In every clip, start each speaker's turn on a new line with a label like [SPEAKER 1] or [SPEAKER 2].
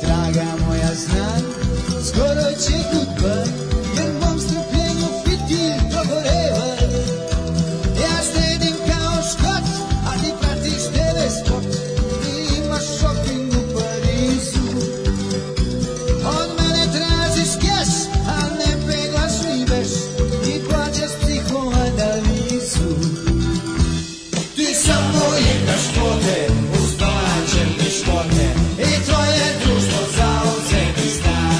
[SPEAKER 1] Draga moja znaj, skoro će kutba, jer mom strpljenju fitil dogoreva. Ja štedim kao škot, a ti pratiš tebe sport, ti imaš shopping u Parizu. Od mene tražiš keš, a ne peglaš ni veš, ti plaćaš psihoanalizu. Ti samo igraš vode, uz domaće piškote, i tvoje društvo zauzeti stan.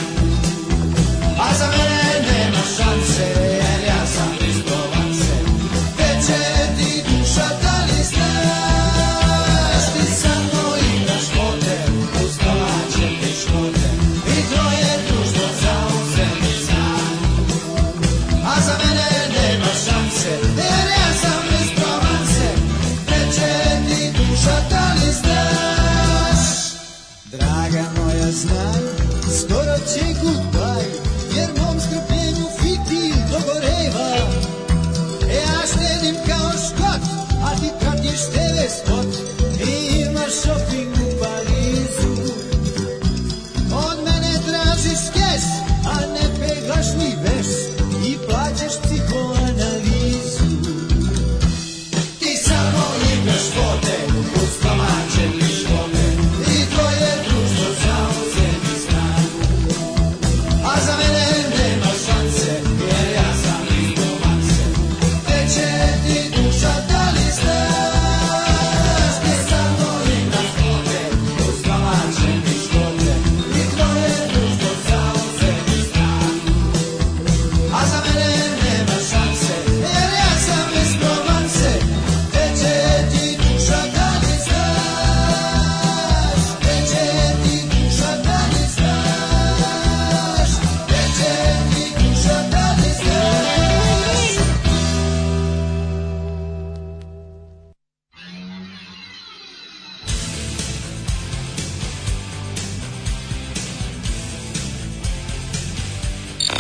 [SPEAKER 1] A za mene nema šanse, jer ja sam listovan se. Teče ti duša, da li znaš? Ti samo igraš vode, uz domaće piškote, i tvoje društvo zauzeti stan. A za mene nema šanse, jer ja sam iz Provence. Teče ti duša, da li znaš? Draga moja, znaj, skoro će goodbye, jer mom strpljenju fitil dogoreva. E, Ja štedim kao škot, a ti pratiš TV spot i imaš shopping u Parizu. Od mene tražiš keš, a ne peglaš ni veš i plaćaš psihoanalizu. Ti samo igraš vode, uz domaće mišlone i tvoje društvo zauzeti stan. A za mene nema šanse, jer ja sam ignomance. Teče ti duša, da li znaš? Ti samo igraš vode, uz domaće mišlone i tvoje društvo zauzeti stan. A za mene nema šanse, jer ja sam iz Provence. Teče ti duša, da li znaš? Teče ti duša, da li znaš? Teče ti duša, da li znaš?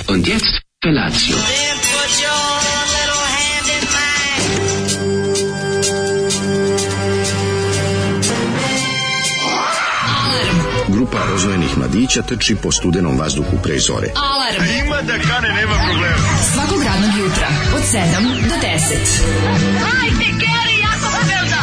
[SPEAKER 2] Und jetzt Felatio.
[SPEAKER 3] Then put your little hand in mine.
[SPEAKER 4] Grupa rozvojenih mladića trči po studenom vazduhu pre zore.
[SPEAKER 5] Alarm. A ima da kane, nema problema. Svakog radnog jutra, od 7 do 10. Hajde, Geri, jako se velda.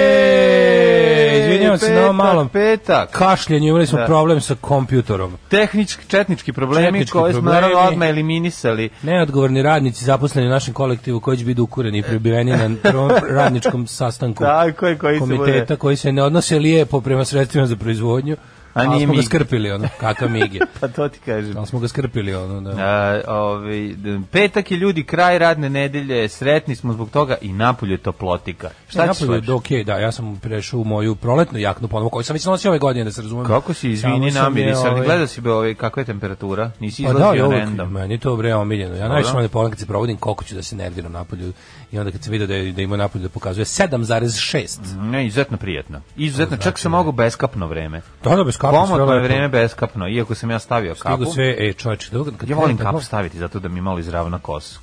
[SPEAKER 6] E,
[SPEAKER 7] izvinjavam se na ovom malom
[SPEAKER 6] Petak.
[SPEAKER 7] kašljenju, imali smo
[SPEAKER 6] Da.
[SPEAKER 7] problem sa kompjutorom.
[SPEAKER 6] Tehnički, četnički problemi
[SPEAKER 7] Četnički
[SPEAKER 6] koje smo
[SPEAKER 7] problemi.
[SPEAKER 6] naravno odmah eliminisali.
[SPEAKER 7] Neodgovorni radnici zaposleni u našem kolektivu koji će biti ukureni i pribiveni na prvom radničkom sastanku
[SPEAKER 6] Tako je, koji se
[SPEAKER 7] komiteta
[SPEAKER 6] bude-
[SPEAKER 7] koji se ne odnose lijepo prema sredstvima za proizvodnju,
[SPEAKER 6] A
[SPEAKER 7] a,
[SPEAKER 6] nije
[SPEAKER 7] smo ga
[SPEAKER 6] mig.
[SPEAKER 7] skrpili, ono, kakav mig je.
[SPEAKER 6] Pa to ti kažem.
[SPEAKER 7] Ali smo ga skrpili, ono, da.
[SPEAKER 6] A, ovaj, d- petak je ljudi kraj radne nedelje, sretni smo zbog toga i napolje toplotika. Šta ćeš
[SPEAKER 7] E, Napolje je
[SPEAKER 6] hoćeš?
[SPEAKER 7] okej, da, ja sam prešao u moju proletnu jaknu ponovo, koju sam već nosio ove godine, da se razumemo.
[SPEAKER 6] Kako si, izvini,
[SPEAKER 7] Samo sam je,
[SPEAKER 6] namirisan?
[SPEAKER 7] ovaj,
[SPEAKER 6] Gledao si be ove, kakva je temperatura? Nisi
[SPEAKER 7] Pa da,
[SPEAKER 6] izlazio
[SPEAKER 7] ja uvek,
[SPEAKER 6] random.
[SPEAKER 7] meni je to bre omiljeno. Ja najviše volim da pogledam kad se provodim koliko ću da se nerviram napolju i onda kad se vidi da, je- da ima napolju da pokazuje 7,6.
[SPEAKER 6] Ne, izuzetno prijetno. Izuzetno, čak
[SPEAKER 7] znači
[SPEAKER 6] sam mogao beskapno vreme.
[SPEAKER 7] Da, da, bez kapu sve
[SPEAKER 6] Pomotno je
[SPEAKER 7] lepo.
[SPEAKER 6] vreme beskapno, iako sam ja stavio kapu.
[SPEAKER 7] Stigu sve, e, čovječe, da, kad
[SPEAKER 6] Ja volim
[SPEAKER 7] pogledam
[SPEAKER 6] kapu staviti zato da mi malo izravna kosu.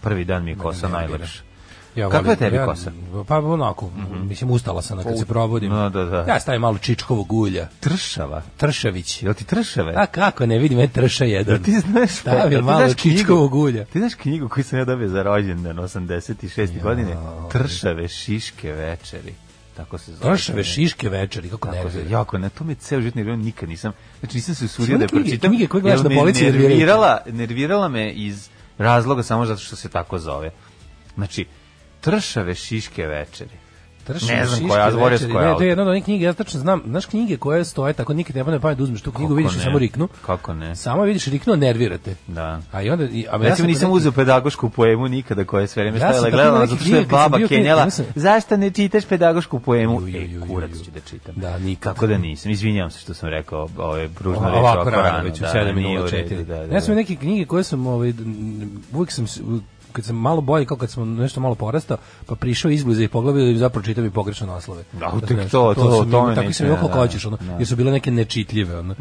[SPEAKER 6] Prvi dan
[SPEAKER 7] Da,
[SPEAKER 6] mi je kosa najlepša.
[SPEAKER 7] tako- ja
[SPEAKER 6] Kakva
[SPEAKER 7] volim-
[SPEAKER 6] je tebi
[SPEAKER 7] ja-
[SPEAKER 6] kosa?
[SPEAKER 7] Pa onako, mislim, ustala sam kad se provodim.
[SPEAKER 6] No, da, da.
[SPEAKER 7] Ja stavim malo čičkovog ulja.
[SPEAKER 6] Tršava.
[SPEAKER 7] Tršević.
[SPEAKER 6] Jel ti tršave?
[SPEAKER 7] A kako ne vidim, je trša jedan.
[SPEAKER 6] Jel ti znaš,
[SPEAKER 7] Stavim
[SPEAKER 6] jel ti
[SPEAKER 7] Da, malo
[SPEAKER 6] znaš knjigu-
[SPEAKER 7] čičkovog ulja.
[SPEAKER 6] Ti znaš knjigu koju sam ja dobio za rođendan 86. godine? Tršave šiške večeri. Tako se zove.
[SPEAKER 7] Tršave šiške večeri, kako
[SPEAKER 6] Tako se,
[SPEAKER 7] nervira.
[SPEAKER 6] jako, ne, to mi je ceo životni nervirao, nikad nisam, znači nisam se usudio
[SPEAKER 7] Ima
[SPEAKER 6] da je
[SPEAKER 7] knjige-
[SPEAKER 6] pročitam.
[SPEAKER 7] knjige koje gledaš
[SPEAKER 6] jer
[SPEAKER 7] na
[SPEAKER 6] me
[SPEAKER 7] polici nerviraju te.
[SPEAKER 6] nervirala, nervirala me iz razloga samo zato što se tako zove. Znači, tršave šiške večeri.
[SPEAKER 7] Tršave
[SPEAKER 6] Ne znam
[SPEAKER 7] šiške
[SPEAKER 6] koja, a zaboravio sam
[SPEAKER 7] večeri.
[SPEAKER 6] koja je
[SPEAKER 7] Ne, to
[SPEAKER 6] autor.
[SPEAKER 7] je jedna od onih knjiga, ja tačno znam, znaš knjige koje stoje, tako nikad ne padne na pamet da uzmeš tu knjigu, vidiš i
[SPEAKER 6] ne?
[SPEAKER 7] samo riknu.
[SPEAKER 6] Kako ne?
[SPEAKER 7] Samo vidiš riknu, nervirate.
[SPEAKER 6] E. Da.
[SPEAKER 7] A i onda... i- A
[SPEAKER 6] Recimo,
[SPEAKER 7] sam-
[SPEAKER 6] nisam uzeo pedagošku poemu nikada koja je sve vreme
[SPEAKER 7] Ja sam
[SPEAKER 6] stajala
[SPEAKER 7] tako
[SPEAKER 6] gledala,
[SPEAKER 7] imao
[SPEAKER 6] zato
[SPEAKER 7] neke
[SPEAKER 6] što je
[SPEAKER 7] knjige kad sam
[SPEAKER 6] baba
[SPEAKER 7] bio klinac,
[SPEAKER 6] kenjala.
[SPEAKER 7] imao sam-
[SPEAKER 6] Zašto ne čitaš pedagošku poemu?
[SPEAKER 7] Ju, ju, ju,
[SPEAKER 6] E,
[SPEAKER 7] ju,
[SPEAKER 6] kurac
[SPEAKER 7] ju.
[SPEAKER 6] ću da čitam.
[SPEAKER 7] Da, nikad.
[SPEAKER 6] Tako da nisam, izvinjavam se što sam rekao ovaj, ove pružno
[SPEAKER 7] Ovako
[SPEAKER 6] reč ovako
[SPEAKER 7] rano,
[SPEAKER 6] rano.
[SPEAKER 7] već u
[SPEAKER 6] da,
[SPEAKER 7] 7
[SPEAKER 6] nije
[SPEAKER 7] minuta
[SPEAKER 6] u redu,
[SPEAKER 7] četiri.
[SPEAKER 6] Da, da,
[SPEAKER 7] Ja
[SPEAKER 6] da.
[SPEAKER 7] sam neke knjige koje sam, ovaj, n- uvijek sam, s- u- kad sam malo bolji, kao kad sam nešto malo porastao, pa prišao izbliza i pogledao da im zapravo čitam i pogrešne naslove.
[SPEAKER 6] Da, u tek
[SPEAKER 7] znaš,
[SPEAKER 6] to, to,
[SPEAKER 7] sam
[SPEAKER 6] o tome
[SPEAKER 7] imao, Tako
[SPEAKER 6] neće,
[SPEAKER 7] sam imao koliko
[SPEAKER 6] da,
[SPEAKER 7] hoćeš, ono,
[SPEAKER 6] da. Mhm.
[SPEAKER 7] jer su bile neke nečitljive. Ono.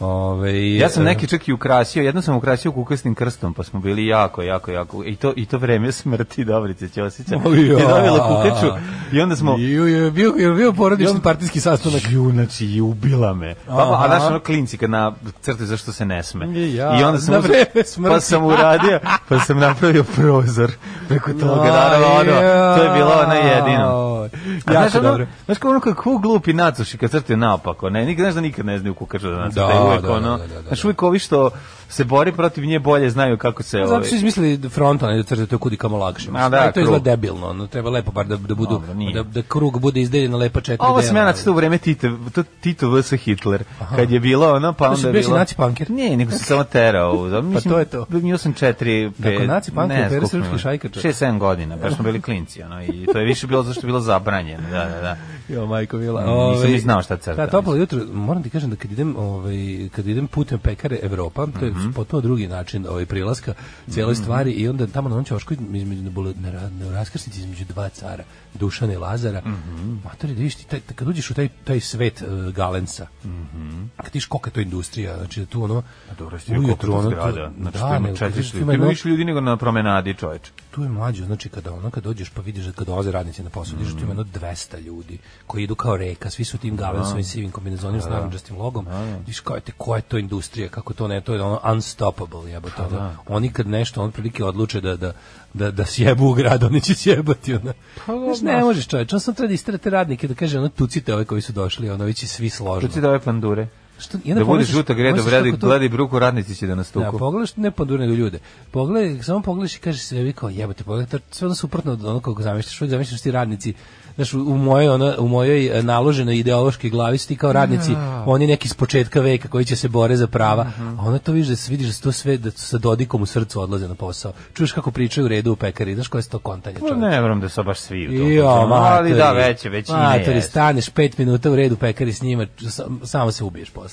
[SPEAKER 7] Ove,
[SPEAKER 6] Ja sam
[SPEAKER 7] e,
[SPEAKER 6] neki čak i ukrasio, jedno sam ukrasio kukasnim krstom, pa smo bili jako, jako, jako, i to, i to vreme smrti Dobrice Ćosića
[SPEAKER 7] O,
[SPEAKER 6] je
[SPEAKER 7] ja.
[SPEAKER 6] dobila kukaču i onda smo...
[SPEAKER 7] Ju, je bio, je bio porodični partijski sastanak.
[SPEAKER 6] Ju, znači, i ubila me. Pa,
[SPEAKER 7] Aha.
[SPEAKER 6] a znaš, ono klinci kad na crte zašto se ne sme.
[SPEAKER 7] I ja,
[SPEAKER 6] I onda
[SPEAKER 7] na
[SPEAKER 6] sam, uz-
[SPEAKER 7] vreme smrti.
[SPEAKER 6] pa sam uradio, pa sam napravio prozor preko toga, naravno, ono, to je bilo ona jedina. A
[SPEAKER 7] Ja
[SPEAKER 6] znaš,
[SPEAKER 7] sam
[SPEAKER 6] ono,
[SPEAKER 7] dobro.
[SPEAKER 6] Znaš kao ono kako glupi nacuši kad crte naopako, ne, nikad, znaš da nikad ne znaju kukača da nacrte,
[SPEAKER 7] Da,
[SPEAKER 6] uvek
[SPEAKER 7] da, da,
[SPEAKER 6] ono,
[SPEAKER 7] da, da, da.
[SPEAKER 6] znaš uvek ovi što se bori protiv nje bolje znaju kako se...
[SPEAKER 7] Zato
[SPEAKER 6] ovaj-
[SPEAKER 7] su izmislili da fronta ne crte to je kudi kamo lakše.
[SPEAKER 6] A, da,
[SPEAKER 7] da, to izgleda
[SPEAKER 6] krug.
[SPEAKER 7] debilno, ono, treba lepo bar da, da budu
[SPEAKER 6] Dobro, nije.
[SPEAKER 7] da, da krug bude izdeljen na lepa četiri
[SPEAKER 6] Ovo sam ja
[SPEAKER 7] dela.
[SPEAKER 6] nacrtao u vreme Tito, to Tito vs. Hitler, kad je bilo ono, pa
[SPEAKER 7] To si
[SPEAKER 6] onda je
[SPEAKER 7] bio si
[SPEAKER 6] bilo...
[SPEAKER 7] naci punker? Pa
[SPEAKER 6] Ne, nego sam samo terao. u- Mislim,
[SPEAKER 7] to je to.
[SPEAKER 6] Bio sam četiri, pet...
[SPEAKER 7] Nakon naci punker,
[SPEAKER 6] ne,
[SPEAKER 7] pere
[SPEAKER 6] skupno,
[SPEAKER 7] srpski šajkača.
[SPEAKER 6] Šest, sedam godina, baš smo bili klinci, ono, i to je više bilo zašto je bilo zabranjeno, da, da, da.
[SPEAKER 7] Jo, majko Vila.
[SPEAKER 6] Nisam ni znao šta crtam.
[SPEAKER 7] Da, toplo jutro, moram ti kažem da kad idem, ovaj, kad idem putem pekare Evropa, to
[SPEAKER 6] Mhm.
[SPEAKER 7] je potpuno drugi način ovaj, prilaska cijeloj stvari i onda tamo na onom ćošku između, na, bule- na, ra- na raskrsnici između dva cara, Dušana i Lazara,
[SPEAKER 6] Mhm.
[SPEAKER 7] matori, da vidiš ti, taj, kad uđeš u taj, taj svet eh, galensa, kad tiš koliko je to industrija, znači da tu ono,
[SPEAKER 6] Mhm. Pa Dobro,
[SPEAKER 7] je
[SPEAKER 6] ste ujutru ono to... Znači, da, tu ima
[SPEAKER 7] nego kad
[SPEAKER 6] četiri
[SPEAKER 7] ideš, tu
[SPEAKER 6] ljudi. Tu ima
[SPEAKER 7] ima jedno-
[SPEAKER 6] više ljudi nego na promenadi, čoveče.
[SPEAKER 7] tu je mlađe, znači kada ono kad dođeš pa vidiš da kad dolaze radnici na posao, vidiš da
[SPEAKER 6] Mm.
[SPEAKER 7] tu ima jedno 200 ljudi koji idu kao reka, svi su u tim
[SPEAKER 6] Da.
[SPEAKER 7] gavensovim sivim kombinezonima s narančastim logom. Viš kao te koja je to industrija, kako to ne, to je ono unstoppable,
[SPEAKER 6] Pa
[SPEAKER 7] jebote. ono.
[SPEAKER 6] da.
[SPEAKER 7] Oni kad nešto on prilike odluče da da da da sjebu u grad, oni će sjebati ona.
[SPEAKER 6] Pa
[SPEAKER 7] Znaš, ne možeš čoveče, on sam treba da isterate radnike da kaže ono tucite ove koji su došli, ono već i svi složno.
[SPEAKER 6] Čuci da ove pandure.
[SPEAKER 7] Što, i onda
[SPEAKER 6] Da bude
[SPEAKER 7] E, pomisliš-
[SPEAKER 6] žuta greda,
[SPEAKER 7] pomisliš
[SPEAKER 6] vredi,
[SPEAKER 7] kako to-
[SPEAKER 6] gledi bruku, radnici će da nas
[SPEAKER 7] da,
[SPEAKER 6] tuku.
[SPEAKER 7] pogledaš ne pandur nego ljude. Pogledaj, samo pogledaš i kažeš se vi kao jebote, pogledaj, to je sve ono suprotno od onog kako zamišljaš, uvijek zamišljaš ti radnici. Znaš, u- u mojoj, ona, u mojoj e, naloženoj ideološkoj glavi su ti kao radnici,
[SPEAKER 6] Da.
[SPEAKER 7] oni neki s početka veka koji će se bore za prava,
[SPEAKER 6] Mhm.
[SPEAKER 7] a onda to vidiš da, se- vidiš da su to sve, da su sa dodikom u srcu odlaze na posao. Čuješ kako pričaju u redu u pekari, znaš koje su to kontanje
[SPEAKER 6] Pa
[SPEAKER 7] čoveče?
[SPEAKER 6] Ne vjerujem da su baš svi u tom.
[SPEAKER 7] Jo,
[SPEAKER 6] fazonu, ali
[SPEAKER 7] matori.
[SPEAKER 6] da, veće, većina
[SPEAKER 7] Matori,
[SPEAKER 6] je.
[SPEAKER 7] staneš pet minuta u redu pekari s njima, č- sam- samo se ubiješ posla. ono.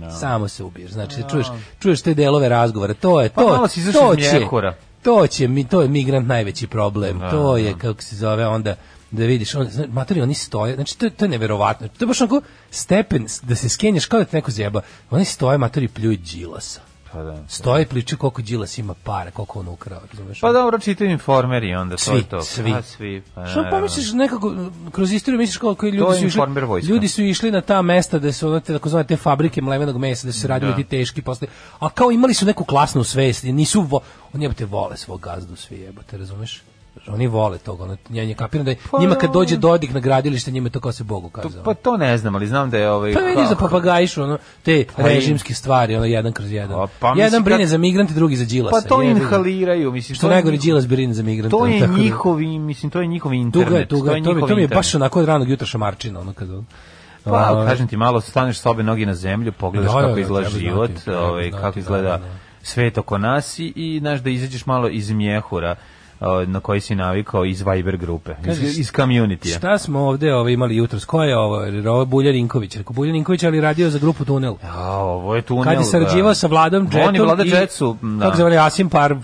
[SPEAKER 6] da.
[SPEAKER 7] Samo se ubiješ. Znači, čuješ, čuješ te delove razgovora. To je, to,
[SPEAKER 6] Pa malo si izašao
[SPEAKER 7] to
[SPEAKER 6] iz mjehura. Da,
[SPEAKER 7] to će, mi, to je migrant najveći problem. to je, kako se zove, onda da vidiš, on, zna- matori, oni stoje, znači to, je- to je neverovatno, to je baš onako stepen s- da se skenješ kao da te neko zjeba, oni stoje, matori, pljuju Đilasa.
[SPEAKER 6] Pa da.
[SPEAKER 7] Stoje, pliče koliko Đilas ima para, koliko on ukrao, razumeš?
[SPEAKER 6] Pa dobro, čitaju informeri onda, to
[SPEAKER 7] svi,
[SPEAKER 6] je to.
[SPEAKER 7] svi.
[SPEAKER 6] Pa, svi. Pa,
[SPEAKER 7] Što
[SPEAKER 6] naravno.
[SPEAKER 7] pomisliš nekako kroz istoriju misliš kao koji
[SPEAKER 6] To
[SPEAKER 7] ljudi
[SPEAKER 6] je
[SPEAKER 7] su išli
[SPEAKER 6] informer vojska.
[SPEAKER 7] ljudi su išli na ta mesta da su ono takozvane te fabrike mlevenog mesa da su se radili ti teški posle a kao imali su neku klasnu svest i nisu vo, oni jebote vole svog gazdu svi jebote razumeš oni vole toga, ono, ja ne kapiram da je-
[SPEAKER 6] Pa,
[SPEAKER 7] njima kad dođe
[SPEAKER 6] ono-
[SPEAKER 7] Dodik na gradilište, njima je da to kao se Bogu
[SPEAKER 6] To-
[SPEAKER 7] kazao.
[SPEAKER 6] Pa to ne znam, ali znam da je ovaj...
[SPEAKER 7] Pa vidiš da papagajišu ono, te
[SPEAKER 6] i-
[SPEAKER 7] režimske stvari, ono, jedan kroz jedan.
[SPEAKER 6] A, pa mislim
[SPEAKER 7] jedan brine
[SPEAKER 6] kad-
[SPEAKER 7] za migrante, drugi za Đilasa.
[SPEAKER 6] Pa to
[SPEAKER 7] jebi ga.
[SPEAKER 6] inhaliraju, mislim.
[SPEAKER 7] Što
[SPEAKER 6] to je-
[SPEAKER 7] najgore, Đilas brine za migrante.
[SPEAKER 6] To
[SPEAKER 7] ono,
[SPEAKER 6] je
[SPEAKER 7] tako da-
[SPEAKER 6] njihovi, mislim, to je njihovi internet.
[SPEAKER 7] Tuga je, tuga, je, to, mi,
[SPEAKER 6] njihov
[SPEAKER 7] to mi je
[SPEAKER 6] internet.
[SPEAKER 7] baš onako od ranog jutra šamarčina, ono kad on...
[SPEAKER 6] Pa, ali
[SPEAKER 7] Ovaj,
[SPEAKER 6] kažem ti, malo staneš s obe noge na zemlju, pogledaš
[SPEAKER 7] Da, da,
[SPEAKER 6] kako
[SPEAKER 7] da,
[SPEAKER 6] izgleda
[SPEAKER 7] treba znati,
[SPEAKER 6] život,
[SPEAKER 7] treba
[SPEAKER 6] ovaj,
[SPEAKER 7] znati,
[SPEAKER 6] kako
[SPEAKER 7] da,
[SPEAKER 6] izgleda
[SPEAKER 7] da, da.
[SPEAKER 6] svet oko nas i, i znaš da izađeš malo iz mjehura ovaj, na koji si navikao iz Viber grupe,
[SPEAKER 7] Kažeš,
[SPEAKER 6] iz, iz community
[SPEAKER 7] Šta smo ovde ovaj, imali jutros? Ko je ovo? Jer Ovo je Bulja Rinković. Rekao, Bulja Rinković, ali radio za grupu Tunel.
[SPEAKER 6] A, ovo je tunel.
[SPEAKER 7] Kad je sarađivao
[SPEAKER 6] da.
[SPEAKER 7] sa Vladom Džetom
[SPEAKER 6] On je Vlada
[SPEAKER 7] i-
[SPEAKER 6] Džetsu, da.
[SPEAKER 7] Kako se zove, Asim Par,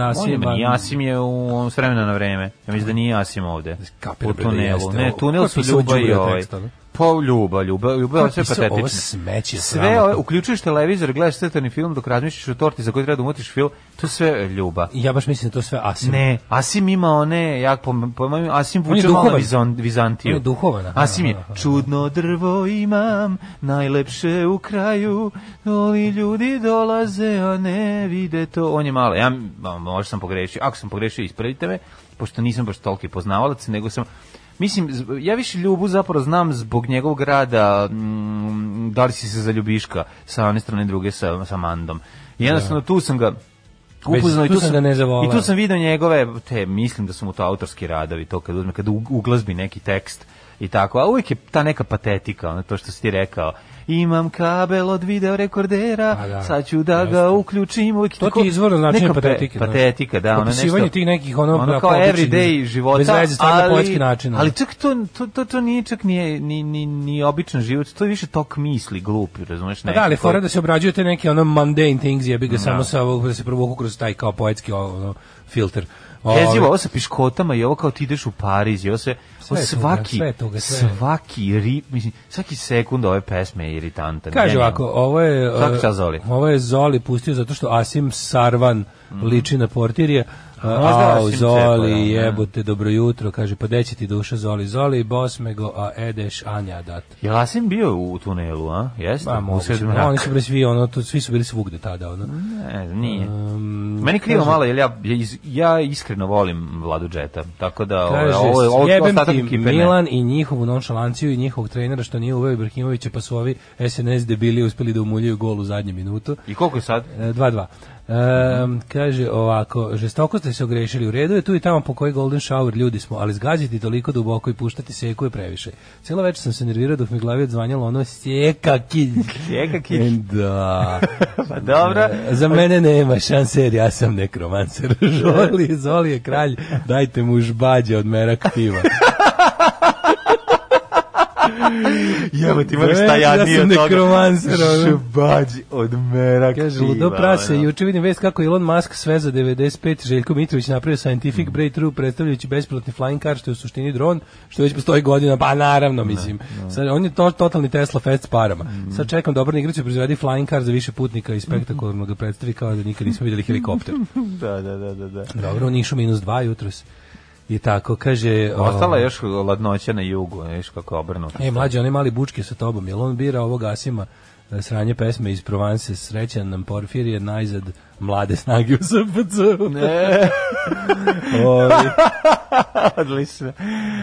[SPEAKER 6] On je,
[SPEAKER 7] Asim.
[SPEAKER 6] meni, Jasim je u, on s vremena na vreme. Ja mislim da nije Jasim ovde.
[SPEAKER 7] Kapiram
[SPEAKER 6] u
[SPEAKER 7] da
[SPEAKER 6] tunelu.
[SPEAKER 7] jeste.
[SPEAKER 6] Ne,
[SPEAKER 7] Ko
[SPEAKER 6] tunel
[SPEAKER 7] je
[SPEAKER 6] su
[SPEAKER 7] pisao
[SPEAKER 6] Ljuba i
[SPEAKER 7] đubre
[SPEAKER 6] ovaj.
[SPEAKER 7] teksta, ono?
[SPEAKER 6] Pa Ljuba, Ljuba, Ljuba je sve
[SPEAKER 7] Napisao,
[SPEAKER 6] patetično.
[SPEAKER 7] Ovo smeće
[SPEAKER 6] Sve,
[SPEAKER 7] sramotno.
[SPEAKER 6] ove, uključuješ televizor, gledaš crtani film dok razmišljaš o torti za koju treba da umutiš film, to je sve e, Ljuba.
[SPEAKER 7] Ja baš mislim da je to sve Asim.
[SPEAKER 6] Ne, Asim ima one, jak po, po mojim, Asim
[SPEAKER 7] On je
[SPEAKER 6] vuče malo na
[SPEAKER 7] duhovan.
[SPEAKER 6] Vizon- Vizantiju.
[SPEAKER 7] On je duhovan, da, aha,
[SPEAKER 6] Asim je,
[SPEAKER 7] aha, aha.
[SPEAKER 6] čudno drvo imam, najlepše u kraju, ali ljudi dolaze, a ne vide to. On je malo, ja ma, možda sam pogrešio, ako sam pogrešio, ispravite me, pošto nisam baš toliki poznavalac, nego sam, Mislim, zb- ja više Ljubu zapravo znam zbog njegovog rada, mm, da li si se zaljubiška sa one strane druge sa, sa Mandom. I jednostavno tu sam ga
[SPEAKER 7] Već
[SPEAKER 6] upoznao i
[SPEAKER 7] Da.
[SPEAKER 6] tu
[SPEAKER 7] tu sam
[SPEAKER 6] sam,
[SPEAKER 7] ga ne zavoleo.
[SPEAKER 6] i tu sam video njegove, te, mislim da su mu to autorski radovi, to kad uzme, kad u- uglazbi neki tekst i tako, a uvijek je ta neka patetika, ono to što si ti rekao. Imam kabel od video
[SPEAKER 7] Pa
[SPEAKER 6] rekordera,
[SPEAKER 7] da,
[SPEAKER 6] sad ću da ga uključim. Uvijek je
[SPEAKER 7] To
[SPEAKER 6] tako-
[SPEAKER 7] ti je izvorno značenje
[SPEAKER 6] neka pe-
[SPEAKER 7] patetike, znaš.
[SPEAKER 6] Patetika, da. ono nešto-
[SPEAKER 7] Opisivanje tih nekih, ono,
[SPEAKER 6] ono
[SPEAKER 7] kao
[SPEAKER 6] kao
[SPEAKER 7] običnih,
[SPEAKER 6] everyday života.
[SPEAKER 7] bez veze, stvarno
[SPEAKER 6] ali-
[SPEAKER 7] poetski način, ono.
[SPEAKER 6] Ali čak to, to, to, to nije čak nije, ni, ni, ni običan život, to je više tok misli, glupi, razumeš?
[SPEAKER 7] Pa
[SPEAKER 6] neki
[SPEAKER 7] da, ali
[SPEAKER 6] koji-
[SPEAKER 7] fora da se obrađuju da te neke ono mundane things, jebi ga samo sa ovog da se provuku kroz taj kao poetski ono, filter.
[SPEAKER 6] Jezivo, ovo sa piškotama i ovo kao ti ideš u Pariz i ovo sve,
[SPEAKER 7] Sve
[SPEAKER 6] ovo
[SPEAKER 7] je toga,
[SPEAKER 6] svaki,
[SPEAKER 7] sve je toga, sve.
[SPEAKER 6] svaki, ri, mislim, svaki sekund ove pesme je iritantan.
[SPEAKER 7] Kaže
[SPEAKER 6] genijalno.
[SPEAKER 7] ovako, ovo je
[SPEAKER 6] Svaka
[SPEAKER 7] e,
[SPEAKER 6] čast Zoli.
[SPEAKER 7] Ovo je Zoli pustio zato što Asim Sarvan liči na portirje.
[SPEAKER 6] Mhm. možda
[SPEAKER 7] A,
[SPEAKER 6] Asim Cepo,
[SPEAKER 7] Zoli,
[SPEAKER 6] da, da.
[SPEAKER 7] jebote, dobro jutro, kaže, pa gde će ti duša, Zoli, Zoli, bos me go, a edeš, anja dat.
[SPEAKER 6] Jel Asim bio u tunelu, a? Jeste?
[SPEAKER 7] Pa,
[SPEAKER 6] u sred
[SPEAKER 7] moguće,
[SPEAKER 6] mraka.
[SPEAKER 7] oni su bili svi, ono, to, svi su bili svugde tada, ono.
[SPEAKER 6] Ne, nije.
[SPEAKER 7] Um,
[SPEAKER 6] Meni krivo malo, jer ja, ja iz- ja iskreno volim Vladu Džeta, tako da ovo, je-
[SPEAKER 7] Kaže,
[SPEAKER 6] ovo, je- ovo, je
[SPEAKER 7] jebem
[SPEAKER 6] ostatak
[SPEAKER 7] ti
[SPEAKER 6] ekipe, ne.
[SPEAKER 7] Milan i njihovu nonšalanciju i njihovog trenera što nije uveo Ibrahimovića, pa su ovi SNS debili uspeli da umuljaju gol u zadnju minutu.
[SPEAKER 6] I koliko je sad?
[SPEAKER 7] 2-2. Um, kaže ovako, žestoko ste se ogrešili u redu je tu i tamo po koji golden shower ljudi smo, ali zgaziti toliko duboko i puštati seku je previše. Cijelo večer sam se nervirao dok mi glavi odzvanjalo ono sjeka kilj.
[SPEAKER 6] Sjeka kilj.
[SPEAKER 7] Da.
[SPEAKER 6] Pa dobro.
[SPEAKER 7] E, Za mene nema šanse jer ja sam nekromancer. Žoli, Zoli je kralj, dajte mu žbađe od merak piva.
[SPEAKER 6] Evo ti
[SPEAKER 7] moraš šta jadnije od toga.
[SPEAKER 6] Šbađi od merak.
[SPEAKER 7] Kaže, ludo
[SPEAKER 6] da,
[SPEAKER 7] prase, juče vidim vest kako Elon Musk sve za 95, Željko Mitrović napravio
[SPEAKER 6] Mm.
[SPEAKER 7] scientific breakthrough predstavljajući bespilotni flying car, što je u suštini dron, što već postoji godina, pa naravno, mislim. Sad, on je to, totalni Tesla fest s parama.
[SPEAKER 6] Mm.
[SPEAKER 7] Sad čekam da obrni igricu proizvedi flying car za više putnika i spektakularno ga predstavi kao da nikad nismo vidjeli helikopter.
[SPEAKER 6] Da, da, da, da. da.
[SPEAKER 7] Dobro, u Nišu minus dva jutros. I tako, kaže...
[SPEAKER 6] Ostala
[SPEAKER 7] o,
[SPEAKER 6] je još ladnoća na jugu, viš kako obrnuto.
[SPEAKER 7] Pa, da. E, mlađe, onaj mali bučke sa tobom, jel on bira ovog Asima e, sranje pesme iz Provanse, srećan nam Porfir je najzad mlade snage u SPC. Ne.
[SPEAKER 6] Odlično.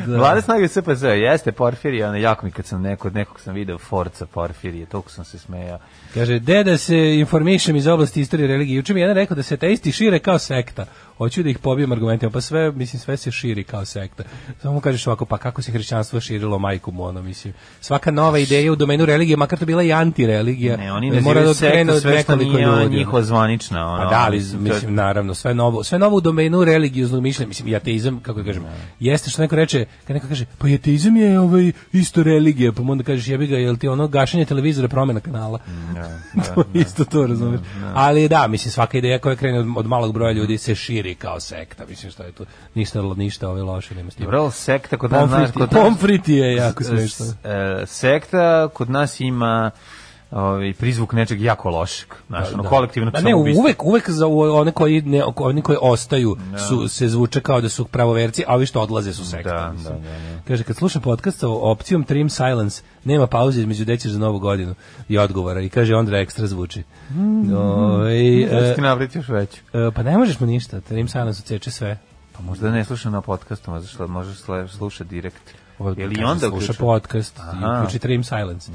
[SPEAKER 7] Da.
[SPEAKER 6] Vlada snage SPZ, jeste Porfirije, ono jako mi kad sam neko, nekog sam video Forca Porfirije, toliko sam se smejao.
[SPEAKER 7] Kaže, deda se informišem iz oblasti istorije i religije. Juče mi je jedan rekao da se teisti šire kao sekta. Hoću da ih pobijem argumentima. Pa sve, mislim, sve se širi kao sekta. Samo mu kažeš ovako, pa kako se hrišćanstvo širilo majku mu, ono, mislim. Svaka nova ideja u domenu religije, makar to bila i antireligija,
[SPEAKER 6] Ne, oni
[SPEAKER 7] mora da
[SPEAKER 6] nazivaju
[SPEAKER 7] krene
[SPEAKER 6] sektu
[SPEAKER 7] od
[SPEAKER 6] sve što
[SPEAKER 7] nekoliko
[SPEAKER 6] nije ono,
[SPEAKER 7] ljudi, ono.
[SPEAKER 6] njihova zvanična. Ono,
[SPEAKER 7] Pa da, ali
[SPEAKER 6] to je-
[SPEAKER 7] mislim naravno sve novo, sve novo u domenu religioznog mišljenja, mislim i ateizam, kako da kažem. Jeste što neko reče, kad neko kaže, pa i ateizam je ovaj isto religija, pa mu onda kažeš jebi ga, jel ti ono gašenje televizora promena kanala.
[SPEAKER 6] Da,
[SPEAKER 7] to je isto to, razumeš. Ali da, mislim svaka ideja koja krene od, od malog broja ljudi se širi kao sekta, mislim što je tu ništa ništa ove loše nema s tim.
[SPEAKER 6] Dobro, ali sekta kod nas, znaš,
[SPEAKER 7] Pomfriti,
[SPEAKER 6] kod nas-
[SPEAKER 7] pomfriti je jako smešno.
[SPEAKER 6] S- e, sekta kod nas ima ovaj prizvuk nečeg jako lošeg, znaš, ono kolektivno
[SPEAKER 7] Da, ne,
[SPEAKER 6] samoubistvo. Da.
[SPEAKER 7] uvek, uvek za u- one koji, ne, oni koji ostaju su, se zvuče kao da su pravoverci, a ovi što odlaze su sekta.
[SPEAKER 6] Da,
[SPEAKER 7] mislim.
[SPEAKER 6] da, da, da.
[SPEAKER 7] Kaže, kad slušam podcast sa opcijom Trim Silence, nema pauze između dećeš za novu godinu i odgovora. I kaže, onda ekstra zvuči.
[SPEAKER 6] Mm.
[SPEAKER 7] Ovaj,
[SPEAKER 6] Ja ću
[SPEAKER 7] e,
[SPEAKER 6] ti napraviti još veću.
[SPEAKER 7] e, pa ne možeš mu ništa, Trim Silence odseče sve.
[SPEAKER 6] Pa možda ne slušam na podcastom, zašto možeš sle- slušati direkt.
[SPEAKER 7] Ovo,
[SPEAKER 6] Ili
[SPEAKER 7] Ovaj, kaže,
[SPEAKER 6] onda
[SPEAKER 7] sluša
[SPEAKER 6] uključu?
[SPEAKER 7] podcast
[SPEAKER 6] Aha.
[SPEAKER 7] i uključi Trim Silence.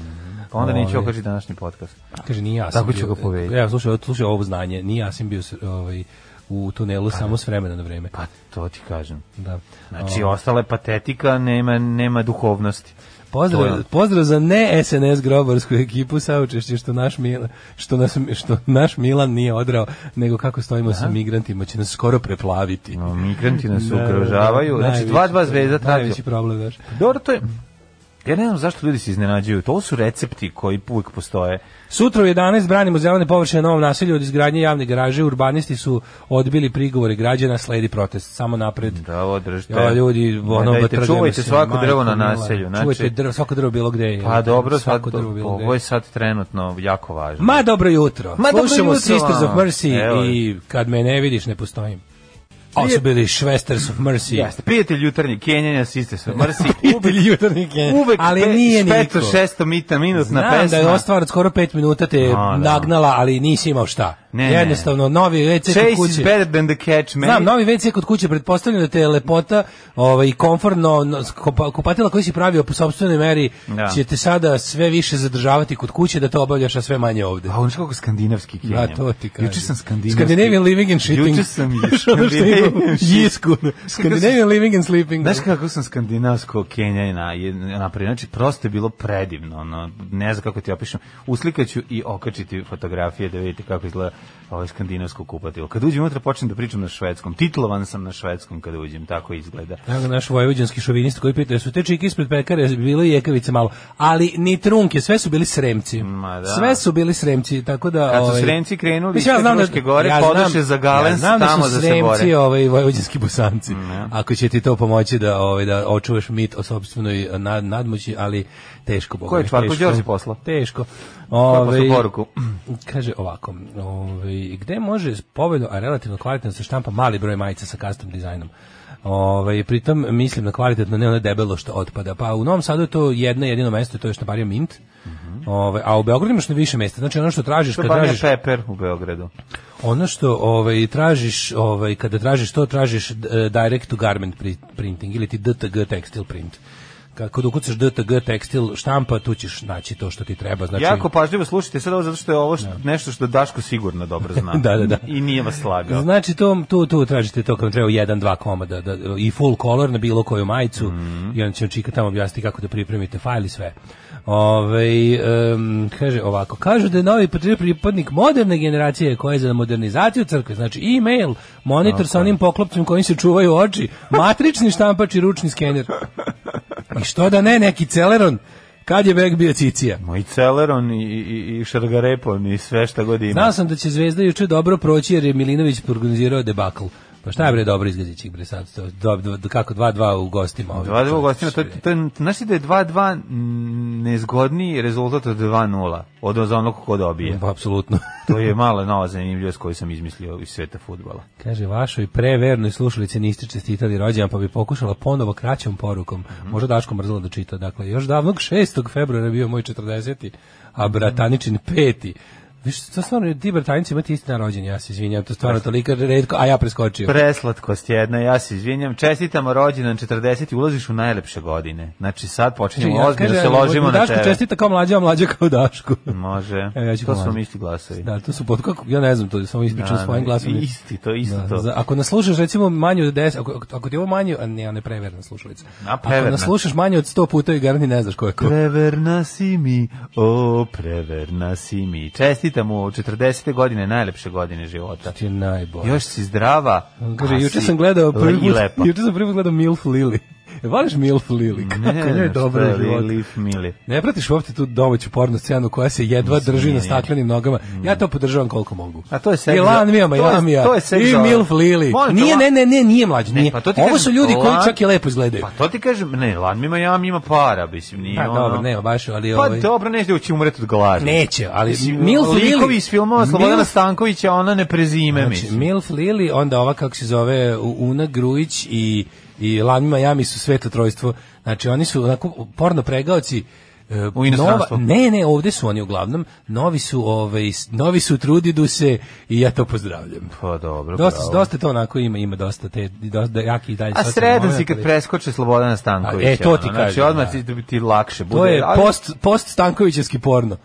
[SPEAKER 6] Pa onda neću
[SPEAKER 7] Ovaj.
[SPEAKER 6] okači današnji podcast.
[SPEAKER 7] Kaže, nije ja sam
[SPEAKER 6] Tako ću
[SPEAKER 7] bio-
[SPEAKER 6] ga povedati.
[SPEAKER 7] Evo, slušaj, slušaj ovo znanje, nije ja sam bio s- ovaj, u tunelu samo s vremena na vreme.
[SPEAKER 6] da. Pa to ti kažem.
[SPEAKER 7] Da.
[SPEAKER 6] Znači, ostala je patetika, nema, nema duhovnosti. To je ono.
[SPEAKER 7] Pozdrav, pozdrav za ne SNS grobarsku ekipu saučešće što naš Milan, što nas što naš Milan nije odrao, nego kako stojimo sa migrantima će nas skoro preplaviti. Da,
[SPEAKER 6] No, migranti nas ugrožavaju. Znači,
[SPEAKER 7] Najveći
[SPEAKER 6] dva, dva
[SPEAKER 7] problem,
[SPEAKER 6] zvezda traži.
[SPEAKER 7] Najveći problem, daš.
[SPEAKER 6] Dobro, to je... Ja ne znam zašto ljudi se iznenađuju. To su recepti koji uvijek postoje. Pa
[SPEAKER 7] Sutra u 11 branimo zelene površine na novom naselju od izgradnje javne garaže. Urbanisti su odbili prigovore građana, sledi protest. Samo napred.
[SPEAKER 6] Da, ovo držite.
[SPEAKER 7] Ja, ljudi,
[SPEAKER 6] Ne
[SPEAKER 7] ono,
[SPEAKER 6] dajte,
[SPEAKER 7] batrljamo
[SPEAKER 6] čuvajte
[SPEAKER 7] se,
[SPEAKER 6] svako
[SPEAKER 7] majko
[SPEAKER 6] drvo na
[SPEAKER 7] mila.
[SPEAKER 6] naselju.
[SPEAKER 7] Čuvajte
[SPEAKER 6] Znači,
[SPEAKER 7] drvo, svako drvo bilo gde. je.
[SPEAKER 6] pa dobro, sad,
[SPEAKER 7] svako drvo bilo gde.
[SPEAKER 6] ovo je sad trenutno jako važno.
[SPEAKER 7] Ma dobro jutro.
[SPEAKER 6] Ma dobro
[SPEAKER 7] Slušamo
[SPEAKER 6] jutro,
[SPEAKER 7] Sisters of
[SPEAKER 6] vama.
[SPEAKER 7] Mercy
[SPEAKER 6] Evo.
[SPEAKER 7] i kad me ne vidiš ne postojim. A su bili Švesters of Mercy.
[SPEAKER 6] Jeste, prijatelj jutarnji, Kenjanja, siste se, mrsi.
[SPEAKER 7] Pitelj jutarnjeg je.
[SPEAKER 6] Uvek
[SPEAKER 7] ali nije niko.
[SPEAKER 6] 500-600 mita, minutna
[SPEAKER 7] Znam
[SPEAKER 6] pesma.
[SPEAKER 7] da je ova stvar od skoro 5 minuta te
[SPEAKER 6] da.
[SPEAKER 7] nagnala, ali nisi imao šta.
[SPEAKER 6] Ne, ne.
[SPEAKER 7] Jednostavno, novi WC kod
[SPEAKER 6] Chase is
[SPEAKER 7] kuće.
[SPEAKER 6] better than the catch, man.
[SPEAKER 7] Znam, novi WC kod kuće, pretpostavljam da te je lepota ovaj, i komfortno no, s- kupa- kupatila koji si pravio po sobstvenoj meri
[SPEAKER 6] Da.
[SPEAKER 7] će te sada sve više zadržavati kod kuće da to obavljaš, a sve manje ovdje.
[SPEAKER 6] A on kako skandinavski Kenja.
[SPEAKER 7] Da, to ti kažem.
[SPEAKER 6] Juče sam skandinavski.
[SPEAKER 7] Scandinavian living and shitting.
[SPEAKER 6] Juče sam i
[SPEAKER 7] Ono što ima u
[SPEAKER 6] Scandinavian
[SPEAKER 7] Jisku. Scandinavian living and sleeping.
[SPEAKER 6] Znaš kako sam skandinavsko Kenja na, napravio? Znači, prosto je bilo predivno. Ono, ne znam kako ti opišem. Uslikaću i okačiti fotografije da vidite kako izgleda ovaj skandinavsko kupatilo. Kad uđem unutra počnem da pričam na švedskom. Titlovan sam na švedskom kada uđem, tako izgleda.
[SPEAKER 7] Evo ga naš vojvođanski šovinista koji pita, su te čike ispred pekare, bilo je jekavice malo, ali ni trunke, sve su bili sremci.
[SPEAKER 6] Ma da.
[SPEAKER 7] Sve su bili sremci, tako da...
[SPEAKER 6] Kad su
[SPEAKER 7] ovaj,
[SPEAKER 6] Sremci krenuli
[SPEAKER 7] mislim,
[SPEAKER 6] iz Fruške gore,
[SPEAKER 7] znam-
[SPEAKER 6] podoše za Galen
[SPEAKER 7] ja znam da
[SPEAKER 6] tamo
[SPEAKER 7] su
[SPEAKER 6] da se
[SPEAKER 7] sremci,
[SPEAKER 6] bore. Mm,
[SPEAKER 7] ovaj vojvođanski bosanci. Ako će ti to pomoći da ovaj da očuvaš mit o sopstvenoj eh, nad, nadmoći, ali teško Boga.
[SPEAKER 6] Ko je
[SPEAKER 7] mi,
[SPEAKER 6] Čvarko
[SPEAKER 7] teško.
[SPEAKER 6] Đorđe poslao?
[SPEAKER 7] Teško.
[SPEAKER 6] je
[SPEAKER 7] Ovaj
[SPEAKER 6] poslao poruku?
[SPEAKER 7] Kaže ovako, ovaj gde može povoljno a relativno kvalitetno da se štampa mali broj majica sa custom dizajnom. Ovaj pritom mislim na kvalitetno, ne ono debelo što otpada. Pa u Novom Sadu je to jedno jedino mesto, to je što bario Mint. Ovaj, a u Beogradu imaš na više mesta. Znači ono što tražiš kad
[SPEAKER 6] Štampanija
[SPEAKER 7] tražiš
[SPEAKER 6] Pepper u Beogradu.
[SPEAKER 7] ono što ovaj tražiš, ovaj kada tražiš to tražiš eh, direct to garment pri- printing ili ti DTG tekstil print. Kako dokucaš DTG tekstil štampa, tu ćeš naći to što ti treba. Znači,
[SPEAKER 6] Jako pažljivo slušajte sad ovo zato što je ovo što- nešto što Daško sigurno dobro zna.
[SPEAKER 7] Da, da, da.
[SPEAKER 6] I nije vas slagao.
[SPEAKER 7] Znači to tu tu tražite to kao treba jedan dva komada da, i full color na bilo koju majicu i onda će vam čika tamo objasniti kako da pripremite fajl i sve. Ovaj em, kaže ovako, kažu da je novi patri- pripadnik moderne generacije koja je za modernizaciju crkve, znači e-mail, monitor sa onim poklopcem kojim se čuvaju oči, matrični štampač i ručni skener. I što da ne, neki celeron, kad je vek bio cicija.
[SPEAKER 6] Moji Celeron i, i, i Šargarepon i sve šta god ima.
[SPEAKER 7] Znao sam da će Zvezda juče dobro proći jer je Milinović organizirao debakl. Pa šta je bre dobro izgledat će ih bre sad? To, do, do, do- kako 2-2 u gostima. Ovaj.
[SPEAKER 6] 2-2 u gostima, to, to, je- znaš li da je 2-2 nezgodniji rezultat od 2-0, od za onog ko dobije.
[SPEAKER 7] Pa, apsolutno.
[SPEAKER 6] To je mala nova zanimljivost koju sam izmislio iz sveta futbala.
[SPEAKER 7] Kaže, vašoj prevernoj slušalici niste čestitali rođendan, pa bi pokušala ponovo kraćom porukom.
[SPEAKER 6] Mhm.
[SPEAKER 7] Možda Daško mrzela da čita. Dakle, još davnog 6. februara bio moj 40. A
[SPEAKER 6] Mhm.
[SPEAKER 7] brataničin 5. Viš, to stvarno, ti bratanici imate isti dan rođen, ja se izvinjam, to stvarno toliko redko, a ja preskočio.
[SPEAKER 6] Preslatkost jedna, ja se izvinjam. Čestitamo rođendan 40 i ulaziš u najlepše godine. Znači sad počinjemo
[SPEAKER 7] Kaže,
[SPEAKER 6] ozbiljno da
[SPEAKER 7] kaže,
[SPEAKER 6] se ložimo na
[SPEAKER 7] Daško
[SPEAKER 6] tebe. Mhm.
[SPEAKER 7] čestita kao mlađa, a mlađa kao Daško.
[SPEAKER 6] Može.
[SPEAKER 7] Evo, ja
[SPEAKER 6] to su
[SPEAKER 7] ću pomlađi.
[SPEAKER 6] vam isti glasovi.
[SPEAKER 7] Da, to su pod kako ja ne znam to, samo ispričam
[SPEAKER 6] Da,
[SPEAKER 7] svojim
[SPEAKER 6] da,
[SPEAKER 7] glasom.
[SPEAKER 6] Isti, to isto
[SPEAKER 7] Da,
[SPEAKER 6] to.
[SPEAKER 7] za- ako nas slušaš recimo manje od 10, ako, ako ti je ovo manje, a ne, a ne preverna slušalica.
[SPEAKER 6] A,
[SPEAKER 7] Ako
[SPEAKER 6] preverna.
[SPEAKER 7] nas slušaš manje od 100 puta i garni ne znaš ko je ko.
[SPEAKER 6] Preverna si mi, o preverna si mi. Čestitam u 40. godine, najlepše godine života.
[SPEAKER 7] Ti je najbolje.
[SPEAKER 6] Još si zdrava.
[SPEAKER 7] Kaže,
[SPEAKER 6] a
[SPEAKER 7] juče
[SPEAKER 6] si
[SPEAKER 7] sam gledao prvi
[SPEAKER 6] le- i
[SPEAKER 7] put,
[SPEAKER 6] lepa.
[SPEAKER 7] juče sam prvi put gledao Milf Lily. E, Voliš Milf Lily? Kako njoj je dobro
[SPEAKER 6] šta,
[SPEAKER 7] u životu.
[SPEAKER 6] Lilith Mili.
[SPEAKER 7] Ne pratiš uopšte tu domaću porno scenu koja se jedva drži na
[SPEAKER 6] ne.
[SPEAKER 7] staklenim nogama. Ja to podržavam koliko mogu.
[SPEAKER 6] Mm. A to je seks
[SPEAKER 7] I
[SPEAKER 6] za-
[SPEAKER 7] Lan Mija, ma
[SPEAKER 6] to je-
[SPEAKER 7] Lan Mija.
[SPEAKER 6] to je seks
[SPEAKER 7] I
[SPEAKER 6] za-
[SPEAKER 7] Milf Lili.
[SPEAKER 6] Molim te,
[SPEAKER 7] Nije,
[SPEAKER 6] Lan-
[SPEAKER 7] ne, ne, ne, nije mlađi. Nije.
[SPEAKER 6] pa to ti
[SPEAKER 7] Ovo
[SPEAKER 6] kažem,
[SPEAKER 7] su ljudi koji
[SPEAKER 6] Lan-
[SPEAKER 7] čak i lepo izgledaju.
[SPEAKER 6] Pa to ti kažem, ne, Lan mi Miami ima para, mislim, nije
[SPEAKER 7] Pa,
[SPEAKER 6] ono.
[SPEAKER 7] dobro, nema baš, ali
[SPEAKER 6] Pa
[SPEAKER 7] ovaj-
[SPEAKER 6] dobro, neće da će umreti od gladi.
[SPEAKER 7] Neće, ali
[SPEAKER 6] Mislim,
[SPEAKER 7] Milf Lili...
[SPEAKER 6] Likovi iz filmova Slobodana
[SPEAKER 7] Milf-
[SPEAKER 6] Stankovića, ona ne prezime,
[SPEAKER 7] Znači,
[SPEAKER 6] mislim.
[SPEAKER 7] Milf Lili, onda ova kako se zove U- Una Grujić i, i Lani Miami su sveto trojstvo. Znači, oni su onako porno pregaoci e,
[SPEAKER 6] U inostranstvu.
[SPEAKER 7] nova- ne, ne, ovde su oni uglavnom. Novi su, ovaj, s- novi su trudidu se i ja to pozdravljam.
[SPEAKER 6] Pa dobro,
[SPEAKER 7] Dosta,
[SPEAKER 6] bravo.
[SPEAKER 7] dosta to onako ima, ima dosta te, dosta jaki i dalje.
[SPEAKER 6] A
[SPEAKER 7] socijalni
[SPEAKER 6] sredan
[SPEAKER 7] moment,
[SPEAKER 6] si kad
[SPEAKER 7] ali-
[SPEAKER 6] preskoče Slobodana Stankovića.
[SPEAKER 7] da- A, e, to ti
[SPEAKER 6] ono, Znači,
[SPEAKER 7] kažem,
[SPEAKER 6] odmah
[SPEAKER 7] da.
[SPEAKER 6] ti, ti lakše bude.
[SPEAKER 7] To je
[SPEAKER 6] ali-
[SPEAKER 7] post, post Stankovićevski porno.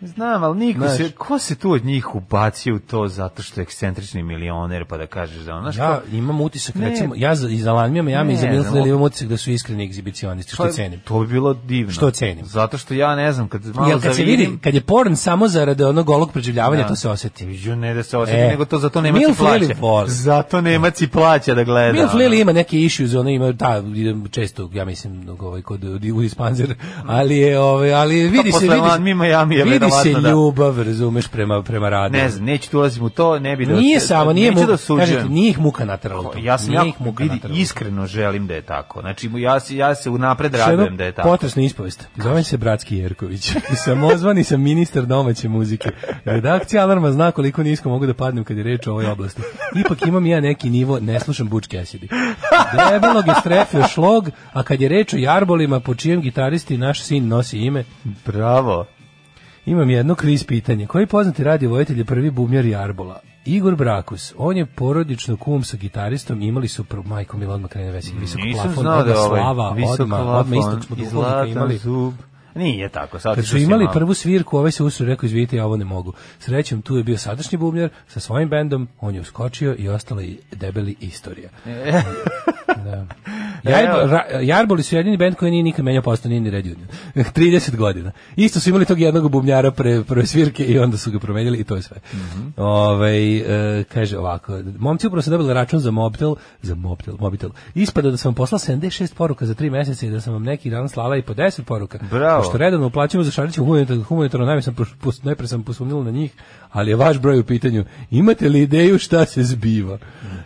[SPEAKER 6] Znam, ali niko
[SPEAKER 7] Znaš.
[SPEAKER 6] se, ko se tu od njih ubacio u to zato što je ekscentrični milioner, pa da kažeš da ono,
[SPEAKER 7] Ja
[SPEAKER 6] što...
[SPEAKER 7] imam utisak,
[SPEAKER 6] Ne.
[SPEAKER 7] recimo, ja za, i za Lanmija Miami i za
[SPEAKER 6] Ne
[SPEAKER 7] Milf
[SPEAKER 6] znam,
[SPEAKER 7] Lili
[SPEAKER 6] ovo-
[SPEAKER 7] imam utisak da su iskreni egzibicionisti, što cenim.
[SPEAKER 6] pa To bi bilo divno.
[SPEAKER 7] Što cenim?
[SPEAKER 6] Zato što ja ne znam, kad malo
[SPEAKER 7] Jel kad se
[SPEAKER 6] zavidim-
[SPEAKER 7] vidi, kad je porn samo zarade onog golog preživljavanja,
[SPEAKER 6] Da.
[SPEAKER 7] to se osjeti.
[SPEAKER 6] Ju, ne da se osjeti,
[SPEAKER 7] E.
[SPEAKER 6] nego to zato Nemac i
[SPEAKER 7] Milf
[SPEAKER 6] plaća.
[SPEAKER 7] Lili voli.
[SPEAKER 6] Zato Nemac i plaća da gleda.
[SPEAKER 7] Milf
[SPEAKER 6] ono.
[SPEAKER 7] Lili ima neke issues, ona ima da idem često, ja mislim, ovaj kod u dispanzer, ali je ovaj, ali vidi
[SPEAKER 6] Pa
[SPEAKER 7] se
[SPEAKER 6] posle
[SPEAKER 7] vidi. se-
[SPEAKER 6] Lan Mi Miami je
[SPEAKER 7] vidi se
[SPEAKER 6] verovatno, da.
[SPEAKER 7] ljubav, razumeš, prema prema radu.
[SPEAKER 6] Ne znam, neću tu ulazim u to, ne bi da...
[SPEAKER 7] Nije samo, nije
[SPEAKER 6] neću
[SPEAKER 7] mu,
[SPEAKER 6] da
[SPEAKER 7] kažete,
[SPEAKER 6] osuđujem.
[SPEAKER 7] nije ih muka naterala u to.
[SPEAKER 6] Ja sam
[SPEAKER 7] Nije
[SPEAKER 6] jako,
[SPEAKER 7] ih muka
[SPEAKER 6] vidi,
[SPEAKER 7] naterala u to.
[SPEAKER 6] iskreno želim da je tako. Znači, mu- ja, se- ja se unapred
[SPEAKER 7] Još jednom
[SPEAKER 6] radujem da je tako.
[SPEAKER 7] Potresna ispovest. Zovem se Bratski Jerković. I samozvani sam ministar domaće muzike. Redakcija Alarma zna koliko nisko mogu da padnem kad je reč o ovoj oblasti. Ipak imam ja neki nivo, ne slušam Butch Cassidy. Debelog je strefio šlog, a kad je reč o jarbolima, po čijem gitaristi naš sin nosi ime,
[SPEAKER 6] Bravo.
[SPEAKER 7] imam jedno kriz pitanje. Koji poznati radio vojitelj je prvi bubnjar jarbola? Igor Brakus, on je porodično kum sa gitaristom, imali su pro... majko Milo odmah krene vesik, visoko
[SPEAKER 6] Nisam
[SPEAKER 7] plafon,
[SPEAKER 6] znao da
[SPEAKER 7] odmah
[SPEAKER 6] je ovaj
[SPEAKER 7] slava,
[SPEAKER 6] visok
[SPEAKER 7] odmah,
[SPEAKER 6] plafon
[SPEAKER 7] odmah istog smo
[SPEAKER 6] i
[SPEAKER 7] duhovnika
[SPEAKER 6] zlatan
[SPEAKER 7] imali.
[SPEAKER 6] Zub. Nije tako, sad
[SPEAKER 7] Kad su imali prvu svirku, ovaj se usro rekao, izvidite, ja ovo ne mogu. Srećem, tu je bio sadašnji bubnjar sa svojim bendom, on je uskočio i ostala je debeli istorija. da. Jarbo- Ra- Jarboli su jedini bend koji nije nikad menjao postao, nije ni Red Union. 30 godina. Isto su imali tog jednog bubnjara pre, prve svirke i onda su ga promenjali i to je sve. Ovaj, e, kaže ovako, momci upravo su dobili račun za mobitel, za mobitel, mobitel. Ispada da sam vam poslala 76 poruka za 3 meseca i da sam vam neki dan slala i po 10 poruka.
[SPEAKER 6] Bravo.
[SPEAKER 7] Pošto redovno uplaćujemo za šariće humanitarno, humanitarno najme sam pos- pos- najpre sam posumnjala na njih, ali je vaš broj u pitanju. Imate li ideju šta se zbiva?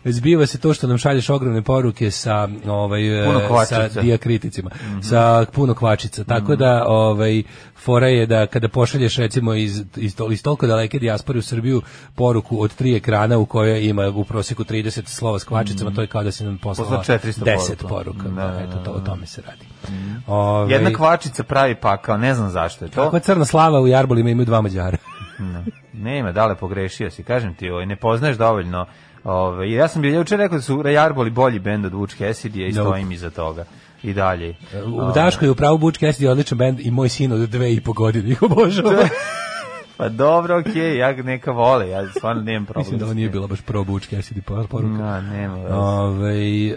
[SPEAKER 7] Zbiva se to što nam šalješ ogromne poruke sa ovaj e,
[SPEAKER 6] Puno kvačica. Mhm.
[SPEAKER 7] sa dijakriticima, sa puno kvačica. Tako da ovaj fora je da kada pošalješ recimo iz iz, tol, iz toliko daleke dijaspore u Srbiju poruku od tri ekrana u kojoj ima u prosjeku 30 slova s kvačicama, to je kao da si nam poslala
[SPEAKER 6] Posla 400
[SPEAKER 7] 10
[SPEAKER 6] Mhm. poruka.
[SPEAKER 7] poruka.
[SPEAKER 6] Da, da, Mhm.
[SPEAKER 7] Eto to o tome se radi. Ovaj,
[SPEAKER 6] Jedna kvačica pravi pakao, ne znam zašto je to.
[SPEAKER 7] Kakva crna slava u Jarbolima imaju dva Mađara.
[SPEAKER 6] Nema, dale, pogrešio si, kažem ti, ovaj, ne poznaješ dovoljno. Ove, ja sam bio juče rekao da su Jarboli bolji bend od Vučke Esidije i
[SPEAKER 7] Nope.
[SPEAKER 6] stojim iza toga. I dalje.
[SPEAKER 7] Da, U Daškoj je upravo Butch Cassidy odličan bend i moj sin od dve i po godine ih obožava.
[SPEAKER 6] Pa dobro, okej, ja ga neka vole, ja stvarno nemam problem.
[SPEAKER 7] Mislim da ovo
[SPEAKER 6] s
[SPEAKER 7] nije
[SPEAKER 6] tim.
[SPEAKER 7] bila baš pro Butch Cassidy por- poruka.
[SPEAKER 6] Da, nema veze.
[SPEAKER 7] Ovaj, e,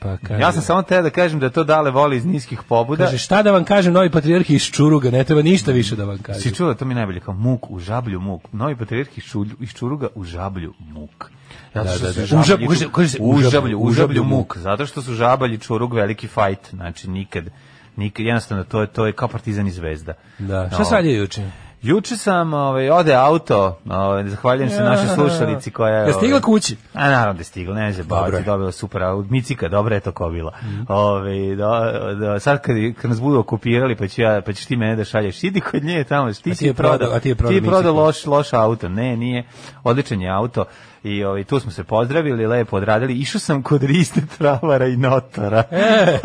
[SPEAKER 7] pa kaže,
[SPEAKER 6] Ja sam samo te da kažem da to dale voli iz niskih pobuda.
[SPEAKER 7] Kaže, šta da vam kažem, novi patrijarh iz Čuruga, ne treba ništa više da vam kažem.
[SPEAKER 6] Si čuo, to mi je najbolje, kao muk u žablju muk. Novi patrijarh iz Šulj- iz Čuruga u žablju muk. Zato
[SPEAKER 7] Da,
[SPEAKER 6] što
[SPEAKER 7] da,
[SPEAKER 6] su
[SPEAKER 7] da.
[SPEAKER 6] žabalji-
[SPEAKER 7] Užab- kaže se- kaže se
[SPEAKER 6] u
[SPEAKER 7] užablju-
[SPEAKER 6] žablju, u žablju
[SPEAKER 7] užablju
[SPEAKER 6] muk. Zato što su žabalj i Čurug veliki fajt. Znači, nikad, nikad, jednostavno, to je, to je kao partizan i zvezda.
[SPEAKER 7] Da.
[SPEAKER 6] No.
[SPEAKER 7] Šta sad je juče?
[SPEAKER 6] Juče sam, ovaj, ode auto, ovaj, zahvaljujem se našoj slušalici koja je...
[SPEAKER 7] Ja stigla
[SPEAKER 6] ovaj,
[SPEAKER 7] kući.
[SPEAKER 6] A naravno da je stigla, ne znam,
[SPEAKER 7] Dobro
[SPEAKER 6] baviti,
[SPEAKER 7] je. Mhm.
[SPEAKER 6] dobila super aut, micika, dobra je to ko bila. Ove, da, da, sad kad, kad nas budu okupirali, pa, ću ja, pa ćeš ti mene da šalješ, idi kod nje tamo, ti,
[SPEAKER 7] ti
[SPEAKER 6] si
[SPEAKER 7] je prodao- a ti je prodao
[SPEAKER 6] ti prodao
[SPEAKER 7] miciku.
[SPEAKER 6] loš, loš auto, ne, nije, odličan je auto. I ovaj, tu smo se pozdravili, lepo odradili. Išao sam kod Riste Travara i Notora. E,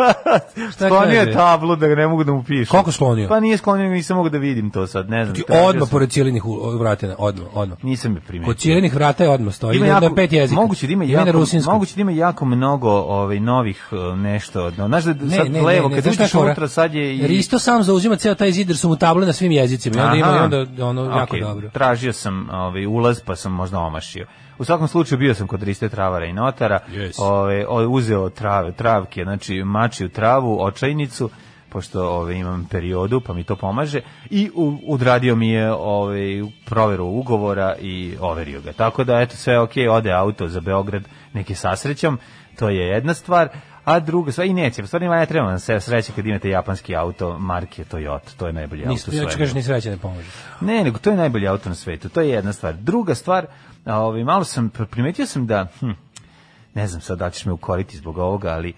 [SPEAKER 6] sklonio je
[SPEAKER 7] kaže?
[SPEAKER 6] tablu da ga ne mogu da mu pišu.
[SPEAKER 7] Koliko sklonio?
[SPEAKER 6] Pa nije sklonio, nisam mogu da vidim to sad, ne znam.
[SPEAKER 7] Ti
[SPEAKER 6] tražio
[SPEAKER 7] odmah
[SPEAKER 6] sam.
[SPEAKER 7] pored Cilinih u- vratina, odmah, odmah.
[SPEAKER 6] Nisam je primetio.
[SPEAKER 7] Kod Cilinih vrata je odmah stoji.
[SPEAKER 6] Ima
[SPEAKER 7] Ima
[SPEAKER 6] jako,
[SPEAKER 7] na pet jezika.
[SPEAKER 6] Moguće da ima
[SPEAKER 7] i na
[SPEAKER 6] jako,
[SPEAKER 7] rusinskom.
[SPEAKER 6] moguće da ima jako mnogo ovaj novih eh, nešto. No, znaš da sad
[SPEAKER 7] ne,
[SPEAKER 6] levo
[SPEAKER 7] ne,
[SPEAKER 6] kad
[SPEAKER 7] znaš šta je
[SPEAKER 6] uđeš
[SPEAKER 7] fora?
[SPEAKER 6] unutra sad je i
[SPEAKER 7] Risto sam zauzima ceo taj zid jer su mu table na svim jezicima. I onda ima i
[SPEAKER 6] Aha. da,
[SPEAKER 7] onda ono jako
[SPEAKER 6] Ok,
[SPEAKER 7] dobro.
[SPEAKER 6] Tražio sam ovaj ulaz pa sam možda omašio. U svakom slučaju bio sam kod Riste Travara i Notara.
[SPEAKER 7] Yes.
[SPEAKER 6] Ovaj o- uzeo trave, travke, znači mačiju travu, očajnicu pošto ove imam periodu pa mi to pomaže i u, odradio mi je ovaj proveru ugovora i overio ga. Tako da eto sve ok, ode auto za Beograd, neki sasrećom, to je jedna stvar. A druga, sva i neće, stvarno ima ne treba vam se sreće kad imate japanski auto marke Toyota, da, to je najbolji
[SPEAKER 7] Nis,
[SPEAKER 6] auto.
[SPEAKER 7] ja ću
[SPEAKER 6] svemu.
[SPEAKER 7] kažeš ni sreće da ne pomaže.
[SPEAKER 6] Ne, nego to je najbolji auto na svetu. To je jedna stvar. Druga stvar, a, ovaj malo sam primetio sam da hm, ne znam sad da li ćeš me ukoriti zbog ovoga, ali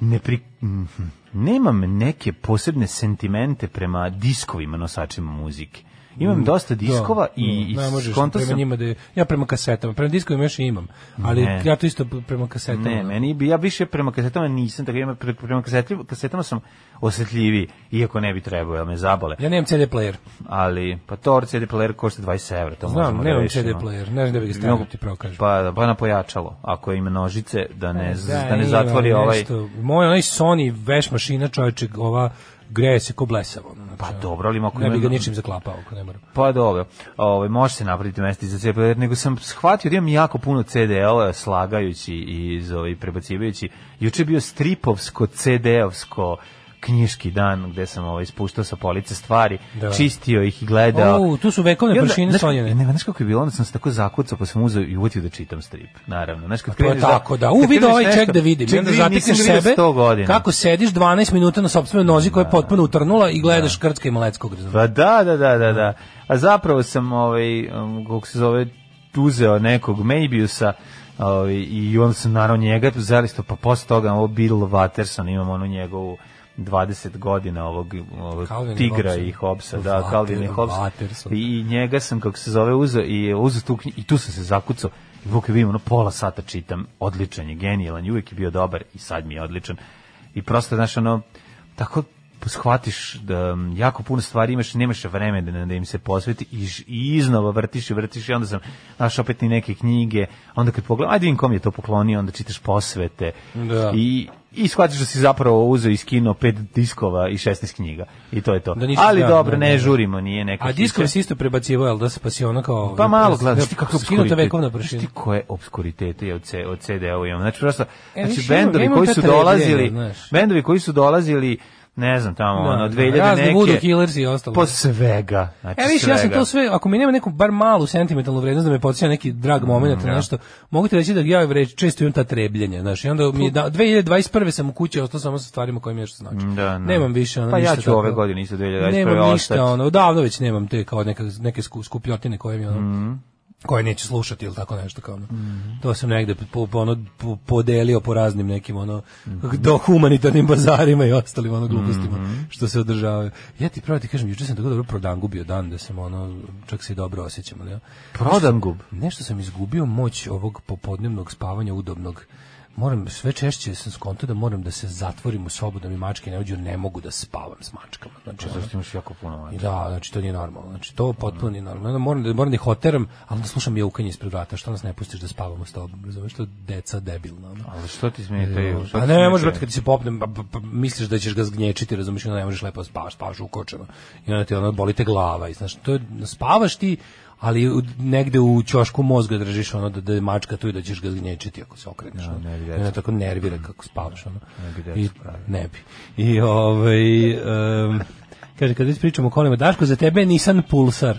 [SPEAKER 6] ne pri, mhm, nemam neke posebne sentimente prema diskovima nosačima muzike. Imam dosta diskova i, i
[SPEAKER 7] Mm, da, ne možeš
[SPEAKER 6] skonto
[SPEAKER 7] prema
[SPEAKER 6] sam-
[SPEAKER 7] njima da je, ja prema kasetama, prema diskovima još i imam, ali
[SPEAKER 6] Ne.
[SPEAKER 7] ja to isto prema kasetama.
[SPEAKER 6] Ne, meni bi ja više prema kasetama nisam, tako ja pre- prema kasetama, kasetama sam osjetljiviji, iako ne bi trebao, jel me zabole.
[SPEAKER 7] Ja nemam CD player.
[SPEAKER 6] ali pa to CD player košta 20 evra, to
[SPEAKER 7] Znam,
[SPEAKER 6] možemo da
[SPEAKER 7] nemam
[SPEAKER 6] rešimo.
[SPEAKER 7] CD player, ne znam da bi ga stavio,
[SPEAKER 6] Mnogo-
[SPEAKER 7] ti pravo kažem.
[SPEAKER 6] Pa, pa na pojačalo, ako ima nožice, da ne,
[SPEAKER 7] E,
[SPEAKER 6] z- da, ne
[SPEAKER 7] ima
[SPEAKER 6] zatvori ovaj...
[SPEAKER 7] nešto. Moj onaj Sony veš mašina čovječe, ova greje se ko blesava. ono, znači,
[SPEAKER 6] Pa dobro, ali ima ako
[SPEAKER 7] Ne bi
[SPEAKER 6] ima-
[SPEAKER 7] ga ničim zaklapao, ako ne moram.
[SPEAKER 6] Pa dobro, ovaj, može se napraviti mesti za CD player, nego sam shvatio da imam jako puno CD-ova eh, slagajući i iz, ovaj, prebacivajući. Juče je bio stripovsko, CD-ovsko knjiški dan gde sam ovaj, spuštao sa police stvari,
[SPEAKER 7] Da.
[SPEAKER 6] čistio ih i gledao.
[SPEAKER 7] O, tu su vekovne
[SPEAKER 6] I onda,
[SPEAKER 7] prašine
[SPEAKER 6] znaš kako-
[SPEAKER 7] slonjene.
[SPEAKER 6] Ne, znaš kako je bilo, onda sam se tako zakucao, pa sam uzeo i uvotio da čitam strip, naravno. Znaš, kad
[SPEAKER 7] To je
[SPEAKER 6] kreneš za-
[SPEAKER 7] tako, da.
[SPEAKER 6] kad
[SPEAKER 7] U, vidi
[SPEAKER 6] kreneš
[SPEAKER 7] ovaj
[SPEAKER 6] nešto-
[SPEAKER 7] ček da vidim. I
[SPEAKER 6] Ček
[SPEAKER 7] onda
[SPEAKER 6] vidim, nisam
[SPEAKER 7] zatekneš
[SPEAKER 6] ga vidio
[SPEAKER 7] sebe
[SPEAKER 6] 100 godina.
[SPEAKER 7] kako sediš 12 minuta na sopstvenoj nozi koja je potpuno utrnula i gledaš krcka i maleckog. razumeš?
[SPEAKER 6] Pa da, da, da, da, da. A zapravo sam, ovaj, um, kako se zove, uzeo nekog Maybiusa ovaj, i onda sam naravno njega zaristo, pa posle toga ovo Bill Watterson, imam onu njegovu 20 godina ovog, ovog
[SPEAKER 7] Calvin i
[SPEAKER 6] tigra
[SPEAKER 7] Hobbesa.
[SPEAKER 6] i Hobsa, da,
[SPEAKER 7] Water-
[SPEAKER 6] Calvin i Hobbes.
[SPEAKER 7] Watterson.
[SPEAKER 6] I, I njega sam, kako se zove, uzeo i, uzeo tu, knji- i tu sam se zakucao. I Vuk vidim, ono pola sata čitam, odličan je, genijalan, i uvijek je bio dobar i sad mi je odličan. I prosto, znaš, ono, tako shvatiš da mm, jako puno stvari imaš, nemaš vremena da im se posveti i, ž- i iznova vrtiš i vrtiš i onda sam naš opet i neke knjige, onda kad pogledam, ajde vidim kom je to poklonio, onda čitaš posvete
[SPEAKER 7] Da.
[SPEAKER 6] i i shvatiš da si zapravo uzeo iz kino pet diskova i 16 knjiga. I to je to.
[SPEAKER 7] Da nisi-
[SPEAKER 6] Ali
[SPEAKER 7] da,
[SPEAKER 6] dobro,
[SPEAKER 7] da,
[SPEAKER 6] ne
[SPEAKER 7] da.
[SPEAKER 6] žurimo, nije neka
[SPEAKER 7] A
[SPEAKER 6] hitna.
[SPEAKER 7] diskovi se isto prebacivo, jel da se pasiona kao...
[SPEAKER 6] Pa malo gledaš,
[SPEAKER 7] Da,
[SPEAKER 6] znaš ti kako
[SPEAKER 7] Skinuta vekovna
[SPEAKER 6] Znaš
[SPEAKER 7] prašina.
[SPEAKER 6] ti koje obskuritete je od, C, od CD-a imam. Znači, prosto,
[SPEAKER 7] E,
[SPEAKER 6] znači
[SPEAKER 7] više imam-
[SPEAKER 6] bendovi
[SPEAKER 7] imam
[SPEAKER 6] koji
[SPEAKER 7] ta
[SPEAKER 6] su
[SPEAKER 7] trevljenja,
[SPEAKER 6] dolazili,
[SPEAKER 7] znaš.
[SPEAKER 6] bendovi koji su dolazili, ne znam, tamo,
[SPEAKER 7] Da,
[SPEAKER 6] ono,
[SPEAKER 7] da,
[SPEAKER 6] 2000
[SPEAKER 7] razni
[SPEAKER 6] neke.
[SPEAKER 7] Voodoo Killers i ostalo.
[SPEAKER 6] Po svega. Znači,
[SPEAKER 7] E, viš, ja sam
[SPEAKER 6] svega.
[SPEAKER 7] to sve, ako mi nema neku bar malu sentimentalnu vrednost da me podsjeća na neki
[SPEAKER 6] Mm,
[SPEAKER 7] drag moment ili nešto, mogu ti reći da ja vre- često imam ta trebljenja, znaš, i onda mi je da, 2021. sam u kući ostao samo sa stvarima koje mi nešto znači.
[SPEAKER 6] Pa- Da, da.
[SPEAKER 7] Nemam više ono
[SPEAKER 6] Pa ja
[SPEAKER 7] ništa
[SPEAKER 6] ću ove godine isto 2021.
[SPEAKER 7] Nemam ništa,
[SPEAKER 6] ostati.
[SPEAKER 7] ono, davno već nemam te kao neka, neke sku- skupljotine koje mi ono,
[SPEAKER 6] Mm,
[SPEAKER 7] koje neće slušati ili tako nešto kao ono. To sam negde po, po, ono, po- podelio po raznim nekim ono do humanitarnim bazarima i ostalim ono glupostima što se održavaju. Ja ti pravo ti kažem, juče sam tako dobro prodangu bio dan da sam ono čak se i dobro osjećam, ali ja.
[SPEAKER 6] Prodangub.
[SPEAKER 7] Nešto sam izgubio moć ovog popodnevnog spavanja udobnog. Moram, sve češće sam skonto da moram da se zatvorim u sobu da mi mačke ne uđu, ne mogu da spavam s mačkama. Znači, ono-
[SPEAKER 6] Zašto imaš jako puno
[SPEAKER 7] i
[SPEAKER 6] manje?
[SPEAKER 7] Da, znači to nije normalno. Znači to potpuno nije normalno. Onda moram da moram da ih oteram, ali da slušam jaukanje ispred vrata, što nas ne pustiš da spavamo s tobom. Razumeš što je deca debilna. ono.
[SPEAKER 6] Ali što ti smetaju? Što
[SPEAKER 7] A
[SPEAKER 6] ti
[SPEAKER 7] Pa ne,
[SPEAKER 6] smetaju?
[SPEAKER 7] može brate kad ti se popnem, pa, pa, pa, misliš da ćeš ga zgnječiti, razumiješ, onda ne možeš lepo da spavaš, spavaš u kočama. I onda ti ono boli te glava, i znaš, to je, spavaš ti, ali u- negde u ćošku mozga držiš ono da, da je mačka tu i da ćeš ga zgnječiti ako se okreneš. ono.
[SPEAKER 6] Da, ne bi
[SPEAKER 7] I
[SPEAKER 6] deca.
[SPEAKER 7] onda tako nervira kako spavaš. Ono. Ne
[SPEAKER 6] bi deca
[SPEAKER 7] I, ne bi. I ovaj... em, Kaže, kad već pričamo o kolima, Daško, za tebe je Nissan Pulsar.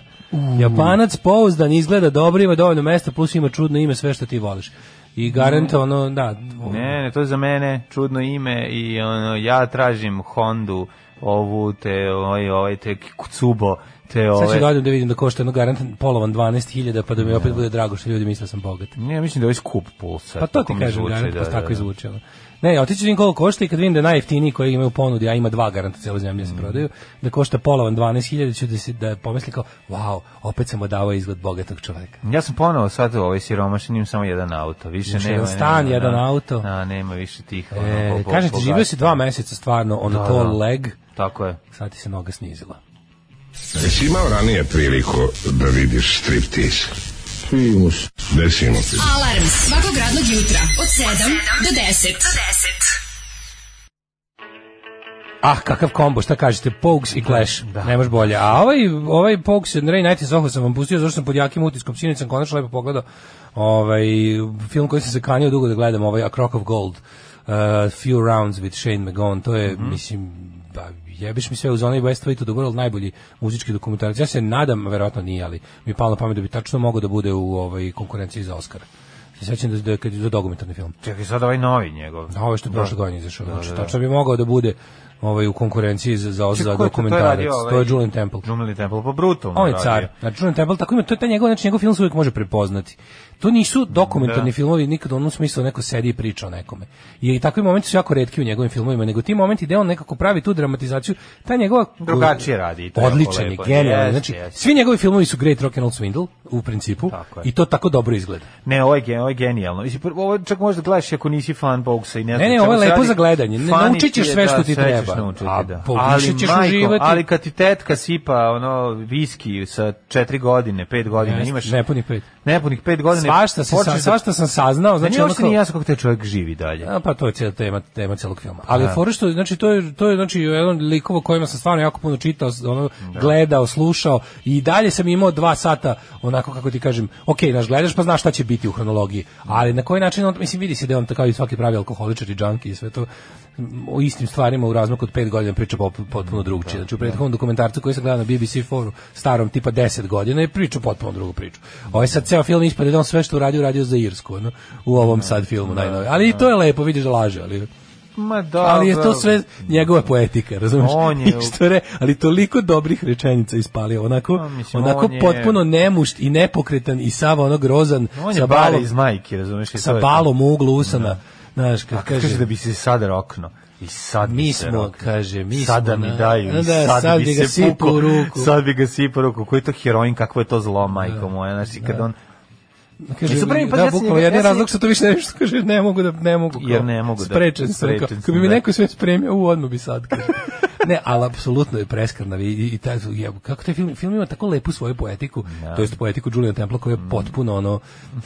[SPEAKER 7] Japanac pouzdan, izgleda dobro, ima dovoljno mesta, plus ima čudno ime, sve što ti voliš. I garant,
[SPEAKER 6] Mm.
[SPEAKER 7] ono, da,
[SPEAKER 6] Ne, ne, to je za mene čudno ime i ono, ja tražim Hondu, ovu, te, ovaj, ovaj, te Cubo, te
[SPEAKER 7] Sad ću
[SPEAKER 6] ove...
[SPEAKER 7] da odem da vidim da košta jedno garant polovan 12.000, pa da mi opet bude drago što ljudi misle da sam bogat.
[SPEAKER 6] Ne, mislim da je ovaj skup pulsa.
[SPEAKER 7] Pa to
[SPEAKER 6] tako
[SPEAKER 7] ti
[SPEAKER 6] mi
[SPEAKER 7] kažem,
[SPEAKER 6] zvuči,
[SPEAKER 7] garant,
[SPEAKER 6] da,
[SPEAKER 7] pa
[SPEAKER 6] da,
[SPEAKER 7] tako
[SPEAKER 6] da.
[SPEAKER 7] izvuče. ono. Ne, otiću da vidim koliko košta i kad vidim da je najjeftiniji koji imaju ponudi, a ima dva garanta cijelo zemlje se
[SPEAKER 6] Mhm.
[SPEAKER 7] prodaju, da košta polovan 12.000, ću da, se, da pomisli kao, wow, opet sam odavao izgled bogatog čoveka.
[SPEAKER 6] Ja sam ponovo sad u ovoj siromašini imam samo jedan auto, više
[SPEAKER 7] Još
[SPEAKER 6] nema.
[SPEAKER 7] jedan stan,
[SPEAKER 6] nema,
[SPEAKER 7] jedan
[SPEAKER 6] da.
[SPEAKER 7] auto.
[SPEAKER 6] Da, nema više tih.
[SPEAKER 7] E, kažem ti, živio si dva meseca stvarno on
[SPEAKER 6] Da,
[SPEAKER 7] to
[SPEAKER 6] da.
[SPEAKER 7] leg,
[SPEAKER 6] Tako je.
[SPEAKER 7] sad ti se noga snizila.
[SPEAKER 8] Jesi imao ranije priliku da vidiš striptiz?
[SPEAKER 4] Primus.
[SPEAKER 8] Desimo ti.
[SPEAKER 5] Alarm svakog radnog jutra od 7 do 10.
[SPEAKER 7] Ah, kakav kombo, šta kažete, Pogues i Clash, ne može bolje. A ovaj, ovaj Pogues od Reunited Soho sam vam pustio, zašto sam pod jakim utiskom, sinoć sam konačno lepo pogledao ovaj, film koji sam se kanio dugo da gledam, ovaj A Crock of Gold, uh, Few Rounds with Shane McGowan, to je, mislim, da, jebiš mi sve uz onaj West Fleet of the World, najbolji muzički dokumentarac. Ja se nadam, a verovatno nije, ali mi je palo na pamet da bi tačno mogao da bude u ovaj, konkurenciji za Oscar. Se sećam da, da, kad je za dokumentarni film.
[SPEAKER 6] Čekaj, sad ovaj novi njegov. Da.
[SPEAKER 7] A ovo što je prošle godine izašao. Znači, tačno bi mogao da bude ovaj, u konkurenciji za,
[SPEAKER 6] Čekaj, ko
[SPEAKER 7] za, za
[SPEAKER 6] je to- to je
[SPEAKER 7] dokumentarac.
[SPEAKER 6] radio ovaj-
[SPEAKER 7] To je Julian Temple.
[SPEAKER 6] Džumeli Temple, pa brutalno
[SPEAKER 7] On je
[SPEAKER 6] radio.
[SPEAKER 7] car. Znači, Julian Temple, tako ima, to je taj njegov, znači, njegov film se uvijek može prepoznati. To nisu
[SPEAKER 6] Da.
[SPEAKER 7] dokumentarni filmovi nikad u onom smislu da neko sedi i priča o nekome. I takvi momenti su jako redki u njegovim filmovima, nego ti momenti gde on nekako pravi tu dramatizaciju, ta njegova
[SPEAKER 6] Drugačije radi i to je jako
[SPEAKER 7] Odličan je,
[SPEAKER 6] lepo.
[SPEAKER 7] genijalan.
[SPEAKER 6] Jeste,
[SPEAKER 7] Znači,
[SPEAKER 6] jeste.
[SPEAKER 7] svi njegovi filmovi su Great Rock and Roll Swindle u principu
[SPEAKER 6] Tako je.
[SPEAKER 7] i to tako dobro izgleda.
[SPEAKER 6] Ne, ovo je, gen- ovo je genijalno. Mislim, prvo, ovo čak možda gledaš i ako nisi fan Bogsa i ne znam.
[SPEAKER 7] Ne, ne,
[SPEAKER 6] čemu
[SPEAKER 7] ovo je
[SPEAKER 6] se
[SPEAKER 7] lepo
[SPEAKER 6] radi.
[SPEAKER 7] za gledanje. Ne-
[SPEAKER 6] Fani
[SPEAKER 7] naučit
[SPEAKER 6] ti je,
[SPEAKER 7] ćeš sve što
[SPEAKER 6] da,
[SPEAKER 7] ti
[SPEAKER 6] sve ćeš
[SPEAKER 7] treba.
[SPEAKER 6] naučiti,
[SPEAKER 7] A pa
[SPEAKER 6] da.
[SPEAKER 7] poviše ćeš uživati.
[SPEAKER 6] Ali kad ti tetka sipa ono viski sa četiri godine, pet godina, E,
[SPEAKER 7] Jeste,
[SPEAKER 6] imaš
[SPEAKER 7] nepunih pet.
[SPEAKER 6] Nepunih pet godina.
[SPEAKER 7] Svašta, se,
[SPEAKER 6] počneš
[SPEAKER 7] sa,
[SPEAKER 6] da-
[SPEAKER 7] svašta sam saznao,
[SPEAKER 6] Da
[SPEAKER 7] znači
[SPEAKER 6] nije
[SPEAKER 7] ono
[SPEAKER 6] uopšte
[SPEAKER 7] kao...
[SPEAKER 6] ni jasno kako taj čovjek živi dalje.
[SPEAKER 7] A, pa to je cijela tema, tema cijelog filma. Ali fora što, znači, to je, to je znači, jedan likov o kojima sam stvarno jako puno čitao, s- ono, gledao, slušao i dalje sam imao dva sata, onako kako ti kažem, ok, znaš, gledaš pa znaš šta će biti u hronologiji, ali na koji način, on, mislim, vidi se da je on tako i svaki pravi alkoholičar i džanki i sve to, m, o istim stvarima u razmaku od pet godina priča pop- potpuno
[SPEAKER 6] Da,
[SPEAKER 7] drugčije. Znači u prethodnom dokumentarcu koji sam gledao na BBC 4 starom tipa 10 godina je priča potpuno drugu priču. Ovaj sad ceo film ispade da on sve što uradio uradio za Irsku, ono, u ovom sad filmu najnovijem. Ali i to je lepo, vidiš da laže, ali
[SPEAKER 6] Ma da.
[SPEAKER 7] ali je to
[SPEAKER 6] bravo.
[SPEAKER 7] sve njegova poetika, razumeš?
[SPEAKER 6] On je-
[SPEAKER 7] I što re, ali toliko dobrih rečenica ispalio, onako,
[SPEAKER 6] Pa, mislim,
[SPEAKER 7] onako
[SPEAKER 6] on je-
[SPEAKER 7] potpuno nemušt i nepokretan i sav ono grozan
[SPEAKER 6] On
[SPEAKER 7] sa
[SPEAKER 6] je bala
[SPEAKER 7] balom,
[SPEAKER 6] iz majke, razumeš? i to
[SPEAKER 7] sa
[SPEAKER 6] je to.
[SPEAKER 7] balom u uglu usana. Znaš, kad
[SPEAKER 6] Kaže,
[SPEAKER 7] kaže
[SPEAKER 6] da bi se sad rokno. I sad bi
[SPEAKER 7] Mi
[SPEAKER 6] se
[SPEAKER 7] smo,
[SPEAKER 6] rokno.
[SPEAKER 7] kaže, mi
[SPEAKER 6] sada
[SPEAKER 7] smo
[SPEAKER 6] mi
[SPEAKER 7] na-
[SPEAKER 6] daju,
[SPEAKER 7] Da,
[SPEAKER 6] i
[SPEAKER 7] da,
[SPEAKER 6] sad,
[SPEAKER 7] sad
[SPEAKER 6] bi,
[SPEAKER 7] bi ga
[SPEAKER 6] se
[SPEAKER 7] sipao
[SPEAKER 6] pukao,
[SPEAKER 7] u ruku. Da.
[SPEAKER 6] sad bi ga sipao u ruku, koji je to heroin, kakvo je to zlo, majko moja, znači, kad on
[SPEAKER 7] Kaže,
[SPEAKER 6] Jesu prvi put,
[SPEAKER 7] da,
[SPEAKER 6] ja sam
[SPEAKER 7] bukvalno,
[SPEAKER 6] njega-
[SPEAKER 7] jedni
[SPEAKER 6] ja sam
[SPEAKER 7] razlog što to više ne više, kaže, ne mogu da, ne mogu. kao,
[SPEAKER 6] Jer ne mogu da-
[SPEAKER 7] Sprečen sam. kao,
[SPEAKER 6] sprečen sam,
[SPEAKER 7] Kad bi mi
[SPEAKER 6] da.
[SPEAKER 7] neko sve spremio, u, odmah bi sad. kaže. ne, ali apsolutno je preskrnav i, i, i taj, je, kako taj film, film ima tako lepu svoju poetiku,
[SPEAKER 6] Da.
[SPEAKER 7] to jest poetiku Juliana Templa koja je
[SPEAKER 6] Mm.
[SPEAKER 7] potpuno ono,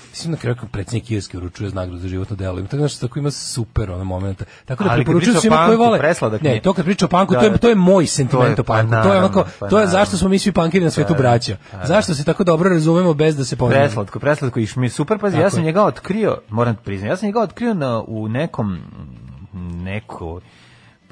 [SPEAKER 7] mislim na kraju kao predsjednik Irske uručuje nagradu za životno delo, ima tako nešto tako ima super ono momenta. Tako da
[SPEAKER 6] Ali kad
[SPEAKER 7] preporučujem
[SPEAKER 6] priča o
[SPEAKER 7] svima koji
[SPEAKER 6] punku,
[SPEAKER 7] vole.
[SPEAKER 6] presladak mi
[SPEAKER 7] Ne,
[SPEAKER 6] je.
[SPEAKER 7] to kad priča o panku,
[SPEAKER 6] Da,
[SPEAKER 7] to je
[SPEAKER 6] da.
[SPEAKER 7] to je moj
[SPEAKER 6] To
[SPEAKER 7] sentiment
[SPEAKER 6] je-
[SPEAKER 7] o panku.
[SPEAKER 6] pa
[SPEAKER 7] To je
[SPEAKER 6] naravno,
[SPEAKER 7] onako,
[SPEAKER 6] pa
[SPEAKER 7] to je
[SPEAKER 6] naravno. Da,
[SPEAKER 7] zašto smo mi svi pankeri na svetu braća. Zašto se tako dobro razumemo bez da se pominjemo.
[SPEAKER 6] Preslatko, preslatko i šmi super, pazi, ja
[SPEAKER 7] Tako
[SPEAKER 6] sam
[SPEAKER 7] je.
[SPEAKER 6] njega otkrio, moram ti priznati, ja sam njega otkrio na, u nekom, mm, neko e,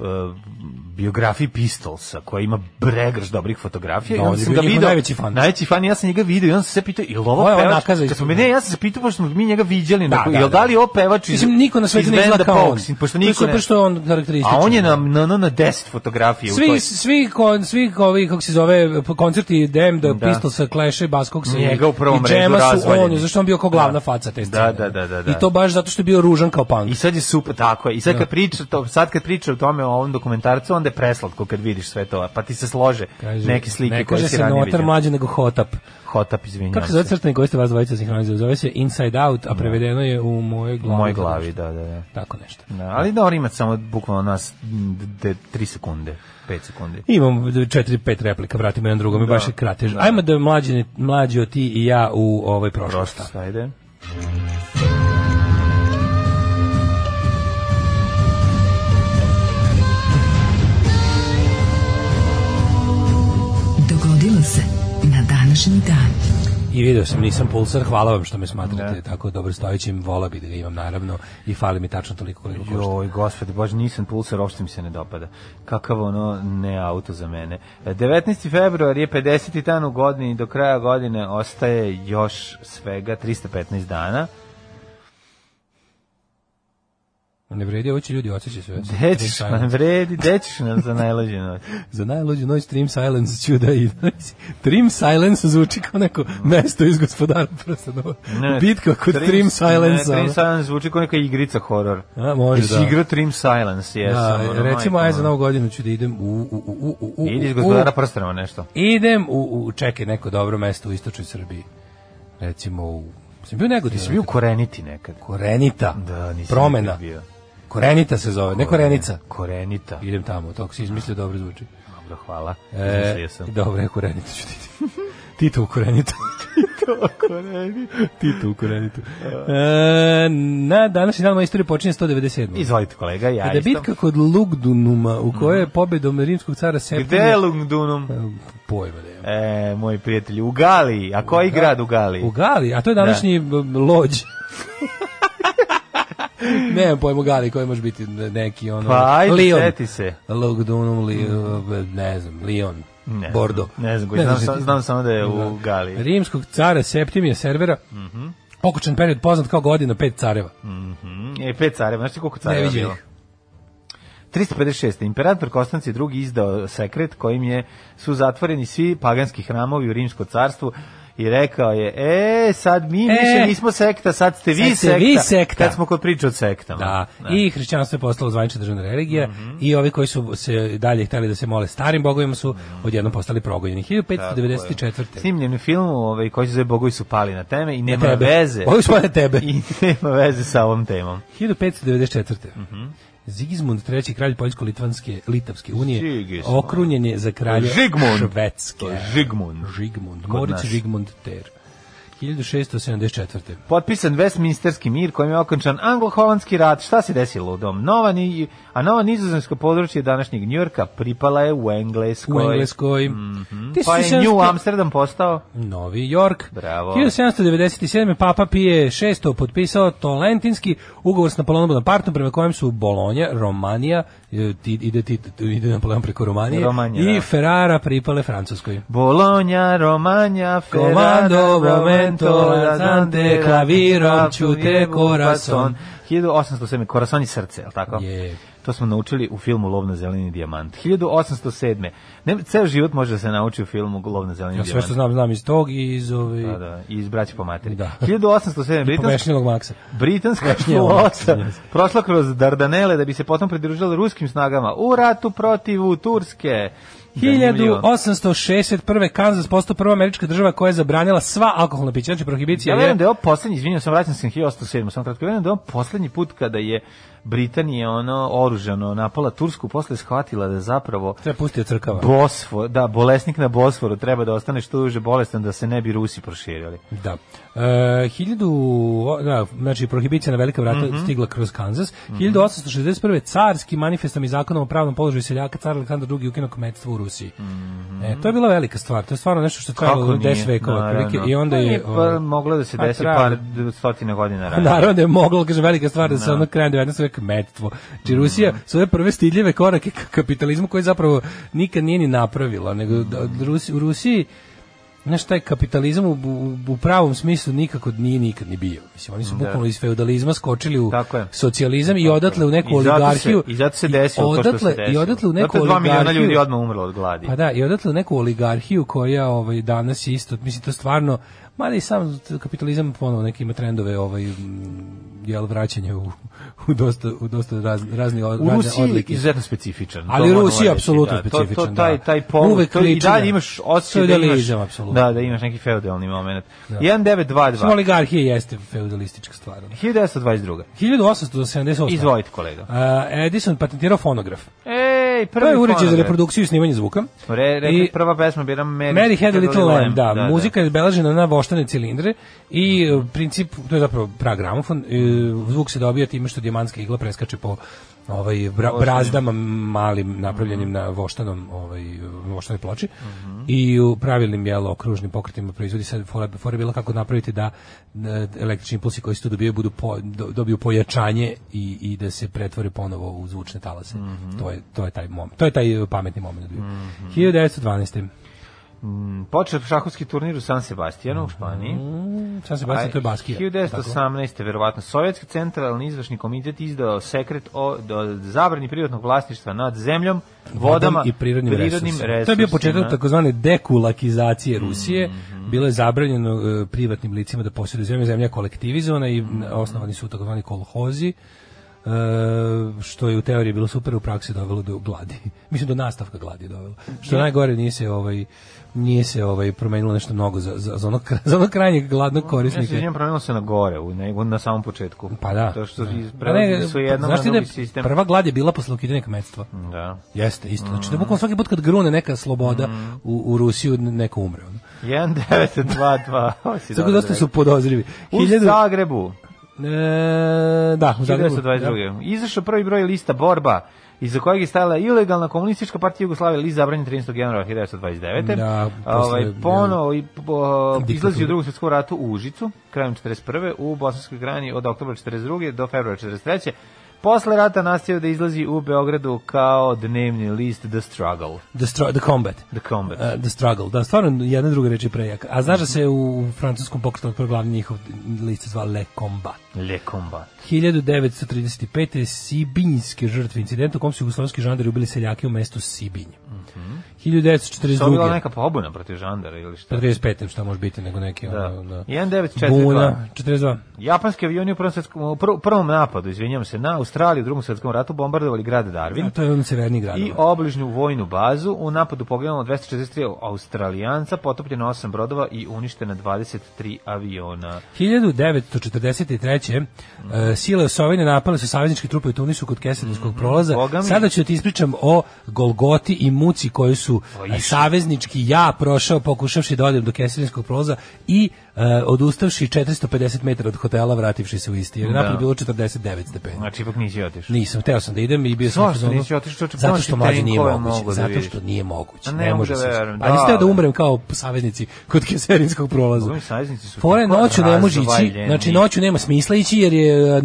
[SPEAKER 6] biografiji Pistolsa koja ima bregrš dobrih fotografija
[SPEAKER 7] Da,
[SPEAKER 6] i
[SPEAKER 7] on
[SPEAKER 6] onda
[SPEAKER 7] je
[SPEAKER 6] sam ga
[SPEAKER 7] bio njihov
[SPEAKER 6] video
[SPEAKER 7] najveći fan.
[SPEAKER 6] najveći fan i ja sam njega video i on se sve pitao jel ovo
[SPEAKER 7] Ovo je on
[SPEAKER 6] pevač
[SPEAKER 7] nakaza iz-
[SPEAKER 6] kad smo mi ne ja sam se pitao pošto smo mi njega viđali
[SPEAKER 7] Da,
[SPEAKER 6] na,
[SPEAKER 7] da,
[SPEAKER 6] jel da
[SPEAKER 7] da.
[SPEAKER 6] li je ovo pevač iz
[SPEAKER 7] Mislim, niko na svetu
[SPEAKER 6] iz
[SPEAKER 7] ne izgleda
[SPEAKER 6] benda
[SPEAKER 7] kao on.
[SPEAKER 6] Pogues, pošto
[SPEAKER 7] To je
[SPEAKER 6] niko ne-
[SPEAKER 7] super što je on karakterističan.
[SPEAKER 6] a on je na na na, na 10 fotografija u toj
[SPEAKER 7] svi svi kon, svi ovi kako se zove koncerti Dem da Pistolsa Clash Baskog se
[SPEAKER 6] Njega u prvom
[SPEAKER 7] i Jema
[SPEAKER 6] redu
[SPEAKER 7] su
[SPEAKER 6] razvaljeni.
[SPEAKER 7] on je, zašto on bio kao glavna
[SPEAKER 6] Da.
[SPEAKER 7] faca te
[SPEAKER 6] Da,
[SPEAKER 7] scene.
[SPEAKER 6] da, da, da, da.
[SPEAKER 7] I to baš zato što je bio ružan kao punk.
[SPEAKER 6] I sad je super, tako je. I sad
[SPEAKER 7] Da.
[SPEAKER 6] kad priča, to, sad kad priča o tome o ovom dokumentarcu, onda je preslatko kad vidiš sve to, pa ti se slože neke slike
[SPEAKER 7] ne
[SPEAKER 6] koje
[SPEAKER 7] kaže
[SPEAKER 6] si
[SPEAKER 7] se
[SPEAKER 6] ranije
[SPEAKER 7] notar
[SPEAKER 6] vidio.
[SPEAKER 7] mlađe nego hotap.
[SPEAKER 6] Hotap, izvinjam
[SPEAKER 7] Kako se zove
[SPEAKER 6] se.
[SPEAKER 7] crtani koji ste vas dvojica sinhronizovali? Zove se Inside Out, a prevedeno je u mojoj
[SPEAKER 6] U
[SPEAKER 7] glavi.
[SPEAKER 6] Da. mojoj glavi, da, da, da.
[SPEAKER 7] Tako nešto.
[SPEAKER 6] Da, ali dobro ima samo bukvalno nas 3 sekunde, 5 sekunde.
[SPEAKER 7] Imam 4-5 replika, vratimo jedan drugom, da. baš je kratež. Ajmo da mlađi, mlađi od ti i ja u ovaj, ovoj prošlosti.
[SPEAKER 6] Prošlost, ajde.
[SPEAKER 5] Dogodilo se na današnji dan.
[SPEAKER 7] I video sam, nisam pulsar, hvala vam što me smatrate tako dobro stojećim, vola bi da ga imam naravno i fali mi tačno toliko koliko košta.
[SPEAKER 6] Joj, gospode, baš nisam pulsar, uopšte mi se ne dopada. Kakav ono ne auto za mene. E, 19. februar je 50. dan u godini i do kraja godine ostaje još svega 315 dana.
[SPEAKER 7] Ne vredi, ovo će ljudi odsjeći sve.
[SPEAKER 6] Dećiš
[SPEAKER 7] Stream
[SPEAKER 6] nam
[SPEAKER 7] silence.
[SPEAKER 6] vredi, dećiš nam za najlađe noć.
[SPEAKER 7] Za najluđu noć Trim Silence ću da i Trim Silence zvuči kao neko mesto iz gospodara prstanova. Bitka kod Trim, Silence.
[SPEAKER 6] Ne, Trim Silence zvuči kao neka igrica horor.
[SPEAKER 7] A, može
[SPEAKER 6] Jesi
[SPEAKER 7] da.
[SPEAKER 6] igrao Trim Silence, jesam.
[SPEAKER 7] Da,
[SPEAKER 6] ono,
[SPEAKER 7] recimo,
[SPEAKER 6] majko
[SPEAKER 7] aj za
[SPEAKER 6] moja.
[SPEAKER 7] novu godinu ću da idem u... u, u, u, u, u
[SPEAKER 6] Idi iz
[SPEAKER 7] u-
[SPEAKER 6] gospodara prstenova nešto.
[SPEAKER 7] Idem u, u čekaj neko dobro mesto u istočnoj Srbiji. Recimo u Sam bio negodi, sam
[SPEAKER 6] Bio
[SPEAKER 7] bio
[SPEAKER 6] koreniti nekad.
[SPEAKER 7] Korenita.
[SPEAKER 6] Da, nisam
[SPEAKER 7] Promena.
[SPEAKER 6] nikad bio.
[SPEAKER 7] Korenita se zove, ne Korenica.
[SPEAKER 6] Korenita.
[SPEAKER 7] Idem tamo, to ako si izmislio dobro zvuči.
[SPEAKER 6] Dobro, hvala.
[SPEAKER 7] E,
[SPEAKER 6] Izmislio sam.
[SPEAKER 7] dobro, je Korenita ću ti. Tito u Korenitu. Tito u Korenitu. E, na današnji dan moja istorija počinje 197.
[SPEAKER 6] Izvolite kolega, ja
[SPEAKER 7] Kada
[SPEAKER 6] isto.
[SPEAKER 7] E, da
[SPEAKER 6] Mhm.
[SPEAKER 7] bitka kod Lugdunuma, u kojoj je pobedom rimskog cara
[SPEAKER 6] Gde
[SPEAKER 7] Septimija...
[SPEAKER 6] je Lungdunum?
[SPEAKER 7] Pojma da je.
[SPEAKER 6] E, moj prijatelj, u Galiji. A koji grad u Galiji?
[SPEAKER 7] U Gali, a to je današnji
[SPEAKER 6] Da.
[SPEAKER 7] b- lođ. ne, pojmo Gali koji može biti neki ono...
[SPEAKER 6] Pa ajde,
[SPEAKER 7] Lion.
[SPEAKER 6] seti se.
[SPEAKER 7] Lugdunum, li, ne znam, Lion.
[SPEAKER 6] Ne,
[SPEAKER 7] Bordo.
[SPEAKER 6] Ne znam, koji, znam,
[SPEAKER 7] znam
[SPEAKER 6] sam- znam samo da je u Mhm.
[SPEAKER 7] Da.
[SPEAKER 6] Galiji.
[SPEAKER 7] Rimskog cara Septimija Servera, pokučan period poznat kao godina pet careva.
[SPEAKER 6] Mhm. E, pet careva, znaš ti koliko careva
[SPEAKER 7] vidim
[SPEAKER 6] bilo?
[SPEAKER 7] ih.
[SPEAKER 6] 356. Imperator Konstancije II. izdao sekret kojim je su zatvoreni svi paganski hramovi u Rimsko carstvu i rekao je, e, sad mi
[SPEAKER 7] E,
[SPEAKER 6] više nismo sekta, sad ste vi
[SPEAKER 7] sad ste
[SPEAKER 6] sekta.
[SPEAKER 7] vi sekta.
[SPEAKER 6] Kad smo kod priče o sektama.
[SPEAKER 7] Da, i hrišćanstvo je postalo zvanična državna religija
[SPEAKER 6] Mhm.
[SPEAKER 7] i ovi koji su se dalje hteli da se mole starim bogovima su
[SPEAKER 6] Mhm.
[SPEAKER 7] odjednom postali progonjeni. 1594.
[SPEAKER 6] Snimljen je film ovaj, koji se zove Bogovi su pali na teme i nema
[SPEAKER 7] tebe.
[SPEAKER 6] veze.
[SPEAKER 7] Bogovi su pali na tebe.
[SPEAKER 6] I nema veze sa ovom temom.
[SPEAKER 7] 1594. Zigizmund III. kralj Poljsko-Litvanske Litavske unije
[SPEAKER 6] Sigismund.
[SPEAKER 7] okrunjen je za kralja
[SPEAKER 6] Žigmund.
[SPEAKER 7] Švedske.
[SPEAKER 6] To je Žigmund.
[SPEAKER 7] Žigmund.
[SPEAKER 6] Kod
[SPEAKER 7] Moritz
[SPEAKER 6] nas.
[SPEAKER 7] Žigmund Ter. 1674.
[SPEAKER 6] Potpisan Westminsterski mir kojim je okončan anglo-holandski rat. Šta se desilo u dom? Nova, ni- a nova nizozemsko područje današnjeg Njurka pripala je u Engleskoj.
[SPEAKER 7] U Engleskoj.
[SPEAKER 6] Pa je
[SPEAKER 7] 1700
[SPEAKER 6] New Amsterdam postao
[SPEAKER 7] Novi York.
[SPEAKER 6] Bravo.
[SPEAKER 7] 1797. Papa Pije VI potpisao Tolentinski ugovor s Napoleonom Bonapartom prema kojem su Bolonja, Romanija, e, ti- ide, ti, ide Napoleon preko Romanije,
[SPEAKER 6] Romanja,
[SPEAKER 7] i
[SPEAKER 6] da.
[SPEAKER 7] Ferrara pripale Francuskoj.
[SPEAKER 6] Bolonja, Romanja, Ferrara,
[SPEAKER 7] Komando, momento,
[SPEAKER 6] Rovento,
[SPEAKER 7] lazante, klavirom ću te corazon.
[SPEAKER 6] 1807. Corazon i srce, je li tako?
[SPEAKER 7] Je.
[SPEAKER 6] To smo naučili u filmu Lov na zeleni dijamant. 1807. Ne, ceo život može da se nauči u filmu Lov na zeleni
[SPEAKER 7] Ja sve
[SPEAKER 6] dijamant.
[SPEAKER 7] što znam, znam iz tog i iz ove...
[SPEAKER 6] Da, da, i iz braća po materi.
[SPEAKER 7] Da.
[SPEAKER 6] 1807. Britanska,
[SPEAKER 7] Pomešnjivog maksa.
[SPEAKER 6] britanska
[SPEAKER 7] Pomešnjivog
[SPEAKER 6] flota
[SPEAKER 7] Maksa.
[SPEAKER 6] prošla kroz Dardanele da bi se potom pridružila ruskim snagama u ratu protiv Turske. milion.
[SPEAKER 7] 1861. Kansas postao prva američka država koja je zabranila sva alkoholna pića, znači prohibicija
[SPEAKER 6] Ja
[SPEAKER 7] je...
[SPEAKER 6] verujem da je ovo poslednji, izvinjam sam, vraćam se na 1807, samo kratko, ja verujem da je ovo poslednji put kada je Britanija ono oružano napala Tursku, posle je shvatila da zapravo
[SPEAKER 7] Treba pustiti od crkava.
[SPEAKER 6] Bosfor, da, bolesnik na Bosforu treba da ostane što duže bolestan da se ne bi Rusi proširili.
[SPEAKER 7] Da. E, hiljadu, o, da, znači prohibicija na velika vrata
[SPEAKER 6] Mhm.
[SPEAKER 7] stigla kroz Kansas. 1861. carskim manifestom i zakonom o pravnom položaju seljaka car Aleksandar II ukinuo kmetstvo u Rusiji. e, to je bila velika stvar. To je stvarno nešto što je trajalo
[SPEAKER 6] Mhm. nije?
[SPEAKER 7] 10 vekova.
[SPEAKER 6] Naravno.
[SPEAKER 7] otprilike, I onda
[SPEAKER 6] Pa
[SPEAKER 7] je...
[SPEAKER 6] pa,
[SPEAKER 7] o,
[SPEAKER 6] moglo da se
[SPEAKER 7] pa
[SPEAKER 6] desi
[SPEAKER 7] trajalo.
[SPEAKER 6] par stotina godina ranije.
[SPEAKER 7] Naravno da je moglo, kažem, velika stvar da se ono krajem 19. veka metstvo. Či Rusija
[SPEAKER 6] Da.
[SPEAKER 7] svoje prve stidljive korake ka kapitalizmu koje zapravo nikad nije ni napravila, nego da, da Rusi, u Rusiji Znaš, taj kapitalizam u, u, u pravom smislu nikako nije nikad ni bio. Mislim, oni su bukvalno iz feudalizma skočili u
[SPEAKER 6] Da. Tako je.
[SPEAKER 7] socijalizam i odatle u neku
[SPEAKER 6] I zato se-
[SPEAKER 7] oligarhiju.
[SPEAKER 6] I zato se desilo to što se
[SPEAKER 7] odatle-
[SPEAKER 6] desilo.
[SPEAKER 7] I odatle u neku
[SPEAKER 6] Zato je dva miliona
[SPEAKER 7] oligarhiju.
[SPEAKER 6] ljudi odmah umrlo od gladi.
[SPEAKER 7] Pa da, i odatle u neku oligarhiju koja ovaj danas je isto, mislim to stvarno, mada i sam kapitalizam ponovo neke ima trendove ovaj mm, jel vraćanje u, u dosta u dosta raz, raznih od-
[SPEAKER 6] U
[SPEAKER 7] razne
[SPEAKER 6] Rusiji je
[SPEAKER 7] odlike.
[SPEAKER 6] izuzetno specifičan. to
[SPEAKER 7] Ali
[SPEAKER 6] moram
[SPEAKER 7] Rusija je
[SPEAKER 6] reći,
[SPEAKER 7] apsolutno
[SPEAKER 6] da. To, to,
[SPEAKER 7] specifičan,
[SPEAKER 6] taj,
[SPEAKER 7] da.
[SPEAKER 6] taj pol,
[SPEAKER 7] Uvek
[SPEAKER 6] to i
[SPEAKER 7] liči na
[SPEAKER 6] dalje imaš osjećaj da imaš,
[SPEAKER 7] feudalizam, apsolutno. Da.
[SPEAKER 6] da, da imaš neki feudalni moment. 1922.
[SPEAKER 7] Samo oligarhija jeste feudalistička stvar.
[SPEAKER 6] 1922.
[SPEAKER 7] 1878.
[SPEAKER 6] Izvolite, kolega.
[SPEAKER 7] A, Edison patentirao fonograf.
[SPEAKER 6] Ej, prvi,
[SPEAKER 7] To je uređaj za
[SPEAKER 6] fonograf.
[SPEAKER 7] reprodukciju i snimanje zvuka.
[SPEAKER 6] Smo Re, rekli,
[SPEAKER 7] I-
[SPEAKER 6] prva pesma bila Mary,
[SPEAKER 7] Mary Had a Little Lamb, da, muzika je beležena na voštane cilindre i e, princip, to je zapravo prag gramofon, e, zvuk se dobija time što dijamantska igla preskače po ovaj bra, brazdama malim napravljenim na voštanom ovaj voštanoj ploči i u pravilnim jelo okružnim pokretima proizvodi sad fora, fora je bila kako napraviti da e, električni impulsi koji se tu dobijaju budu po, do- dobiju pojačanje i, i da se pretvore ponovo u zvučne talase. To je to je taj moment. To je taj e, pametni moment. bio. 1912.
[SPEAKER 6] Počeo šahovski turnir u San Sebastianu u Španiji.
[SPEAKER 7] San Sebastian, Mhm. Pa to je Baskija.
[SPEAKER 6] 1918. verovatno Sovjetski centralni izvršni komitet izdao sekret o do, zabrani privatnog vlasništva nad zemljom, vodama
[SPEAKER 7] i prirodnim, resursima.
[SPEAKER 6] resursima. Mhm,
[SPEAKER 7] To je bio početak takozvane dekulakizacije Rusije. Bilo je zabranjeno e, privatnim licima da posjeduju zemlju, zemlja je kolektivizovana i m, osnovani su takozvani kolhozi. e, što je u teoriji bilo super u praksi dovelo do gladi. Mislim do nastavka gladi je dovelo. Što je najgore nije se ovaj nije se ovaj promenilo nešto mnogo za za, za onog za onog krajnjeg gladnog
[SPEAKER 6] Ja se
[SPEAKER 7] korisnika.
[SPEAKER 6] izvinjam, promenilo se na gore, u, nego na samom početku.
[SPEAKER 7] Pa da.
[SPEAKER 6] To što
[SPEAKER 7] Da.
[SPEAKER 6] iz-
[SPEAKER 7] Pa
[SPEAKER 6] prelazili su
[SPEAKER 7] ne,
[SPEAKER 6] jednom na
[SPEAKER 7] znaš ti da
[SPEAKER 6] drugi
[SPEAKER 7] je
[SPEAKER 6] sistem.
[SPEAKER 7] Prva glad je bila posle ukidanja kmetstva.
[SPEAKER 6] Da.
[SPEAKER 7] Jeste, isto. Znači da bukvalno svaki put kad grune neka sloboda
[SPEAKER 6] Mhm.
[SPEAKER 7] u, u Rusiju, n- neko umre. ono.
[SPEAKER 6] 1922. Ovo si
[SPEAKER 7] Tako
[SPEAKER 6] dobro
[SPEAKER 7] dosta
[SPEAKER 6] rekao.
[SPEAKER 7] su podozrivi.
[SPEAKER 6] da, U
[SPEAKER 7] Hiljadu-
[SPEAKER 6] Zagrebu.
[SPEAKER 7] E, da, u Zagrebu. da.
[SPEAKER 6] 1922. Izašao prvi broj lista Borba, iza kojeg je stajala ilegalna komunistička partija Jugoslavije, list zabranjen 13. januara 1929.
[SPEAKER 7] Da,
[SPEAKER 6] ovaj,
[SPEAKER 7] posle-
[SPEAKER 6] ponovo i, po- izlazi
[SPEAKER 7] Diktatura.
[SPEAKER 6] u drugom svjetskom ratu u Užicu, krajem 41. u Bosanskoj grani od oktobra 42. do februara 43. Posle rata nastavio da izlazi u Beogradu kao dnevni list The Struggle,
[SPEAKER 7] The, str- the Combat.
[SPEAKER 6] The Combat.
[SPEAKER 7] E, the Struggle. Da, stvarno jedna druga reč je prejaka. A znaš da
[SPEAKER 6] Mhm.
[SPEAKER 7] se u francuskom pokretu prvi glavni njihov list se zva Le Combat.
[SPEAKER 6] Le Combat.
[SPEAKER 7] 1935. Sibinjske žrtve incidenta u kom su jugoslavski žandari ubili seljake u mestu Sibinj. 1942.
[SPEAKER 6] To Mhm. je bila neka pobuna protiv žandara ili šta?
[SPEAKER 7] 45. Pa šta može biti nego neki
[SPEAKER 6] Da.
[SPEAKER 7] ono, da.
[SPEAKER 6] 1942.
[SPEAKER 7] Buna, 42.
[SPEAKER 6] Japanski avioni u prvom, svetskom, u prv- prvom napadu, izvinjam se, na Australiju u drugom svjetskom ratu bombardovali grad
[SPEAKER 7] A
[SPEAKER 6] Darwin
[SPEAKER 7] to je on severni grad.
[SPEAKER 6] i obližnju vojnu bazu. U napadu poginulo 243 Australijanca, potopljeno 8 brodova i uništena 23 aviona. Mm.
[SPEAKER 7] 1943. e, sile Osovine napale su savezničke trupe u Tunisu kod Kesedinskog prolaza.
[SPEAKER 6] Mm, Boga mi.
[SPEAKER 7] Sada ću da ti ispričam o Golgoti i Muci koji su
[SPEAKER 6] O,
[SPEAKER 7] e,
[SPEAKER 6] Isus.
[SPEAKER 7] saveznički ja prošao pokušavši da odem do Kesedinskog prolaza i e, odustavši 450 metara od hotela vrativši se u isti. Jer je
[SPEAKER 6] Da.
[SPEAKER 7] napolju bilo 49 stepeni.
[SPEAKER 6] Znači, ipak nisi otišao.
[SPEAKER 7] Nisam, teo sam da idem i bio sam
[SPEAKER 6] Zašto
[SPEAKER 7] u fazonu-
[SPEAKER 6] nisi otišao, čoveče?
[SPEAKER 7] Zato
[SPEAKER 6] Znaš
[SPEAKER 7] što
[SPEAKER 6] ti
[SPEAKER 7] mlađe nije
[SPEAKER 6] tenkove
[SPEAKER 7] moguće,
[SPEAKER 6] mogu da
[SPEAKER 7] zato
[SPEAKER 6] vidiš.
[SPEAKER 7] što nije moguće.
[SPEAKER 6] A
[SPEAKER 7] Ne,
[SPEAKER 6] ne mogu
[SPEAKER 7] može
[SPEAKER 6] da
[SPEAKER 7] se.
[SPEAKER 6] verujem,
[SPEAKER 7] A nisi teo da
[SPEAKER 6] da,
[SPEAKER 7] umrem kao saveznici kod Keserinskog prolaza.
[SPEAKER 6] Ovi saveznici su
[SPEAKER 7] Fore
[SPEAKER 6] tako
[SPEAKER 7] noću ne može ići.
[SPEAKER 6] razvaljeni.
[SPEAKER 7] Znači noću nema smisla ići jer je a,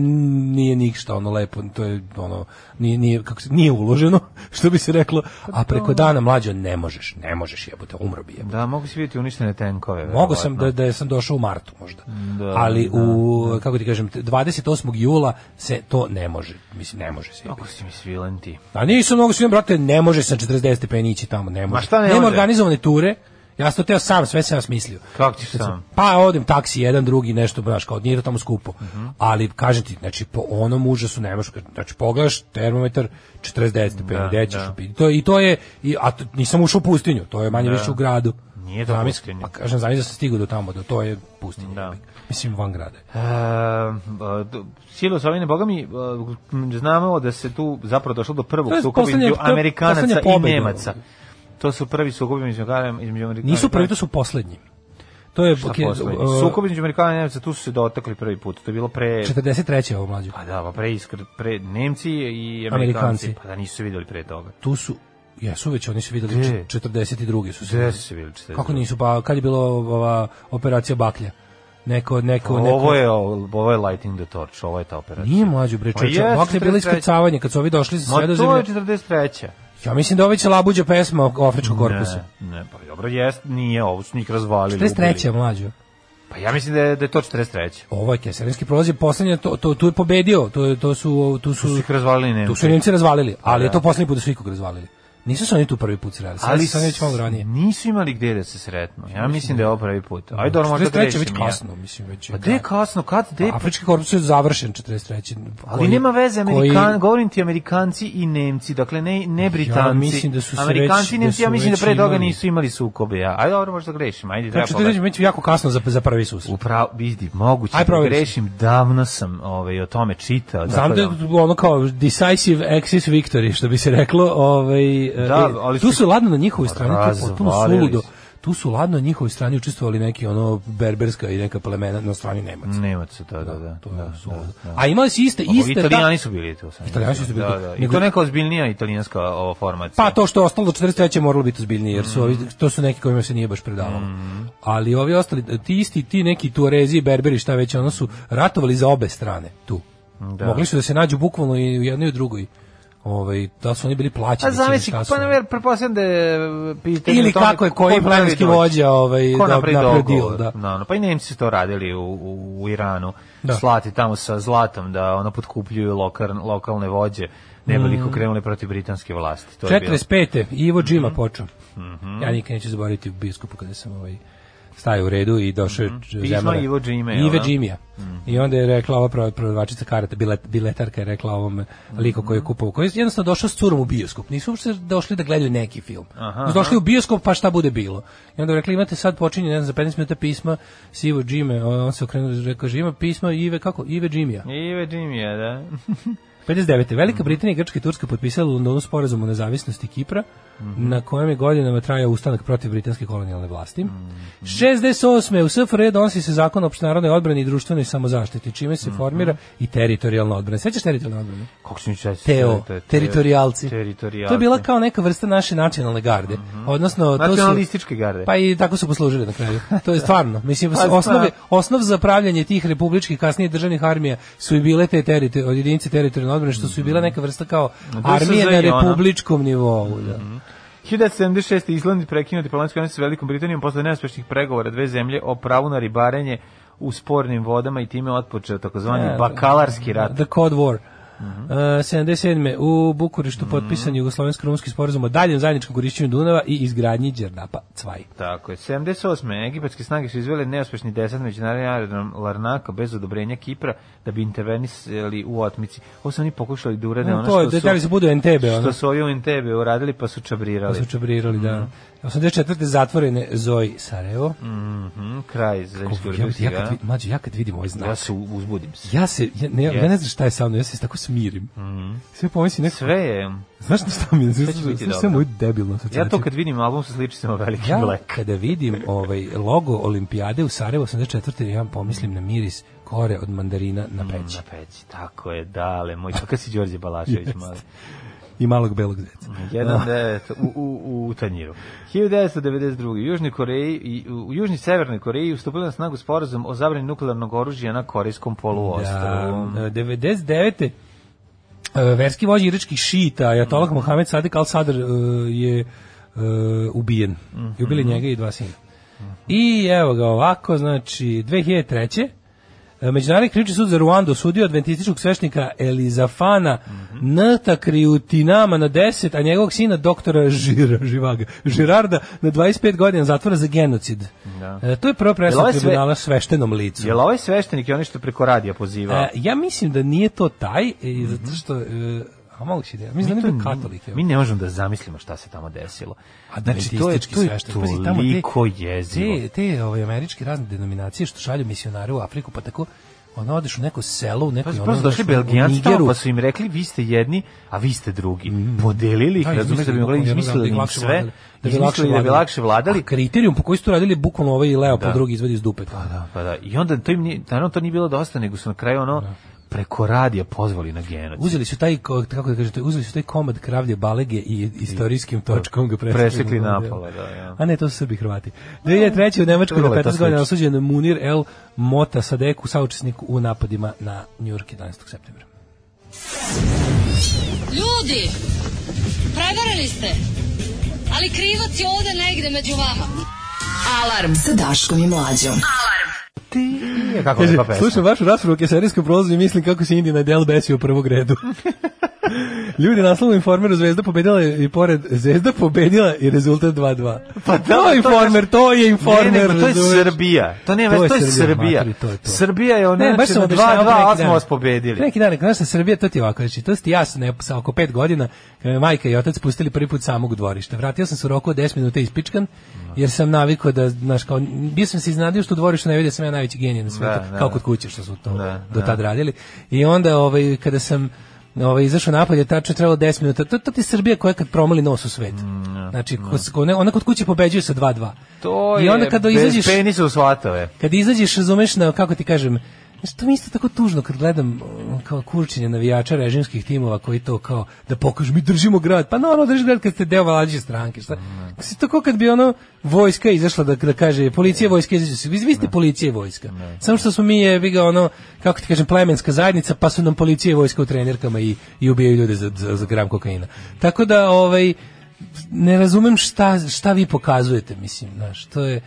[SPEAKER 7] nije ništa ono lepo, to je ono nije nije kako se nije uloženo, što bi se reklo,
[SPEAKER 6] Pa
[SPEAKER 7] a preko dana mlađe ne možeš, ne možeš jebote, umro bi jebote.
[SPEAKER 6] Da, mogu si vidjeti uništene tenkove.
[SPEAKER 7] Mogu sam da,
[SPEAKER 6] verovatno.
[SPEAKER 7] da sam došao u martu možda.
[SPEAKER 6] Da,
[SPEAKER 7] Ali u kako ti kažem 28. jula se to ne može. Mislim ne može se. jebote.
[SPEAKER 6] Kako si mi svilen ti?
[SPEAKER 7] A nisu mnogo svim, brate, ne može sa 40 stepeni ići tamo, ne može.
[SPEAKER 6] Ma šta ne
[SPEAKER 7] Nema
[SPEAKER 6] može?
[SPEAKER 7] organizovane ture, Ja sam to teo sam, sve sam ja smislio.
[SPEAKER 6] Kako ćeš
[SPEAKER 7] Kad sam-
[SPEAKER 6] sam?
[SPEAKER 7] Pa odem taksi, jedan, drugi, nešto, baš, kao nije to tamo skupo. Ali, kažem ti, znači, po onom užasu nemaš, znači, pogledaš termometar 49 stepeni,
[SPEAKER 6] Da,
[SPEAKER 7] gde ćeš
[SPEAKER 6] da.
[SPEAKER 7] upiti. To, I to je, i, a to- nisam ušao u pustinju, to je manje više u gradu.
[SPEAKER 6] Nije to
[SPEAKER 7] Zamisli-
[SPEAKER 6] pustinja.
[SPEAKER 7] Pa kažem, zamisli da sam stigao do tamo, do to je pustinja.
[SPEAKER 6] Da.
[SPEAKER 7] Mislim, van grada. je.
[SPEAKER 6] Ehm, e, Silo Sovine, boga mi, e, znamo da se tu zapravo došlo do prvog
[SPEAKER 7] To je
[SPEAKER 6] sukoba
[SPEAKER 7] poslednje-
[SPEAKER 6] između
[SPEAKER 7] to je
[SPEAKER 6] Amerikanaca
[SPEAKER 7] poslednja
[SPEAKER 6] i
[SPEAKER 7] pobeda.
[SPEAKER 6] Nemaca. To su prvi sukobi između Amerikanaca između Amerikanaca.
[SPEAKER 7] Nisu prvi, to su poslednji. To je,
[SPEAKER 6] Šta
[SPEAKER 7] ok,
[SPEAKER 6] poslednji?
[SPEAKER 7] uh,
[SPEAKER 6] Sukob između Amerikana i Nemaca, tu su se dotakli prvi put. To je bilo pre...
[SPEAKER 7] 43. ovo mlađe.
[SPEAKER 6] Pa da, pa pre, iskr, pre Nemci i Amerikanci.
[SPEAKER 7] Amerikanci.
[SPEAKER 6] Pa da, nisu se videli pre toga.
[SPEAKER 7] Tu su, jesu već, oni su videli,
[SPEAKER 6] Gde?
[SPEAKER 7] 42. su se
[SPEAKER 6] Gde
[SPEAKER 7] videli.
[SPEAKER 6] su se videli? četiri-
[SPEAKER 7] Kako nisu, pa kad je bilo ova operacija Baklja? Neko, neko, neko...
[SPEAKER 6] Ovo je, ovo je Lighting the Torch, ovo je ta operacija.
[SPEAKER 7] Nije mlađo bre,
[SPEAKER 6] Pa
[SPEAKER 7] čoveče,
[SPEAKER 6] jeste,
[SPEAKER 7] Baklja je bilo
[SPEAKER 6] 43..
[SPEAKER 7] iskrcavanje, kad su ovi došli sa
[SPEAKER 6] Ma to
[SPEAKER 7] sredozemlja.
[SPEAKER 6] je 43.
[SPEAKER 7] Ja mislim da ovo će labuđa pesma o afričkom korpusu.
[SPEAKER 6] Ne, ne, pa dobro, jest, nije, ovo su njih razvalili.
[SPEAKER 7] 43.
[SPEAKER 6] ubili.
[SPEAKER 7] mlađo.
[SPEAKER 6] Pa ja mislim da je, da je to 43.
[SPEAKER 7] Ovo je Keserinski prolaz je poslednja, to, to, tu je pobedio, to, je- to su, tu
[SPEAKER 6] Tu su
[SPEAKER 7] su,
[SPEAKER 6] ih razvalili Nemci.
[SPEAKER 7] tu su Nemci razvalili, ali je to poslednji put da su ikog razvalili. Nisu se oni tu prvi put sreli, ali su
[SPEAKER 6] s-
[SPEAKER 7] oni već malo ranije.
[SPEAKER 6] Nisu imali gde da se sretnu. Ja mislim da je ovo prvi put. Ajde, dobro, možda
[SPEAKER 7] 43. je
[SPEAKER 6] grešim.
[SPEAKER 7] već
[SPEAKER 6] ja.
[SPEAKER 7] kasno, mislim, već je
[SPEAKER 6] Pa gde je
[SPEAKER 7] kraj.
[SPEAKER 6] kasno, kad, gde je
[SPEAKER 7] Afrički korpus je završen 43.
[SPEAKER 6] Ali
[SPEAKER 7] koji-
[SPEAKER 6] nema veze,
[SPEAKER 7] koji-
[SPEAKER 6] Amerikan, govorim ti Amerikanci i Nemci, dakle ne, ne Britanci.
[SPEAKER 7] mislim da su se
[SPEAKER 6] Amerikanci
[SPEAKER 7] već-
[SPEAKER 6] i Nemci,
[SPEAKER 7] da su
[SPEAKER 6] ja mislim da
[SPEAKER 7] već
[SPEAKER 6] pre toga
[SPEAKER 7] imali.
[SPEAKER 6] nisu imali sukobe. Ja. Ajde, dobro, možda grešim, ajde, treba
[SPEAKER 7] Znači, to
[SPEAKER 6] pogledati.
[SPEAKER 7] je već jako kasno za, za prvi susret.
[SPEAKER 6] Upravo, vidi, moguće
[SPEAKER 7] Aj,
[SPEAKER 6] da
[SPEAKER 7] proveri se.
[SPEAKER 6] grešim, davno sam ovaj, o tome čitao.
[SPEAKER 7] Znam
[SPEAKER 6] tako
[SPEAKER 7] da je ono kao decisive axis victory, što bi se reklo. Ovaj, e,
[SPEAKER 6] Da, ali
[SPEAKER 7] tu
[SPEAKER 6] su-
[SPEAKER 7] su ladno na njihovoj strani, to je potpuno
[SPEAKER 6] Razvalili
[SPEAKER 7] suludo.
[SPEAKER 6] su.
[SPEAKER 7] Tu su ladno na njihovoj strani učestvovali neki ono berberska i neka plemena na strani Nemaca.
[SPEAKER 6] Nemaca, da, da, da.
[SPEAKER 7] To je
[SPEAKER 6] da,
[SPEAKER 7] suludo.
[SPEAKER 6] da, da.
[SPEAKER 7] A imali su iste,
[SPEAKER 6] Ovo,
[SPEAKER 7] iste...
[SPEAKER 6] Italijani su bili tu. sam
[SPEAKER 7] Italijani su bili
[SPEAKER 6] da,
[SPEAKER 7] tu.
[SPEAKER 6] Da, I
[SPEAKER 7] Nego-
[SPEAKER 6] to neka ozbiljnija italijanska ova formacija.
[SPEAKER 7] Pa to što je ostalo do 43. je moralo biti ozbiljnije, jer su ovi,
[SPEAKER 6] Mm.
[SPEAKER 7] to su neki kojima se nije baš predavalo. Ali ovi ostali, ti isti, ti neki Tuarezi i Berberi, šta već, ono su ratovali za obe strane tu.
[SPEAKER 6] Da.
[SPEAKER 7] Mogli su da se nađu bukvalno i u jednoj i u drugoj. Ovaj, da su oni bili plaćeni.
[SPEAKER 6] A zamisli,
[SPEAKER 7] čini šta su
[SPEAKER 6] pa
[SPEAKER 7] oni.
[SPEAKER 6] na ver, pretpostavljam da je pitanje...
[SPEAKER 7] Ili
[SPEAKER 6] o tome
[SPEAKER 7] kako je koji
[SPEAKER 6] ko pravi
[SPEAKER 7] plemenski
[SPEAKER 6] dogovor.
[SPEAKER 7] vođa, ovaj,
[SPEAKER 6] ko
[SPEAKER 7] da-
[SPEAKER 6] napravi
[SPEAKER 7] napravio
[SPEAKER 6] dogovor.
[SPEAKER 7] deal, da.
[SPEAKER 6] No, no, pa i Nemci su to radili u, u, u Iranu.
[SPEAKER 7] Da.
[SPEAKER 6] Slati tamo sa zlatom da ono potkupljuju lokar, lokalne vođe. Ne bi li
[SPEAKER 7] Mm.
[SPEAKER 6] ih okrenuli protiv britanske vlasti. To je bilo. Mhm.
[SPEAKER 7] 45. Ivo Džima počeo. Ja nikad neću zaboraviti u biskupu kada sam ovaj stajao u redu i došao je
[SPEAKER 6] Mhm. Pismo
[SPEAKER 7] Zemara.
[SPEAKER 6] Ivo Džime, da? Mhm.
[SPEAKER 7] Ive
[SPEAKER 6] ono?
[SPEAKER 7] Džimija. I onda je rekla ova prava prodavačica karata, bilet, biletarka je rekla ovom liku koji
[SPEAKER 6] Mhm.
[SPEAKER 7] je kupovao, koji je jednostavno došao s curom u bioskop. Nisu uopšte došli da gledaju neki film.
[SPEAKER 6] Aha,
[SPEAKER 7] Nisu došli u bioskop pa šta bude bilo. I onda je rekla imate sad počinje ne znam, za 15 minuta pisma s Ivo Džime. On se okrenuo i rekao ima pisma Ive kako? Ive Džimija.
[SPEAKER 6] Ive Jimmy, da.
[SPEAKER 7] 59. Velika Britanija, Grčka i Turska potpisala u Londonu sporazum o nezavisnosti Kipra, na kojem je godinama trajao ustanak protiv britanske kolonijalne vlasti. 68. U SFRJ E donosi se zakon o opštenarodnoj odbrani i društvenoj samozaštiti, čime se formira i teritorijalna odbrana. Sećaš teritorijalne odbrane?
[SPEAKER 6] Kako se mi čeći?
[SPEAKER 7] Teo, teritorijalci.
[SPEAKER 6] Teritorijalci.
[SPEAKER 7] To je bila kao neka vrsta naše nacionalne garde. Odnosno, to su...
[SPEAKER 6] Nacionalističke garde.
[SPEAKER 7] Pa i tako su poslužili na kraju. To je stvarno. Mislim,
[SPEAKER 6] Pa
[SPEAKER 7] osnove, osnov za pravljanje tih republičkih kasnije državnih armija su i bile te terite, od jedinice teritorijalne odbrane, što su i bila neka vrsta kao armije
[SPEAKER 6] Mhm.
[SPEAKER 7] na
[SPEAKER 6] DSZ i ona. Mhm.
[SPEAKER 7] republičkom nivou. Da.
[SPEAKER 6] 1976. Island prekinuo diplomatsku odnos sa Velikom Britanijom posle neuspešnih pregovora dve zemlje o pravu na ribarenje u spornim vodama i time otpočeo takozvani
[SPEAKER 7] E,
[SPEAKER 6] bakalarski rat.
[SPEAKER 7] The Cold War.
[SPEAKER 6] Mhm.
[SPEAKER 7] Uh, 77. u Bukureštu potpisan jugoslovensko-rumski sporazum o daljem zajedničkom korišćenju Dunava i izgradnji Đerdapa Cvaj.
[SPEAKER 6] Tako je. 78. Egipatske snage su izvele neuspešni desant na međunarodni aerodrom Larnaka bez odobrenja Kipra da bi intervenisali u otmici. Ovo su oni pokušali da urade
[SPEAKER 7] No,
[SPEAKER 6] ono
[SPEAKER 7] to je,
[SPEAKER 6] što su,
[SPEAKER 7] da li se budu NTB, ono?
[SPEAKER 6] što su ovi u NTB uradili pa su čabrirali.
[SPEAKER 7] Su čabrirali, da. 84. zatvorene Zoji Sarajevo.
[SPEAKER 6] Mhm, kraj zajedničke
[SPEAKER 7] Ja, ja, kad,
[SPEAKER 6] urbistiga.
[SPEAKER 7] vid- mlađe, ja kad vidim ovaj znak,
[SPEAKER 6] Ja se uzbudim se.
[SPEAKER 7] Ja se, ja, ne, ja ne znam šta je sa mnom, ja se tako smirim. Sve pomislim neko,
[SPEAKER 6] Mhm. Sve je...
[SPEAKER 7] znaš šta mi je, sve,
[SPEAKER 6] će biti
[SPEAKER 7] sve, sve
[SPEAKER 6] dobro.
[SPEAKER 7] moju debilno.
[SPEAKER 6] Ja to kad vidim album sa sličicama Veliki
[SPEAKER 7] ja
[SPEAKER 6] Black.
[SPEAKER 7] kada vidim ovaj logo olimpijade u Sarajevu 84. ja pomislim na miris kore od mandarina na peći
[SPEAKER 6] Na peći, tako je, dale, moj, kakav si Đorđe Balašević, mali.
[SPEAKER 7] i malog belog zeca. Da.
[SPEAKER 6] Jedan devet, u, u, u tanjiru. 1992. U Južnoj Koreji, i- u, u Južnoj i Severnoj Koreji ustupila na snagu sporazum o zabrani nuklearnog oružja na Korejskom poluostrvu.
[SPEAKER 7] Da, 99. e, verski vođa iračkih šita, ajatolak
[SPEAKER 6] Mhm.
[SPEAKER 7] Mohamed Sadik al-Sadr e, je e, ubijen.
[SPEAKER 6] Mhm.
[SPEAKER 7] I ubili njega i dva sina. I evo ga ovako, znači, 2003. E, Međunarodni krivični sud za Ruandu osudio adventističkog svešnika Elizafana
[SPEAKER 6] Mhm.
[SPEAKER 7] Nata Kriutinama na 10, a njegovog sina doktora Žira, Živaga, Žirarda na 25 godina zatvora za genocid.
[SPEAKER 6] Da.
[SPEAKER 7] E, to je prva
[SPEAKER 6] Jel
[SPEAKER 7] presuda
[SPEAKER 6] ovo sve-
[SPEAKER 7] tribunala sveštenom licu.
[SPEAKER 6] Jel ovaj sveštenik je onaj što preko radija pozivao?
[SPEAKER 7] E, ja mislim da nije to taj, e, zato što... E, a mogu si da, mislim
[SPEAKER 6] Mhm.
[SPEAKER 7] da
[SPEAKER 6] Mi
[SPEAKER 7] nije
[SPEAKER 6] to
[SPEAKER 7] bio
[SPEAKER 6] ni-
[SPEAKER 7] katolik. evo.
[SPEAKER 6] Mi ne možemo da zamislimo šta se tamo desilo.
[SPEAKER 7] A
[SPEAKER 6] Znači, to je, to je
[SPEAKER 7] Pazi, tamo te-
[SPEAKER 6] toliko jezivo.
[SPEAKER 7] Te, te ovaj, američke razne denominacije što šalju misionare u Afriku, pa tako ono odeš u neko selo, da u neko...
[SPEAKER 6] Pa su prosto došli belgijanci tamo, pa su im rekli vi ste jedni, a vi ste drugi.
[SPEAKER 7] Mm.
[SPEAKER 6] Podelili ih, razumiješ da bi mogli izmislili im sve, da bi lakše da bi lakše vladali.
[SPEAKER 7] A kriterijum po koji su to radili je bukvalno ovaj Leo po drugi izvadi iz dupe. Pa da. Da.
[SPEAKER 6] Pa da, i onda to im nije, naravno to nije bilo dosta, nego su na kraju ono preko radija pozvali na genocid.
[SPEAKER 7] Uzeli su taj ko- kako da kažete, uzeli su taj komad kravlje balege i istorijskim točkom ga presekli,
[SPEAKER 6] Presekli
[SPEAKER 7] na-
[SPEAKER 6] napola, da, ja.
[SPEAKER 7] A ne, to su Srbi i Hrvati. 2003. u Nemačkoj na
[SPEAKER 6] Vrlo je to
[SPEAKER 7] 15 godina
[SPEAKER 6] slično.
[SPEAKER 7] osuđen Munir El Mota Sadeku, saučesnik u napadima na Njurk 11. septembra.
[SPEAKER 9] Ljudi, prevarili ste. Ali krivac je ovde negde među vama.
[SPEAKER 5] Alarm sa Daškom i Mlađom.
[SPEAKER 6] Ti, je, kako
[SPEAKER 7] Kaže,
[SPEAKER 6] lepa pesma.
[SPEAKER 7] slušam vašu raspravu o kesarijskom prolazu i mislim kako se Indija na del besi u prvog redu. Ljudi, naslovu Informeru Zvezda pobedila je i pored Zvezda pobedila i rezultat 2-2. Pa
[SPEAKER 6] da,
[SPEAKER 7] to
[SPEAKER 6] to
[SPEAKER 7] je
[SPEAKER 6] je
[SPEAKER 7] Informer,
[SPEAKER 6] naš-
[SPEAKER 7] to je
[SPEAKER 6] Ne,
[SPEAKER 7] Informer.
[SPEAKER 6] ne, pa to je
[SPEAKER 7] razumeš?
[SPEAKER 6] Srbija. To nema,
[SPEAKER 7] To
[SPEAKER 6] to,
[SPEAKER 7] je
[SPEAKER 6] to je
[SPEAKER 7] Srbija,
[SPEAKER 6] Srbija.
[SPEAKER 7] materi, to je to.
[SPEAKER 6] Srbija je ona,
[SPEAKER 7] Ne, baš
[SPEAKER 6] znači,
[SPEAKER 7] sam
[SPEAKER 6] na 2-2,
[SPEAKER 7] objašnjavao pre neki
[SPEAKER 6] ali smo
[SPEAKER 7] dan.
[SPEAKER 6] vas pobedili.
[SPEAKER 7] Pre Neki dan, znaš da Srbija, to ti je ovako, znači, to ti ja sam ne, sa oko pet godina, kad me majka i otac pustili prvi put samog u dvorište. Vratio sam se u roku od 10 minuta ispičkan, jer sam navikao da, znaš, kao, bio sam se iznenadio što u dvorištu ne vidi da sam ja najveći genij na svetu,
[SPEAKER 6] Da, da.
[SPEAKER 7] kao kod kuće što su to
[SPEAKER 6] Da,
[SPEAKER 7] do tad radili. I onda, ovaj, kada sam ovaj izašao napolje, tačno je trebalo 10 minuta. To, to ti je Srbija koja kad promoli nos u svet.
[SPEAKER 6] Mm,
[SPEAKER 7] znači, ko, ko ne, ona kod kuće pobeđuje sa 2:2.
[SPEAKER 6] da. To
[SPEAKER 7] I
[SPEAKER 6] je
[SPEAKER 7] onda kada
[SPEAKER 6] bez
[SPEAKER 7] izađeš
[SPEAKER 6] penisa u svatove.
[SPEAKER 7] kad izađeš, razumeš na, kako ti kažem, znaš, to mi je isto tako tužno kad gledam um, kao kurčenje navijača režimskih timova koji to kao da pokažu mi držimo grad. Pa naravno drži grad kad ste deo vladajuće stranke. Šta? Si to kao kad bi ono vojska izašla da, da kaže policija vojska izađe se. Vi, vi ste policija i vojska. Samo što smo mi je vi ga ono kako ti kažem plemenska zajednica pa su nam policija i vojska u trenerkama i, i ubijaju ljude za, za, za gram kokaina. Tako da ovaj ne razumem šta, šta vi pokazujete, mislim, znaš, to je,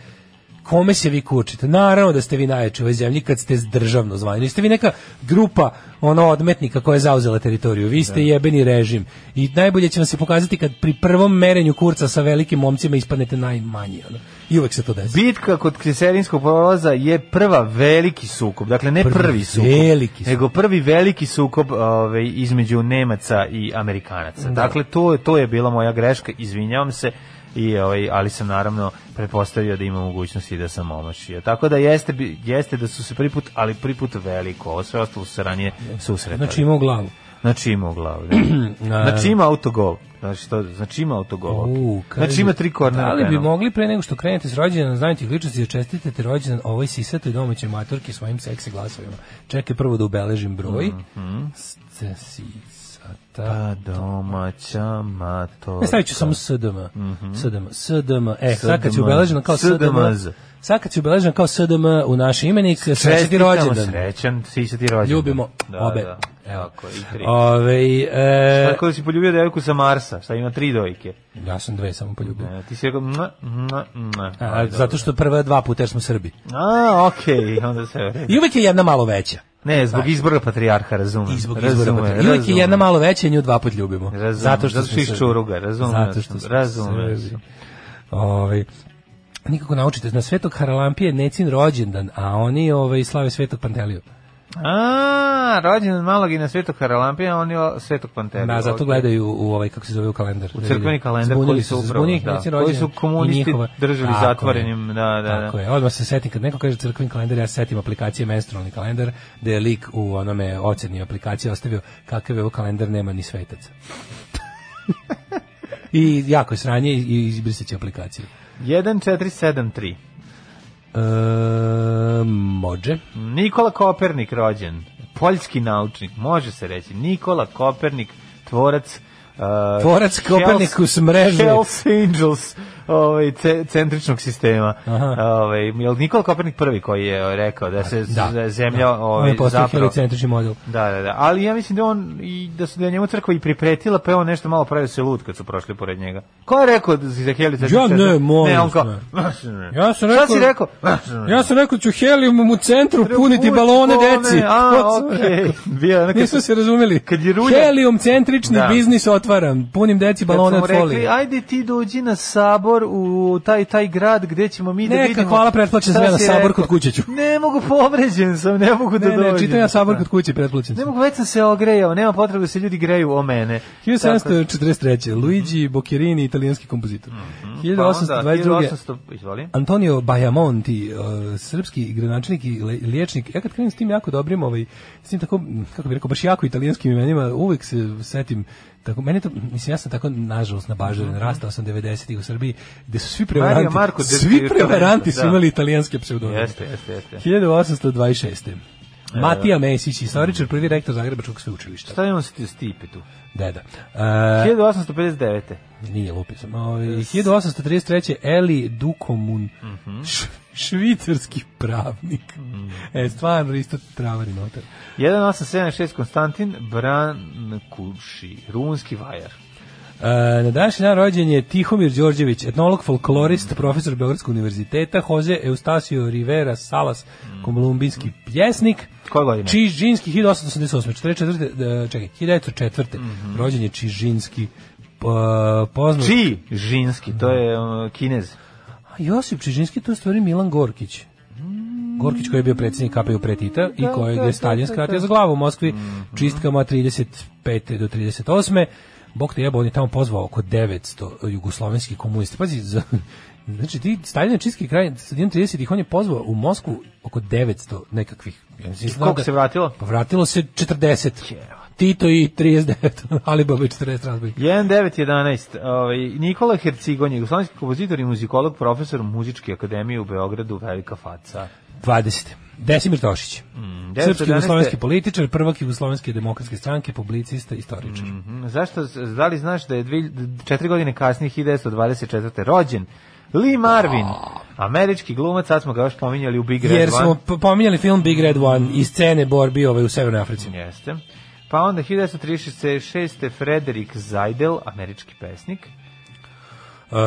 [SPEAKER 7] kome se vi kučite? Naravno da ste vi najjači u ovoj zemlji kad ste državno zvani. Niste vi neka grupa ono odmetnika koja je zauzela teritoriju. Vi ste
[SPEAKER 6] Da.
[SPEAKER 7] jebeni režim. I najbolje će vam se pokazati kad pri prvom merenju kurca sa velikim momcima ispadnete najmanji. Ono. I uvek se to desi.
[SPEAKER 6] Bitka kod Kriserinskog prolaza je prva veliki sukob, dakle ne
[SPEAKER 7] Prvi
[SPEAKER 6] prvi, sukob,
[SPEAKER 7] veliki sukob.
[SPEAKER 6] nego prvi veliki sukob ovaj, između Nemaca i
[SPEAKER 7] Da.
[SPEAKER 6] Amerikanaca. Dakle, to, je- to je bila moja greška, izvinjavam se, i, ovaj, ali sam naravno pretpostavio da ima mogućnosti da sam omašio. Tako da jeste, bi- jeste da su se prvi put, ali prvi put veliko, ovo sve ostalo su se ranije susretali.
[SPEAKER 7] Znači ima u glavu.
[SPEAKER 6] Znači ima u glavu. Da. znači ima autogol. Znači, to, znači ima autogol.
[SPEAKER 7] U, kaže,
[SPEAKER 6] znači ima tri kornera.
[SPEAKER 7] Da li bi
[SPEAKER 6] penala.
[SPEAKER 7] mogli pre nego što krenete s rođendan znajući ličnosti da čestitete rođendan ovoj sisatoj domaćoj matorki svojim seksi glasovima? Čekaj prvo da ubeležim broj. Ste sisata.
[SPEAKER 6] Mhm. Pa domaća mato.
[SPEAKER 7] Ne, E, stavit ću samo SDM.
[SPEAKER 6] Mhm.
[SPEAKER 7] SDM. SDM. E, sad kad si
[SPEAKER 6] SDM.
[SPEAKER 7] ubeležena kao SDM.
[SPEAKER 6] SDMZ.
[SPEAKER 7] Sad kad si ubeležena kao SDM u naš imenik, sreći ti
[SPEAKER 6] Čestitamo,
[SPEAKER 7] rođendan.
[SPEAKER 6] Srećan, svi se ti rođendan.
[SPEAKER 7] Ljubimo obe.
[SPEAKER 6] Da.
[SPEAKER 7] Evo.
[SPEAKER 6] Evo, ako i tri.
[SPEAKER 7] Ove, e,
[SPEAKER 6] Tako da si poljubio devojku sa Marsa, šta ima tri dojke.
[SPEAKER 7] ja sam dve samo poljubio.
[SPEAKER 6] E, Ti si rekao, mna, mna, mna.
[SPEAKER 7] A, zato što prva dva puta jer smo Srbi.
[SPEAKER 6] A, okej, onda se... vredi.
[SPEAKER 7] I uvek je jedna malo veća.
[SPEAKER 6] Ne, zbog izbora patrijarha, razumem.
[SPEAKER 7] I zbog
[SPEAKER 6] Razumem,
[SPEAKER 7] izbora. patrijarha. I uvek je
[SPEAKER 6] razumem.
[SPEAKER 7] jedna malo veća i nju dva put ljubimo.
[SPEAKER 6] Razumem,
[SPEAKER 7] zato što,
[SPEAKER 6] zato što
[SPEAKER 7] smo
[SPEAKER 6] ih
[SPEAKER 7] Srbi.
[SPEAKER 6] čuruga, razumem.
[SPEAKER 7] Zato što smo
[SPEAKER 6] Razumem.
[SPEAKER 7] Srbi. Ovaj, nikako naučite, na Svetog Haralampije je Necin rođendan, a oni ovaj, slave Svetog Panteliju.
[SPEAKER 6] A, rođen od malog i na Svetog Haralampija, on je o- Svetog Pantelija.
[SPEAKER 7] Da, zato
[SPEAKER 6] Okej.
[SPEAKER 7] gledaju u ovaj kako se zove u kalendar.
[SPEAKER 6] U crkveni kalendar koji su upravo, da, koji su komunisti držali zatvorenim, da, da, da.
[SPEAKER 7] Tako je. Odmah se setim kad neko kaže crkveni kalendar, ja se setim aplikacije menstrualni kalendar, da je lik u onome oceni aplikacije ostavio kakav je ovo kalendar nema ni svetaca. I jako je sranje i- i izbrisaće aplikaciju.
[SPEAKER 6] 1473.
[SPEAKER 7] E, može.
[SPEAKER 6] Nikola Kopernik rođen, poljski naučnik, može se reći. Nikola Kopernik, tvorac... Uh,
[SPEAKER 7] Tvorac Kopernikus mreže.
[SPEAKER 6] Hells Angels ovaj, ce, centričnog sistema. Ovaj, je li Nikola Kopernik prvi koji je rekao da se da, zemlja da.
[SPEAKER 7] on
[SPEAKER 6] Ovaj,
[SPEAKER 7] je postao
[SPEAKER 6] zapravo...
[SPEAKER 7] helicentrični model.
[SPEAKER 6] Da, da, da. Ali ja mislim da on i da su da je njemu crkva i pripretila, pa je on nešto malo pravio se lud kad su prošli pored njega. Ko je rekao da si za helicentrični
[SPEAKER 7] Ja ne, molim
[SPEAKER 6] Ne, on
[SPEAKER 7] vas,
[SPEAKER 6] kao,
[SPEAKER 7] Ja sam
[SPEAKER 6] Šta
[SPEAKER 7] rekao,
[SPEAKER 6] si rekao? Mm.
[SPEAKER 7] Ja sam rekao da ću heliumom u centru puniti balone deci.
[SPEAKER 6] A,
[SPEAKER 7] To sam
[SPEAKER 6] okej.
[SPEAKER 7] rekao.
[SPEAKER 6] Bio, ono kad
[SPEAKER 7] Nismo
[SPEAKER 6] su-
[SPEAKER 7] se razumeli.
[SPEAKER 6] kad je rulja-
[SPEAKER 7] Helium centrični
[SPEAKER 6] Da.
[SPEAKER 7] biznis otvaram. Punim deci
[SPEAKER 6] kad
[SPEAKER 7] balone
[SPEAKER 6] su mu
[SPEAKER 7] od folije.
[SPEAKER 6] rekli, ajde ti dođi na sabor u taj taj grad gde ćemo mi da
[SPEAKER 7] Neka,
[SPEAKER 6] vidimo.
[SPEAKER 7] hvala,
[SPEAKER 6] šta
[SPEAKER 7] pretplaćen sam ja na
[SPEAKER 6] si
[SPEAKER 7] sabor
[SPEAKER 6] rekao.
[SPEAKER 7] kod kuće ću.
[SPEAKER 6] Ne mogu, povređen sam, ne mogu da
[SPEAKER 7] Ne,
[SPEAKER 6] dođem.
[SPEAKER 7] ne, čitam ja sabor kod kuće pretplaćen
[SPEAKER 6] Ne
[SPEAKER 7] sam.
[SPEAKER 6] mogu, već sam se ogrejao, nema potrebe da se ljudi greju o mene. Tako- da, Mhm.
[SPEAKER 7] 1743. Luigi Boccherini, italijanski kompozitor.
[SPEAKER 6] Pa onda,
[SPEAKER 7] 1822.
[SPEAKER 6] 1800 izvoli.
[SPEAKER 7] Antonio Bajamonti, uh, srpski gradonačelnik i le- liječnik. Ja kad krenem s tim jako dobrim, ovaj, s tim tako, mm, kako bih rekao, baš jako italijanskim imenima, uvek se setim tako, mene to, mislim, ja sam tako, nažalost, nabažaren, rastao sam 90-ih u Srbiji, gde su svi prevaranti,
[SPEAKER 6] Mario Mhm. Marko Del
[SPEAKER 7] svi
[SPEAKER 6] Piero,
[SPEAKER 7] prevaranti su
[SPEAKER 6] da.
[SPEAKER 7] imali italijanske pseudonime.
[SPEAKER 6] Jeste, jeste, jeste. E, da.
[SPEAKER 7] 1826. Matija Mesić, istoričar, prvi rektor Zagrebačkog sveučilišta.
[SPEAKER 6] Šta imamo sa ti stipe tu?
[SPEAKER 7] Deda. Uh,
[SPEAKER 6] 1859.
[SPEAKER 7] Nije lupio sam. Ovaj, 1833. Eli Dukomun,
[SPEAKER 6] Mhm.
[SPEAKER 7] š- švicarski pravnik. E, stvarno, isto travari notar.
[SPEAKER 6] 1876 Konstantin Brankuši, rumunski vajar.
[SPEAKER 7] E, na današnji dan rođen je Tihomir Đorđević, etnolog, folklorist,
[SPEAKER 6] Mhm.
[SPEAKER 7] profesor Beogradskog univerziteta, Jose Eustasio Rivera Salas, kolumbijski pjesnik.
[SPEAKER 6] Mhm. Koje godine?
[SPEAKER 7] Čižinski, 1888. 44, e, čekaj, 1904.
[SPEAKER 6] Mhm.
[SPEAKER 7] Rođen je Čižinski, po- poznat...
[SPEAKER 6] Či Žinski, to je um, kinez.
[SPEAKER 7] A Pa Josip Čižinski to je u stvari Milan Gorkić. Gorkić koji je bio predsjednik KPU pre Tita i kojeg je Stalin skratio za glavu u Moskvi
[SPEAKER 6] Mhm.
[SPEAKER 7] čistkama 35. do 38. Bog te jebo, on je tamo pozvao oko 900 jugoslovenskih komunista. Pazi, za, znači ti Staljine čistki kraj sredinom 30. on je pozvao u Moskvu oko 900 nekakvih. Ja mislim, znam
[SPEAKER 6] Koliko
[SPEAKER 7] da-
[SPEAKER 6] se vratilo?
[SPEAKER 7] Pa vratilo se 40. Tito i 39, ali Baba i 40 razbojnika.
[SPEAKER 6] 1911. Ovaj, Nikola Hercigon, jugoslovenski kompozitor i muzikolog, profesor muzičke akademije u Beogradu, velika faca.
[SPEAKER 7] 20. Desimir
[SPEAKER 6] Mm,
[SPEAKER 7] Tošić. Srpski
[SPEAKER 6] 911.
[SPEAKER 7] jugoslovenski političar, prvak jugoslovenske demokratske stranke, publicista, istoričar.
[SPEAKER 6] Mhm, Zašto, da li znaš da je dvi, četiri godine kasnije, 1924. rođen Lee Marvin, američki glumac, sad smo ga još pominjali u Big Red
[SPEAKER 7] Jer
[SPEAKER 6] One.
[SPEAKER 7] smo p- pominjali film Big Red One i scene borbi ovaj u Severnoj Africi.
[SPEAKER 6] Jeste. Pa onda 1936. Frederik Zajdel, američki pesnik.
[SPEAKER 7] Uh,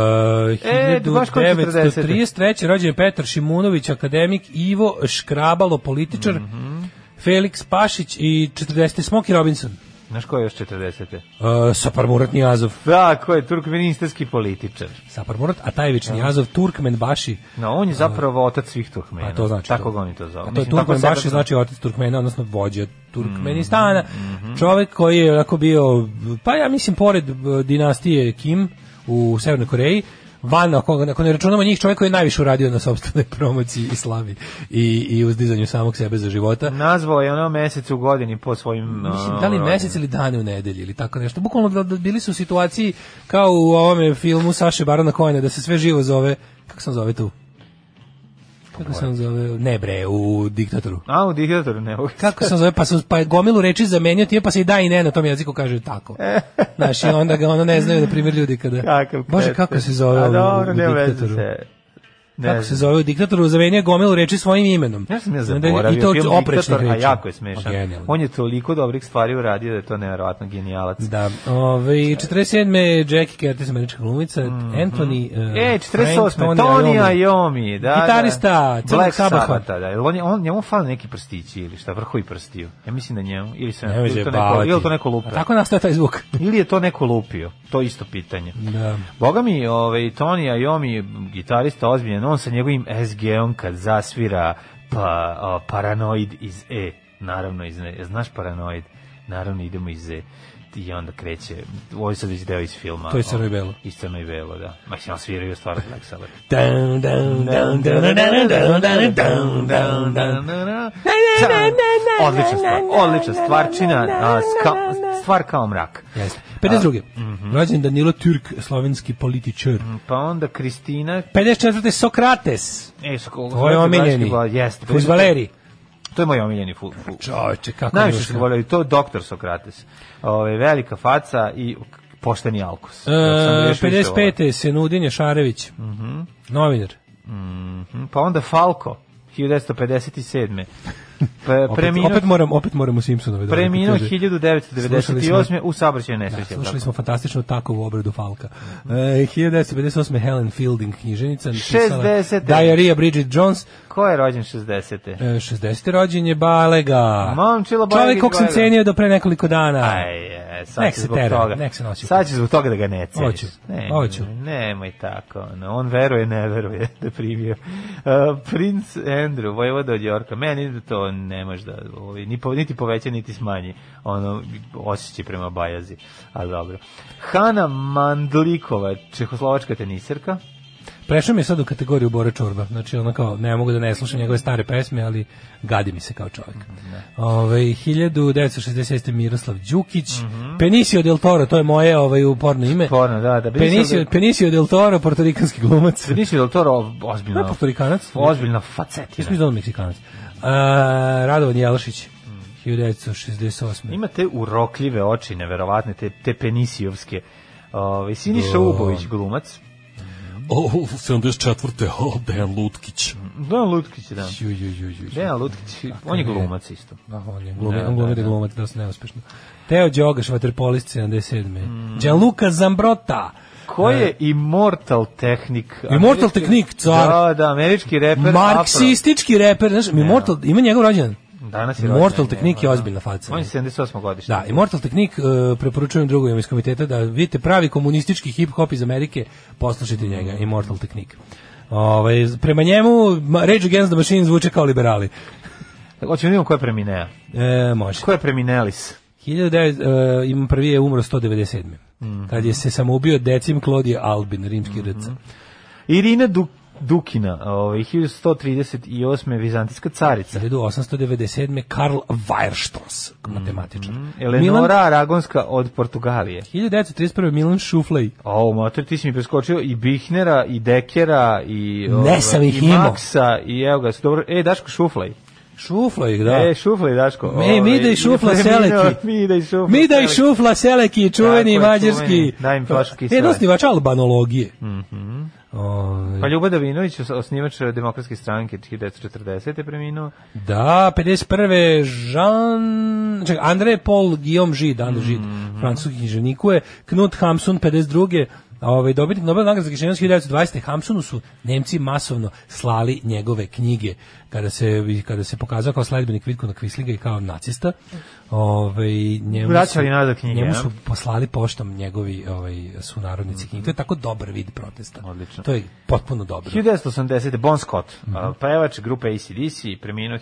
[SPEAKER 6] E, baš kod 40-te.
[SPEAKER 7] 1933. rođen je Petar Šimunović, akademik, Ivo Škrabalo, političar,
[SPEAKER 6] Mhm.
[SPEAKER 7] Felix Pašić i 40. Smoky Robinson.
[SPEAKER 6] Znaš ko je još 40.
[SPEAKER 7] Uh, Sapar Murat Nijazov.
[SPEAKER 6] Tako je, turkmenistarski političar.
[SPEAKER 7] Sapar Murat Atajević Nijazov, Turkmen Baši.
[SPEAKER 6] No, on je zapravo otac svih Turkmena.
[SPEAKER 7] A to znači
[SPEAKER 6] Tako
[SPEAKER 7] to.
[SPEAKER 6] ga oni to zovu.
[SPEAKER 7] A to je
[SPEAKER 6] Mislim, tako
[SPEAKER 7] Turkmen
[SPEAKER 6] sebe
[SPEAKER 7] baš
[SPEAKER 6] zna-
[SPEAKER 7] znači otac Turkmena, odnosno vođa Turkmenistana.
[SPEAKER 6] Mhm.
[SPEAKER 7] Čovjek koji je onako bio, pa ja mislim, pored eh, dinastije Kim u Severnoj Koreji, van, ako, ako ne računamo njih, čovjek koji je najviše uradio na sobstvenoj promociji i slavi i, i uzdizanju samog sebe za života.
[SPEAKER 6] Nazvao je ono mesec u godini po svojim...
[SPEAKER 7] Mislim,
[SPEAKER 6] uh,
[SPEAKER 7] da li
[SPEAKER 6] rođendan.
[SPEAKER 7] mesec ili dane u nedelji ili tako nešto. Bukvalno da, da bili su u situaciji kao u ovome filmu Saše Barona Kojena, da se sve živo zove, kako se on zove tu? Kako se on zove? Ne bre, u diktatoru.
[SPEAKER 6] A, u diktatoru ne mogu.
[SPEAKER 7] Kako se on zove, pa, su, pa je gomilu reči zamenio ti, pa se i da i ne na tom jeziku kaže tako. Znaš, i onda ga ono ne znaju, na primjer, ljudi kada...
[SPEAKER 6] Kakav
[SPEAKER 7] Bože,
[SPEAKER 6] pete.
[SPEAKER 7] kako se zove
[SPEAKER 6] A,
[SPEAKER 7] u,
[SPEAKER 6] dobro,
[SPEAKER 7] u
[SPEAKER 6] ne veze
[SPEAKER 7] diktatoru?
[SPEAKER 6] se. Ne
[SPEAKER 7] Kako se
[SPEAKER 6] znam.
[SPEAKER 7] zove u diktatoru, zamenio je gomilu reči svojim imenom.
[SPEAKER 6] Ja sam ja
[SPEAKER 7] I onda je-
[SPEAKER 6] zaboravio,
[SPEAKER 7] I to
[SPEAKER 6] film
[SPEAKER 7] od oprečnih
[SPEAKER 6] Diktator, a
[SPEAKER 7] reči.
[SPEAKER 6] jako je smešan.
[SPEAKER 7] A, genijalno.
[SPEAKER 6] On je toliko dobrih stvari uradio da je to nevjerovatno genijalac.
[SPEAKER 7] Da, ove, 47. je Jackie Curtis, američka glumica, Anthony...
[SPEAKER 6] E, 48.
[SPEAKER 7] Tony
[SPEAKER 6] Toni
[SPEAKER 7] Iommi.
[SPEAKER 6] Iommi, da.
[SPEAKER 7] Gitarista
[SPEAKER 6] da.
[SPEAKER 7] Crnog
[SPEAKER 6] Black
[SPEAKER 7] Sabatha.
[SPEAKER 6] Sabatha, da. Jel on je on njemu fali neki prstići ili šta, vrhovi prstiju. Ja mislim da njemu ili se
[SPEAKER 7] Nemoj
[SPEAKER 6] ili to neko,
[SPEAKER 7] zajebavati.
[SPEAKER 6] ili to neko
[SPEAKER 7] A
[SPEAKER 6] lupio.
[SPEAKER 7] Tako nastaje taj zvuk.
[SPEAKER 6] Ili je to neko lupio. To je isto pitanje.
[SPEAKER 7] Da.
[SPEAKER 6] Boga mi, ovaj Toni Iommi gitarista ozbiljan, on sa njegovim SG-om kad zasvira pa o, Paranoid iz E, naravno iz E. Znaš Paranoid? Naravno idemo iz E i onda kreće, ovo je sad već deo iz filma.
[SPEAKER 7] To je crno i belo.
[SPEAKER 6] o, Iz crno i belo, da. Ma se on sviraju stvarno Black Sabbath.
[SPEAKER 7] Dun, dun, dun, dun, dun, dun, dun, dun, dun, dun.
[SPEAKER 6] Odlična stvar, odlična stvarčina, a, ska- stvar kao mrak.
[SPEAKER 7] Jeste. 52.
[SPEAKER 6] Mhm.
[SPEAKER 7] Rođen Danilo Türk, slovenski političar.
[SPEAKER 6] Pa onda Kristina,
[SPEAKER 7] 54. Sokrates.
[SPEAKER 6] e, Sokol-
[SPEAKER 7] To je omiljeni.
[SPEAKER 6] Jeste,
[SPEAKER 7] Fuzbaleri.
[SPEAKER 6] To je moj omiljeni fut.
[SPEAKER 7] Čoveče, kako
[SPEAKER 6] Najviše
[SPEAKER 7] mi je
[SPEAKER 6] sam volio i to doktor Sokrates. Ove, velika faca i pošteni alkus.
[SPEAKER 7] E,
[SPEAKER 6] Dok sam da. još više volao.
[SPEAKER 7] 55. Senudin Jašarević, novinar.
[SPEAKER 6] Mhm, Pa onda Falko, 1957. Pa, preminuo,
[SPEAKER 7] Opet, opet, moram, opet moram u Simpsonove. da
[SPEAKER 6] preminuo
[SPEAKER 7] kaže. Slušali
[SPEAKER 6] 1998.
[SPEAKER 7] smo-
[SPEAKER 6] u saobraćaju
[SPEAKER 7] Da,
[SPEAKER 6] nesreće.
[SPEAKER 7] slušali smo fantastičnu takovu obradu Falka.
[SPEAKER 6] Mhm.
[SPEAKER 7] E, 1958. Helen Fielding knjiženica. napisala
[SPEAKER 6] 60..
[SPEAKER 7] Diarrhea Bridget Jones.
[SPEAKER 6] Ko je rođen 60.
[SPEAKER 7] E, 60. rođen je Balega.
[SPEAKER 6] Momčilo Balega
[SPEAKER 7] Čovjek
[SPEAKER 6] iz
[SPEAKER 7] kog sam
[SPEAKER 6] Balega.
[SPEAKER 7] cenio do pre nekoliko dana.
[SPEAKER 6] Aj, e, sad
[SPEAKER 7] Nek
[SPEAKER 6] ću
[SPEAKER 7] se
[SPEAKER 6] zbog
[SPEAKER 7] tera,
[SPEAKER 6] toga.
[SPEAKER 7] nek se nosi.
[SPEAKER 6] Sad ću zbog toga da ga ne ceniš.
[SPEAKER 7] Hoću,
[SPEAKER 6] Ne,
[SPEAKER 7] hoću.
[SPEAKER 6] Nemoj tako. No, on veruje, ne veruje da je primio. Uh, Prince Andrew, Vojvoda od Jorka. Meni da to ne može da ovaj, ni, po, niti poveća, niti smanji. Ono, osjećaj prema Bajazi. Ali dobro. Hana Mandlikova, čehoslovačka teniserka.
[SPEAKER 7] Prešao mi je sad u kategoriju Bore Čorba. Znači, ono kao, ne mogu da ne slušam njegove stare pesme, ali gadi mi se kao čovjek.
[SPEAKER 6] Mhm, da.
[SPEAKER 7] Ove, 1960. Miroslav Đukić, Penisio del Toro, to je moje ovaj, uporno ime.
[SPEAKER 6] Mhm. Porno, da, da.
[SPEAKER 7] Penisio, Penisio del Toro, portorikanski glumac.
[SPEAKER 6] Nisi li to ro- ozbiljno?
[SPEAKER 7] Ne, portorikanac.
[SPEAKER 6] Ozbiljno
[SPEAKER 7] Ja
[SPEAKER 6] facetina.
[SPEAKER 7] sam izdalo Meksikanac. A, Radovan Jelašić,
[SPEAKER 6] Mhm.
[SPEAKER 7] 1968.
[SPEAKER 6] Ima te urokljive oči, neverovatne, te, te penisijovske. Ovaj Siniša
[SPEAKER 7] Da.
[SPEAKER 6] Ubović glumac.
[SPEAKER 10] O, 74. O, Dejan Lutkić.
[SPEAKER 6] Da, Lutkić, da.
[SPEAKER 7] Ju, ju, ju, ju.
[SPEAKER 6] Da, Lutkić, on je glumac isto.
[SPEAKER 7] Ah, on je glumi, on glumi da je glumac, da se neuspešno. Teo Đogaš, vaterpolist 77. Mm. Gianluca Zambrota.
[SPEAKER 6] Ko je Immortal Technik?
[SPEAKER 7] Immortal
[SPEAKER 6] Američki-
[SPEAKER 7] Technic, car.
[SPEAKER 6] Pa Da, da, američki reper.
[SPEAKER 7] Marksistički reper, znaš, Immortal, ima njegov rođendan.
[SPEAKER 6] Afro. Danas je
[SPEAKER 7] Immortal
[SPEAKER 6] rođen,
[SPEAKER 7] Technic je
[SPEAKER 6] nema,
[SPEAKER 7] ozbiljna faca.
[SPEAKER 6] da. On je 78. godište.
[SPEAKER 7] Da, Immortal Technique e, preporučujem drugovima iz komiteta da vidite pravi komunistički hip-hop iz Amerike, poslušajte njega, Immortal Technique. Ovaj, prema njemu ma- Rage Against the Machine zvuče kao liberali.
[SPEAKER 6] Hoćemo da vidimo ko je preminea.
[SPEAKER 7] E, može.
[SPEAKER 6] Ko je preminelis?
[SPEAKER 7] 1900, e, im prvi je umro 197.
[SPEAKER 6] Mhm.
[SPEAKER 7] Kad je se samoubio decim Klodije Albin, rimski rc.
[SPEAKER 6] Irina Du- Dukina, ovaj, 1138. vizantijska carica.
[SPEAKER 7] 1897. Karl Weierstoss, matematičar.
[SPEAKER 6] Mhm. Eleonora
[SPEAKER 7] Milan,
[SPEAKER 6] Aragonska od Portugalije.
[SPEAKER 7] 1931. Milan Šuflej.
[SPEAKER 6] O, mater, ti si mi preskočio i Bihnera, i Dekera, i,
[SPEAKER 7] Ne
[SPEAKER 6] ovaj,
[SPEAKER 7] sam ih
[SPEAKER 6] i
[SPEAKER 7] imao.
[SPEAKER 6] Maksa, i evo ga, su dobro, e, Daško, šuflaj.
[SPEAKER 7] Šuflej, da.
[SPEAKER 6] E, šuflaj, Daško. Ovaj,
[SPEAKER 7] E, mi da i šufla seleki.
[SPEAKER 6] Mi da i šufla
[SPEAKER 7] Mi da i
[SPEAKER 6] seleki.
[SPEAKER 7] šufla seleki, čuveni
[SPEAKER 6] Tako je,
[SPEAKER 7] mađarski.
[SPEAKER 6] čuveni. Daj im flašu kisele.
[SPEAKER 7] Jedan osnivač albanologije. Mm -hmm.
[SPEAKER 6] Mhm. Pa Ljuba Davinović, os- osnivač demokratske stranke, 1940. je preminuo.
[SPEAKER 7] Da, 51. Jean... Čekaj, André Paul Guillaume Žid, André Žid,
[SPEAKER 6] Mhm.
[SPEAKER 7] francuski knjiženikuje, Knut Hamsun, 52. a Ovaj, dobitnik Nobel nagrade za književnost 1920. Hamsunu su Nemci masovno slali njegove knjige kada se, kada se pokazao kao sledbenik Vitkona Kvislinga i kao nacista. Ovaj, njemu su-
[SPEAKER 6] Vraćali nazad knjige,
[SPEAKER 7] Njemu
[SPEAKER 6] a?
[SPEAKER 7] su poslali poštom njegovi ovaj, sunarodnici knjige. To je tako dobar vid protesta.
[SPEAKER 6] Mhm. Odlično.
[SPEAKER 7] To je potpuno dobro.
[SPEAKER 6] 1980. Bon Scott,
[SPEAKER 7] Mhm.
[SPEAKER 6] a, pevač grupe ACDC, preminuo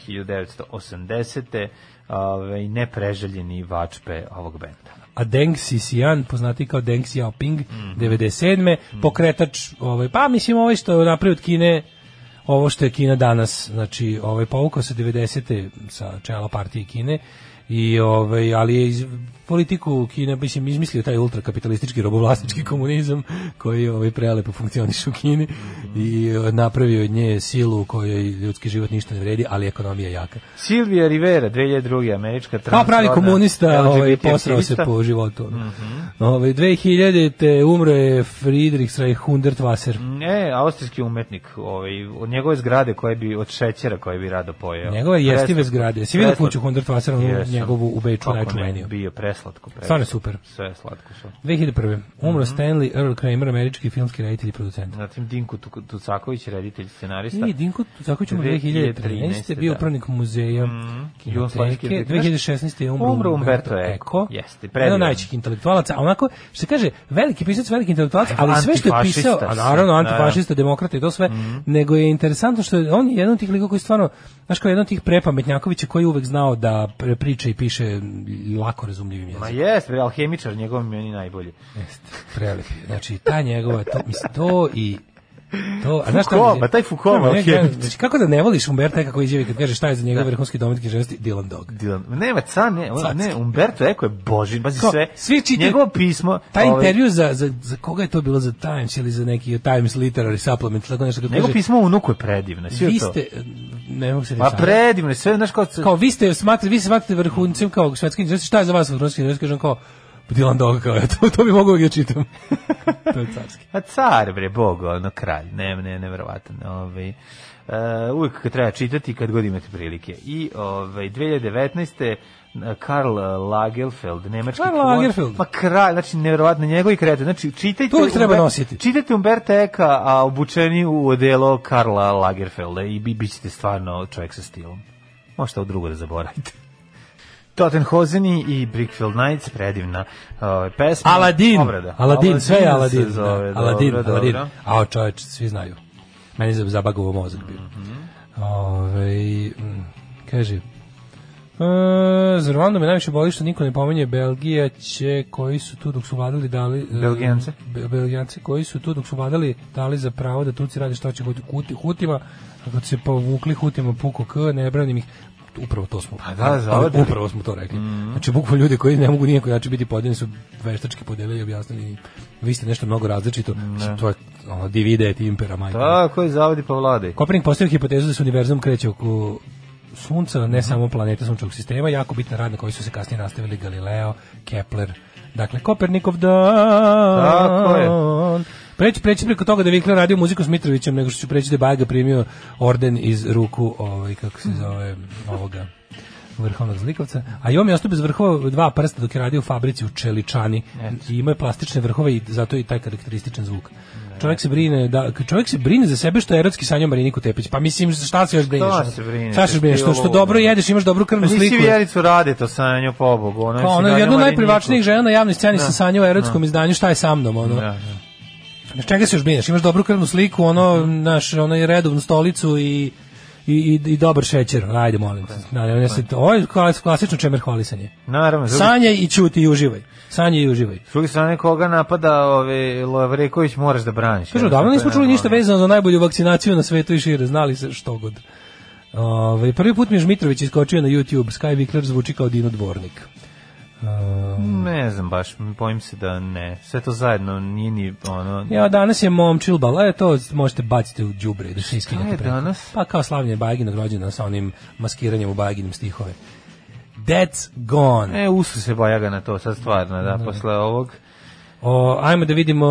[SPEAKER 6] 1980. Ove, nepreželjeni vačpe ovog benda.
[SPEAKER 7] a Deng Xixian, poznati kao Deng Xiaoping, 97. pokretač, ovaj, pa mislim ovaj što je napravio od Kine, ovo što je Kina danas, znači ovaj povukao se 90. sa čela partije Kine, i ovaj ali je iz politiku Kine mislim izmislio taj ultrakapitalistički robovlasnički komunizam koji ovaj prelepo funkcioniše u Kini i eh, napravio od nje silu u kojoj ljudski život ništa ne vredi, ali ekonomija je jaka.
[SPEAKER 6] Silvia Rivera, 2002. američka
[SPEAKER 7] Kao
[SPEAKER 6] transrodna
[SPEAKER 7] Pa pravi komunista,
[SPEAKER 6] LGBT
[SPEAKER 7] ovaj, posrao se
[SPEAKER 6] aktivista.
[SPEAKER 7] po životu. ono. Ovaj, 2000-te umro je Friedrich Reich Hundertwasser.
[SPEAKER 6] Ne, austrijski umetnik, ovaj, od njegove zgrade koje bi, od šećera koje bi rado pojeo.
[SPEAKER 7] Njegove jestive
[SPEAKER 6] Preslatko.
[SPEAKER 7] zgrade. Si vidio
[SPEAKER 6] Preslatko.
[SPEAKER 7] kuću Hundertwassera, onu
[SPEAKER 6] Jesam.
[SPEAKER 7] njegovu u Beču
[SPEAKER 6] Kako ne,
[SPEAKER 7] najčuveniju?
[SPEAKER 6] Bio preslatko, preslatko.
[SPEAKER 7] Stvarno je super.
[SPEAKER 6] Sve je slatko. Sve.
[SPEAKER 7] 2001. Umro Stanley Earl Kramer, američki filmski reditelj i producent.
[SPEAKER 6] Zatim Dinko Tuc- Tucaković, reditelj, scenarista.
[SPEAKER 7] I Dinko Zaković umro 2013.
[SPEAKER 6] 2013,
[SPEAKER 7] Bio
[SPEAKER 6] da.
[SPEAKER 7] upravnik muzeja
[SPEAKER 6] Jugoslovenske
[SPEAKER 7] kinoteke.
[SPEAKER 6] biblioteke.
[SPEAKER 7] 2016. je umro
[SPEAKER 6] Umro Umberto
[SPEAKER 7] Umberto
[SPEAKER 6] Eco.
[SPEAKER 7] Eco.
[SPEAKER 6] Jeste,
[SPEAKER 7] Jedan
[SPEAKER 6] predivno.
[SPEAKER 7] od najvećih intelektualaca. A onako, što se kaže, veliki pisac, veliki intelektualac, ali sve što je
[SPEAKER 6] Antifašista
[SPEAKER 7] pisao, a
[SPEAKER 6] si.
[SPEAKER 7] naravno
[SPEAKER 6] Da, Mhm.
[SPEAKER 7] antifašista, demokrata i to sve, nego je interesantno što je on jedan od tih likova koji stvarno, znaš kao jedan od tih prepametnjakovića koji je uvek znao da pre- priča i piše lako razumljivim jezikom.
[SPEAKER 6] Ma jest, bre, alhemičar, njegov meni najbolji.
[SPEAKER 7] Jeste, prelepi. Znači, ta njegova, to, mislim, to i... To, a znaš šta
[SPEAKER 6] Foucault,
[SPEAKER 7] mi-
[SPEAKER 6] ma pa taj Foucault,
[SPEAKER 7] Ne, ne,
[SPEAKER 6] alhemik.
[SPEAKER 7] znači, kako da ne voliš Umberta kako izjavi kad kaže šta je za njega
[SPEAKER 6] Da.
[SPEAKER 7] vrhunski domet književnosti Dylan Dog.
[SPEAKER 6] Dylan. Nema, ca, ne, on-
[SPEAKER 7] Cacki.
[SPEAKER 6] ne, Umberto Eko je božin, bazi
[SPEAKER 7] Ko?
[SPEAKER 6] sve.
[SPEAKER 7] Svi čitaju-
[SPEAKER 6] Njegovo pismo.
[SPEAKER 7] Taj
[SPEAKER 6] ovaj,
[SPEAKER 7] intervju za, za, za koga je to bilo za Times ili za neki Times Literary Supplement, tako nešto kako
[SPEAKER 6] Njegovo
[SPEAKER 7] kaže.
[SPEAKER 6] pismo unuku je predivno, svi
[SPEAKER 7] Vi
[SPEAKER 6] to.
[SPEAKER 7] ste, ne mogu se
[SPEAKER 6] Pa
[SPEAKER 7] reći.
[SPEAKER 6] predivno, je, sve, znaš, kao,
[SPEAKER 7] kao vi ste smatrate, vi se smatrate vrhuncem kao svetski književnosti, šta je za vas vrhunski književnost? Kažem kao, Dylan Dog kao, to, to bi mogu da ga čitam. to je carski.
[SPEAKER 6] A Pa car, bre, bog, ono, kralj. Ne, ne, nevjerovatan. Ovaj. Uh, uvijek kad treba čitati kad god imate prilike. I ovaj, 2019. Karl Lagerfeld, nemački
[SPEAKER 7] Karl
[SPEAKER 6] kralj.
[SPEAKER 7] Lagerfeld.
[SPEAKER 6] Ma kralj, znači nevjerovatno njegovi krete. Znači čitajte
[SPEAKER 7] To uvijek treba
[SPEAKER 6] Umber-
[SPEAKER 7] nositi.
[SPEAKER 6] Čitajte Umberta Eka, a obučeni u odelo Karla Lagerfelda i bi bićete stvarno čovjek sa stilom. Možete ovo drugo da zaboravite. Tottenhozeni i Brickfield Nights, predivna uh, pesma.
[SPEAKER 7] Aladin,
[SPEAKER 6] Obrada.
[SPEAKER 7] Aladin, sve je
[SPEAKER 6] se
[SPEAKER 7] Aladin. da.
[SPEAKER 6] zove,
[SPEAKER 7] Aladin,
[SPEAKER 6] dobro,
[SPEAKER 7] Aladin.
[SPEAKER 6] dobro.
[SPEAKER 7] A, čoveč, svi znaju. Meni je zabagovo mozak bio.
[SPEAKER 6] Mhm.
[SPEAKER 7] Ovaj, mm, kaže, e, za Rwandu me najviše boli što niko ne pominje Belgija će koji su tu dok su vladali dali e,
[SPEAKER 6] Belgijance.
[SPEAKER 7] Be- Belgijance koji su tu dok su vladali dali za pravo da Turci rade šta će hoće Huti- Hutima a kad su se povukli Hutima puko k ne branim ih upravo to smo
[SPEAKER 6] Pa da, zavadili.
[SPEAKER 7] upravo smo to rekli
[SPEAKER 6] Mhm.
[SPEAKER 7] znači bukvalno ljudi koji ne mogu nikako način biti podeljeni su veštački podelili i objasnili vi ste nešto mnogo različito Mislim, to je ono, divide et impera majka
[SPEAKER 6] Tako je, zavodi pa vladaj.
[SPEAKER 7] Kopernik postavio hipotezu da se univerzum kreće oko sunca,
[SPEAKER 6] Mhm.
[SPEAKER 7] ne samo planete sunčevog sistema, jako bitna radna koji su se kasnije nastavili Galileo, Kepler, dakle Kopernikov dan.
[SPEAKER 6] Tako je.
[SPEAKER 7] Preći, preći preko toga da je Vikler radio muziku s Mitrovićem, nego što ću preći da je Bajga primio orden iz ruku, ovaj, kako se zove, ovoga vrhovnog zlikovca, a i on mi je ostao bez vrhova dva prsta dok je radio u fabrici u Čeličani i imao je plastične vrhove i zato je i taj karakterističan zvuk. Čovjek se brine, da, čovjek se brine za sebe što je erotski sanjao Mariniku Tepić. Pa mislim, šta se još brineš?
[SPEAKER 6] Šta se brineš?
[SPEAKER 7] Šta se još brineš? Što, što dobro jedeš, imaš dobru krvnu
[SPEAKER 6] Pa Nisi
[SPEAKER 7] sliku.
[SPEAKER 6] Vjericu rade to sa njo pobogu. Ona,
[SPEAKER 7] Kao
[SPEAKER 6] si
[SPEAKER 7] ono,
[SPEAKER 6] ganjala
[SPEAKER 7] jedno
[SPEAKER 6] Mariniku.
[SPEAKER 7] od najprivlačnijih žena na javnoj sceni sa sanjao u erotskom izdanju, šta je sa mnom, ono.
[SPEAKER 6] Da, da.
[SPEAKER 7] Znaš, Pa čega se još brineš? Imaš dobru krvnu sliku, ono, naš, ono je redovnu stolicu i i, i, i dobar šećer, ajde molim te. Da, ne, ne, se- ovo je klas- klasično čemer hvalisanje.
[SPEAKER 6] Naravno, s druge-
[SPEAKER 7] Sanjaj i ćuti i uživaj. Sanjaj i uživaj.
[SPEAKER 6] s druge strane koga napada ove, Lovreković moraš da braniš.
[SPEAKER 7] Kažu,
[SPEAKER 6] Jednostavno,
[SPEAKER 7] davno
[SPEAKER 6] to
[SPEAKER 7] nismo
[SPEAKER 6] je
[SPEAKER 7] čuli ništa
[SPEAKER 6] normalno.
[SPEAKER 7] vezano za najbolju vakcinaciju na svetu i šire, znali se što god. Ove, prvi put mi je Žmitrović iskočio na YouTube, Sky Vikler zvuči kao Dino Dvornik.
[SPEAKER 6] Ne znam baš, bojim se da ne. Sve to zajedno nije ni ono...
[SPEAKER 7] Ja, danas je momčil bal, e, to možete baciti u đubre da se iskinete
[SPEAKER 6] je
[SPEAKER 7] preko.
[SPEAKER 6] danas?
[SPEAKER 7] Pa kao slavljenje Bajaginog rođena sa onim maskiranjem u Bajaginim stihove. That's gone.
[SPEAKER 6] E, usu se bajaga na to, sad stvarno, da, posle ovog.
[SPEAKER 7] O, ajmo da vidimo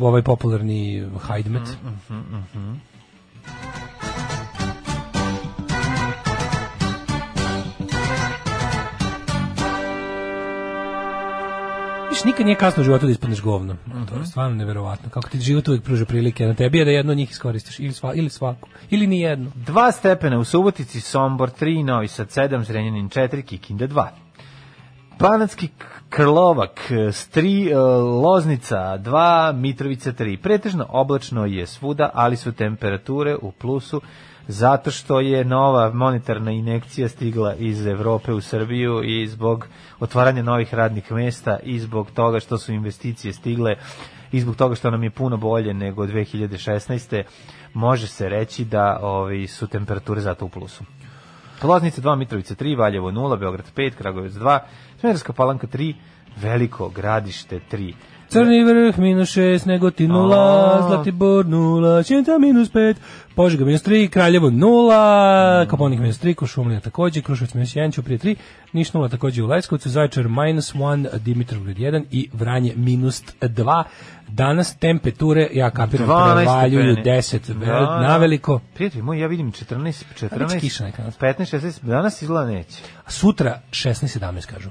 [SPEAKER 7] ovaj popularni Hajdmet. Viš, nikad nije kasno u životu da ispadneš govno. To je stvarno neverovatno. Kako ti život uvijek pruža prilike na tebi, je da jedno od njih iskoristiš. Ili, sva, ili svaku. Ili ni jedno.
[SPEAKER 6] Dva stepena u Subotici, Sombor 3, Novi Sad 7, Zrenjanin 4, Kikinda 2. Banatski K- Krlovak s 3, Loznica 2, Mitrovica 3. Pretežno oblačno je svuda, ali su temperature u plusu zato što je nova monetarna injekcija stigla iz Evrope u Srbiju i zbog otvaranja novih radnih mesta i zbog toga što su investicije stigle i zbog toga što nam je puno bolje nego 2016. može se reći da ovi, su temperature zato u plusu. Loznica 2, Mitrovica 3, Valjevo 0, Beograd 5, Kragovic 2, Smederska palanka 3, Veliko gradište 3.
[SPEAKER 7] Crni vrh minus 6, Negotin 0,
[SPEAKER 6] A.
[SPEAKER 7] Zlatibor 0, Čenta minus 5, Požega minus 3, Kraljevo 0,
[SPEAKER 6] Hmm.
[SPEAKER 7] Kaponik minus 3, Košumlija takođe, Krušovac minus 1, Ćuprije 3, Niš 0 takođe u Leskovcu, Zajčar minus 1, Dimitrovgrad 1 i Vranje minus 2. Danas temperature, ja kapiram,
[SPEAKER 6] 12
[SPEAKER 7] prevaljuju
[SPEAKER 6] stepeni.
[SPEAKER 7] 10,
[SPEAKER 6] Da,
[SPEAKER 7] vel,
[SPEAKER 6] da.
[SPEAKER 7] na veliko.
[SPEAKER 6] Prijatelji moji, ja vidim 14,
[SPEAKER 7] A bit će
[SPEAKER 6] 14,
[SPEAKER 7] kiša neka danas.
[SPEAKER 6] 15, 16, danas izgleda neće.
[SPEAKER 7] Sutra 16-17, kažu.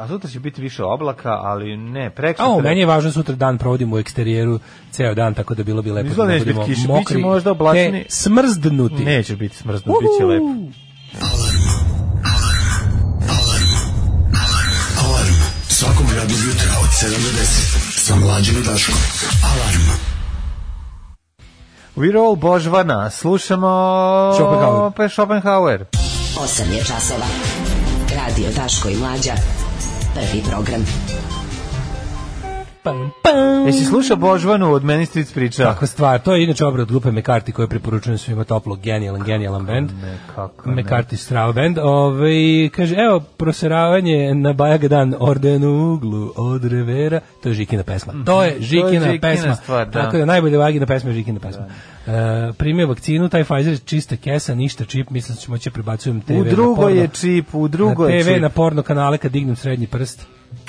[SPEAKER 6] A sutra će biti više oblaka, ali ne, prek
[SPEAKER 7] A o, meni je važno sutra dan provodim u eksterijeru ceo dan, tako da bilo bi lepo
[SPEAKER 6] Izgleda
[SPEAKER 7] da
[SPEAKER 6] neće
[SPEAKER 7] budemo
[SPEAKER 6] biti kiše, bit će
[SPEAKER 7] mokri,
[SPEAKER 6] možda
[SPEAKER 7] te
[SPEAKER 6] oblačni.
[SPEAKER 7] smrzdnuti.
[SPEAKER 6] Neće biti smrzno, bit će lepo.
[SPEAKER 4] Svakog radnog jutra od 7 do 10 sa mlađim i Daškom.
[SPEAKER 6] We roll Božvana, slušamo...
[SPEAKER 7] Schopenhauer.
[SPEAKER 6] Pe- Schopenhauer.
[SPEAKER 5] 8 je časova. Radio Daško i Mlađa. Prvi program.
[SPEAKER 7] Pam, pam.
[SPEAKER 6] Jesi slušao Božvanu od meni stric priča?
[SPEAKER 7] Takva stvar, to je inače obrad grupe McCarthy koje preporučujem svima toplo, genijalan, genijalan band.
[SPEAKER 6] ne, kako ne.
[SPEAKER 7] McCarthy Strava band. Ove, kaže, evo, proseravanje na Bajag dan orden u uglu od revera. To je Žikina pesma. To je Žikina,
[SPEAKER 6] Mhm. Žikina
[SPEAKER 7] pesma.
[SPEAKER 6] stvar, da.
[SPEAKER 7] Tako da najbolje Vagina pesma je Žikina pesma. E, primio vakcinu, taj Pfizer je čista kesa, ništa čip, mislim da ćemo će prebacujem TV
[SPEAKER 6] U
[SPEAKER 7] na
[SPEAKER 6] drugo
[SPEAKER 7] porno.
[SPEAKER 6] je čip, u drugo
[SPEAKER 7] na
[SPEAKER 6] je
[SPEAKER 7] TV,
[SPEAKER 6] čip.
[SPEAKER 7] na porno kanale kad dignem srednji prst.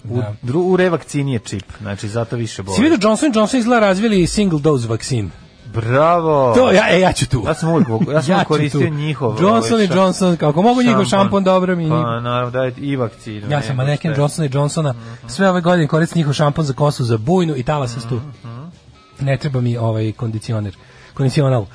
[SPEAKER 7] Da.
[SPEAKER 6] U, dru, u revakcini je čip, znači zato više boli.
[SPEAKER 7] Si vidio Johnson Johnson izgleda razvili single dose vakcin.
[SPEAKER 6] Bravo!
[SPEAKER 7] To, ja, e, ja ću tu.
[SPEAKER 6] Ja sam uvijek, ja sam uvijek
[SPEAKER 7] ću
[SPEAKER 6] koristio
[SPEAKER 7] tu.
[SPEAKER 6] njihov... ovaj,
[SPEAKER 7] Johnson i
[SPEAKER 6] ša-
[SPEAKER 7] Johnson, kako mogu njihov šampon, dobro mi.
[SPEAKER 6] Pa, naravno, da je i vakcinu.
[SPEAKER 7] ja sam
[SPEAKER 6] nema
[SPEAKER 7] maneken
[SPEAKER 6] šta je.
[SPEAKER 7] Johnson i Johnsona.
[SPEAKER 6] Mhm.
[SPEAKER 7] Sve ove godine koristim njihov šampon za kosu, za bujnu i tala se tu.
[SPEAKER 6] Mhm.
[SPEAKER 7] Ne treba mi ovaj kondicioner. Kondicional.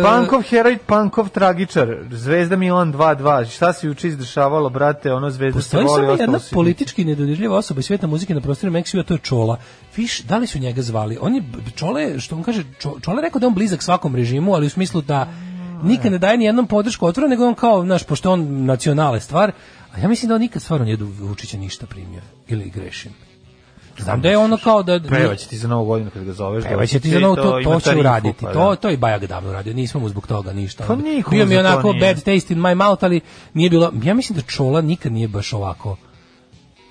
[SPEAKER 7] E,
[SPEAKER 6] Pankov heroj, Pankov tragičar, Zvezda Milan 2-2. Šta se juče izdešavalo, brate, ono Zvezda se
[SPEAKER 7] Postoji
[SPEAKER 6] voli,
[SPEAKER 7] samo jedna
[SPEAKER 6] ostalo si...
[SPEAKER 7] politički nedodirljiva osoba iz sveta muzike na prostoru Meksika, to je Čola. Viš, da li su njega zvali? On je, Čola je, što on kaže, Čo- Čola je rekao da je on blizak svakom režimu, ali u smislu da nikad ne daje ni jednom podršku otvoreno, nego on kao, znaš, pošto je on nacionale stvar, a ja mislim da on nikad stvarno nije do Vučića ništa primio. Ili grešim. Znam da je ono kao da...
[SPEAKER 6] Pevać ti za novu godinu kad ga zoveš.
[SPEAKER 7] Evo će ti za
[SPEAKER 6] doći,
[SPEAKER 7] novo to,
[SPEAKER 6] ima
[SPEAKER 7] to će
[SPEAKER 6] tarifu,
[SPEAKER 7] uraditi.
[SPEAKER 6] pa
[SPEAKER 7] To,
[SPEAKER 6] da.
[SPEAKER 7] to i Bajag davno uradio, nismo mu zbog toga ništa.
[SPEAKER 6] Pa
[SPEAKER 7] Onda.
[SPEAKER 6] nikomu
[SPEAKER 7] Bio mi
[SPEAKER 6] za to
[SPEAKER 7] onako
[SPEAKER 6] nije.
[SPEAKER 7] bad taste in my mouth, ali nije bilo, ja mislim da Čola nikad nije baš ovako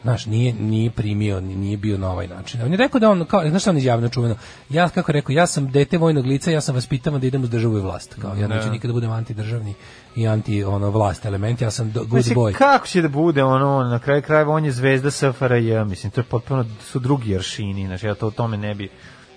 [SPEAKER 7] Znaš, nije, nije primio, ni- nije bio na ovaj način. On je rekao da on, kao, znaš šta on izjavno čuveno? Ja, kako je rekao, ja sam dete vojnog lica, ja sam vas da idem uz državu i vlast. Kao, ja
[SPEAKER 6] Da.
[SPEAKER 7] neću nikada budem antidržavni i anti ono, vlast element, ja sam do- good
[SPEAKER 6] Mislim,
[SPEAKER 7] boy.
[SPEAKER 6] kako će da bude ono, on, na kraju krajeva on je zvezda SFRJ, mislim, to je potpuno, su drugi aršini, znači ja to o tome ne bi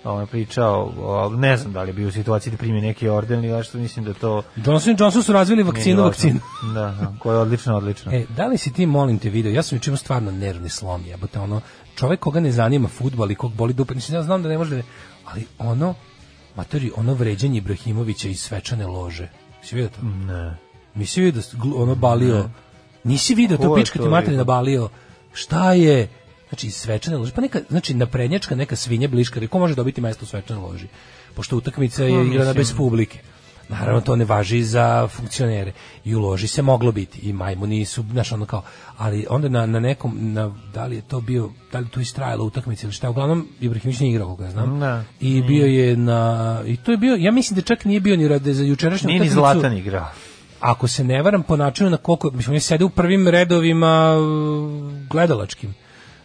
[SPEAKER 6] ovaj, pričao, ali ne znam da li je bio u situaciji da primi neki orden ili nešto, mislim da to...
[SPEAKER 7] Johnson Johnson su razvili
[SPEAKER 6] nije
[SPEAKER 7] vakcinu,
[SPEAKER 6] važno.
[SPEAKER 7] vakcinu.
[SPEAKER 6] Da, da, koja je odlično, odlično.
[SPEAKER 7] E, da li si ti, molim te, video, ja sam učinio stvarno nervni slom, jebote, ono, čovek koga ne zanima futbal i kog boli dupe, mislim, ja znam da ne može, da- ali ono, matori, ono vređanje Ibrahimovića iz svečane lože, si vidio to?
[SPEAKER 6] Ne.
[SPEAKER 7] Nisi vidio, da gl- ono balio, nisi vidio
[SPEAKER 6] Ko
[SPEAKER 7] to
[SPEAKER 6] je
[SPEAKER 7] pička
[SPEAKER 6] to
[SPEAKER 7] ti materina
[SPEAKER 6] vidio?
[SPEAKER 7] balio, šta je, znači iz svečane lože, pa neka, znači naprednjačka neka svinja bliška, ko može dobiti mesto u svečanoj loži, pošto utakmica
[SPEAKER 6] Pa,
[SPEAKER 7] je igrana bez publike. Naravno, to ne važi za funkcionere. I u loži se moglo biti. I majmuni su, znaš, ono kao... Ali onda na, na nekom, na, da li je to bio, da li je to istrajala utakmica ili šta, uglavnom, Ibrahimović nije igrao, koga ja znam.
[SPEAKER 6] Da.
[SPEAKER 7] I bio je na... I to je bio, ja mislim da čak nije bio ni rade za jučerašnju
[SPEAKER 6] Nije ni
[SPEAKER 7] utakmicu
[SPEAKER 6] Zlatan
[SPEAKER 7] Da,
[SPEAKER 6] igrao.
[SPEAKER 7] ako se ne varam po načinu na koliko mislim oni sede u prvim redovima uh, gledalačkim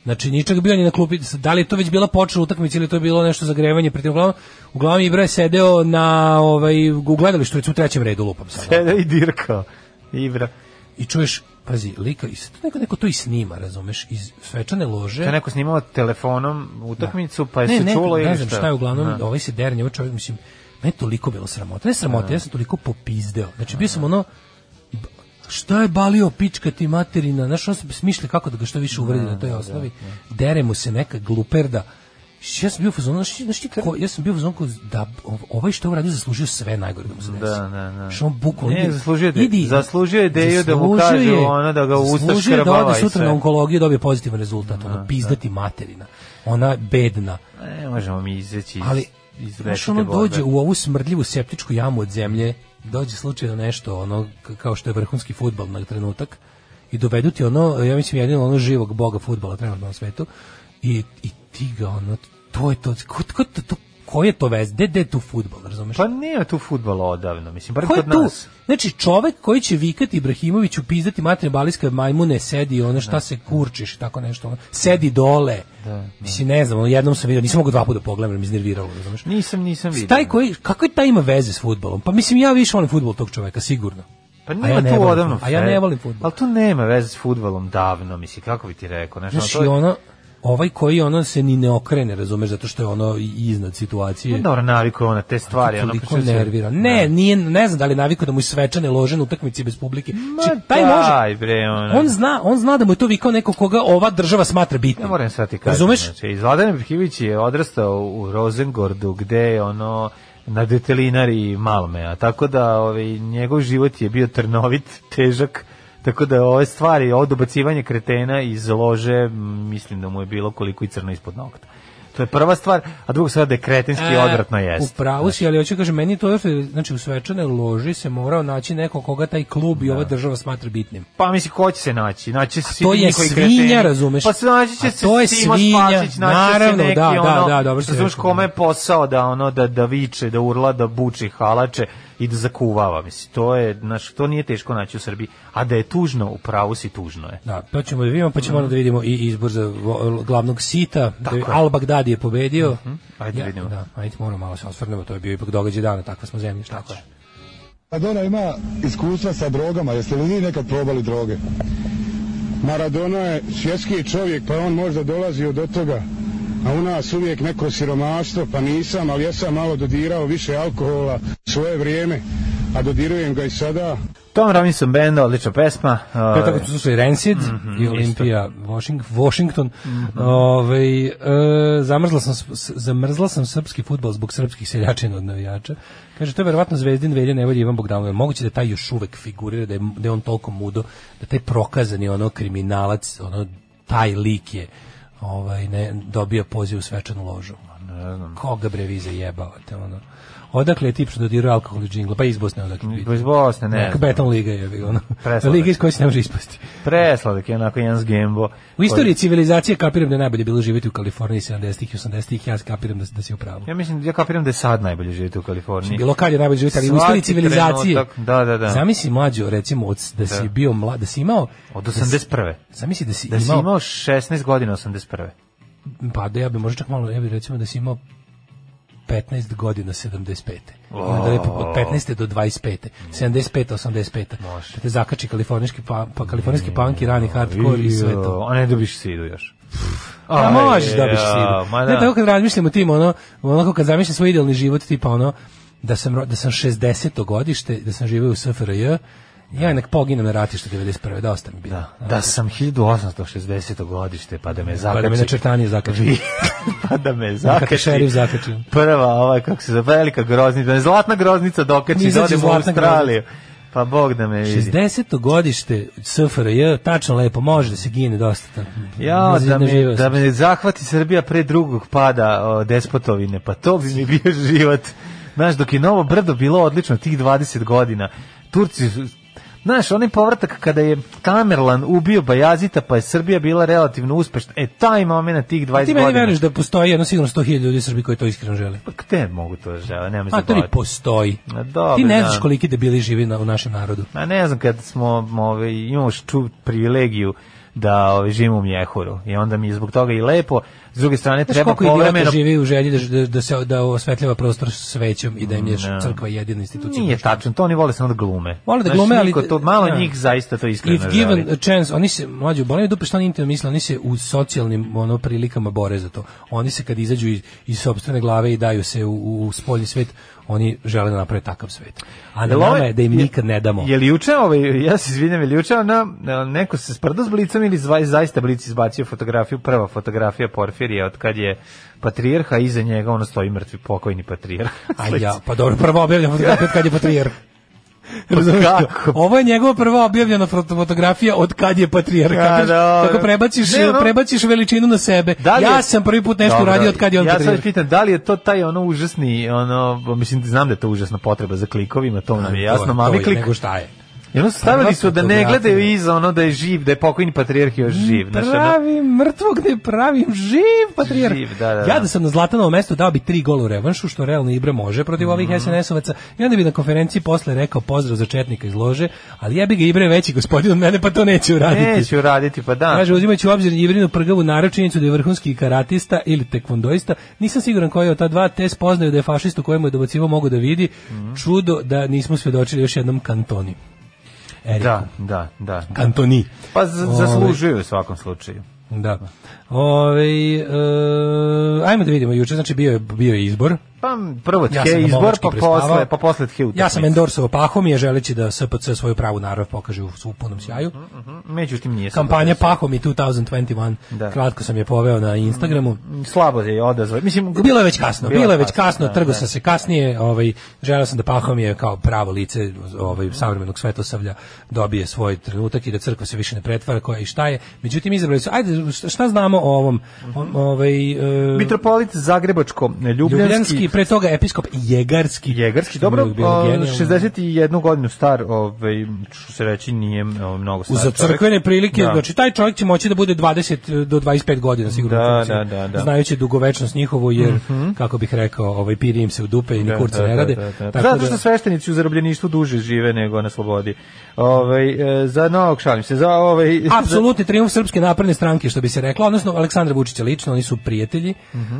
[SPEAKER 7] Znači, ničak bio ni na klupi. Da li je to već bila počela utakmica ili je to bilo nešto zagrevanje? Pritim, uglavnom, uglavnom Ibra je sedeo na, ovaj, u gledalištu, recimo u trećem redu lupam sad.
[SPEAKER 6] Teda i dirkao. Ibra.
[SPEAKER 7] I čuješ, pazi, lika, i sad neko, neko to i snima, razumeš, iz svečane lože.
[SPEAKER 6] To je neko snimao telefonom utakmicu, pa je
[SPEAKER 7] ne,
[SPEAKER 6] se
[SPEAKER 7] ne,
[SPEAKER 6] čulo
[SPEAKER 7] ne
[SPEAKER 6] ili
[SPEAKER 7] znam
[SPEAKER 6] šta.
[SPEAKER 7] šta je uglavnom,
[SPEAKER 6] Da.
[SPEAKER 7] ovaj se dernje, ovaj čovjek, mislim, meni je toliko bilo sramota, ne
[SPEAKER 6] Da.
[SPEAKER 7] sramota, ja sam toliko popizdeo, znači bio sam ono, b- šta je balio pička ti materina, znaš, on se smišlja kako da ga što više uvredi na toj
[SPEAKER 6] da.
[SPEAKER 7] osnovi, dere mu se neka gluperda, ja sam bio u fazonu, znaš ti- znaš ti ko- ja sam bio u fazonu ko- da ov- ovaj što je uradio zaslužio sve najgore da mu se desi.
[SPEAKER 6] Da, da, da.
[SPEAKER 7] Što on bukvalno
[SPEAKER 6] Ne,
[SPEAKER 7] ide-
[SPEAKER 6] zaslužio je de-
[SPEAKER 7] idi-
[SPEAKER 6] zaslužio je Deju da mu
[SPEAKER 7] zaslužio
[SPEAKER 6] kažu
[SPEAKER 7] je-
[SPEAKER 6] ono da ga u usta
[SPEAKER 7] zaslužio je da
[SPEAKER 6] škrabava
[SPEAKER 7] ode
[SPEAKER 6] i
[SPEAKER 7] sutra
[SPEAKER 6] sve.
[SPEAKER 7] na onkologiju i dobije pozitivan rezultat,
[SPEAKER 6] Da,
[SPEAKER 7] ono pizdati materina. Ona bedna
[SPEAKER 6] Ne možemo mi izaći iz,
[SPEAKER 7] ali
[SPEAKER 6] iz
[SPEAKER 7] znaš,
[SPEAKER 6] večite
[SPEAKER 7] ono
[SPEAKER 6] vode.
[SPEAKER 7] dođe u ovu smrdljivu septičku jamu od zemlje, dođe slučajno nešto ono k- kao što je vrhunski fudbal na trenutak i dovedu ti ono, ja mislim jedino ono živog boga fudbala trenutno na svetu i, i ti ga ono, to je to, ko, ko, to, to, ko je to vez, gde gde je tu fudbal, razumeš?
[SPEAKER 6] Pa nema tu futbala odavno, mislim, bar
[SPEAKER 7] Ko je
[SPEAKER 6] kod
[SPEAKER 7] tu?
[SPEAKER 6] nas.
[SPEAKER 7] Znači, čovek koji će vikati Ibrahimoviću, pizdati materne baliske majmune, sedi, ono
[SPEAKER 6] Da.
[SPEAKER 7] šta se kurčiš, i tako nešto, ono, sedi dole. Mislim, ne znam, ono, jednom sam vidio, nisam mogao dva puta da pogledam, jer mi iznerviralo, razumeš?
[SPEAKER 6] Nisam, nisam vidio.
[SPEAKER 7] Taj koji, kako je taj ima veze s fudbalom? Pa mislim, ja više volim fudbal tog čoveka, sigurno.
[SPEAKER 6] Pa
[SPEAKER 7] A
[SPEAKER 6] nema
[SPEAKER 7] ja ne
[SPEAKER 6] tu
[SPEAKER 7] volim
[SPEAKER 6] odavno.
[SPEAKER 7] fudbal. A ja ne volim fudbal.
[SPEAKER 6] Ali tu nema veze s futbalom davno, mislim, kako bi ti rekao. Znaš,
[SPEAKER 7] Znaš,
[SPEAKER 6] ono,
[SPEAKER 7] i
[SPEAKER 6] to je-
[SPEAKER 7] ono, ovaj koji ono se ni ne okrene, razumeš, zato što je ono i- iznad situacije.
[SPEAKER 6] Pa Dobro, navikuje ona te stvari. ono,
[SPEAKER 7] toliko
[SPEAKER 6] pričam se-
[SPEAKER 7] nervira. Ne, nije, ne znam da li je navikao da mu je svečane lože na utakmici bez publike.
[SPEAKER 6] Ma da,
[SPEAKER 7] Či- znači, taj može,
[SPEAKER 6] daj, bre, ono.
[SPEAKER 7] on zna, on zna da mu je to vikao neko koga ova država smatra bitnim.
[SPEAKER 6] Ja moram sad ti kažem.
[SPEAKER 7] Razumeš?
[SPEAKER 6] Znači, Zlatan Ibrahimović je odrastao u Rosengordu, gde je ono na detelinari Malmea, tako da ovaj, njegov život je bio trnovit, težak, tako da ove stvari, ovo dobacivanje kretena iz lože, m, mislim da mu je bilo koliko i crno ispod nokta. To je prva stvar, a druga stvar da je kretenski
[SPEAKER 7] E,
[SPEAKER 6] odvratno
[SPEAKER 7] U
[SPEAKER 6] jest.
[SPEAKER 7] pravu si, ali hoću da kažem, meni je to još, znači u svečanoj loži se morao naći neko koga taj klub i ova
[SPEAKER 6] Da.
[SPEAKER 7] država smatra bitnim.
[SPEAKER 6] Pa mislim, ko će se naći? Naći će se svi
[SPEAKER 7] to je
[SPEAKER 6] njihovi
[SPEAKER 7] svinja,
[SPEAKER 6] kreteni.
[SPEAKER 7] razumeš?
[SPEAKER 6] Pa se naći će
[SPEAKER 7] A
[SPEAKER 6] se
[SPEAKER 7] to je
[SPEAKER 6] Simo
[SPEAKER 7] svinja,
[SPEAKER 6] Spasić, naći će se
[SPEAKER 7] naravno,
[SPEAKER 6] neki
[SPEAKER 7] da, da,
[SPEAKER 6] ono,
[SPEAKER 7] da, dobro si
[SPEAKER 6] razumeš
[SPEAKER 7] rekao,
[SPEAKER 6] kome
[SPEAKER 7] da.
[SPEAKER 6] je posao da ono da da viče, da urla, da buči halače i da zakuvava, mislim. To je, znaš, to nije teško naći u Srbiji, a da je tužno, u pravu si tužno je.
[SPEAKER 7] Da, to ćemo da vidimo, pa ćemo onda da vidimo i izbor za vo- glavnog sita. Da je Mhm. Al Bagdadi je pobedio.
[SPEAKER 6] Ajde vidimo.
[SPEAKER 7] Da, ajde moramo malo se osvrnemo, to je bio ipak događaj dana, takva smo zemlja, šta tako je.
[SPEAKER 11] Maradona ima iskustva sa drogama, jeste li vi nekad probali droge? Maradona je svjetski čovjek, pa je on možda dolazi od toga. A u nas uvijek neko siromaštvo, pa nisam, ali ja sam malo dodirao više alkohola svoje vrijeme, a dodirujem ga i sada.
[SPEAKER 6] Tom Robinson Band, odlična pesma.
[SPEAKER 7] Pre toga su slušali Rancid i Olimpija Washington. Washington. Ovaj, e, zamrzla, sam, s- zamrzla sam srpski futbol zbog srpskih seljačina od navijača. Kaže, to je verovatno Zvezdin Velja Nevolja Ivan Bogdanov. Moguće da taj još uvek figurira, da je, da je on toliko mudo, da taj prokazani ono kriminalac, ono taj lik je ovaj, ne, dobio poziv u svečanu ložu. Koga bre vi zajebavate, ono. Odakle je tip što dodiruje alkohol i džingla? Pa iz Bosne odakle.
[SPEAKER 6] Pa iz Bosne, ne znam.
[SPEAKER 7] Beton liga je, bi, ono.
[SPEAKER 6] Presladak.
[SPEAKER 7] Liga iz koje se ne može ispasti.
[SPEAKER 6] Presladak je onako jedan zgembo.
[SPEAKER 7] U istoriji civilizacije kapiram da je najbolje bilo živjeti u Kaliforniji 70-ih i 80-ih, ja kapiram da, da si u pravu.
[SPEAKER 6] Ja mislim, ja kapiram da je sad najbolje živjeti u Kaliforniji.
[SPEAKER 7] Bilo kad je najbolje živjeti, ali u
[SPEAKER 6] Svaki
[SPEAKER 7] istoriji civilizacije.
[SPEAKER 6] trenutak, da, da, da.
[SPEAKER 7] Zamisli mlađo, recimo, od, da si
[SPEAKER 6] Da.
[SPEAKER 7] bio mlad, da si imao...
[SPEAKER 6] Od
[SPEAKER 7] da si-
[SPEAKER 6] 81.
[SPEAKER 7] Zamisli da si
[SPEAKER 6] Da si
[SPEAKER 7] imao...
[SPEAKER 6] imao 16 godina 81.
[SPEAKER 7] Pa da ja bi možda čak malo, ja bi recimo da si imao 15 godina 75.
[SPEAKER 6] O.
[SPEAKER 7] Onda lepo od 15. do 25. 75. 85.
[SPEAKER 6] Može.
[SPEAKER 7] Da te zakači kalifornijski, pa, pa kalifornijski punk i rani hardcore i sve to.
[SPEAKER 6] A ne dobiš sidu još.
[SPEAKER 7] A
[SPEAKER 6] Aj,
[SPEAKER 7] Da možeš dobiš
[SPEAKER 6] ja,
[SPEAKER 7] sidu.
[SPEAKER 6] ma
[SPEAKER 7] Ne,
[SPEAKER 6] da.
[SPEAKER 7] tako kad razmišljam o tim, ono, onako kad zamišljam svoj idealni život, tipa ono, da sam, ro- da sam 60. godište, da sam živio u SFRJ, ja nek poginem na ratištu 91. Dosta mi bilo.
[SPEAKER 6] Da sam 1860. godište, pa da me
[SPEAKER 7] Pa
[SPEAKER 6] zakači.
[SPEAKER 7] da me na čertanje zakači.
[SPEAKER 6] pa da me
[SPEAKER 7] Kako te
[SPEAKER 6] zakači.
[SPEAKER 7] šerif zakači.
[SPEAKER 6] Prva, ovaj, kako se zove, velika groznica. Zlatna groznica dokači,
[SPEAKER 7] Izađe
[SPEAKER 6] dođem u
[SPEAKER 7] zlatna
[SPEAKER 6] Australiju. Pa Bog da me vidi.
[SPEAKER 7] 60. godište SFRJ, tačno lepo, može da se gine dosta. tamo.
[SPEAKER 6] Ja,
[SPEAKER 7] Ne-
[SPEAKER 6] da
[SPEAKER 7] ne
[SPEAKER 6] me,
[SPEAKER 7] živeo
[SPEAKER 6] da
[SPEAKER 7] sam.
[SPEAKER 6] me zahvati Srbija pre drugog pada o, despotovine, pa to bi mi bio život. Znaš, dok je Novo Brdo bilo odlično tih 20 godina, Turci su- Znaš, onaj povratak kada je Kamerlan ubio Bajazita, pa je Srbija bila relativno uspešna. E, taj moment tih 20
[SPEAKER 7] Ti
[SPEAKER 6] godina.
[SPEAKER 7] meni veruješ da postoji jedno sigurno 100.000 ljudi u Srbiji koji to iskreno žele.
[SPEAKER 6] Pa Gde mogu to žele? Nema
[SPEAKER 7] A to ni
[SPEAKER 6] zabavati.
[SPEAKER 7] postoji.
[SPEAKER 6] Ma dobro,
[SPEAKER 7] Ti ne
[SPEAKER 6] da.
[SPEAKER 7] znaš koliki debili živi na, u našem narodu.
[SPEAKER 6] Ma ne znam, kad smo, ove, imamo ču privilegiju da ove, živimo u Mjehuru. I onda mi je zbog toga i lepo. S druge strane,
[SPEAKER 7] Znaš
[SPEAKER 6] treba
[SPEAKER 7] koliko idiota
[SPEAKER 6] povremeno...
[SPEAKER 7] živi u želji da, da, da se da osvetljava prostor svećom i da im je
[SPEAKER 6] Ne.
[SPEAKER 7] crkva jedina institucija.
[SPEAKER 6] Nije tačno, to oni vole samo da glume.
[SPEAKER 7] Vole da
[SPEAKER 6] Znaš,
[SPEAKER 7] glume, ali-
[SPEAKER 6] niko To, malo
[SPEAKER 7] da.
[SPEAKER 6] njih zaista to iskreno
[SPEAKER 7] If given
[SPEAKER 6] želi.
[SPEAKER 7] a chance, oni se mlađi bolje dupe šta oni intimno misle, oni se u socijalnim ono prilikama bore za to. Oni se kad izađu iz, iz sopstvene glave i daju se u, u spoljni svet, oni žele da naprave takav svet. A na
[SPEAKER 6] Jel ovo-
[SPEAKER 7] nama je da im
[SPEAKER 6] je-
[SPEAKER 7] nikad ne damo.
[SPEAKER 6] Je li juče, ovaj, ja se izvinjam, je li juče ona, e, neko se sprdo s blicom ili zva- zaista blic izbacio fotografiju, prva fotografija Porfirija od kad je patrijarha, a iza njega ono stoji mrtvi pokojni patrijarh.
[SPEAKER 7] A ja, pa dobro, prvo objavljena fotografija od kad je patrijarh.
[SPEAKER 6] Razumeš to?
[SPEAKER 7] Ovo je njegova prva objavljena foto- fotografija od kad je patrijarh.
[SPEAKER 6] Ja,
[SPEAKER 7] Kako,
[SPEAKER 6] dobro.
[SPEAKER 7] kako prebaciš,
[SPEAKER 6] Da, Ne, ono- Da
[SPEAKER 7] prebaciš veličinu na sebe.
[SPEAKER 6] li je-
[SPEAKER 7] ja sam prvi put nešto
[SPEAKER 6] Dobro,
[SPEAKER 7] uradio od kad je on
[SPEAKER 6] ja
[SPEAKER 7] patrijarh.
[SPEAKER 6] sad pitam, da li je to taj ono užasni, ono, mislim, znam da je to užasna potreba za klikovima, to nam je
[SPEAKER 7] To-
[SPEAKER 6] jasno,
[SPEAKER 7] to
[SPEAKER 6] mami
[SPEAKER 7] je,
[SPEAKER 6] klik.
[SPEAKER 7] Nego šta je?
[SPEAKER 6] I
[SPEAKER 7] Pa
[SPEAKER 6] ono su stavili su da ne
[SPEAKER 7] fotografija.
[SPEAKER 6] gledaju iza ono da je živ, da je pokojni patrijarh
[SPEAKER 7] Mm,
[SPEAKER 6] još živ. Znaš, ono,
[SPEAKER 7] Pravim mrtvog ne pravim živ patrijarh.
[SPEAKER 6] Živ, da, da, da.
[SPEAKER 7] Ja da sam na Zlatanovom mestu dao bi tri gola u revanšu, što realno Ibra može protiv ovih
[SPEAKER 6] Mhm.
[SPEAKER 7] SNS-ovaca. I onda bi na konferenciji posle rekao pozdrav za Četnika iz lože, ali ja bi ga Ibra je veći gospodin od mene, pa to neće uraditi.
[SPEAKER 6] Neću raditi, pa da.
[SPEAKER 7] Kaže, uzimajući u obzir Ivrinu prgavu naročinicu da je vrhunski karatista ili tekvondoista, nisam siguran koji je od ta dva, te spoznaju da je fašistu kojemu je dobacivo mogu da vidi. Čudo da nismo svedočili još jednom kantoni. Eriku.
[SPEAKER 6] da, da, da.
[SPEAKER 7] Kantoni.
[SPEAKER 6] Pa z- zaslužuju u svakom slučaju.
[SPEAKER 7] Da. Ove, e, ajmo da vidimo juče, znači bio je, bio je izbor.
[SPEAKER 6] Pa prvo
[SPEAKER 7] Ja
[SPEAKER 6] tke
[SPEAKER 7] sam ga
[SPEAKER 6] izbor,
[SPEAKER 7] momački
[SPEAKER 6] pa
[SPEAKER 7] prespavao.
[SPEAKER 6] posle, pa posle tke utakmice.
[SPEAKER 7] Ja sam endorsovao Pahomije želeći da SPC svoju pravu narav pokaže u, u punom sjaju.
[SPEAKER 6] Mhm, Međutim, nije sam
[SPEAKER 7] Kampanja
[SPEAKER 6] došao.
[SPEAKER 7] Pahomi 2021.
[SPEAKER 6] Da.
[SPEAKER 7] Kratko sam je poveo na Instagramu.
[SPEAKER 6] Slabo je odazva. Mislim,
[SPEAKER 7] Bilo je već kasno, bilo, je već kasno,
[SPEAKER 6] da,
[SPEAKER 7] trgo
[SPEAKER 6] da.
[SPEAKER 7] sam se kasnije, ovaj, želeo sam da Pahom je kao pravo lice ovaj, savremenog svetosavlja dobije svoj trenutak i da crkva se više ne pretvara koja i šta je. Međutim, izabrali su, ajde, šta- šta znamo o ovom? O, ovaj, e,
[SPEAKER 6] Mitropolit Zagrebačko, eh,
[SPEAKER 7] Ljubljanski,
[SPEAKER 6] Ljubljanski,
[SPEAKER 7] pre toga episkop Jegarski.
[SPEAKER 6] Jegarski,
[SPEAKER 7] Što mi je
[SPEAKER 6] dobro, eh,
[SPEAKER 7] uvijek bilo
[SPEAKER 6] a,
[SPEAKER 7] genijalno.
[SPEAKER 6] 61 godinu star, ovaj, što se reći, nije o, mnogo star
[SPEAKER 7] Za
[SPEAKER 6] čovjek.
[SPEAKER 7] crkvene prilike,
[SPEAKER 6] Da.
[SPEAKER 7] znači taj čovjek će moći da bude 20 do 25 godina sigurno.
[SPEAKER 6] Da,
[SPEAKER 7] u funkciji,
[SPEAKER 6] da, da, da.
[SPEAKER 7] Znajući dugovečnost njihovu jer kako bih rekao, ovaj piri im se u dupe i ni kurca ne rade.
[SPEAKER 6] Da, da, da.
[SPEAKER 7] Tako
[SPEAKER 6] Zato što
[SPEAKER 7] da-
[SPEAKER 6] sveštenici u zarobljeništvu duže žive nego na slobodi. Ovaj e, za novog šalim se, za ovaj...
[SPEAKER 7] Apsolutni triumf srpske napredne stranke, što bi se reklo, odnosno Aleksandra Vučića lično, oni su prijatelji,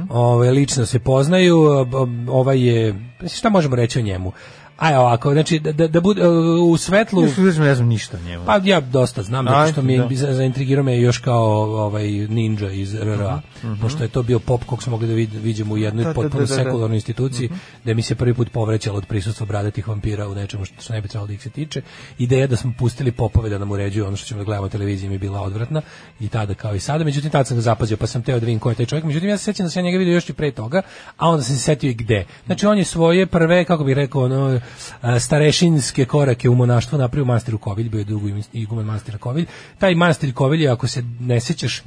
[SPEAKER 7] ovaj lično se poznaju, ob- ob- ovaj je, mislim, šta možemo reći o njemu? Aj ovako, znači da da bude uh, u svetlu.
[SPEAKER 6] Još uvijek ne znam ništa o njemu.
[SPEAKER 7] Pa ja dosta znam, zato
[SPEAKER 6] Ajde,
[SPEAKER 7] što mi je
[SPEAKER 6] da.
[SPEAKER 7] za- zaintrigirao me još kao ovaj ninja iz RRA, pošto je to bio pop kog smo mogli da vid, vidimo u jednoj
[SPEAKER 6] Mhm, Da, da,
[SPEAKER 7] potpuno
[SPEAKER 6] da, da, da.
[SPEAKER 7] sekularnoj instituciji, da mi se prvi put povrećalo od prisustva bradatih vampira u nečemu što, što ne bi trebalo da ih se tiče. Ideja da smo pustili popove da nam uređuju ono što ćemo da gledamo na televiziji mi je bila odvratna i tada kao i sada. Međutim, tada sam ga zapazio pa sam teo da vidim ko je taj čovjek. Međutim, ja se sjećam da sam ja njega vidio još i pre toga, a onda sam se setio i gde. Znači, on je svoje prve, kako bih rekao, ono, a, starešinske korake u monaštvu napravio manastir u Kovilj, bio je dugo iguman manastira Kovilj. Taj manastir Kovilj, je, ako se ne sjećaš,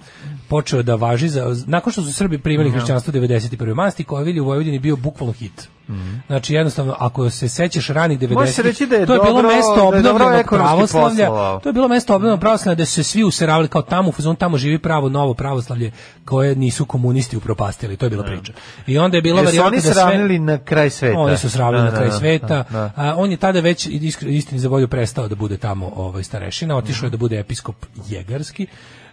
[SPEAKER 7] počeo da važi za, nakon što su Srbi primili
[SPEAKER 6] Mhm.
[SPEAKER 7] hrišćanstvo 91. manastir Kovilj u Vojvodini bio bukvalno hit. Znači jednostavno ako se sećaš ranih 90
[SPEAKER 6] Mhm. Može se reći da je
[SPEAKER 7] to je bilo
[SPEAKER 6] dobro-
[SPEAKER 7] mesto
[SPEAKER 6] da je dobro
[SPEAKER 7] obnovljenog
[SPEAKER 6] ekonomski Mhm.
[SPEAKER 7] pravoslavlja.
[SPEAKER 6] poslovao.
[SPEAKER 7] To je bilo mesto obnovljenog pravoslavlja da su se svi useravali kao tamo, u fazonu tamo živi pravo novo pravoslavlje koje nisu komunisti upropastili. To je bila priča. I onda je bila
[SPEAKER 6] Jer su
[SPEAKER 7] varijanta
[SPEAKER 6] Da. oni
[SPEAKER 7] da sve-
[SPEAKER 6] sravnili na kraj sveta.
[SPEAKER 7] oni su sravili
[SPEAKER 6] Da,
[SPEAKER 7] na
[SPEAKER 6] da,
[SPEAKER 7] kraj
[SPEAKER 6] da,
[SPEAKER 7] sveta.
[SPEAKER 6] da, da.
[SPEAKER 7] A, on je tada već isk- istini za volju prestao da bude tamo ovaj starešina, otišao je da bude episkop Jegarski.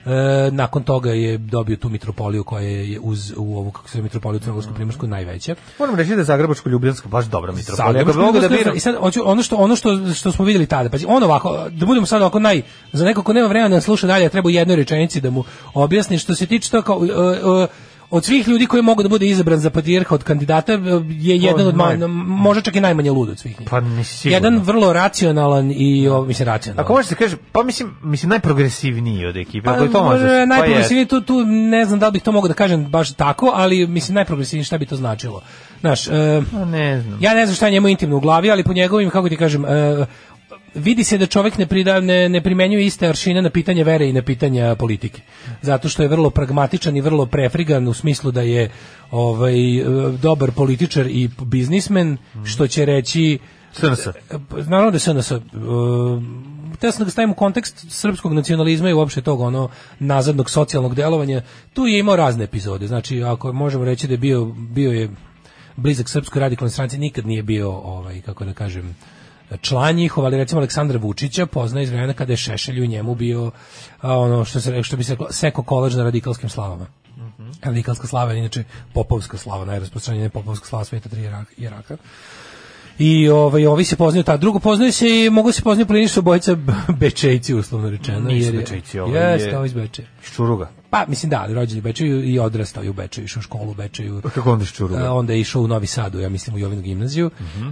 [SPEAKER 7] E, nakon toga je dobio tu mitropoliju koja je uz u ovu kako se zove, mitropoliju crnogorsku primorsku najveća.
[SPEAKER 6] Moram reći da je Zagrebačko Ljubljansko baš dobra mitropolija. Ako
[SPEAKER 7] Zagrebačka
[SPEAKER 6] bi mogu da
[SPEAKER 7] Ljubljanska
[SPEAKER 6] biram,
[SPEAKER 7] I sad hoću ono što ono što što smo vidjeli tada. Pazi, on ovako da budemo sad ovako naj za neko ko nema vremena da sluša dalje, treba u jednoj rečenici da mu objasni što se tiče to kao e, e, od svih ljudi koji mogu da bude izabran za patrijarha od kandidata e, je jedan od
[SPEAKER 6] naj-
[SPEAKER 7] ma- možda čak i najmanje lud od svih njih.
[SPEAKER 6] pa mi sigurno.
[SPEAKER 7] Jedan vrlo racionalan i o, mislim racionalan.
[SPEAKER 6] Ako možeš da kažeš, pa mislim, mislim najprogresivniji od ekipe, ako je to možeš.
[SPEAKER 7] e,
[SPEAKER 6] pa je.
[SPEAKER 7] najprogresivniji tu, tu ne znam da li bih to mogao da kažem baš tako, ali mislim najprogresivniji šta bi to značilo. Znaš, e,
[SPEAKER 6] Pa ne znam.
[SPEAKER 7] ja ne znam šta je njemu intimno u glavi, ali po njegovim, kako ti kažem, e, vidi se da čovjek ne, prida, ne, ne primenjuje iste aršine na pitanje vere i na pitanja politike. Zato što je vrlo pragmatičan i vrlo prefrigan u smislu da je ovaj, e, dobar političar i biznismen, što će reći
[SPEAKER 6] SNS.
[SPEAKER 7] pa, naravno da je SNS uh, teo sam da ga stavim u kontekst srpskog nacionalizma i uopšte tog ono nazadnog socijalnog delovanja tu je imao razne epizode znači ako možemo reći da je bio, bio je blizak srpskoj radikalnoj stranci nikad nije bio ovaj kako da kažem član njihov, ali recimo Aleksandra Vučića pozna iz vremena kada je Šešelj u njemu bio a, ono što, se, re- što bi se reklo seko kolaž na radikalskim slavama. Radikalska slava je inače popovska slava, najrasprostranjenija popovska slava sveta tri jerarha- jerarha. I ovaj ovi se poznaju ta drugo poznaju se i mogu se poznaju plinišu bojica b- Bečejci uslovno rečeno
[SPEAKER 6] Nisu
[SPEAKER 7] jer je-
[SPEAKER 6] Bečejci, ovo je-
[SPEAKER 7] Jeste, ovo iz Bečeja.
[SPEAKER 6] Iz Čuruga.
[SPEAKER 7] Pa mislim da, ali rođen je u Bečeju i odrastao je u Bečeju, išao u školu u Bečeju.
[SPEAKER 6] Pa Kako onda iz Čuruga?
[SPEAKER 7] E, onda je išao u Novi Sadu, ja mislim u Jovinu gimnaziju, E,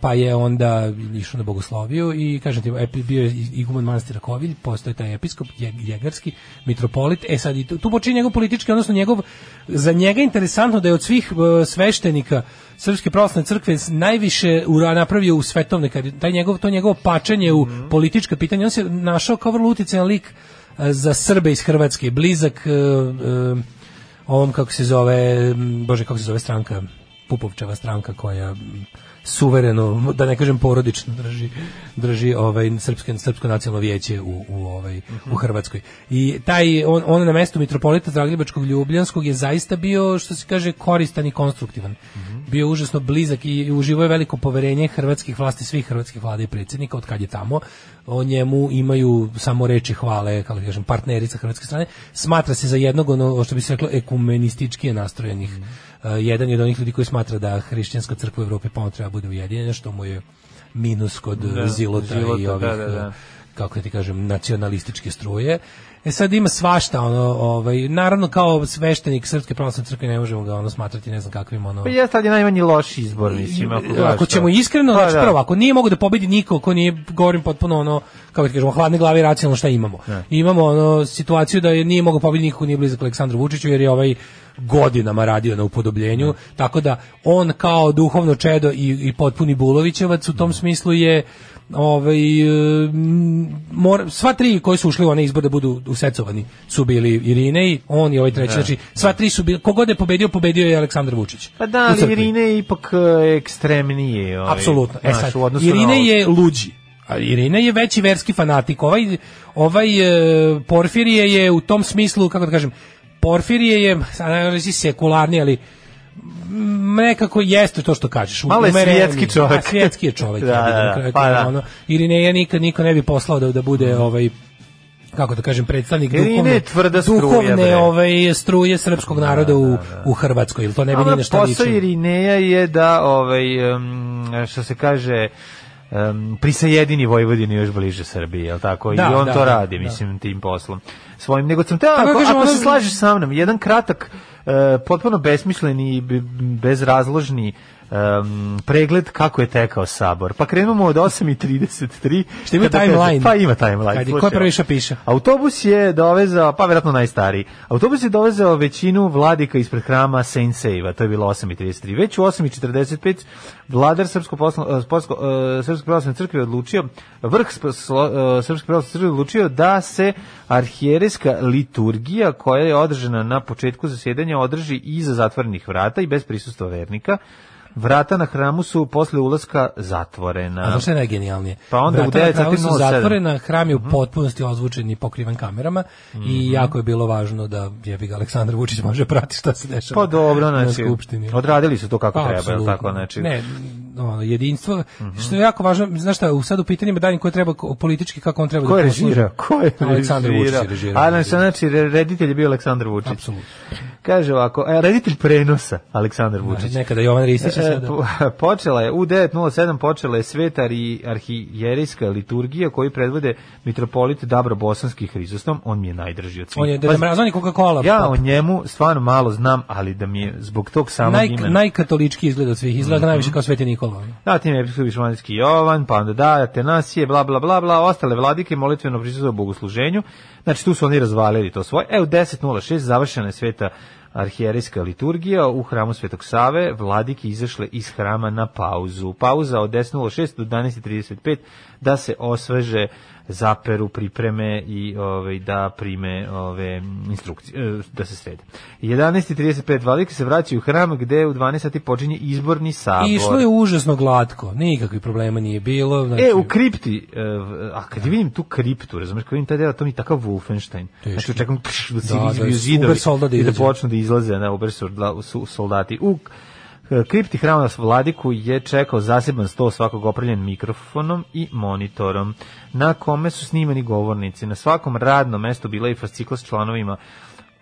[SPEAKER 7] pa je onda išao na bogosloviju i kažem ti, epi- bio je iguman manastira Kovilj, postoje taj episkop, jeg- jegarski, mitropolit, e sad i tu, tu počinje njegov politički, odnosno njegov, za njega je interesantno da je od svih e, sveštenika Srpske pravoslavne crkve s- najviše ura napravio u svetovne, kad je taj njegov, to njegovo pačenje u politička pitanja, on se našao kao vrlo uticajan lik e, za Srbe iz Hrvatske, blizak e, e, ovom kako se zove, m, bože kako se zove stranka, Pupovčeva stranka koja m, suvereno, da ne kažem porodično drži, drži ovaj srpsko, srpsko nacionalno vijeće u, u, ovaj, u Hrvatskoj. I taj, on, on na mestu mitropolita Zagrebačkog Ljubljanskog je zaista bio, što se kaže, koristan i konstruktivan. Bio užasno blizak i uživo je veliko poverenje hrvatskih vlasti, svih hrvatskih vlada i predsjednika od kad je tamo. O njemu imaju samo reči hvale, kako da kažem, partneri sa hrvatske strane. Smatra se za jednog, ono što bi se reklo, ekumenističkije nastrojenih.
[SPEAKER 6] Mhm.
[SPEAKER 7] E, jedan je od onih ljudi koji smatra da hrišćanska crkva u Evropi ponovno treba bude ujedinjena, što mu je minus kod
[SPEAKER 6] Da,
[SPEAKER 7] zilota, i
[SPEAKER 6] Zilota,
[SPEAKER 7] ovih,
[SPEAKER 6] da, da, da.
[SPEAKER 7] e, kako ti kažem, nacionalističke struje. E sad ima svašta, ono, ovaj, naravno kao sveštenik Srpske pravoslavne crkve ne možemo ga ono smatrati ne znam kakvim ono...
[SPEAKER 6] Pa jeste, ali je najmanji loš izbor, mislim. Ako, gledaš to.
[SPEAKER 7] Ako ćemo iskreno,
[SPEAKER 6] Pa
[SPEAKER 7] znači
[SPEAKER 6] da.
[SPEAKER 7] prvo, ako nije mogu da pobedi niko ko nije, govorim potpuno ono, kako ti kažemo, hladne glave i racionalno šta imamo. Imamo ono, situaciju da je nije mogu pobedi niko ko nije blizak Aleksandru Vučiću, jer je ovaj godinama radio na upodobljenju, tako da on kao duhovno čedo i, i potpuni Bulovićevac u tom smislu je ovaj e, m, mora- sva tri koji su ušli u onaj izbor da budu usecovani su bili Irinej, on i ovaj treći, znači sva tri su bili, kogod je pobedio, pobedio je Aleksandar Vučić.
[SPEAKER 6] Pa da,
[SPEAKER 7] u
[SPEAKER 6] ali
[SPEAKER 7] crkvi.
[SPEAKER 6] Irine je ipak e, ekstremnije. Ovaj,
[SPEAKER 7] Apsolutno. E
[SPEAKER 6] znaš,
[SPEAKER 7] sad,
[SPEAKER 6] u odnosu na
[SPEAKER 7] Irine
[SPEAKER 6] ovo.
[SPEAKER 7] je luđi. A Irina je veći verski fanatik. Ovaj, ovaj e, Porfirije je u tom smislu, kako da kažem, Porfirije je, sad ne reći sekularni, ali m, nekako jeste to što kažeš.
[SPEAKER 6] Malo je
[SPEAKER 7] Umereni.
[SPEAKER 6] svjetski čovjek.
[SPEAKER 7] A, Pa, svjetski je čovjek.
[SPEAKER 6] Da,
[SPEAKER 7] jebi ga,
[SPEAKER 6] da,
[SPEAKER 7] na kraju
[SPEAKER 6] pa
[SPEAKER 7] krajeva,
[SPEAKER 6] da.
[SPEAKER 7] ono, Irineja nikad niko ne bi poslao da, da bude ovaj kako da kažem predstavnik
[SPEAKER 6] Jer i ne
[SPEAKER 7] duhovne,
[SPEAKER 6] tvrda struja, bre. Da,
[SPEAKER 7] duhovne ovaj, struje srpskog naroda u, u Hrvatskoj. Ili to ne bi ni
[SPEAKER 6] Ona
[SPEAKER 7] na šta
[SPEAKER 6] posao
[SPEAKER 7] ličilo.
[SPEAKER 6] Irineja je da, ovaj, em, što se kaže, em, prisajedini Vojvodini još bliže Srbiji, jel tako?
[SPEAKER 7] Da,
[SPEAKER 6] I on
[SPEAKER 7] da,
[SPEAKER 6] to
[SPEAKER 7] da,
[SPEAKER 6] radi,
[SPEAKER 7] da.
[SPEAKER 6] mislim, tim poslom. Svojim, nego sam te, ako,
[SPEAKER 7] kažem,
[SPEAKER 6] ako
[SPEAKER 7] ono-
[SPEAKER 6] se slažeš sa mnom, jedan kratak, e, potpuno besmisleni i be- bezrazložni em, pregled kako je tekao sabor. Pa krenemo od 8.33.
[SPEAKER 7] Šta ima
[SPEAKER 6] Kada kaže-
[SPEAKER 7] timeline?
[SPEAKER 6] Pa ima timeline.
[SPEAKER 7] Ajde, ko je
[SPEAKER 6] slušaj,
[SPEAKER 7] prvi šta piše?
[SPEAKER 6] Autobus je dovezao, pa verovatno najstariji, autobus je dovezao većinu vladika ispred hrama Senseiva, to je bilo 8.33. Već u 8.45 vladar Srpsko poslo, eh, Srpsko, Srpsko pravoslavne crkve je odlučio, vrh sp- slo- eh, Srpske pravoslavne crkve je odlučio da se arhijerejska liturgija koja je održana na početku zasjedanja održi iza zatvorenih vrata i bez prisustva vernika. Vrata na hramu su posle ulaska zatvorena.
[SPEAKER 7] A znaš šta je najgenijalnije?
[SPEAKER 6] Pa onda u
[SPEAKER 7] Vrata na
[SPEAKER 6] 9
[SPEAKER 7] kraju su
[SPEAKER 6] sati Mhm. 07.
[SPEAKER 7] zatvorena, hram je u potpunosti ozvučen i pokriven kamerama
[SPEAKER 6] Mhm.
[SPEAKER 7] i jako je bilo važno da jebi ga Aleksandar Vučić može pratiti šta se dešava
[SPEAKER 6] Pa dobro,
[SPEAKER 7] na
[SPEAKER 6] znači,
[SPEAKER 7] skupštini. Pa,
[SPEAKER 6] odradili su to kako treba, jel
[SPEAKER 7] apsolutno.
[SPEAKER 6] tako, znači- Mhm.
[SPEAKER 7] Ne, ono, jedinstvo, što je jako važno, znaš šta, u- sad u pitanjima dalje koje treba ko- politički, kako on treba
[SPEAKER 6] Ko
[SPEAKER 7] da
[SPEAKER 6] je
[SPEAKER 7] posluži.
[SPEAKER 6] režirao? Ko je
[SPEAKER 7] Aleksandar Vučić je
[SPEAKER 6] režirao?
[SPEAKER 7] režirao.
[SPEAKER 6] A, znači, znači, re- reditelj je bio Aleksandar Vučić.
[SPEAKER 7] Apsolutno.
[SPEAKER 6] Kaže ovako, e, reditelj prenosa Aleksandar Vučić.
[SPEAKER 7] Znači, nekada Jovan Ristić je
[SPEAKER 6] E,
[SPEAKER 7] sada.
[SPEAKER 6] po- počela je, u 9.07 počela je svetar i arhijerijska liturgija koju predvode mitropolit Dabro Bosanski Hrizostom, on mi je najdrži od svih.
[SPEAKER 7] On je Deda
[SPEAKER 6] Pazi,
[SPEAKER 7] Mraz, on je Coca-Cola.
[SPEAKER 6] Ja o njemu stvarno malo znam, ali da mi je zbog tog samog
[SPEAKER 7] Naj,
[SPEAKER 6] imena... Mhm.
[SPEAKER 7] najkatolički izgled od svih, izgleda najviše kao Sveti Nikola. ono.
[SPEAKER 6] Zatim je episkop Šumanski Jovan, pa onda da, Atenasije, bla, bla, bla, bla, ostale vladike molitveno prisustvo bogosluženju. Znači, tu su oni razvalili to svoje. E, u 10.06 završena je sveta arhijerijska liturgija u hramu Svetog Save, vladike izašle iz hrama na pauzu. Pauza od 10.06 do 11.35 da se osveže zaperu pripreme i ovaj da prime ove instrukcije e, da se srede. 11:35 vladike se vraćaju u hram gde u 12 sati počinje izborni sabor.
[SPEAKER 7] I išlo je užasno glatko, nikakvih problema nije bilo. Znači,
[SPEAKER 6] E, u kripti, e, v- a kad vidim tu kriptu, razumeš, kad vidim taj deo, to mi je takav Wolfenstein. Znači, očekujem pš, da se
[SPEAKER 7] Da, da,
[SPEAKER 6] izbiju zidovi
[SPEAKER 7] Uber soldat da
[SPEAKER 6] i da
[SPEAKER 7] izađe.
[SPEAKER 6] počnu da izlaze na Uber solda- su- soldati. U e, kripti hrama Vladiku je čekao zaseban sto svakog opravljen mikrofonom i monitorom, na kome su snimani govornici. Na svakom radnom mestu bila je i fascikla s članovima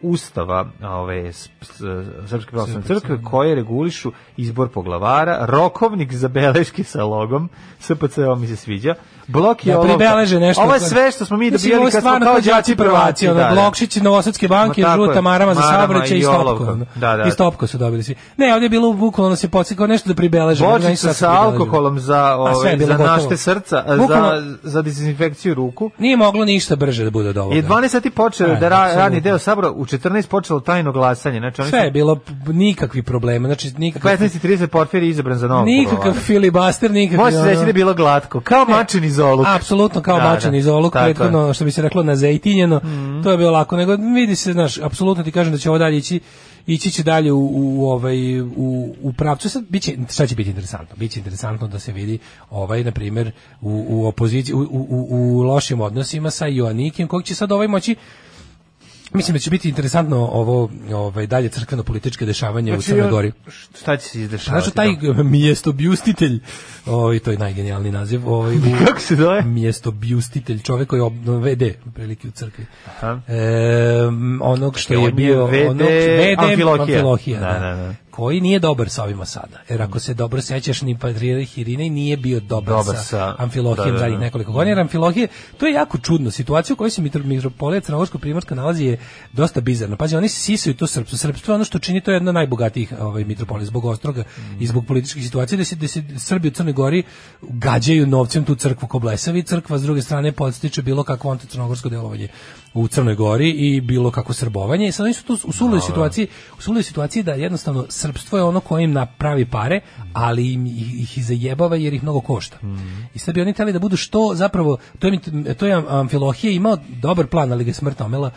[SPEAKER 6] ustava ove s- s- Srpske pravoslavne crkve koje regulišu izbor poglavara, rokovnik za beleške sa logom, SPC ovo mi se sviđa, blok je
[SPEAKER 7] da
[SPEAKER 6] olovka.
[SPEAKER 7] pribeleže nešto.
[SPEAKER 6] Ovo je sve što smo mi
[SPEAKER 7] Mislim,
[SPEAKER 6] dobijali
[SPEAKER 7] ovo je
[SPEAKER 6] kad smo
[SPEAKER 7] stvarno
[SPEAKER 6] kao
[SPEAKER 7] kao
[SPEAKER 6] đaci
[SPEAKER 7] đaci
[SPEAKER 6] prvaci,
[SPEAKER 7] prvaci,
[SPEAKER 6] da,
[SPEAKER 7] ono,
[SPEAKER 6] da.
[SPEAKER 7] Blokšić, Novosadske banke,
[SPEAKER 6] Ma tako
[SPEAKER 7] žuta
[SPEAKER 6] je,
[SPEAKER 7] marama za
[SPEAKER 6] marama
[SPEAKER 7] saobraćaj
[SPEAKER 6] i
[SPEAKER 7] i
[SPEAKER 6] olovkom.
[SPEAKER 7] stopko. ono.
[SPEAKER 6] Da, da.
[SPEAKER 7] I stopko su dobili svi. Ne, ovdje je bilo bukvalno se podsjeti kao nešto da pribeleže. Organi su
[SPEAKER 6] Bočica
[SPEAKER 7] sad
[SPEAKER 6] sa
[SPEAKER 7] pribeležili.
[SPEAKER 6] alkoholom za,
[SPEAKER 7] sve je
[SPEAKER 6] ove,
[SPEAKER 7] bilo
[SPEAKER 6] za
[SPEAKER 7] gotovo.
[SPEAKER 6] našte srca, a, za,
[SPEAKER 7] Bukvalno-
[SPEAKER 6] za dezinfekciju ruku.
[SPEAKER 7] Nije moglo ništa brže da bude od ovoga.
[SPEAKER 6] I 12 sati počeo
[SPEAKER 7] Ajde,
[SPEAKER 6] da ra, radni
[SPEAKER 7] apsolutno.
[SPEAKER 6] deo sabora, u 14 počelo tajno glasanje. Znači, oni
[SPEAKER 7] Sve je
[SPEAKER 6] su
[SPEAKER 7] bilo p- nikakvi problema, znači
[SPEAKER 6] u
[SPEAKER 7] nikakav,
[SPEAKER 6] 15.30 portfir je izabran za novog
[SPEAKER 7] nikakav filibaster, nikakav...
[SPEAKER 6] Može se reći da je bilo glatko, kao
[SPEAKER 7] Ne.
[SPEAKER 6] mačin iz oluk.
[SPEAKER 7] Apsolutno kao
[SPEAKER 6] Da, da.
[SPEAKER 7] bačen iz oluk,
[SPEAKER 6] Tako je. Mhm.
[SPEAKER 7] prethodno ono što bi se reklo na zejtinjeno. To je bilo lako, nego vidi se, znaš, apsolutno ti kažem da će ovo dalje ići ići će dalje u, u, ovaj u, u pravcu sad biće šta će biti interesantno biće interesantno da se vidi ovaj na primjer u u opoziciji u, u, u- u lošim odnosima sa Joanikim kog će sad ovaj moći mislim da će biti interesantno ovo ovaj dalje crkveno političke dešavanje
[SPEAKER 6] Znači,
[SPEAKER 7] u Crnoj Gori
[SPEAKER 6] Šta će se izdešavati? da?
[SPEAKER 7] Znaš taj
[SPEAKER 6] tamo?
[SPEAKER 7] mjestobjustitelj, ovaj to je najgenijalni naziv, ovaj u-
[SPEAKER 6] Kako se zove?
[SPEAKER 7] mjestobjustitelj, čovjek koji ob- vede prilike u crkvi.
[SPEAKER 6] Aha.
[SPEAKER 7] Em, onog što
[SPEAKER 6] Čekaj,
[SPEAKER 7] je
[SPEAKER 6] on je
[SPEAKER 7] bio
[SPEAKER 6] VD
[SPEAKER 7] onog VD
[SPEAKER 6] Amfilohija.
[SPEAKER 7] Amfilohija,
[SPEAKER 6] Da,
[SPEAKER 7] da,
[SPEAKER 6] da, da.
[SPEAKER 7] koji nije dobar sa ovima sada. Jer ako se dobro sećaš, ni Patrijarh Irinej nije bio dobar,
[SPEAKER 6] Dobar
[SPEAKER 7] sa,
[SPEAKER 6] sa- da,
[SPEAKER 7] Amfilohijem
[SPEAKER 6] da, da.
[SPEAKER 7] zadnjih nekoliko godina. Jer Amfilohije, to je jako čudno. Situacija u kojoj se mitro, mitropolija Crnogorsko-Primorska nalazi je dosta bizarna. Pazi, oni sisaju to srpstvo. Srpstvo je ono što čini to je jedna od najbogatijih ovaj, mitropolija zbog Ostroga i zbog političkih situacija, da se, da se Srbi u Crnoj Gori gađaju novcem tu crkvu ko blesavi. Crkva, s druge strane, podstiče bilo kakvo anticrnogorsko delovanje u Crnoj Gori i bilo kako srbovanje. I sad oni su tu u suloj situaciji, u suloj situaciji da jednostavno srpstvo je ono koje im napravi pare, ali im ih, ih i zajebava jer ih mnogo košta. I sad bi oni hteli da budu što zapravo to je mi- to je Amfilohije imao dobar plan, ali ga je smrt omela.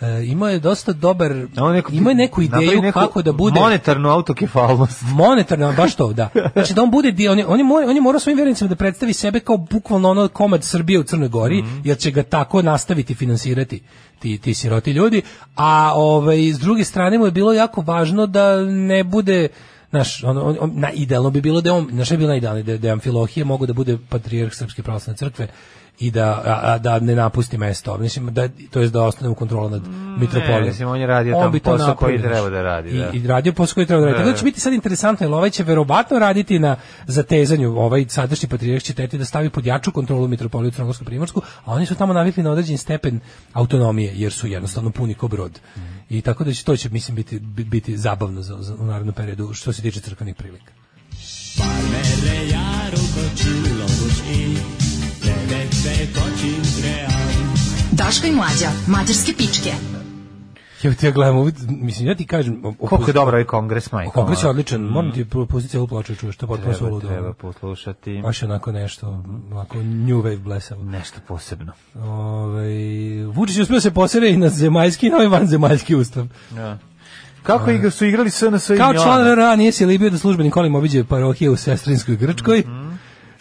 [SPEAKER 7] E, imao je dosta dobar
[SPEAKER 6] A on neko-
[SPEAKER 7] imao je neku
[SPEAKER 6] napravi
[SPEAKER 7] ideju
[SPEAKER 6] neku
[SPEAKER 7] kako da bude
[SPEAKER 6] Monetarnu autokefalnost.
[SPEAKER 7] monetarno baš to da znači da on bude dio on je, on je, mora- on je morao svojim vernicima da predstavi sebe kao bukvalno ono komad Srbije u Crnoj Gori jer će ga tako nastaviti finansirati ti ti siroti ljudi a ovaj s druge strane mu je bilo jako važno da ne bude Naš, on, on, on- na, idealno bi bilo da je on, znaš šta je bilo najidealnije, da, da je Amfilohije mogu da bude patrijarh Srpske pravoslavne crkve i da, a, a da ne napusti mesto. Mislim, da, to je da ostane u kontrolu nad Mitropolijom.
[SPEAKER 6] E, mislim, on je radio
[SPEAKER 7] On
[SPEAKER 6] tamo
[SPEAKER 7] bi to
[SPEAKER 6] posao koji
[SPEAKER 7] napravio,
[SPEAKER 6] treba da radi,
[SPEAKER 7] I,
[SPEAKER 6] da.
[SPEAKER 7] i radio posao koji treba da radi.
[SPEAKER 6] Da,
[SPEAKER 7] Tako da
[SPEAKER 6] da.
[SPEAKER 7] će biti sad interesantno, jer ovaj će verovatno raditi na zatezanju, ovaj sadašnji patrijarh će teti da stavi pod jaču kontrolu Mitropoliju Crnogorsku Primorsku, a oni su tamo navikli na određen stepen autonomije, jer su jednostavno puni ko brod.
[SPEAKER 6] Mhm.
[SPEAKER 7] I tako da će to će, mislim, biti, bi- biti zabavno za, za, u narodnom periodu, što se tiče crkvenih prilika.
[SPEAKER 5] Daška i mlađa, mađarske pičke.
[SPEAKER 7] Ja ti ja gledam, ovu- mislim, ja ti kažem... o- o-
[SPEAKER 6] Koliko je dobar ovaj kongres, majko.
[SPEAKER 7] Kongres je
[SPEAKER 6] ono.
[SPEAKER 7] odličan, moram ti pustiti ovu ploču, da čuješ, to je potpuno
[SPEAKER 6] Treba,
[SPEAKER 7] suludo.
[SPEAKER 6] treba pa poslušati.
[SPEAKER 7] Baš je onako nešto, onako new wave blesavo.
[SPEAKER 6] Nešto posebno.
[SPEAKER 7] Ove, Ovaj, Vučić je uspio da se posere i na zemaljski i na ovaj vanzemaljski ustav.
[SPEAKER 6] Ja. Kako igra su igrali SNS i
[SPEAKER 7] Kao
[SPEAKER 6] Milan?
[SPEAKER 7] član RRA nije se libio da službenik kolim obiđe parohije u sestrinskoj Grčkoj.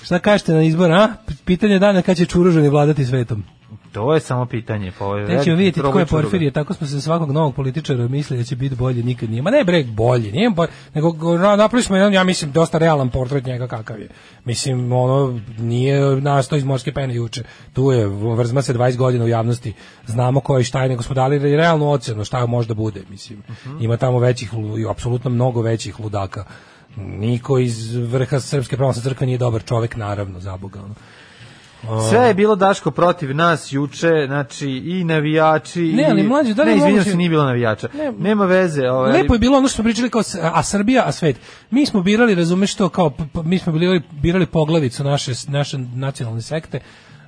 [SPEAKER 7] Šta kažete na izbor, a? P- Pitanje dana kad će Čuružani vladati svetom.
[SPEAKER 6] To je samo pitanje. Pa ovo je
[SPEAKER 7] Tek ćemo
[SPEAKER 6] veliki
[SPEAKER 7] vidjeti tko
[SPEAKER 6] problem
[SPEAKER 7] je
[SPEAKER 6] čuruga.
[SPEAKER 7] Porfirije, tako smo se za svakog novog političara mislili da će biti bolje, nikad nije. Ma ne bre, bolje, nije bolje, nego go- na- napravili smo jedan, ja mislim, dosta realan portret njega kakav je. Mislim, ono, nije nastao iz morske pene juče. Tu je, vrzma se 20 godina u javnosti, znamo ko je i šta je, nego smo dali re- realnu ocenu šta možda bude, mislim. Ima tamo većih, lu- i apsolutno mnogo većih ludaka. Niko iz vrha Srpske pravoslavne crkve nije dobar čovek, naravno, za Boga. Ono.
[SPEAKER 6] Sve je bilo Daško protiv nas juče, znači i navijači
[SPEAKER 7] Ne, ali
[SPEAKER 6] i-
[SPEAKER 7] mlađe, da li
[SPEAKER 6] Ne,
[SPEAKER 7] je
[SPEAKER 6] izvinjam
[SPEAKER 7] moguće-
[SPEAKER 6] se, nije bilo navijača.
[SPEAKER 7] Ne.
[SPEAKER 6] Nema veze, ovaj.
[SPEAKER 7] Lepo je bilo ono što smo pričali kao s- a Srbija, a svet. Mi smo birali, razumeš to, kao p- p- mi smo bili birali poglavicu naše naše nacionalne sekte.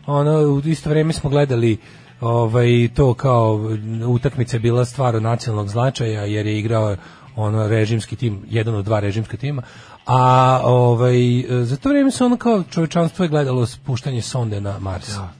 [SPEAKER 7] Ono u isto vrijeme smo gledali ovaj to kao utakmica je bila stvar od nacionalnog značaja jer je igrao ono režimski tim, jedan od dva režimska tima. A ovaj e, za to vrijeme se ono kao čovečanstvo je gledalo spuštanje sonde na Mars.
[SPEAKER 6] Da,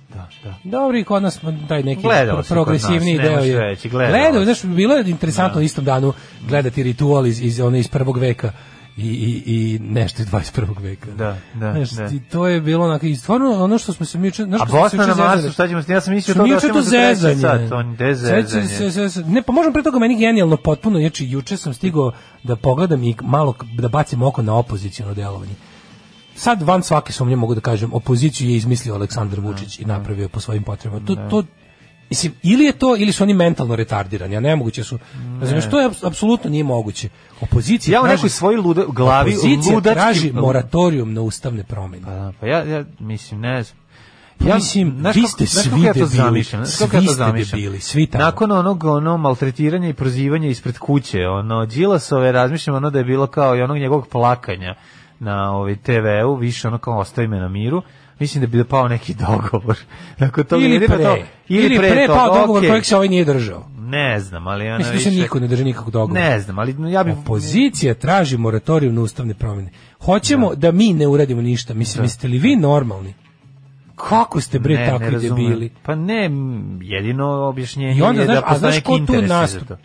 [SPEAKER 6] da.
[SPEAKER 7] Dobro, i kod nas taj neki
[SPEAKER 6] Gledalo
[SPEAKER 7] pro-
[SPEAKER 6] se kod
[SPEAKER 7] progresivniji
[SPEAKER 6] nas, ne
[SPEAKER 7] deo
[SPEAKER 6] možeš
[SPEAKER 7] je.
[SPEAKER 6] reći, gledalo
[SPEAKER 7] Gledao,
[SPEAKER 6] se. Da.
[SPEAKER 7] znaš, bilo je interesantno u istom danu gledati ritual iz, iz, one iz prvog veka i, i, i nešto iz 21. veka.
[SPEAKER 6] Da, da,
[SPEAKER 7] Znaš,
[SPEAKER 6] da.
[SPEAKER 7] ti, to je bilo onako, i stvarno ono što smo se mi juče... znaš,
[SPEAKER 6] A
[SPEAKER 7] što smo se
[SPEAKER 6] Bosna na
[SPEAKER 7] juče
[SPEAKER 6] Marsu,
[SPEAKER 7] zezali?
[SPEAKER 6] šta ćemo s- ja sam mislio
[SPEAKER 7] Što
[SPEAKER 6] to
[SPEAKER 7] mi
[SPEAKER 6] da
[SPEAKER 7] juče
[SPEAKER 6] ćemo
[SPEAKER 7] to
[SPEAKER 6] za treći
[SPEAKER 7] zezanje.
[SPEAKER 6] sat, on, gde
[SPEAKER 7] Sećam
[SPEAKER 6] zezanje?
[SPEAKER 7] se, se- se- ne, pa možemo pre toga meni genijalno potpuno, znači juče sam stigao da pogledam i malo k- da bacim oko na opoziciono delovanje. Sad van svake sumnje mogu da kažem, opoziciju je izmislio Aleksandar Vučić
[SPEAKER 6] Da,
[SPEAKER 7] i napravio je po svojim potrebama. To, to, mislim, ili je to, ili su oni mentalno retardirani, a nemoguće su. Razumiješ, to je aps- apsolutno nije moguće. Opozicija
[SPEAKER 6] Ja u
[SPEAKER 7] traži-
[SPEAKER 6] nekoj svojoj lude, glavi
[SPEAKER 7] opozicija
[SPEAKER 6] ludački
[SPEAKER 7] traži moratorijum na ustavne promjene.
[SPEAKER 6] Pa da, Pa ja, ja mislim, ne znam.
[SPEAKER 7] Ja, mislim,
[SPEAKER 6] znaš
[SPEAKER 7] vi
[SPEAKER 6] kako-
[SPEAKER 7] ste
[SPEAKER 6] znaš
[SPEAKER 7] svi
[SPEAKER 6] kako ja to
[SPEAKER 7] debili.
[SPEAKER 6] zamišljam, znaš
[SPEAKER 7] Svi
[SPEAKER 6] kako ja to
[SPEAKER 7] ste
[SPEAKER 6] zamišljam?
[SPEAKER 7] debili, svi tamo.
[SPEAKER 6] Nakon onog ono maltretiranja i prozivanja ispred kuće, ono Đilasove razmišljam ono da je bilo kao i onog njegovog plakanja na ovaj TV-u, više ono kao ostavi me na miru. Mislim da bi da pao neki dogovor. Nakon toga
[SPEAKER 7] ili
[SPEAKER 6] jedino
[SPEAKER 7] pre,
[SPEAKER 6] to-
[SPEAKER 7] ili, pre,
[SPEAKER 6] toga,
[SPEAKER 7] pao dogovor
[SPEAKER 6] okej.
[SPEAKER 7] kojeg se ovaj nije držao.
[SPEAKER 6] Ne znam, ali ona
[SPEAKER 7] Mislim da se
[SPEAKER 6] više-
[SPEAKER 7] niko ne drži nikakvog dogovora.
[SPEAKER 6] Ne znam, ali ja bih
[SPEAKER 7] Opozicija traži moratorijum na ustavne promjene. Hoćemo da, mi ne uradimo ništa.
[SPEAKER 6] Da.
[SPEAKER 7] Mislim, jeste li vi normalni? Kako ste bre takvi
[SPEAKER 6] razumem.
[SPEAKER 7] debili?
[SPEAKER 6] Pa ne, m, jedino objašnjenje
[SPEAKER 7] I onda,
[SPEAKER 6] je
[SPEAKER 7] znaš,
[SPEAKER 6] da
[SPEAKER 7] a
[SPEAKER 6] postoje
[SPEAKER 7] znaš
[SPEAKER 6] neki
[SPEAKER 7] ko tu
[SPEAKER 6] interesi za
[SPEAKER 7] nastup?
[SPEAKER 6] to.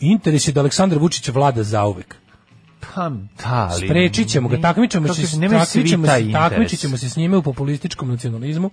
[SPEAKER 7] Interes je da Aleksandar Vučić vlada zauvek.
[SPEAKER 6] Pa, da, ali...
[SPEAKER 7] Sprečit ćemo ga, takmićemo
[SPEAKER 6] Kako
[SPEAKER 7] se,
[SPEAKER 6] se- nemaju svi
[SPEAKER 7] takmićemo
[SPEAKER 6] taj
[SPEAKER 7] se,
[SPEAKER 6] interes.
[SPEAKER 7] takmičit ćemo se s njime u populističkom nacionalizmu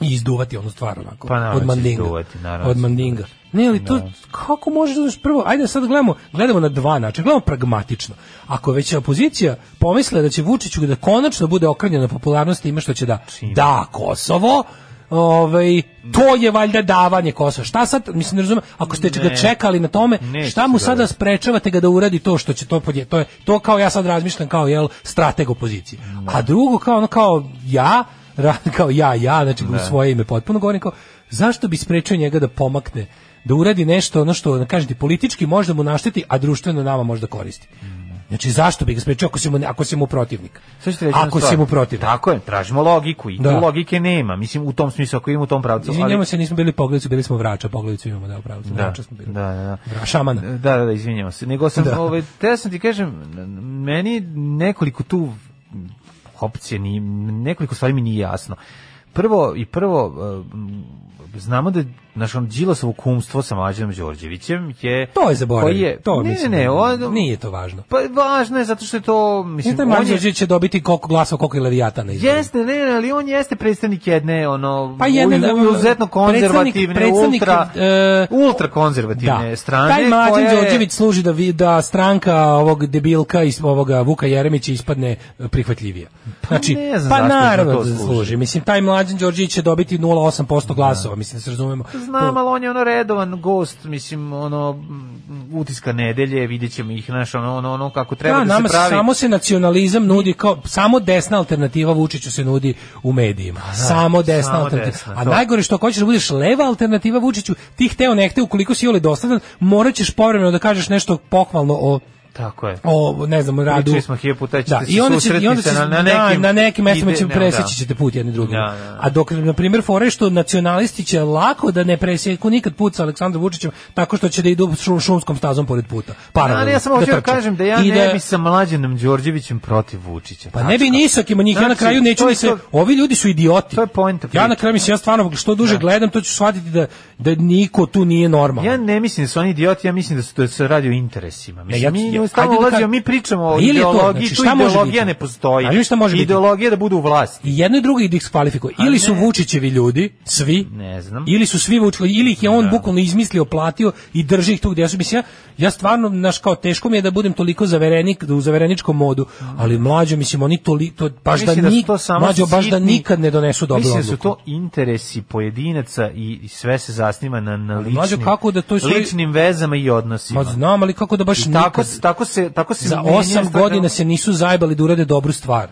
[SPEAKER 7] i izduvati onu stvar onako,
[SPEAKER 6] Pa naravno
[SPEAKER 7] od
[SPEAKER 6] će
[SPEAKER 7] mandinga.
[SPEAKER 6] izduvati, naravno da
[SPEAKER 7] od
[SPEAKER 6] će Da.
[SPEAKER 7] mandinga. Ne, ali to, kako možeš, da znaš, prvo, ajde sad gledamo, gledamo na dva načina, gledamo pragmatično. Ako već je opozicija pomisle da će Vučiću da konačno bude okrnjena popularnost time što će da da Kosovo, ovaj, to je valjda davanje Kosova. Šta sad, mislim, ne razumem, ako ste ga čekali na tome,
[SPEAKER 6] Neće
[SPEAKER 7] šta mu
[SPEAKER 6] se
[SPEAKER 7] sada sprečavate ga da uradi to što će to podje, to je to kao ja sad razmišljam kao jel strateg opozicije.
[SPEAKER 6] Da.
[SPEAKER 7] A drugo kao ono kao ja ra- kao ja ja znači
[SPEAKER 6] Da.
[SPEAKER 7] u svoje ime potpuno govorim kao zašto bi sprečio njega da pomakne da uradi nešto ono što kažete politički možda mu našteti, a društveno nama možda koristi.
[SPEAKER 6] Da.
[SPEAKER 7] Znači zašto bi ga sprečio ako si mu, ako si mu protivnik?
[SPEAKER 6] Sve što reći na
[SPEAKER 7] ako si
[SPEAKER 6] stvar.
[SPEAKER 7] mu protivnik.
[SPEAKER 6] Tako je, tražimo logiku i tu
[SPEAKER 7] Da.
[SPEAKER 6] logike nema. Mislim, u tom smislu, ako ima u tom pravcu.
[SPEAKER 7] Izvinjamo se, nismo bili pogledajući, bili smo vrača, pogledajući imamo da upravo.
[SPEAKER 6] Da,
[SPEAKER 7] Vrača smo bili.
[SPEAKER 6] da, da,
[SPEAKER 7] Vra- Šamana.
[SPEAKER 6] da. Da, da, da, izvinjamo se. Nego sam,
[SPEAKER 7] Da.
[SPEAKER 6] ovaj, te sam ti kažem, meni nekoliko tu opcije, ni, nekoliko stvari mi nije jasno. Prvo i prvo, m, znamo da naš on Đilasovo kumstvo sa Mlađanom Đorđevićem je...
[SPEAKER 7] To je
[SPEAKER 6] koji
[SPEAKER 7] zaboravio. To
[SPEAKER 6] ne,
[SPEAKER 7] mislim, da
[SPEAKER 6] ne, ne, on,
[SPEAKER 7] nije to važno.
[SPEAKER 6] Pa važno je zato što je to... Mislim,
[SPEAKER 7] Mislim, taj
[SPEAKER 6] on je-
[SPEAKER 7] Manđeđe će dobiti koliko glasova, koliko je Levijata na izboru.
[SPEAKER 6] Jeste, ne, ne, ali on jeste predstavnik jedne ono
[SPEAKER 7] Pa jedne,
[SPEAKER 6] uz-
[SPEAKER 7] da,
[SPEAKER 6] izuzetno konzervativne,
[SPEAKER 7] predstavnik-
[SPEAKER 6] ultra
[SPEAKER 7] e,
[SPEAKER 6] ultra konzervativne strane.
[SPEAKER 7] Da. Taj Mlađan
[SPEAKER 6] koja je-
[SPEAKER 7] Đorđević služi da, vi- da stranka ovog debilka iz ovoga Vuka Jeremića ispadne e, prihvatljivija. Znači,
[SPEAKER 6] ne znam
[SPEAKER 7] pa
[SPEAKER 6] zašto im to
[SPEAKER 7] naravno da
[SPEAKER 6] služi.
[SPEAKER 7] služi. Mislim, taj Mlađan Đorđević će dobiti 0,8% glasova, mislim da se razumemo.
[SPEAKER 6] Znam, ali on je ono redovan gost, mislim, ono, m, utiska nedelje, vidjet ćemo ih, znaš, ono, ono, ono kako treba
[SPEAKER 7] Da,
[SPEAKER 6] da se
[SPEAKER 7] nama
[SPEAKER 6] pravi.
[SPEAKER 7] samo se nacionalizam nudi kao samo desna alternativa Vučiću se nudi u medijima. samo desna
[SPEAKER 6] da. samo
[SPEAKER 7] alternativa.
[SPEAKER 6] desna,
[SPEAKER 7] A
[SPEAKER 6] to.
[SPEAKER 7] najgore što ako hoćeš da budeš leva alternativa Vučiću, ti hteo ne hteo ukoliko si jole dosadan, morat ćeš povremeno da kažeš nešto pohvalno o
[SPEAKER 6] Tako je.
[SPEAKER 7] o ne znam o radu. Da,
[SPEAKER 6] Pričali smo hiljadu puta, ćete se
[SPEAKER 7] i onda će- i
[SPEAKER 6] susretni
[SPEAKER 7] onda
[SPEAKER 6] se
[SPEAKER 7] će-
[SPEAKER 6] na- na nekim-
[SPEAKER 7] da, na nekim mestima
[SPEAKER 6] ide-
[SPEAKER 7] ćemo
[SPEAKER 6] ne,
[SPEAKER 7] preseći
[SPEAKER 6] da.
[SPEAKER 7] ćete put jedni drugim.
[SPEAKER 6] Da, da, da.
[SPEAKER 7] A dok na primjer fore što nacionalisti će lako da ne preseku nikad put sa Aleksandrom Vučićem tako što će da idu šum, šumskom stazom pored puta. Paralelno.
[SPEAKER 6] Ali ja sam hoću da
[SPEAKER 7] trče.
[SPEAKER 6] kažem da ja
[SPEAKER 7] I
[SPEAKER 6] ne bi sa mlađenom Đorđevićem protiv Vučića.
[SPEAKER 7] Pa ne bi ni sa kim, njih ja na
[SPEAKER 6] Znači,
[SPEAKER 7] kraju neću
[SPEAKER 6] to je
[SPEAKER 7] ni se,
[SPEAKER 6] to-
[SPEAKER 7] ovi ljudi su idioti.
[SPEAKER 6] To je poenta
[SPEAKER 7] Ja na
[SPEAKER 6] priče.
[SPEAKER 7] kraju mislim ja stvarno što duže gledam to ću shvatiti da da niko tu nije normalan.
[SPEAKER 6] Ja ne mislim da su oni idioti, ja mislim da, su, da se radi o interesima. Mislim,
[SPEAKER 7] ja-
[SPEAKER 6] mi
[SPEAKER 7] ja-
[SPEAKER 6] stalno
[SPEAKER 7] ajde da
[SPEAKER 6] ulazimo,
[SPEAKER 7] kažem-
[SPEAKER 6] mi pričamo
[SPEAKER 7] A
[SPEAKER 6] o
[SPEAKER 7] ili je to,
[SPEAKER 6] ideologiji,
[SPEAKER 7] znači,
[SPEAKER 6] tu
[SPEAKER 7] šta može
[SPEAKER 6] ideologija
[SPEAKER 7] biti?
[SPEAKER 6] ne postoji.
[SPEAKER 7] A ili šta može biti?
[SPEAKER 6] Ideologija je da budu u vlasti.
[SPEAKER 7] I jedno i drugo ih diskvalifikuje. Ili su Vučićevi ljudi, svi,
[SPEAKER 6] Ne znam. Da.
[SPEAKER 7] ili su svi Vučićevi, ili ih je on bukvalno izmislio, platio i drži ih tu gdje su. Mislim, ja, ja stvarno, znaš, kao teško mi je da budem toliko zaverenik, da u zavereničkom modu, ali mlađo, mislim, oni toli, to, baš, da,
[SPEAKER 6] Mislim da su
[SPEAKER 7] nik-
[SPEAKER 6] to samo
[SPEAKER 7] mlađo, baš da
[SPEAKER 6] sitni-
[SPEAKER 7] nikad ne donesu dobru
[SPEAKER 6] Mislim da su
[SPEAKER 7] odluku.
[SPEAKER 6] to interesi pojedinaca i, i sve se zasniva na, na ličnim,
[SPEAKER 7] mlađo, kako da to je svoj-
[SPEAKER 6] ličnim vezama i odnosima.
[SPEAKER 7] Ma znam, ali kako da baš
[SPEAKER 6] I tako,
[SPEAKER 7] nikad-
[SPEAKER 6] tako se, tako se
[SPEAKER 7] za
[SPEAKER 6] menja
[SPEAKER 7] osam
[SPEAKER 6] stvar-
[SPEAKER 7] godina se nisu zajbali da urade dobru stvar.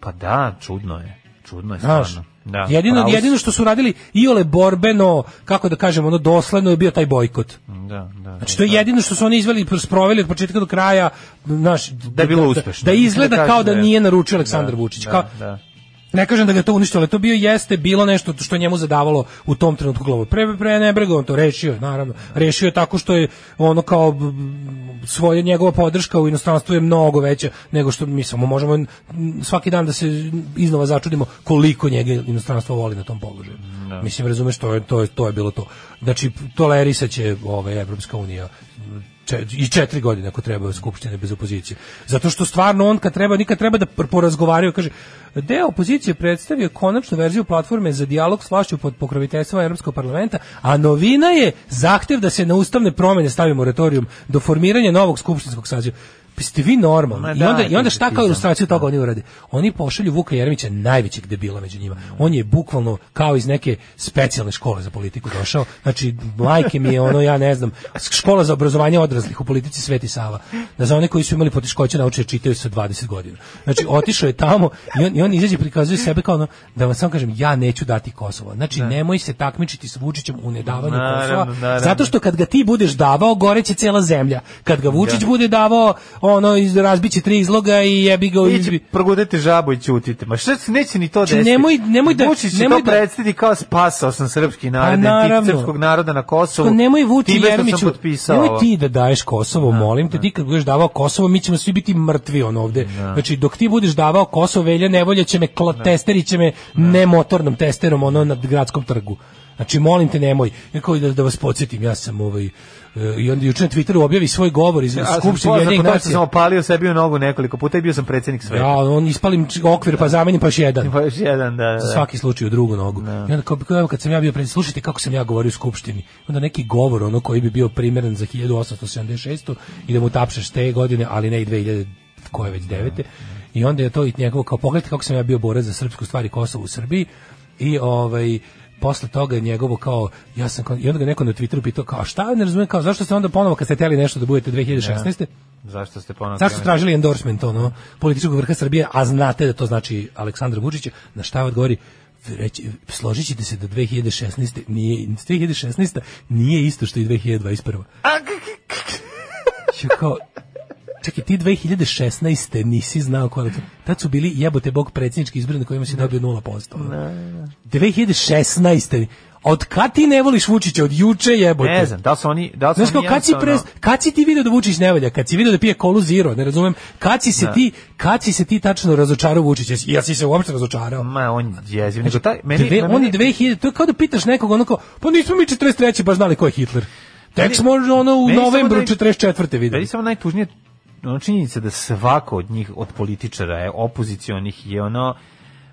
[SPEAKER 6] Pa da, čudno je. Čudno je
[SPEAKER 7] Znaš,
[SPEAKER 6] stvarno. Da,
[SPEAKER 7] jedino,
[SPEAKER 6] pravo si.
[SPEAKER 7] jedino što su radili iole borbeno, kako da kažem, ono dosledno je bio taj bojkot.
[SPEAKER 6] Da, da,
[SPEAKER 7] Znači to je jedino što su oni izveli sproveli od početka do kraja, znaš, da
[SPEAKER 6] je bilo uspešno.
[SPEAKER 7] Da, izgleda
[SPEAKER 6] Da kažem
[SPEAKER 7] kao da
[SPEAKER 6] da je-
[SPEAKER 7] nije naručio Aleksandar Vučić.
[SPEAKER 6] da,
[SPEAKER 7] Kao,
[SPEAKER 6] da.
[SPEAKER 7] Ne kažem da ga je to uništilo, ali to bio jeste bilo nešto što je njemu zadavalo u tom trenutku glavu. Pre pre ne brega on to rešio, je, naravno. Rešio je tako što je ono kao mm, svoje njegova podrška u inostranstvu je mnogo veća nego što mi samo možemo mm, svaki dan da se iznova začudimo koliko njega inostranstvo voli na tom položaju. Mislim razumeš to je to je to je bilo to. Znači tolerisaće ovaj Evropska unija če- i četiri godine ako treba skupštine bez opozicije. Zato što stvarno on kad treba, nikad treba da pr- porazgovaraju, kaže, deo opozicije predstavio konačnu verziju platforme za dijalog s vlašću pod pokroviteljstvom Europskog parlamenta, a novina je zahtev da se na ustavne promjene stavi moratorijum do formiranja novog skupštinskog saziva. Pa ste vi normalni.
[SPEAKER 6] Ma
[SPEAKER 7] I onda,
[SPEAKER 6] da,
[SPEAKER 7] I onda šta kao
[SPEAKER 6] idiotizam.
[SPEAKER 7] ilustraciju toga oni urade? Oni pošalju Vuka Jeremića, najvećeg debila među njima. On je bukvalno kao iz neke specijalne škole za politiku došao. Znači, majke mi je ono, ja ne znam, škola za obrazovanje odraslih u politici Sveti Sava. Da za one koji su imali poteškoće nauče da čitaju sa 20 godina. Znači, otišao je tamo i on, i on izađe i prikazuje sebe kao ono, da vam samo kažem, ja neću dati Kosovo. Znači, nemoj se takmičiti s Vučićem u nedavanju
[SPEAKER 6] Da. Naravno,
[SPEAKER 7] Kosova,
[SPEAKER 6] naravno.
[SPEAKER 7] zato što kad ga ti budeš davao, goreće cela zemlja. Kad ga Vučić
[SPEAKER 6] Da.
[SPEAKER 7] bude davao, ono, iz- razbiće tri izloga i jebi ga...
[SPEAKER 6] Vi će progudete žabu i ćutite. Ma šta se neće ni to
[SPEAKER 7] Znači,
[SPEAKER 6] desiti?
[SPEAKER 7] nemoj- nemoj da-
[SPEAKER 6] Vučić će
[SPEAKER 7] nemoj
[SPEAKER 6] to
[SPEAKER 7] da-
[SPEAKER 6] predstaviti kao spasao sam srpski narod,
[SPEAKER 7] Pa,
[SPEAKER 6] identitet
[SPEAKER 7] naravno.
[SPEAKER 6] srpskog naroda na Kosovu.
[SPEAKER 7] Ko nemoj Vuči
[SPEAKER 6] Tibetu da sam
[SPEAKER 7] Jeremiću,
[SPEAKER 6] potpisao
[SPEAKER 7] nemoj
[SPEAKER 6] ovo. da.
[SPEAKER 7] ti da daješ Kosovo, molim te, ti kad budeš davao Kosovo, mi ćemo svi biti mrtvi on ovde. Znači, dok ti budeš davao Kosovo, velja nevolja će me, kla,
[SPEAKER 6] Da.
[SPEAKER 7] testeri će me nemotornom testerom, ono, na gradskom trgu. Znači, molim te, nemoj. Neko da, da vas podsjetim, ja sam ovaj, e, i onda juče na Twitteru objavi svoj govor iz
[SPEAKER 6] Ja sam
[SPEAKER 7] Skupštine
[SPEAKER 6] poznat po
[SPEAKER 7] Ujedinjenih
[SPEAKER 6] tome što sam
[SPEAKER 7] nacija.
[SPEAKER 6] opalio sebi u nogu nekoliko puta i bio sam predsjednik sveta.
[SPEAKER 7] Ja, on ispalim č- okvir,
[SPEAKER 6] Da.
[SPEAKER 7] pa zamenim paš jedan.
[SPEAKER 6] Pa još jedan, da, da.
[SPEAKER 7] za svaki slučaj u drugu nogu. I onda kao, kao, evo, kad sam ja bio pred slušajte kako sam ja govorio u skupštini. Onda neki govor ono koji bi bio primeren za 1876 i da mu tapšeš te godine, ali ne i 2000 koje već devete. I onda je to i njegovo kao pogledajte kako sam ja bio borac za srpsku stvar i Kosovo u Srbiji i ovaj posle toga je njegovo kao ja sam kao- i onda ga neko na Twitteru pitao kao šta ne razumem kao zašto ste onda ponovo kad ste hteli nešto da budete 2016
[SPEAKER 6] Zašto ste ponovno...
[SPEAKER 7] Zašto su tražili endorsement ono političkog vrha Srbije, a znate da to znači Aleksandra Vučića, na šta odgovori reći, složit ćete se da 2016. nije, 2016. nije isto što i 2021. Ću kao, čekaj, ti 2016. nisi znao koja... Tad su bili jebote bog predsjednički izbori na kojima si dobio 0%. Ne, 2016. Od kad ti ne voliš Vučića? Od juče jebote.
[SPEAKER 6] Ne znam, da li su oni... Da li su
[SPEAKER 7] Znaš kao,
[SPEAKER 6] oni
[SPEAKER 7] kad si, pres,
[SPEAKER 6] jednostavno-
[SPEAKER 7] kad si ti video da Vučić ne valja, kad si video da pije kolu zero, ne razumem, kad si se,
[SPEAKER 6] Da.
[SPEAKER 7] ti, kad si se ti tačno razočarao Vučića, Jesi- ja si se uopšte razočarao.
[SPEAKER 6] Ma, on je jeziv. Nego taj, meni,
[SPEAKER 7] Znači, Dve,
[SPEAKER 6] na
[SPEAKER 7] on
[SPEAKER 6] meni-
[SPEAKER 7] je 2000, to je kao da pitaš nekog onako, pa nismo mi 43. baš znali ko je Hitler. Tek smo ono u
[SPEAKER 6] meni samo
[SPEAKER 7] novembru
[SPEAKER 6] da je-
[SPEAKER 7] 44. videli.
[SPEAKER 6] Meni samo najtužnije ono činjenica da svako od njih, od političara, je, opozicionih, je ono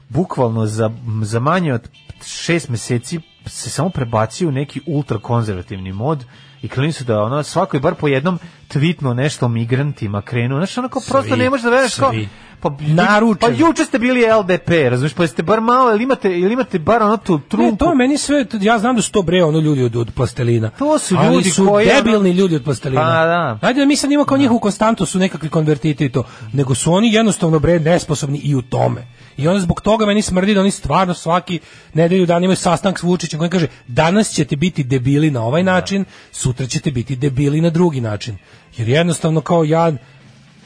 [SPEAKER 6] bukvalno za, za manje od šest meseci se samo prebacio u neki ultrakonzervativni mod i krenuli su da ono svako je bar po jednom tvitno nešto o migrantima krenuo. Znaš, onako prosto ne možeš da veruješ kao
[SPEAKER 7] svi.
[SPEAKER 6] Pa,
[SPEAKER 7] Naručen.
[SPEAKER 6] Pa juče ste bili LDP, razumiješ, pa jeste bar malo, ili imate, ili imate bar ono tu trunku.
[SPEAKER 7] Ne, to je meni sve, ja znam da su to bre ono ljudi od, od plastelina.
[SPEAKER 6] To su
[SPEAKER 7] Ali
[SPEAKER 6] ljudi
[SPEAKER 7] su
[SPEAKER 6] koji, ono-
[SPEAKER 7] debilni ljudi od plastelina.
[SPEAKER 6] Pa, da.
[SPEAKER 7] Ajde da mi sad imamo kao njihovu konstantu su nekakvi konvertiti i to, nego su oni jednostavno bre nesposobni i u tome. I onda zbog toga meni smrdi da oni stvarno svaki nedelju dan imaju sastanak s Vučićem koji kaže danas ćete biti debili na
[SPEAKER 6] Da.
[SPEAKER 7] ovaj način, sutra ćete biti debili na drugi način. Jer jednostavno kao ja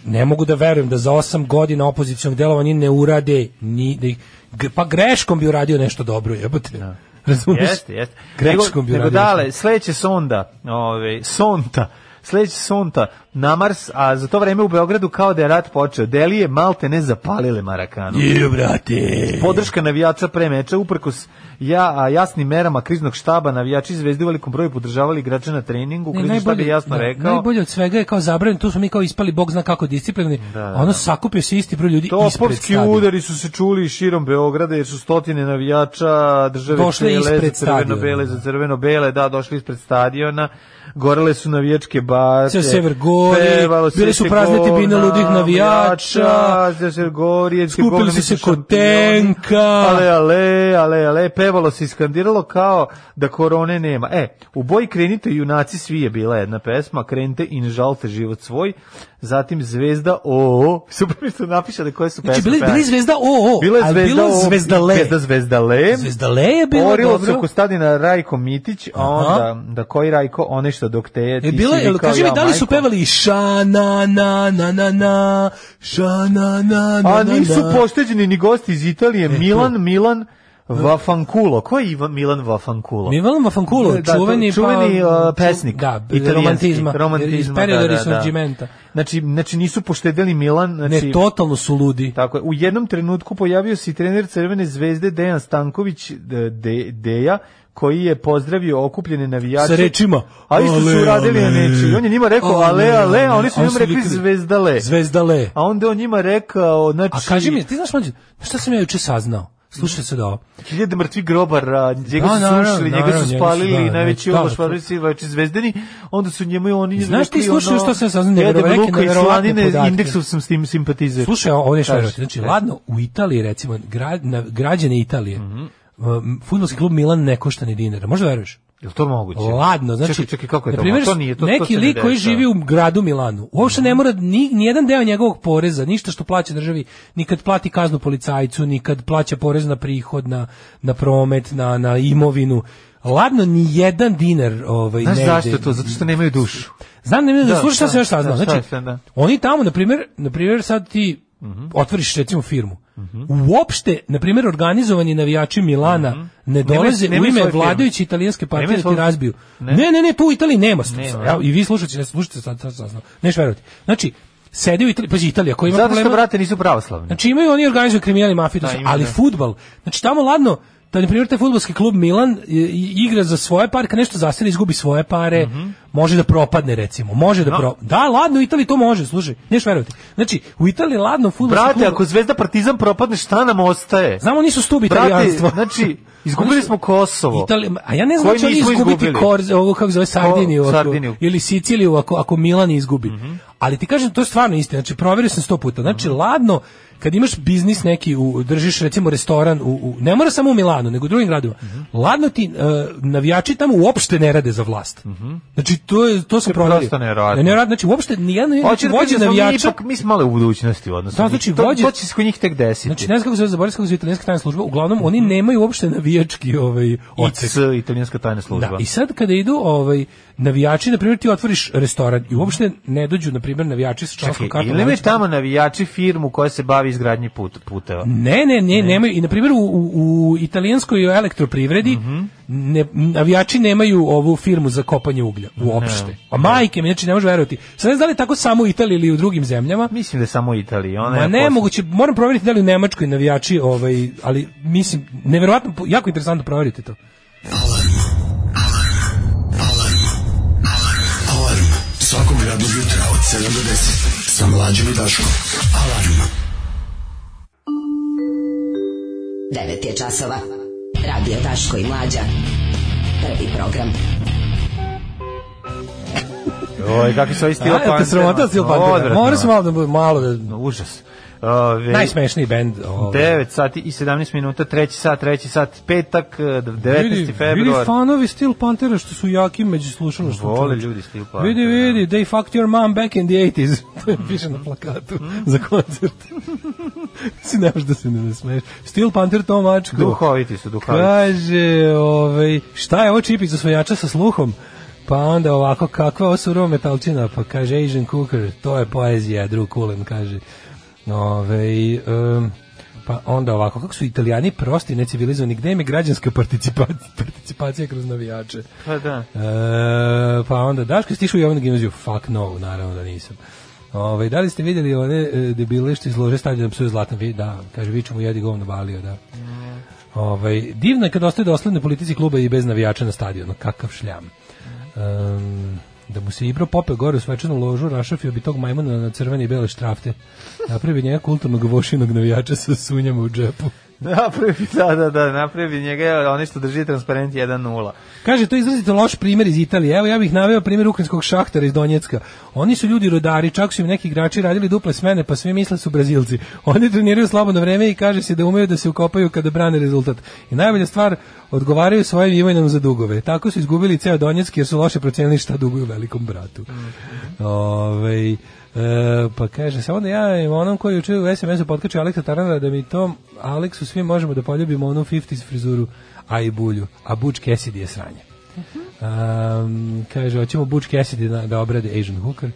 [SPEAKER 7] ne mogu da verujem da za osam godina opozicionog delovanja ne urade ni da ih, g- pa greškom bi uradio nešto dobro, jebote. Razumeš?
[SPEAKER 6] Da. Jeste, jeste.
[SPEAKER 7] Greškom bi
[SPEAKER 6] nego, nego
[SPEAKER 7] uradio. nešto.
[SPEAKER 6] dale, sledeće sonda, ove, sonta, sledeće sonta na Mars, a za to vreme u Beogradu kao da je rat počeo. Delije malte ne zapalile Marakanu.
[SPEAKER 7] Je, brate.
[SPEAKER 6] Podrška navijača pre meča, uprkos ja, a jasnim merama kriznog štaba, navijači zvezde u velikom broju podržavali igrače na treningu,
[SPEAKER 7] Ne,
[SPEAKER 6] krizni štab je jasno
[SPEAKER 7] da,
[SPEAKER 6] rekao.
[SPEAKER 7] najbolje od svega je kao zabranjen, tu smo mi kao ispali, bog zna kako disciplinarni, a ono sakupio se isti broj ljudi ispred
[SPEAKER 6] Da, Topovski
[SPEAKER 7] stadiona.
[SPEAKER 6] udari su se čuli širom Beograda jer su stotine navijača države
[SPEAKER 7] Došli
[SPEAKER 6] cele
[SPEAKER 7] ispred
[SPEAKER 6] za crveno-bele, za
[SPEAKER 7] stadiona,
[SPEAKER 6] crveno-bele, da, došli ispred stadiona, gorele su navijačke base,
[SPEAKER 7] Ceo sever gori,
[SPEAKER 6] pevalo se
[SPEAKER 7] bile su
[SPEAKER 6] se
[SPEAKER 7] prazne
[SPEAKER 6] gol
[SPEAKER 7] tribine ludih navijača,
[SPEAKER 6] ceo sever gori,
[SPEAKER 7] skupili
[SPEAKER 6] golmani
[SPEAKER 7] su se
[SPEAKER 6] šampioni,
[SPEAKER 7] kod tenka.
[SPEAKER 6] ale, ale, ale, ale, pevalo se i skandiralo kao da korone nema. E, u boji Krenite junaci svi je bila jedna pesma, Krenite i ne žalite život svoj, zatim Zvezda o super mi ste napišali koje su
[SPEAKER 7] Znači,
[SPEAKER 6] pesme.
[SPEAKER 7] bili, bili zvezda o, o,
[SPEAKER 6] Bila je
[SPEAKER 7] ali
[SPEAKER 6] zvezda,
[SPEAKER 7] bilo
[SPEAKER 6] o,
[SPEAKER 7] zvezdale.
[SPEAKER 6] Zvezda zvezdale.
[SPEAKER 7] Zvezdale je bilo
[SPEAKER 6] Orilo
[SPEAKER 7] dobro.
[SPEAKER 6] su Kostadina Rajko Mitić, a onda, da koji Rajko, one što dok te je, ti
[SPEAKER 7] E, bilo
[SPEAKER 6] si
[SPEAKER 7] je,
[SPEAKER 6] vikao,
[SPEAKER 7] kaži mi,
[SPEAKER 6] ja,
[SPEAKER 7] da li su
[SPEAKER 6] majko.
[SPEAKER 7] pevali ša na na na na na, ša na na na
[SPEAKER 6] A
[SPEAKER 7] na,
[SPEAKER 6] nisu
[SPEAKER 7] na.
[SPEAKER 6] pošteđeni ni gosti iz Italije, Milan,
[SPEAKER 7] da- E, to.
[SPEAKER 6] Milan, Vafankulo. Ko je Ivan Milan Vafankulo?
[SPEAKER 7] Milan Vafankulo,
[SPEAKER 6] Da, to-
[SPEAKER 7] čuveni, pa-
[SPEAKER 6] čuveni uh, pesnik
[SPEAKER 7] Da,
[SPEAKER 6] italijanski,
[SPEAKER 7] romantizma, iz perioda
[SPEAKER 6] da, da, da.
[SPEAKER 7] Risorgimenta.
[SPEAKER 6] Znači, znači nisu poštedeli Milan, znači
[SPEAKER 7] Ne, totalno su ludi.
[SPEAKER 6] Tako je. U jednom trenutku pojavio se i trener Crvene zvezde Dejan Stanković de, De- Deja koji je pozdravio okupljene navijače.
[SPEAKER 7] Sa rečima,
[SPEAKER 6] A isto
[SPEAKER 7] "Ale,
[SPEAKER 6] su uradili
[SPEAKER 7] ale,
[SPEAKER 6] neći. I on je njima rekao ale, ale, a oni su
[SPEAKER 7] A
[SPEAKER 6] njima rekli
[SPEAKER 7] vikali,
[SPEAKER 6] zvezdale.
[SPEAKER 7] Zvezdale.
[SPEAKER 6] A onda je on njima rekao, znači...
[SPEAKER 7] A kaži mi, ti znaš, mlađe, šta sam ja juče saznao? Slušaj se da ovo.
[SPEAKER 6] Hiljade mrtvi grobara, njega
[SPEAKER 7] Da,
[SPEAKER 6] su
[SPEAKER 7] naravno,
[SPEAKER 6] sušili, njega su
[SPEAKER 7] naravno, njega su,
[SPEAKER 6] spalili,
[SPEAKER 7] da,
[SPEAKER 6] najveći
[SPEAKER 7] da,
[SPEAKER 6] omaš
[SPEAKER 7] to-
[SPEAKER 6] Farisivači zvezdeni, onda su njemu i oni...
[SPEAKER 7] Znaš ti,
[SPEAKER 6] rekli,
[SPEAKER 7] slušaj,
[SPEAKER 6] ono,
[SPEAKER 7] što sam saznao,
[SPEAKER 6] "Jede
[SPEAKER 7] neverovatne-
[SPEAKER 6] me luka i
[SPEAKER 7] neverovatne
[SPEAKER 6] slanine,
[SPEAKER 7] podatke."
[SPEAKER 6] Indeksov sam s tim simpatizer. "E,
[SPEAKER 7] Slušaj, ovo je što
[SPEAKER 6] Kaži.
[SPEAKER 7] znači. Znači, ladno, u Italiji, recimo, grad, na, građane Italije, mm futbolski klub Milan ne košta ni dinara. Možda veruješ?
[SPEAKER 6] Jel to moguće?
[SPEAKER 7] Ladno, znači,
[SPEAKER 6] čekaj, čekaj, kako je to?
[SPEAKER 7] na primjer,
[SPEAKER 6] To nije, to, to
[SPEAKER 7] neki
[SPEAKER 6] se ne
[SPEAKER 7] lik koji
[SPEAKER 6] dešava.
[SPEAKER 7] živi u gradu Milanu, uopšte ne mora ni, nijedan deo njegovog poreza, ništa što plaća državi, nikad plati kaznu policajcu, nikad plaća porez na prihod, na, na promet, na, na imovinu. Ladno, ni jedan dinar ovaj,
[SPEAKER 6] Znaš
[SPEAKER 7] ne ide.
[SPEAKER 6] zašto to? Zato što nemaju dušu.
[SPEAKER 7] Znam da mi
[SPEAKER 6] Da,
[SPEAKER 7] da, slušaj šta
[SPEAKER 6] šta,
[SPEAKER 7] sam još saznao.
[SPEAKER 6] šta,
[SPEAKER 7] Znači,
[SPEAKER 6] šta, da. Mhm.
[SPEAKER 7] oni tamo, na primjer, na primjer sad ti otvoriš recimo firmu. Uopšte, na primjer, organizovani navijači Milana ne
[SPEAKER 6] Mhm. Nemaju-
[SPEAKER 7] dolaze u
[SPEAKER 6] nemaju
[SPEAKER 7] ime
[SPEAKER 6] svoje firme.
[SPEAKER 7] vladajuće italijanske partije
[SPEAKER 6] Nemaju
[SPEAKER 7] da ti
[SPEAKER 6] svoje-
[SPEAKER 7] razbiju.
[SPEAKER 6] Ne.
[SPEAKER 7] Ne, ne, ne, tu u Italiji nema.
[SPEAKER 6] Nema.
[SPEAKER 7] Evo, I vi slušate, ne slušate sad, sad saznao. Neš verovati. Znači, sede u Italiji, pazi, Italija koja ima
[SPEAKER 6] Zato što,
[SPEAKER 7] problema-
[SPEAKER 6] brate, nisu pravoslavni.
[SPEAKER 7] Znači imaju oni organizuju kriminal i mafiju, to
[SPEAKER 6] Da,
[SPEAKER 7] sve,
[SPEAKER 6] imaju,
[SPEAKER 7] ali
[SPEAKER 6] da.
[SPEAKER 7] fudbal. Znači tamo ladno da na primjer taj fudbalski klub Milan i- i- igra za svoje pare, kad nešto zasere izgubi svoje pare,
[SPEAKER 6] Mhm.
[SPEAKER 7] može da propadne recimo, može da pro... Da, ladno u Italiji to može, slušaj, neš verovati. Znači u Italiji ladno fudbalski
[SPEAKER 6] Brate,
[SPEAKER 7] klub.
[SPEAKER 6] ako Zvezda Partizan propadne, šta nam ostaje?
[SPEAKER 7] Znamo nisu stubi
[SPEAKER 6] Brate,
[SPEAKER 7] italijanstva.
[SPEAKER 6] znači, izgubili smo Kosovo.
[SPEAKER 7] Italija, a ja ne znam
[SPEAKER 6] Koji
[SPEAKER 7] će li
[SPEAKER 6] nismo
[SPEAKER 7] izgubiti
[SPEAKER 6] izgubili.
[SPEAKER 7] Korze, ovo kako zove Sardiniju, ako-
[SPEAKER 6] Sardiniju. Mhm.
[SPEAKER 7] ili Siciliju ako, ako Milan izgubi. Ali ti kažem, to je stvarno istina, znači proverio sam sto puta. Znači, ladno, kad imaš biznis neki, u, držiš recimo restoran, u, u- ne mora samo u Milanu, nego u drugim gradima,
[SPEAKER 6] Mhm.
[SPEAKER 7] ladno ti e, navijači tamo uopšte ne rade za vlast. Znači, to, je, to sam proverio.
[SPEAKER 6] Mhm. prosto nevjerovatno.
[SPEAKER 7] Ne, rade, znači, uopšte nijedno, znači,
[SPEAKER 6] Hoće da
[SPEAKER 7] vođe
[SPEAKER 6] kažem da smo mi
[SPEAKER 7] navijača...
[SPEAKER 6] ipak, mi smo male u budućnosti u odnosu.
[SPEAKER 7] Da, znači,
[SPEAKER 6] to,
[SPEAKER 7] vođe-
[SPEAKER 6] to će se kod njih tek desiti.
[SPEAKER 7] Znači, ne znam kako se zove, zaboravio sam kako se zove italijanska tajna služba, uglavnom oni nemaju uopšte navijački ovaj, odsek.
[SPEAKER 6] IC, italijanska tajna služba.
[SPEAKER 7] Da, i sad kada idu ovaj navijači, na primjer ti otvoriš restoran i uopšte ne dođu na primjer navijači sa članskom
[SPEAKER 6] Čekaj,
[SPEAKER 7] kartom.
[SPEAKER 6] ili imaju
[SPEAKER 7] navijača-
[SPEAKER 6] tamo navijači firmu koja se bavi izgradnji put, puteva?
[SPEAKER 7] Ne, ne, ne, nemaju. I na primjer u, u, u italijanskoj elektroprivredi
[SPEAKER 6] Mhm.
[SPEAKER 7] ne, navijači nemaju ovu firmu za kopanje uglja
[SPEAKER 6] Da.
[SPEAKER 7] uopšte. A majke mi, znači ne može verovati. Sad ne znam da li je tako samo u Italiji ili u drugim zemljama.
[SPEAKER 6] Mislim da je samo u Italiji. Ona
[SPEAKER 7] Ma
[SPEAKER 6] je
[SPEAKER 7] ne,
[SPEAKER 6] posle-
[SPEAKER 7] moguće, moram provjeriti da li u Nemačkoj navijači, ovaj, ali mislim, nevjerojatno, jako interesantno provjeriti to.
[SPEAKER 4] Alarm svakog radnog jutra od 7 do 10 sa mlađom i Daškom. Alarm.
[SPEAKER 5] 9 je časova. Radio Daško i Mlađa. Prvi program.
[SPEAKER 6] Oj, kakvi su ovi stilo
[SPEAKER 7] Ajde, te sramota Steel Pantera. Morao sam malo da budem malo da
[SPEAKER 6] Užas. Ove,
[SPEAKER 7] Najsmešniji bend. Ove.
[SPEAKER 6] 9 sati i 17 minuta, treći sat, treći sat, petak, eh, 19.
[SPEAKER 7] Vidi,
[SPEAKER 6] februar.
[SPEAKER 7] Vidi fanovi Steel Panthera što su jaki među slušalaštvom.
[SPEAKER 6] Vole
[SPEAKER 7] čoveče.
[SPEAKER 6] ljudi Steel Panther,
[SPEAKER 7] Vidi, vidi, they fucked your mom back in the 80s. to je piše na plakatu za koncert. si ne možeš da se ne nasmeješ. Steel Panther to mačku.
[SPEAKER 6] Duhoviti su, duhoviti.
[SPEAKER 7] Kaže, ovaj, šta je ovo čipić osvajača sa sluhom? Pa onda ovako, kakva ovo surova metalčina? Pa kaže Asian Cooker, to je poezija, Drew Cullen kaže. Ove, um, pa onda ovako, kako su italijani prosti, necivilizovani, gde im je građanska participacija, participacija kroz navijače?
[SPEAKER 6] Pa da.
[SPEAKER 7] E, pa onda, Daško, stišu u javnu gimnaziju? Fuck no, naravno da nisam. Ove, da li ste vidjeli one e, debile što izlože stavljeno psu zlatan? Vi, da, kaže, viču mu jedi govno balio, da. Ovaj, divno je kad ostaje dosledne politici kluba i bez navijača na stadionu. Kakav šljam. Em, da mu se Ibro pope gore u svečanu ložu, rašafio bi tog majmuna na crvene i bele štrafte. Napravi njega kulturnog vošinog navijača sa sunjama u džepu.
[SPEAKER 6] Napravi, da, da, da, napravi njega, oni što drži transparent 1-0.
[SPEAKER 7] Kaže, to je izrazito loš primjer iz Italije. Evo, ja bih naveo primjer ukrajinskog šahtara iz Donjecka. Oni su ljudi rodari, čak su im neki igrači radili duple smene, pa svi misle su Brazilci. Oni treniraju slobodno vreme i kaže se da umeju da se ukopaju kada brane rezultat. I najbolja stvar, odgovaraju svojim imenom za dugove. Tako su izgubili ceo Donjeck jer su loše procenili šta duguju velikom bratu. Ovaj, E, pa kaže, samo da ja onom koji juče u SMS-u potkače Aleksa Taranara da mi to Aleksu svi možemo da poljubimo onu 50s frizuru, a i bulju, a Butch Cassidy je sranje. Um, kaže, hoćemo Butch Cassidy da, da obrade Asian Hooker.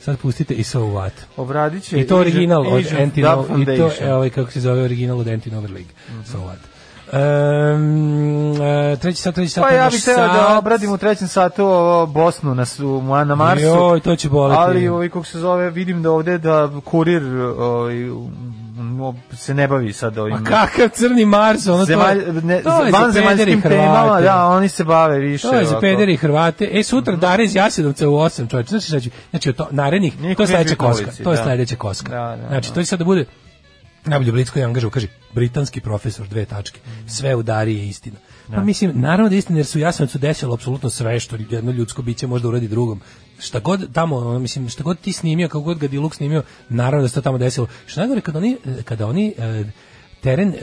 [SPEAKER 7] Sad pustite i So What.
[SPEAKER 6] Obradić će
[SPEAKER 7] I to original od
[SPEAKER 6] Asian
[SPEAKER 7] Anti
[SPEAKER 6] Dub
[SPEAKER 7] I to
[SPEAKER 6] Foundation.
[SPEAKER 7] je ovaj, kako se zove original od Anti Nova League. So What. Um, e, treći sat, treći sat.
[SPEAKER 6] Pa ja
[SPEAKER 7] naš
[SPEAKER 6] bih teo da
[SPEAKER 7] sat.
[SPEAKER 6] obradim u trećem satu ovo Bosnu na, su, na Marsu.
[SPEAKER 7] Joj, to će boleti.
[SPEAKER 6] Ali ovaj kako se zove, vidim da ovde da kurir ovaj, no, se ne bavi sad ovim.
[SPEAKER 7] Ma Pa kakav crni Mars, ono
[SPEAKER 6] Zemalj,
[SPEAKER 7] to,
[SPEAKER 6] ne,
[SPEAKER 7] to je za pederi
[SPEAKER 6] vanzemaljskim temama,
[SPEAKER 7] Hrvate.
[SPEAKER 6] da, oni se bave više.
[SPEAKER 7] To je za
[SPEAKER 6] ovako. Mhm.
[SPEAKER 7] pederi Hrvate. E, sutra Dare iz Jasenovca u 8, čovječe. Znači, znači, znači to, narednih,
[SPEAKER 6] Niko
[SPEAKER 7] to je
[SPEAKER 6] neće
[SPEAKER 7] sledeća
[SPEAKER 6] biti na
[SPEAKER 7] koska.
[SPEAKER 6] ulici,
[SPEAKER 7] To je
[SPEAKER 6] da.
[SPEAKER 7] sledeća koska.
[SPEAKER 6] Da, da,
[SPEAKER 7] znači, to će sad da bude najbolje blic koji je angažao, kaže, britanski profesor, dve tačke, sve u Dari je istina. Pa mislim, naravno da je istina, jer su Jasenovcu desilo apsolutno sve što jedno ljudsko biće može da uradi drugom. Šta god tamo, ono, mislim, šta god ti snimio, kako god ga Diluk snimio, naravno da se to tamo desilo. Što najgore, kada oni, kada oni e, teren e,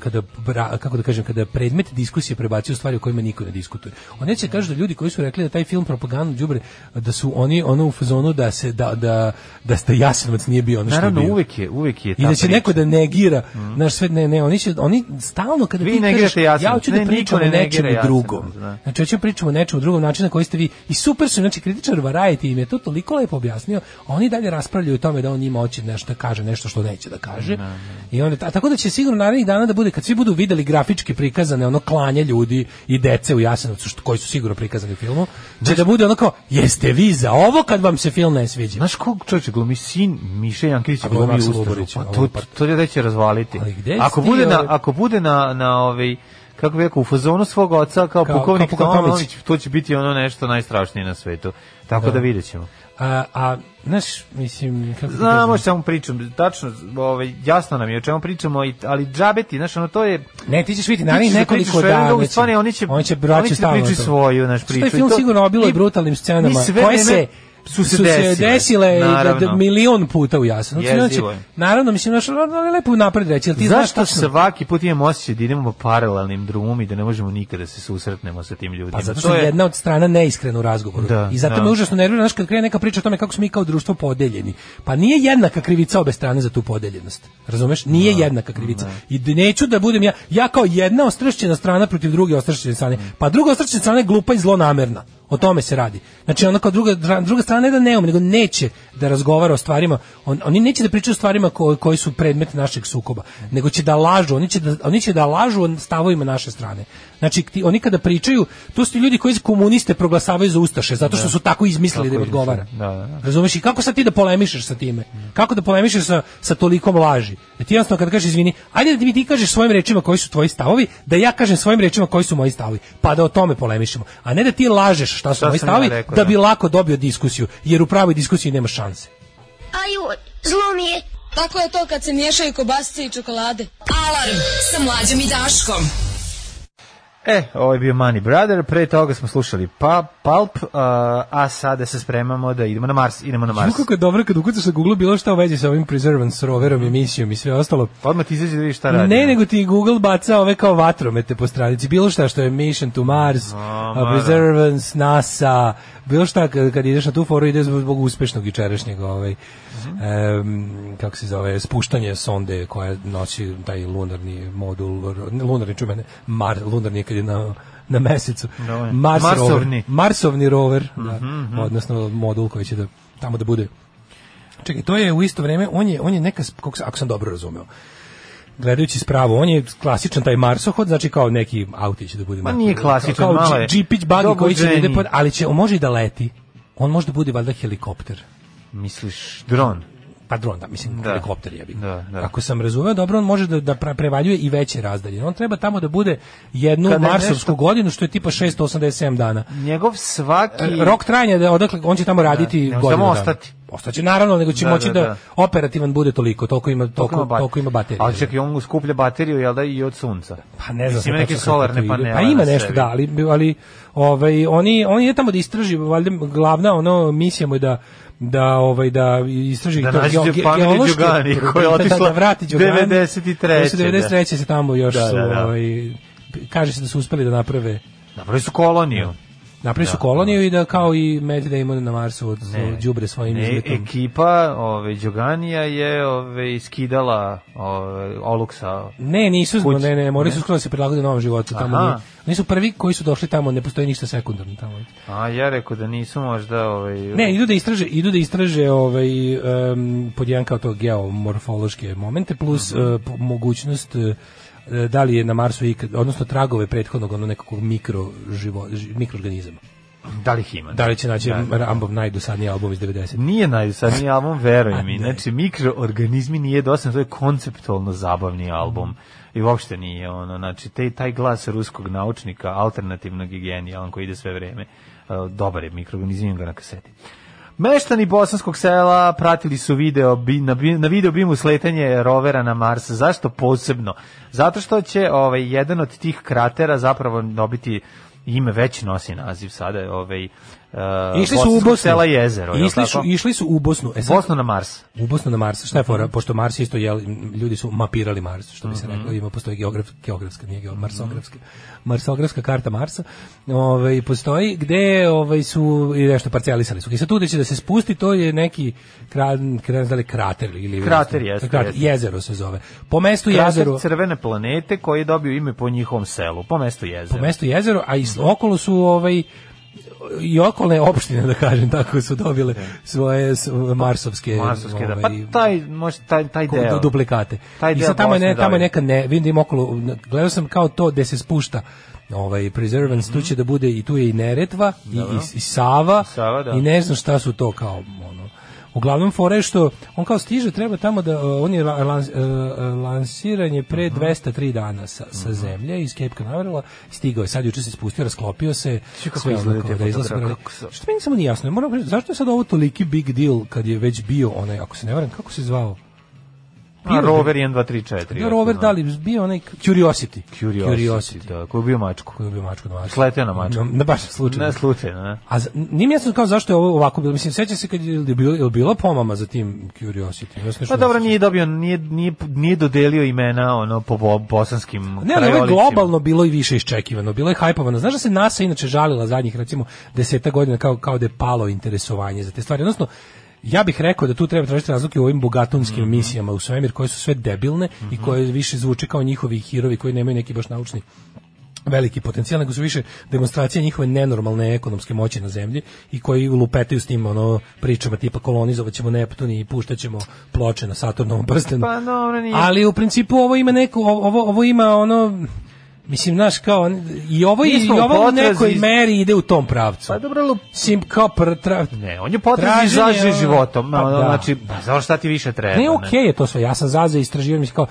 [SPEAKER 7] kada bra- kako da kažem kada predmet diskusije prebacio stvari o kojima niko ne diskutuje. Oni će kažu da ljudi koji su rekli da taj film propagandu đubre da su oni ono u fazonu da se da da da ste Jasenovac nije bio ono što je
[SPEAKER 6] Naravno,
[SPEAKER 7] bio.
[SPEAKER 6] uvek je, uvek je ta
[SPEAKER 7] I da će
[SPEAKER 6] priča.
[SPEAKER 7] neko da negira, znaš sve, ne, ne, oni će, oni stalno kada
[SPEAKER 6] Mm. Vi
[SPEAKER 7] ti
[SPEAKER 6] negirate
[SPEAKER 7] kažeš, ja
[SPEAKER 6] Jasenovac,
[SPEAKER 7] hoću
[SPEAKER 6] ne,
[SPEAKER 7] da
[SPEAKER 6] niko
[SPEAKER 7] pričam o
[SPEAKER 6] ne negira
[SPEAKER 7] nečemu
[SPEAKER 6] Jasenovac,
[SPEAKER 7] drugom.
[SPEAKER 6] da.
[SPEAKER 7] Znači, hoću da pričam o nečemu drugom načinu na koji ste vi, i super su, znači, kritičar Variety im je to toliko lepo objasnio, a oni dalje raspravljaju o tome da on njima hoće nešto da kaže, nešto što neće da kaže. I onda, a tako da će sigurno narednih dana da bude, kad svi budu videli grafički prikazane ono klanje ljudi i dece u Jasenovcu, što, koji su sigurno prikazani u filmu, će da bude ono kao, jeste vi za ovo kad vam se film ne sviđa.
[SPEAKER 6] Znaš kog čovječe glumi sin Miše Jankovića
[SPEAKER 7] A glumi
[SPEAKER 6] glumi
[SPEAKER 7] Maksa
[SPEAKER 6] Ustašu?
[SPEAKER 7] Luburića,
[SPEAKER 6] Pa
[SPEAKER 7] ovo
[SPEAKER 6] to,
[SPEAKER 7] pa-
[SPEAKER 6] to da će razvaliti.
[SPEAKER 7] Ali gde
[SPEAKER 6] Ako
[SPEAKER 7] si ti,
[SPEAKER 6] bude, na,
[SPEAKER 7] ovaj-
[SPEAKER 6] ako bude na, na ovaj, kako bih rekao, u fazonu svog oca kao,
[SPEAKER 7] Kao-
[SPEAKER 6] pukovnik
[SPEAKER 7] kao pukovnik
[SPEAKER 6] Tomović, to će biti ono nešto najstrašnije na svetu. Tako da, vidjet ćemo.
[SPEAKER 7] A, a znaš, mislim, kako ti
[SPEAKER 6] Znamo
[SPEAKER 7] kažem?
[SPEAKER 6] šta mu pričam, tačno, ovaj, jasno nam je o čemu pričamo, i- ali džabeti, znaš, ono to je...
[SPEAKER 7] Ne, ti ćeš vidjeti,
[SPEAKER 6] Ti ćeš
[SPEAKER 7] naravno
[SPEAKER 6] da
[SPEAKER 7] nekoliko
[SPEAKER 6] pričaš jedno,
[SPEAKER 7] dana.
[SPEAKER 6] u stvari oni će-
[SPEAKER 7] oni će
[SPEAKER 6] oni
[SPEAKER 7] braći
[SPEAKER 6] će
[SPEAKER 7] stalno.
[SPEAKER 6] pričati
[SPEAKER 7] to.
[SPEAKER 6] svoju, znaš,
[SPEAKER 7] Što je
[SPEAKER 6] priču i
[SPEAKER 7] film
[SPEAKER 6] to-
[SPEAKER 7] sigurno obilo
[SPEAKER 6] i-
[SPEAKER 7] i brutalnim
[SPEAKER 6] i
[SPEAKER 7] scenama,
[SPEAKER 6] sve
[SPEAKER 7] koje
[SPEAKER 6] vreme
[SPEAKER 7] se
[SPEAKER 6] su se
[SPEAKER 7] desile,
[SPEAKER 6] desile,
[SPEAKER 7] i da, da
[SPEAKER 6] naravno.
[SPEAKER 7] milion puta u jasno.
[SPEAKER 6] Jezivo
[SPEAKER 7] Znači,
[SPEAKER 6] je.
[SPEAKER 7] naravno, mislim, znaš, ono je lepo napred reći, ali ti znaš
[SPEAKER 6] Zašto
[SPEAKER 7] tačno.
[SPEAKER 6] svaki put imamo osjećaj da idemo po paralelnim drumom i da ne možemo nikada se susretnemo sa tim ljudima?
[SPEAKER 7] Pa zato
[SPEAKER 6] To
[SPEAKER 7] što je
[SPEAKER 6] je-
[SPEAKER 7] jedna od strana neiskrena u razgovoru.
[SPEAKER 6] Da,
[SPEAKER 7] I zato
[SPEAKER 6] da.
[SPEAKER 7] me užasno nervira, znaš, kad krene neka priča o tome kako smo mi kao društvo podeljeni. Pa nije jednaka krivica obe strane za tu podeljenost. Razumeš? Nije jednaka krivica. I d- neću da budem ja, ja kao jedna ostrašćena strana protiv druge ostrašćene strane. Pa druga ostrašćena strana je glupa i zlonamerna. O tome se radi. Znači ona kao druga, dra- druga strana ne da ne ume, nego neće da razgovara o stvarima, on, oni neće da pričaju o stvarima ko, koji su predmet našeg sukoba, nego će da lažu, oni će da, oni će da lažu o stavovima naše strane. Znači ti, oni kada pričaju, to su ti ljudi koji komuniste proglasavaju za ustaše, zato što su tako izmislili da im
[SPEAKER 6] Tako izmislili.
[SPEAKER 7] odgovara.
[SPEAKER 6] Da, da, da.
[SPEAKER 7] Razumeš i kako sad ti da polemišeš sa time? Kako da polemišeš sa, sa tolikom laži? Da ti jednostavno kada kažeš izvini, ajde da mi ti kažeš svojim rečima koji su tvoji stavovi, da ja kažem svojim rečima koji su moji stavovi, pa da o tome polemišemo. A ne da ti lažeš šta su
[SPEAKER 6] Šta
[SPEAKER 7] moji
[SPEAKER 6] sam ja
[SPEAKER 7] stavovi,
[SPEAKER 6] rekao,
[SPEAKER 7] da
[SPEAKER 6] da.
[SPEAKER 7] bi lako dobio diskusiju, jer u pravoj diskusiji nema šanse.
[SPEAKER 5] Aju, zlo mi je.
[SPEAKER 9] Tako je to kad se miješaju kobasice i čokolade.
[SPEAKER 5] Alarm sa mlađom i Daškom.
[SPEAKER 6] E, ovo je bio Money Brother, pre toga smo slušali pa Pulp, uh, a sada se spremamo da idemo na Mars, idemo na Mars.
[SPEAKER 7] Znaš kako je dobro kad ukucaš na Google bilo šta u vezi sa ovim Preservance roverom, emisijom i sve ostalo.
[SPEAKER 6] Odmah ti izađe da vidiš šta radi.
[SPEAKER 7] Ne, nego ti Google baca ove kao vatromete po stranici. Bilo šta što je Mission to Mars,
[SPEAKER 6] A,
[SPEAKER 7] a,
[SPEAKER 6] ma,
[SPEAKER 7] Preservance, NASA, bilo šta kad, kad ideš na tu foru ide zbog uspešnog jučerašnjeg ovaj, em, kako se zove, spuštanje sonde koja nosi taj lunarni modul, ne, lunarni čumene, mar, lunarni je kad je na, na mesecu.
[SPEAKER 6] Da,
[SPEAKER 7] Mars
[SPEAKER 6] Marsovni. Mhm,
[SPEAKER 7] rover. Marsovni rover, da, odnosno modul koji će da tamo da bude. Čekaj, to je u isto vreme, on je, on je neka, sp- kako, sam- ako sam dobro razumeo, gledajući spravo, on je klasičan taj marsohod, znači kao neki auti će da bude.
[SPEAKER 6] Ma
[SPEAKER 7] na-
[SPEAKER 6] nije klasičan,
[SPEAKER 7] kao,
[SPEAKER 6] malo je
[SPEAKER 7] dži- džipić bagi koji će da ide,
[SPEAKER 6] dobuđeni.
[SPEAKER 7] pod- ali će, on može i da leti. On može da bude valjda helikopter.
[SPEAKER 6] Misliš, dron.
[SPEAKER 7] Pa dron, da, mislim,
[SPEAKER 6] Da.
[SPEAKER 7] helikopter je bi.
[SPEAKER 6] Da, da.
[SPEAKER 7] Ako sam razumeo dobro, on može da, da pra- prevaljuje i veće razdalje. On treba tamo da bude jednu
[SPEAKER 6] Kada je
[SPEAKER 7] marsovsku
[SPEAKER 6] nešto-
[SPEAKER 7] godinu, što je tipa 687 dana.
[SPEAKER 6] Njegov svaki...
[SPEAKER 7] E, Rok trajanja da odakle on će tamo raditi
[SPEAKER 6] ne može
[SPEAKER 7] godinu
[SPEAKER 6] samo
[SPEAKER 7] dana.
[SPEAKER 6] ostati.
[SPEAKER 7] Ostaće naravno, nego će
[SPEAKER 6] Da,
[SPEAKER 7] moći
[SPEAKER 6] da,
[SPEAKER 7] da,
[SPEAKER 6] da.
[SPEAKER 7] operativan bude toliko, toliko ima toliko, toliko,
[SPEAKER 6] bat-
[SPEAKER 7] ima baterije. da.
[SPEAKER 6] Ali čekaj, on mu skuplja bateriju, jel da, i od sunca.
[SPEAKER 7] Pa ne znam.
[SPEAKER 6] Mislim,
[SPEAKER 7] sad
[SPEAKER 6] neke
[SPEAKER 7] tačno kako to
[SPEAKER 6] solarne
[SPEAKER 7] ide.
[SPEAKER 6] panele.
[SPEAKER 7] Pa
[SPEAKER 6] na
[SPEAKER 7] ima nešto,
[SPEAKER 6] sebi.
[SPEAKER 7] da, ali, ali ovaj, oni, oni je tamo da istraži, valjda glavna ono, misija mu je da da ovaj da istraži
[SPEAKER 6] Da
[SPEAKER 7] to
[SPEAKER 6] nađe
[SPEAKER 7] ge- ge-
[SPEAKER 6] Pamela
[SPEAKER 7] geološke-
[SPEAKER 6] Đugani, koja je
[SPEAKER 7] da, da, da
[SPEAKER 6] otišla
[SPEAKER 7] vrati Đugani.
[SPEAKER 6] 93.,
[SPEAKER 7] Oni su 93. se tamo još
[SPEAKER 6] Da,
[SPEAKER 7] su,
[SPEAKER 6] da, da.
[SPEAKER 7] ovaj, kaže se da su uspeli da naprave
[SPEAKER 6] Napravili su koloniju.
[SPEAKER 7] Napravili su koloniju i da kao i Matt Damon na Marsu od đubre svojim
[SPEAKER 6] Ne, e,
[SPEAKER 7] izletom.
[SPEAKER 6] ekipa ove, Đoganija je ove, iskidala ove, Oluksa.
[SPEAKER 7] Ne, nisu,
[SPEAKER 6] Kuć-
[SPEAKER 7] ne, ne, morali su skroz da se prilagode novom životu. Tamo
[SPEAKER 6] Aha.
[SPEAKER 7] nije, nisu prvi koji su došli tamo, ne postoji ništa sekundarno tamo.
[SPEAKER 6] A ja rekao da nisu možda... Ove,
[SPEAKER 7] Ne, idu da istraže, idu da istraže ovaj em, pod jedan kao to geomorfološke momente plus
[SPEAKER 6] Mhm.
[SPEAKER 7] e, po- mogućnost e, e, da li je na Marsu ikad, odnosno tragove prethodnog ono nekakvog mikro živo, ži- mikroorganizama.
[SPEAKER 6] Da li ih ima?
[SPEAKER 7] Da li će naći
[SPEAKER 6] Da, da, da.
[SPEAKER 7] Rambov najdosadniji album iz 90.
[SPEAKER 6] Nije najdosadniji album,
[SPEAKER 7] A,
[SPEAKER 6] veruj mi.
[SPEAKER 7] ne.
[SPEAKER 6] Znači, mikroorganizmi nije dosadno, to je konceptualno zabavni album. I uopšte nije ono, znači, te, taj glas ruskog naučnika, alternativnog i genijalan koji ide sve vreme, e, dobar je mikroorganizam, imam ga na kaseti. Meštani bosanskog sela pratili su video bi, na, bi- na video bimu sletanje rovera na Mars. Zašto posebno? Zato što će ovaj jedan od tih kratera zapravo dobiti ime već nosi naziv sada, ovaj uh,
[SPEAKER 7] Išli su u Bosnu.
[SPEAKER 6] sela jezero. jel
[SPEAKER 7] Išli su,
[SPEAKER 6] tako?
[SPEAKER 7] išli su u Bosnu. E sad,
[SPEAKER 6] Bosnu na Mars.
[SPEAKER 7] U Bosnu na Mars, šta je fora,
[SPEAKER 6] Mhm.
[SPEAKER 7] pošto Mars isto je, ljudi su mapirali Mars, što bi se reklo, ima, postoji geograf, geografska, nije
[SPEAKER 6] Mhm.
[SPEAKER 7] geograf, marsografska, marsografska karta Marsa, ovaj, postoji, gde ovaj, su, i nešto parcijalisali su. I sad tu gde će da se spusti, to je neki, kra, kra, da li krater ili...
[SPEAKER 6] Krater jeste,
[SPEAKER 7] krater,
[SPEAKER 6] jeste.
[SPEAKER 7] Jezero se zove. Po mestu
[SPEAKER 6] Krater
[SPEAKER 7] jezero...
[SPEAKER 6] crvene planete koji je dobio ime po njihovom selu, po mestu jezero.
[SPEAKER 7] po mestu jezero, a i s- okolo su ovaj i okolne opštine da kažem tako su dobile svoje s- marsovske
[SPEAKER 6] Da. Marsovske, da. Pa
[SPEAKER 7] ovaj,
[SPEAKER 6] taj, možda taj, taj
[SPEAKER 7] ko-
[SPEAKER 6] deo.
[SPEAKER 7] duplikate.
[SPEAKER 6] Taj
[SPEAKER 7] I
[SPEAKER 6] deo
[SPEAKER 7] sad tamo je, ne,
[SPEAKER 6] Bosne
[SPEAKER 7] tamo je
[SPEAKER 6] dalje.
[SPEAKER 7] neka ne, vidim da ima okolo, gledao sam kao to gde se spušta ovaj preservance, tu će da bude i tu je i Neretva i, i, i Sava,
[SPEAKER 6] Mhm. I Sava, da.
[SPEAKER 7] i ne znam šta su to kao ono. Uglavnom fora je što on kao stiže treba tamo da uh, on je la- lans- uh, uh, lansiranje
[SPEAKER 6] Mhm.
[SPEAKER 7] pre 203 dana sa, sa zemlje iz Cape Canaverala stigao je sad juče se spustio rasklopio se
[SPEAKER 6] Čekaj, kako
[SPEAKER 7] sve ono
[SPEAKER 6] izgledaju
[SPEAKER 7] kao
[SPEAKER 6] te
[SPEAKER 7] da izlazi
[SPEAKER 6] fotografije,
[SPEAKER 7] prvi-
[SPEAKER 6] kako su-
[SPEAKER 7] što meni samo nije jasno moram reći zašto je sad ovo toliki big deal kad je već bio onaj ako se ne varam kako se zvao
[SPEAKER 6] A rover 1, 2, 3, 4.
[SPEAKER 7] bio rover da li bio onaj Curiosity.
[SPEAKER 6] Curiosity, da, koji je bio mačku.
[SPEAKER 7] Koji je bio mačku na mačku.
[SPEAKER 6] Sleteo na mačku.
[SPEAKER 7] Na, na baš slučajno.
[SPEAKER 6] Ne slučajno, ne? Pa
[SPEAKER 7] A za- nije mi jasno kao zašto je ovo ovako bilo. Mislim, seća se kad je, je bilo, je li bilo pomama za tim Curiosity. Ja se nešto
[SPEAKER 6] Pa dobro,
[SPEAKER 7] ne
[SPEAKER 6] nije dobio, nije, nije, nije dodelio imena ono, po bo, bosanskim
[SPEAKER 7] Ne, ali ovo je
[SPEAKER 6] krajolicima.
[SPEAKER 7] globalno bilo i više iščekivano, bilo je hajpovano. Znaš da se NASA inače žalila zadnjih recimo deseta godina kao, kao da je palo interesovanje za te stvari. Odnosno, ja bih rekao da tu treba tražiti razlike u ovim bogatunskim
[SPEAKER 6] Mhm.
[SPEAKER 7] misijama u svemir koje su sve debilne i koje više zvuče kao njihovi hirovi koji nemaju neki baš naučni veliki potencijal, nego su više demonstracije njihove nenormalne ekonomske moći na zemlji i koji lupetaju s tim ono pričama tipa kolonizovat ćemo Neptun i puštaćemo ploče na Saturnovom prstenu.
[SPEAKER 6] Pa dobro, nije-
[SPEAKER 7] Ali u principu ovo ima neko, ovo, ovo ima ono, mislim, znaš, kao, i ovo,
[SPEAKER 6] Mi
[SPEAKER 7] i
[SPEAKER 6] smo u
[SPEAKER 7] ovo u
[SPEAKER 6] potrazi-
[SPEAKER 7] nekoj meri ide u tom pravcu.
[SPEAKER 6] Pa dobro, lup-
[SPEAKER 7] Sim, kao pr- tra-
[SPEAKER 6] Ne, on je potrazi
[SPEAKER 7] Traženje,
[SPEAKER 6] zaže
[SPEAKER 7] ono-
[SPEAKER 6] životom.
[SPEAKER 7] Pa
[SPEAKER 6] ono,
[SPEAKER 7] da.
[SPEAKER 6] Znači, pa, zašto šta ti više treba?
[SPEAKER 7] Ne, okej je to sve. Ja sam za za istraživanje, mislim kao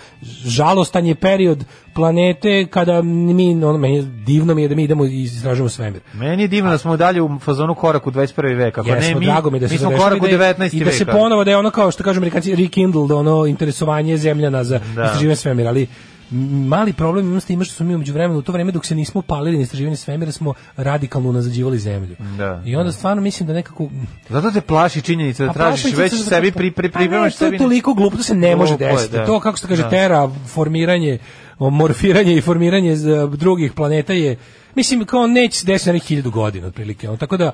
[SPEAKER 7] žalostan je period planete kada mi ono meni je- divno mi je da mi idemo i istražujemo svemir.
[SPEAKER 6] Meni je divno da smo dalje u fazonu korak u 21. veka. Ako Pa
[SPEAKER 7] Jesmo,
[SPEAKER 6] ne, mi,
[SPEAKER 7] drago mi je da se
[SPEAKER 6] mi smo
[SPEAKER 7] to dešava
[SPEAKER 6] korak u
[SPEAKER 7] i da je-
[SPEAKER 6] 19.
[SPEAKER 7] i da
[SPEAKER 6] veka.
[SPEAKER 7] se ponovo da je ono kao što kažu Amerikanci rekindled ono interesovanje zemljana za
[SPEAKER 6] Da.
[SPEAKER 7] istraživanje svemira, ali mali problem imam s time što smo mi umeđu vremenu u to vreme dok se nismo palili na istraživanje svemira smo radikalno unazađivali zemlju.
[SPEAKER 6] Da.
[SPEAKER 7] I onda stvarno mislim da nekako
[SPEAKER 6] Zato te plaši činjenica da
[SPEAKER 7] Pa
[SPEAKER 6] tražiš
[SPEAKER 7] plašim se
[SPEAKER 6] već
[SPEAKER 7] zato
[SPEAKER 6] sebi
[SPEAKER 7] što-
[SPEAKER 6] pri pri
[SPEAKER 7] Pa
[SPEAKER 6] pripremaš
[SPEAKER 7] ne, to je
[SPEAKER 6] sebi.
[SPEAKER 7] toliko glupo, to se ne može
[SPEAKER 6] Glupo je,
[SPEAKER 7] desiti.
[SPEAKER 6] da.
[SPEAKER 7] To kako se kaže
[SPEAKER 6] Da.
[SPEAKER 7] tera formiranje, o, morfiranje i formiranje z- drugih planeta je mislim kao neće se desiti na nekih hiljadu godina otprilike. ono, Tako da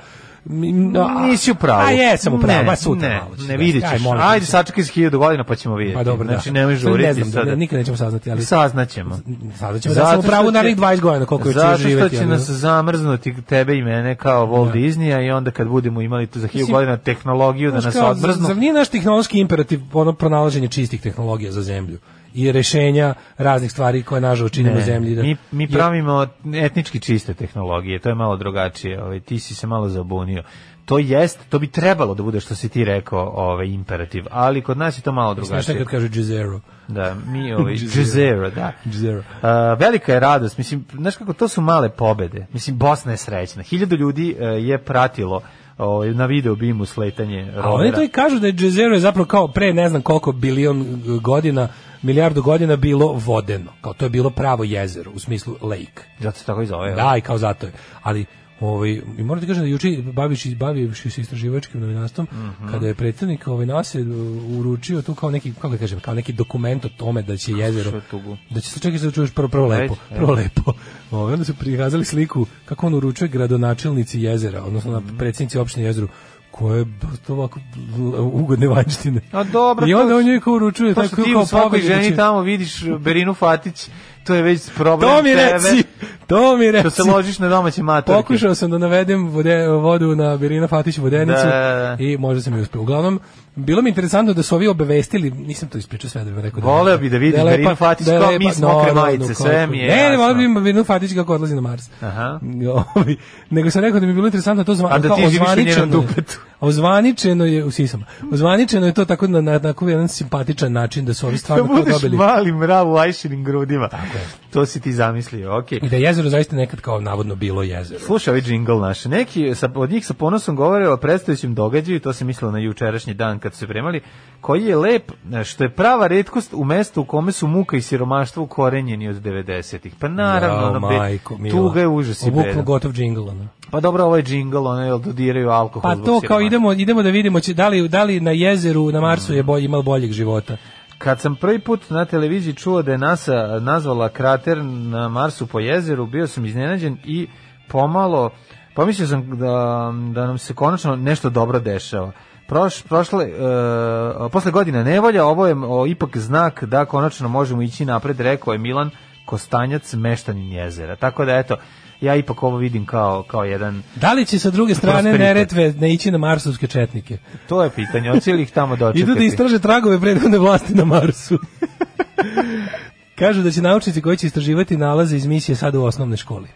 [SPEAKER 7] m, no, a-
[SPEAKER 6] Nisi u pravu.
[SPEAKER 7] A jesam u pravu,
[SPEAKER 6] Ne,
[SPEAKER 7] ma sutra
[SPEAKER 6] ne,
[SPEAKER 7] malo će
[SPEAKER 6] ne
[SPEAKER 7] se
[SPEAKER 6] vidit
[SPEAKER 7] desiti.
[SPEAKER 6] ćeš.
[SPEAKER 7] Aj, molim te,
[SPEAKER 6] Ajde, sačekaj za hiljadu godina pa ćemo vidjeti.
[SPEAKER 7] Pa dobro,
[SPEAKER 6] znači,
[SPEAKER 7] da.
[SPEAKER 6] nemoj
[SPEAKER 7] Sad
[SPEAKER 6] žuriti
[SPEAKER 7] Ne znam,
[SPEAKER 6] sada.
[SPEAKER 7] da, nikad nećemo saznati, ali
[SPEAKER 6] Saznaćemo.
[SPEAKER 7] Saznaćemo da sam
[SPEAKER 6] Zato
[SPEAKER 7] u pravu
[SPEAKER 6] što će-
[SPEAKER 7] narednih 20 godina, koliko još ću
[SPEAKER 6] Zato što
[SPEAKER 7] živjeti,
[SPEAKER 6] će
[SPEAKER 7] ali-
[SPEAKER 6] nas zamrznuti tebe i mene kao Walt Disneya i onda kad budemo imali tu za hiljadu
[SPEAKER 7] Da. Mislim,
[SPEAKER 6] godina tehnologiju da
[SPEAKER 7] Znaš
[SPEAKER 6] nas
[SPEAKER 7] kao, zar-
[SPEAKER 6] odmrznu.
[SPEAKER 7] Zar nije naš tehnološki imperativ ono pronalaženje čistih tehnologija za zemlju i rešenja raznih stvari koje nažalost činimo
[SPEAKER 6] Ne,
[SPEAKER 7] zemlji? Da,
[SPEAKER 6] E, mi, mi
[SPEAKER 7] jer-
[SPEAKER 6] pravimo etnički čiste tehnologije, to je malo drugačije, ovaj, ti si se malo zabunio. To jest, to bi trebalo da bude što si ti rekao ovaj, imperativ, ali kod nas je to malo drugačije.
[SPEAKER 7] Znaš šta kad kažu Jezero?
[SPEAKER 6] Da, mi ovaj
[SPEAKER 7] Jezero.
[SPEAKER 6] Jezero, da.
[SPEAKER 7] Jezero.
[SPEAKER 6] A, velika je radost, mislim, znaš kako, to su male pobede. Mislim, Bosna je srećna. Hiljadu ljudi e, je pratilo ovaj, na video bimu sletanje
[SPEAKER 7] A oni to
[SPEAKER 6] rovera.
[SPEAKER 7] i kažu da je Jezero je zapravo kao pre ne znam koliko bilion e, godina, milijardu godina bilo vodeno. Kao to je bilo pravo jezero, u smislu lake.
[SPEAKER 6] Zato se tako i zove.
[SPEAKER 7] Da, i kao zato je. Ali ovaj i moram ti kažem da juče baviš bavivši se istraživačkim novinarstvom
[SPEAKER 6] Mhm.
[SPEAKER 7] kada je predsjednik ovaj nas je uručio tu kao neki kako da kažem kao neki dokument o tome da će jezero
[SPEAKER 6] Slušaj, tugu.
[SPEAKER 7] da će se čekaj da čuješ prvo prvo lepo
[SPEAKER 6] Ajde,
[SPEAKER 7] prvo lepo ovaj onda su prikazali sliku kako on uručuje gradonačelnici jezera odnosno
[SPEAKER 6] Mhm.
[SPEAKER 7] na predsjednici opštine jezero koje je to ovako ugodne vanjštine.
[SPEAKER 6] A dobro,
[SPEAKER 7] I onda
[SPEAKER 6] to-
[SPEAKER 7] on njoj kao uručuje
[SPEAKER 6] To
[SPEAKER 7] taj
[SPEAKER 6] Pa što ti u
[SPEAKER 7] kao
[SPEAKER 6] svakoj
[SPEAKER 7] pobedu da
[SPEAKER 6] ženi
[SPEAKER 7] će-
[SPEAKER 6] tamo vidiš Berinu Fatić, to je već problem
[SPEAKER 7] To mi
[SPEAKER 6] tebe.
[SPEAKER 7] reci, to mi reci.
[SPEAKER 6] Što Da se ložiš na domaće matorke.
[SPEAKER 7] Pokušao sam da navedem vode, vodu na Berina Fatić vodenicu
[SPEAKER 6] Da, da, da.
[SPEAKER 7] i možda sam i uspeo. Uglavnom, bilo mi interesantno da su ovi obavestili, nisam to ispričao sve da bih rekao. da-
[SPEAKER 6] Voleo bi da vidim
[SPEAKER 7] je lepa-
[SPEAKER 6] Berinu Fatić
[SPEAKER 7] je
[SPEAKER 6] kao
[SPEAKER 7] lepa-
[SPEAKER 6] mi s mokre
[SPEAKER 7] naravno,
[SPEAKER 6] majice,
[SPEAKER 7] kako-
[SPEAKER 6] sve mi je
[SPEAKER 7] Ne, ne,
[SPEAKER 6] jasno.
[SPEAKER 7] voleo bi Berinu Fatić kako odlazi na Mars.
[SPEAKER 6] Aha.
[SPEAKER 7] Ovi, Nego sam rekao da mi je bilo interesantno to zva,
[SPEAKER 6] A da
[SPEAKER 7] kao
[SPEAKER 6] ti živiš u
[SPEAKER 7] ozvaničeno
[SPEAKER 6] njenom
[SPEAKER 7] je.
[SPEAKER 6] dupetu.
[SPEAKER 7] Ozvaničeno je, u sisama, ozvaničeno je to tako na, na, na tako jedan simpatičan način da su ovi
[SPEAKER 6] Da
[SPEAKER 7] stvarno to
[SPEAKER 6] budeš
[SPEAKER 7] dobili.
[SPEAKER 6] mali mrav u ajšinim grudima. To si ti zamislio, okej.
[SPEAKER 7] I da je jezero zaista nekad kao navodno bilo jezero.
[SPEAKER 6] Slušaj ovaj džingl naš. Neki sa, od njih sa ponosom govore o predstojećem događaju, to se mislilo na jučerašnji dan kad su se premali, koji je lep, što je prava redkost u mestu u kome su muka i siromaštvo ukorenjeni od 90-ih. Pa naravno,
[SPEAKER 7] Jao,
[SPEAKER 6] ono, be-
[SPEAKER 7] majko mila.
[SPEAKER 6] tuga je užas i
[SPEAKER 7] Obuklo
[SPEAKER 6] beda.
[SPEAKER 7] gotov džingl, ono.
[SPEAKER 6] Pa dobro, ovaj džingl, ono, jel dodiraju alkohol
[SPEAKER 7] Pa
[SPEAKER 6] zbog
[SPEAKER 7] to kao
[SPEAKER 6] siromaštva.
[SPEAKER 7] idemo, idemo da vidimo će, da, li, da li na jezeru na Marsu je bolje, imalo boljeg života.
[SPEAKER 6] Kad sam prvi put na televiziji čuo da je NASA nazvala krater na Marsu po jezeru, bio sam iznenađen i pomalo pomislio sam da, da nam se konačno nešto dobro dešava. Proš, prošle, e, posle godina nevolja, ovo je o, ipak znak da konačno možemo ići napred, rekao je Milan Kostanjac, meštanin jezera. Tako da, eto, ja ipak ovo vidim kao, kao jedan...
[SPEAKER 7] Da li će sa druge strane
[SPEAKER 6] Prosperitet.
[SPEAKER 7] Neretve ne ići na marsovske četnike?
[SPEAKER 6] To je pitanje, hoće li ih tamo dočekati?
[SPEAKER 7] Idu da istraže tragove prethodne vlasti na Marsu. Kažu da će naučnici koji će istraživati nalaze iz misije sad u osnovne školi.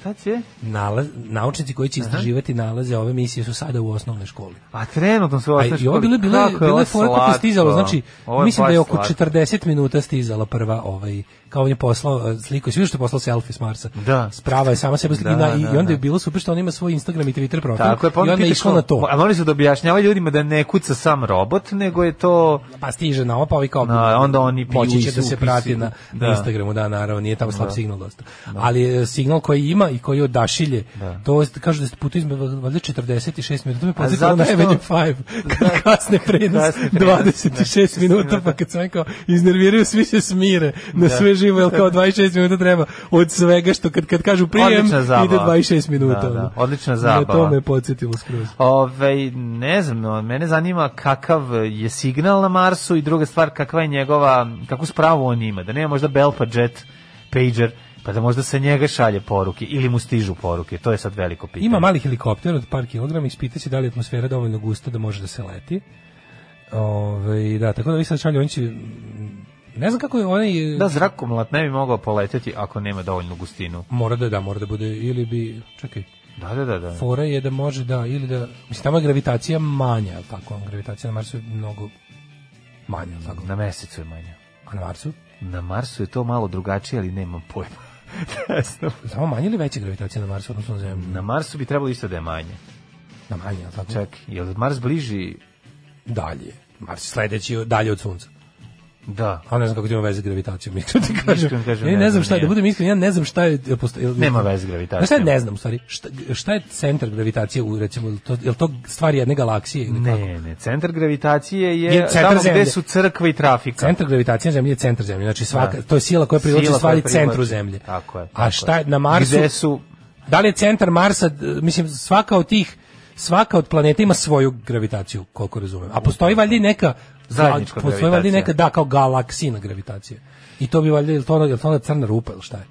[SPEAKER 6] Šta će?
[SPEAKER 7] Nalaz, naučnici koji će istraživati nalaze ove misije su sada u osnovne školi.
[SPEAKER 6] A Pa trenutno su
[SPEAKER 7] A
[SPEAKER 6] osnovne
[SPEAKER 7] i ovo bilo bilo
[SPEAKER 6] Kako je
[SPEAKER 7] bilo
[SPEAKER 6] ovo
[SPEAKER 7] je fora kako je
[SPEAKER 6] slatko.
[SPEAKER 7] stizalo, znači
[SPEAKER 6] Ovo
[SPEAKER 7] mislim da je
[SPEAKER 6] baš
[SPEAKER 7] oko
[SPEAKER 6] slatko.
[SPEAKER 7] 40 minuta stizala prva ovaj kao on je poslao eh, sliku, svi što je poslao selfie s Marsa.
[SPEAKER 6] Da.
[SPEAKER 7] Sprava je sama sebe slika
[SPEAKER 6] Da,
[SPEAKER 7] i,
[SPEAKER 6] da,
[SPEAKER 7] i onda je
[SPEAKER 6] da.
[SPEAKER 7] bilo super što on ima svoj Instagram i Twitter profil.
[SPEAKER 6] Tako je, pa
[SPEAKER 7] I
[SPEAKER 6] onda
[SPEAKER 7] onda je
[SPEAKER 6] pitaš
[SPEAKER 7] išlo na to.
[SPEAKER 6] A oni su da objašnjavaju ljudima da ne kuca sam robot, nego je to...
[SPEAKER 7] Pa stiže na ovo, pa ovi kao
[SPEAKER 6] Da, onda oni
[SPEAKER 7] moći će
[SPEAKER 6] piju
[SPEAKER 7] da se
[SPEAKER 6] upisi.
[SPEAKER 7] prati na,
[SPEAKER 6] Da.
[SPEAKER 7] na Instagramu, da, naravno, nije tamo slab signal dosta. Ali eh, signal koji ima i koji odašilje, to je- kažu da se putu izme valjda 46 minuta, to me
[SPEAKER 6] zato
[SPEAKER 7] podsjetilo na
[SPEAKER 6] što-
[SPEAKER 7] Avenue 5, kad kasne prenos
[SPEAKER 6] Kasni prenos, da. Znači,
[SPEAKER 7] 26 minuta, pa kad sam rekao, iznerviraju, svi se smire
[SPEAKER 6] Da.
[SPEAKER 7] na sve živo, jer kao 26 minuta treba od svega što kad, kad kažu prijem,
[SPEAKER 6] Odlična zabava.
[SPEAKER 7] ide 26 minuta.
[SPEAKER 6] Da, da,
[SPEAKER 7] ono.
[SPEAKER 6] odlična
[SPEAKER 7] Na
[SPEAKER 6] zabava.
[SPEAKER 7] To me podsjetilo skroz.
[SPEAKER 6] Ove, ovaj, ne znam, no, mene zanima kakav je signal na Marsu i druga stvar, kakva je njegova, kakvu spravu on ima, da nema možda Bell pa Jet pager, pa da možda se njega šalje poruke ili mu stižu poruke, to je sad veliko pitanje.
[SPEAKER 7] Ima mali helikopter od par kilograma, ispita će da li je atmosfera dovoljno gusta da može da se leti. Ove, da, tako da vi sad šalju, oni će... mm, Ne znam kako je onaj... e,
[SPEAKER 6] Da, zrakomlat ne bi mogao poleteti ako nema dovoljnu gustinu.
[SPEAKER 7] Mora da, da, mora da bude, ili bi... Čekaj,
[SPEAKER 6] Da, da, da. da.
[SPEAKER 7] fora je da može, da, ili da... Mislim, tamo je gravitacija manja, jel tako? Gravitacija na Marsu je mnogo manja, jel tako?
[SPEAKER 6] Na mesecu je manje.
[SPEAKER 7] A na Marsu?
[SPEAKER 6] Na Marsu je to malo drugačije, ali nemam pojma. Da, ne znam.
[SPEAKER 7] Samo manja ili veća gravitacija na Marsu, odnosno na Zemlji?
[SPEAKER 6] Na Marsu bi trebalo isto da je manje.
[SPEAKER 7] Na manja, jel tako?
[SPEAKER 6] Čak, je li Mars bliži?
[SPEAKER 7] Dalje. Mars je sledeći dalje od Sunca.
[SPEAKER 6] Da.
[SPEAKER 7] A ne znam kako to ima veze s gravitacijom, iskreno ti kažem. Iskreno kažem ja ne znam šta je, da budem iskren, ja ne znam šta je... jel postoji- jel-
[SPEAKER 6] Nema veze s gravitacijom.
[SPEAKER 7] Znaš šta ja ne znam, u stvari, šta, šta je centar gravitacije, u, recimo, jel to, je to stvar jedne galaksije ili kako?
[SPEAKER 6] Ne, ne, centar gravitacije je,
[SPEAKER 7] Je centar
[SPEAKER 6] tamo gde
[SPEAKER 7] zemlje.
[SPEAKER 6] su crkve i trafika.
[SPEAKER 7] Centar gravitacije Zemlje je centar Zemlje, znači svaka,
[SPEAKER 6] Da.
[SPEAKER 7] to je sila koja privlači
[SPEAKER 6] Sila koja
[SPEAKER 7] stvari
[SPEAKER 6] privlači.
[SPEAKER 7] centru Zemlje.
[SPEAKER 6] Tako je, tako
[SPEAKER 7] A šta je,
[SPEAKER 6] je.
[SPEAKER 7] na Marsu...
[SPEAKER 6] Gde su-
[SPEAKER 7] Da li je centar Marsa, d- mislim, svaka od tih, svaka od planeta ima svoju gravitaciju, koliko razumem. A postoji valjda i neka...
[SPEAKER 6] Zajednička
[SPEAKER 7] a, Postoji valjda i neka,
[SPEAKER 6] gravitacija.
[SPEAKER 7] da, kao galaksina gravitacija. I to bi valjda, je li to ona, je li to ona crna rupa ili šta je?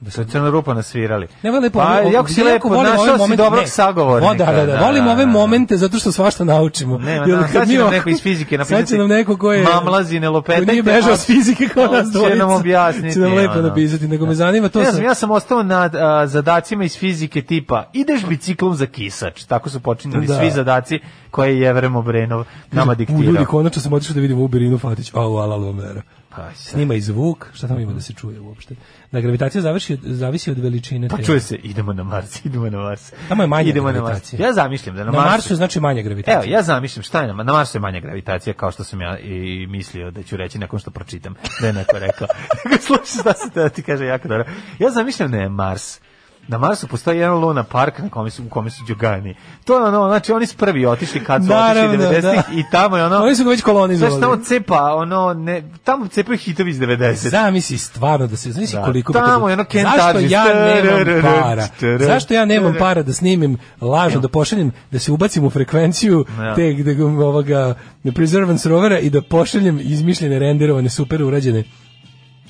[SPEAKER 6] Da su crna rupa nasvirali.
[SPEAKER 7] Ne volim lepo,
[SPEAKER 6] Pa,
[SPEAKER 7] ovo-
[SPEAKER 6] jako si
[SPEAKER 7] ja
[SPEAKER 6] lepo,
[SPEAKER 7] volim ove
[SPEAKER 6] našao si
[SPEAKER 7] momente-
[SPEAKER 6] dobrog
[SPEAKER 7] ne.
[SPEAKER 6] sagovornika.
[SPEAKER 7] O, Da, da, da, volim ove momente zato što svašta naučimo.
[SPEAKER 6] Ne,
[SPEAKER 7] Jer
[SPEAKER 6] da,
[SPEAKER 7] kad
[SPEAKER 6] sad
[SPEAKER 7] mi
[SPEAKER 6] će nam
[SPEAKER 7] ovako-
[SPEAKER 6] neko iz fizike
[SPEAKER 7] sad će
[SPEAKER 6] napisati.
[SPEAKER 7] nam neko ko je-
[SPEAKER 6] Mamlazi, ne lopetajte.
[SPEAKER 7] koji nije bežao
[SPEAKER 6] a-
[SPEAKER 7] s fizike kao
[SPEAKER 6] on
[SPEAKER 7] nas
[SPEAKER 6] Će nam
[SPEAKER 7] dvojica.
[SPEAKER 6] objasniti.
[SPEAKER 7] Će nam lepo
[SPEAKER 6] ono.
[SPEAKER 7] napisati, nego me zanima to
[SPEAKER 6] Ne
[SPEAKER 7] sa-
[SPEAKER 6] znam, ja sam ostao na a, zadacima iz fizike tipa ideš biciklom za kisač. Tako su počinjali
[SPEAKER 7] Da.
[SPEAKER 6] svi zadaci koje je Jevrem Obrenov nama
[SPEAKER 7] U,
[SPEAKER 6] diktirao.
[SPEAKER 7] ljudi, konačno sam otišao da vidim Uberinu Fatić. Au, ala Lomera.
[SPEAKER 6] Pa, sad.
[SPEAKER 7] Snima i zvuk, šta tamo ima da se čuje uopšte. Da gravitacija završi, od- zavisi od veličine.
[SPEAKER 6] Pa
[SPEAKER 7] te-
[SPEAKER 6] čuje se, idemo na Mars, idemo na Mars.
[SPEAKER 7] Tamo je manja
[SPEAKER 6] idemo na Mars.
[SPEAKER 7] gravitacija.
[SPEAKER 6] Ja zamišljam da na,
[SPEAKER 7] Na Marsu je znači manja gravitacija.
[SPEAKER 6] Evo, ja zamišljam šta je na, na Marsu je manja gravitacija, kao što sam ja i mislio da ću reći nakon što pročitam, da je neko rekao. Slušaj, šta se da ti kaže jako dobro. Ja zamišljam da je Mars. Na Marsu postoji jedan luna park na kome su, u kome su Đugani. To je ono, znači oni su prvi otišli kad su
[SPEAKER 7] Naravno,
[SPEAKER 6] otišli 90-ih
[SPEAKER 7] da.
[SPEAKER 6] i tamo je ono...
[SPEAKER 7] Oni su ga već kolonizovali.
[SPEAKER 6] Znaš, tamo cepa, ono, ne, tamo cepaju hitovi iz 90
[SPEAKER 7] Zamisli stvarno da se zamisli
[SPEAKER 6] Da.
[SPEAKER 7] koliko bi to
[SPEAKER 6] Tamo
[SPEAKER 7] bilo.
[SPEAKER 6] je ono Ken
[SPEAKER 7] Zašto
[SPEAKER 6] Tadžić,
[SPEAKER 7] ja nemam
[SPEAKER 6] tararara,
[SPEAKER 7] para?
[SPEAKER 6] tararara,
[SPEAKER 7] Zašto ja nemam
[SPEAKER 6] tararara.
[SPEAKER 7] para da snimim lažno da pošaljem da se ubacim u frekvenciju
[SPEAKER 6] Ja.
[SPEAKER 7] te gde ga- ovoga Preservance rovera i da pošaljem izmišljene renderovane super urađene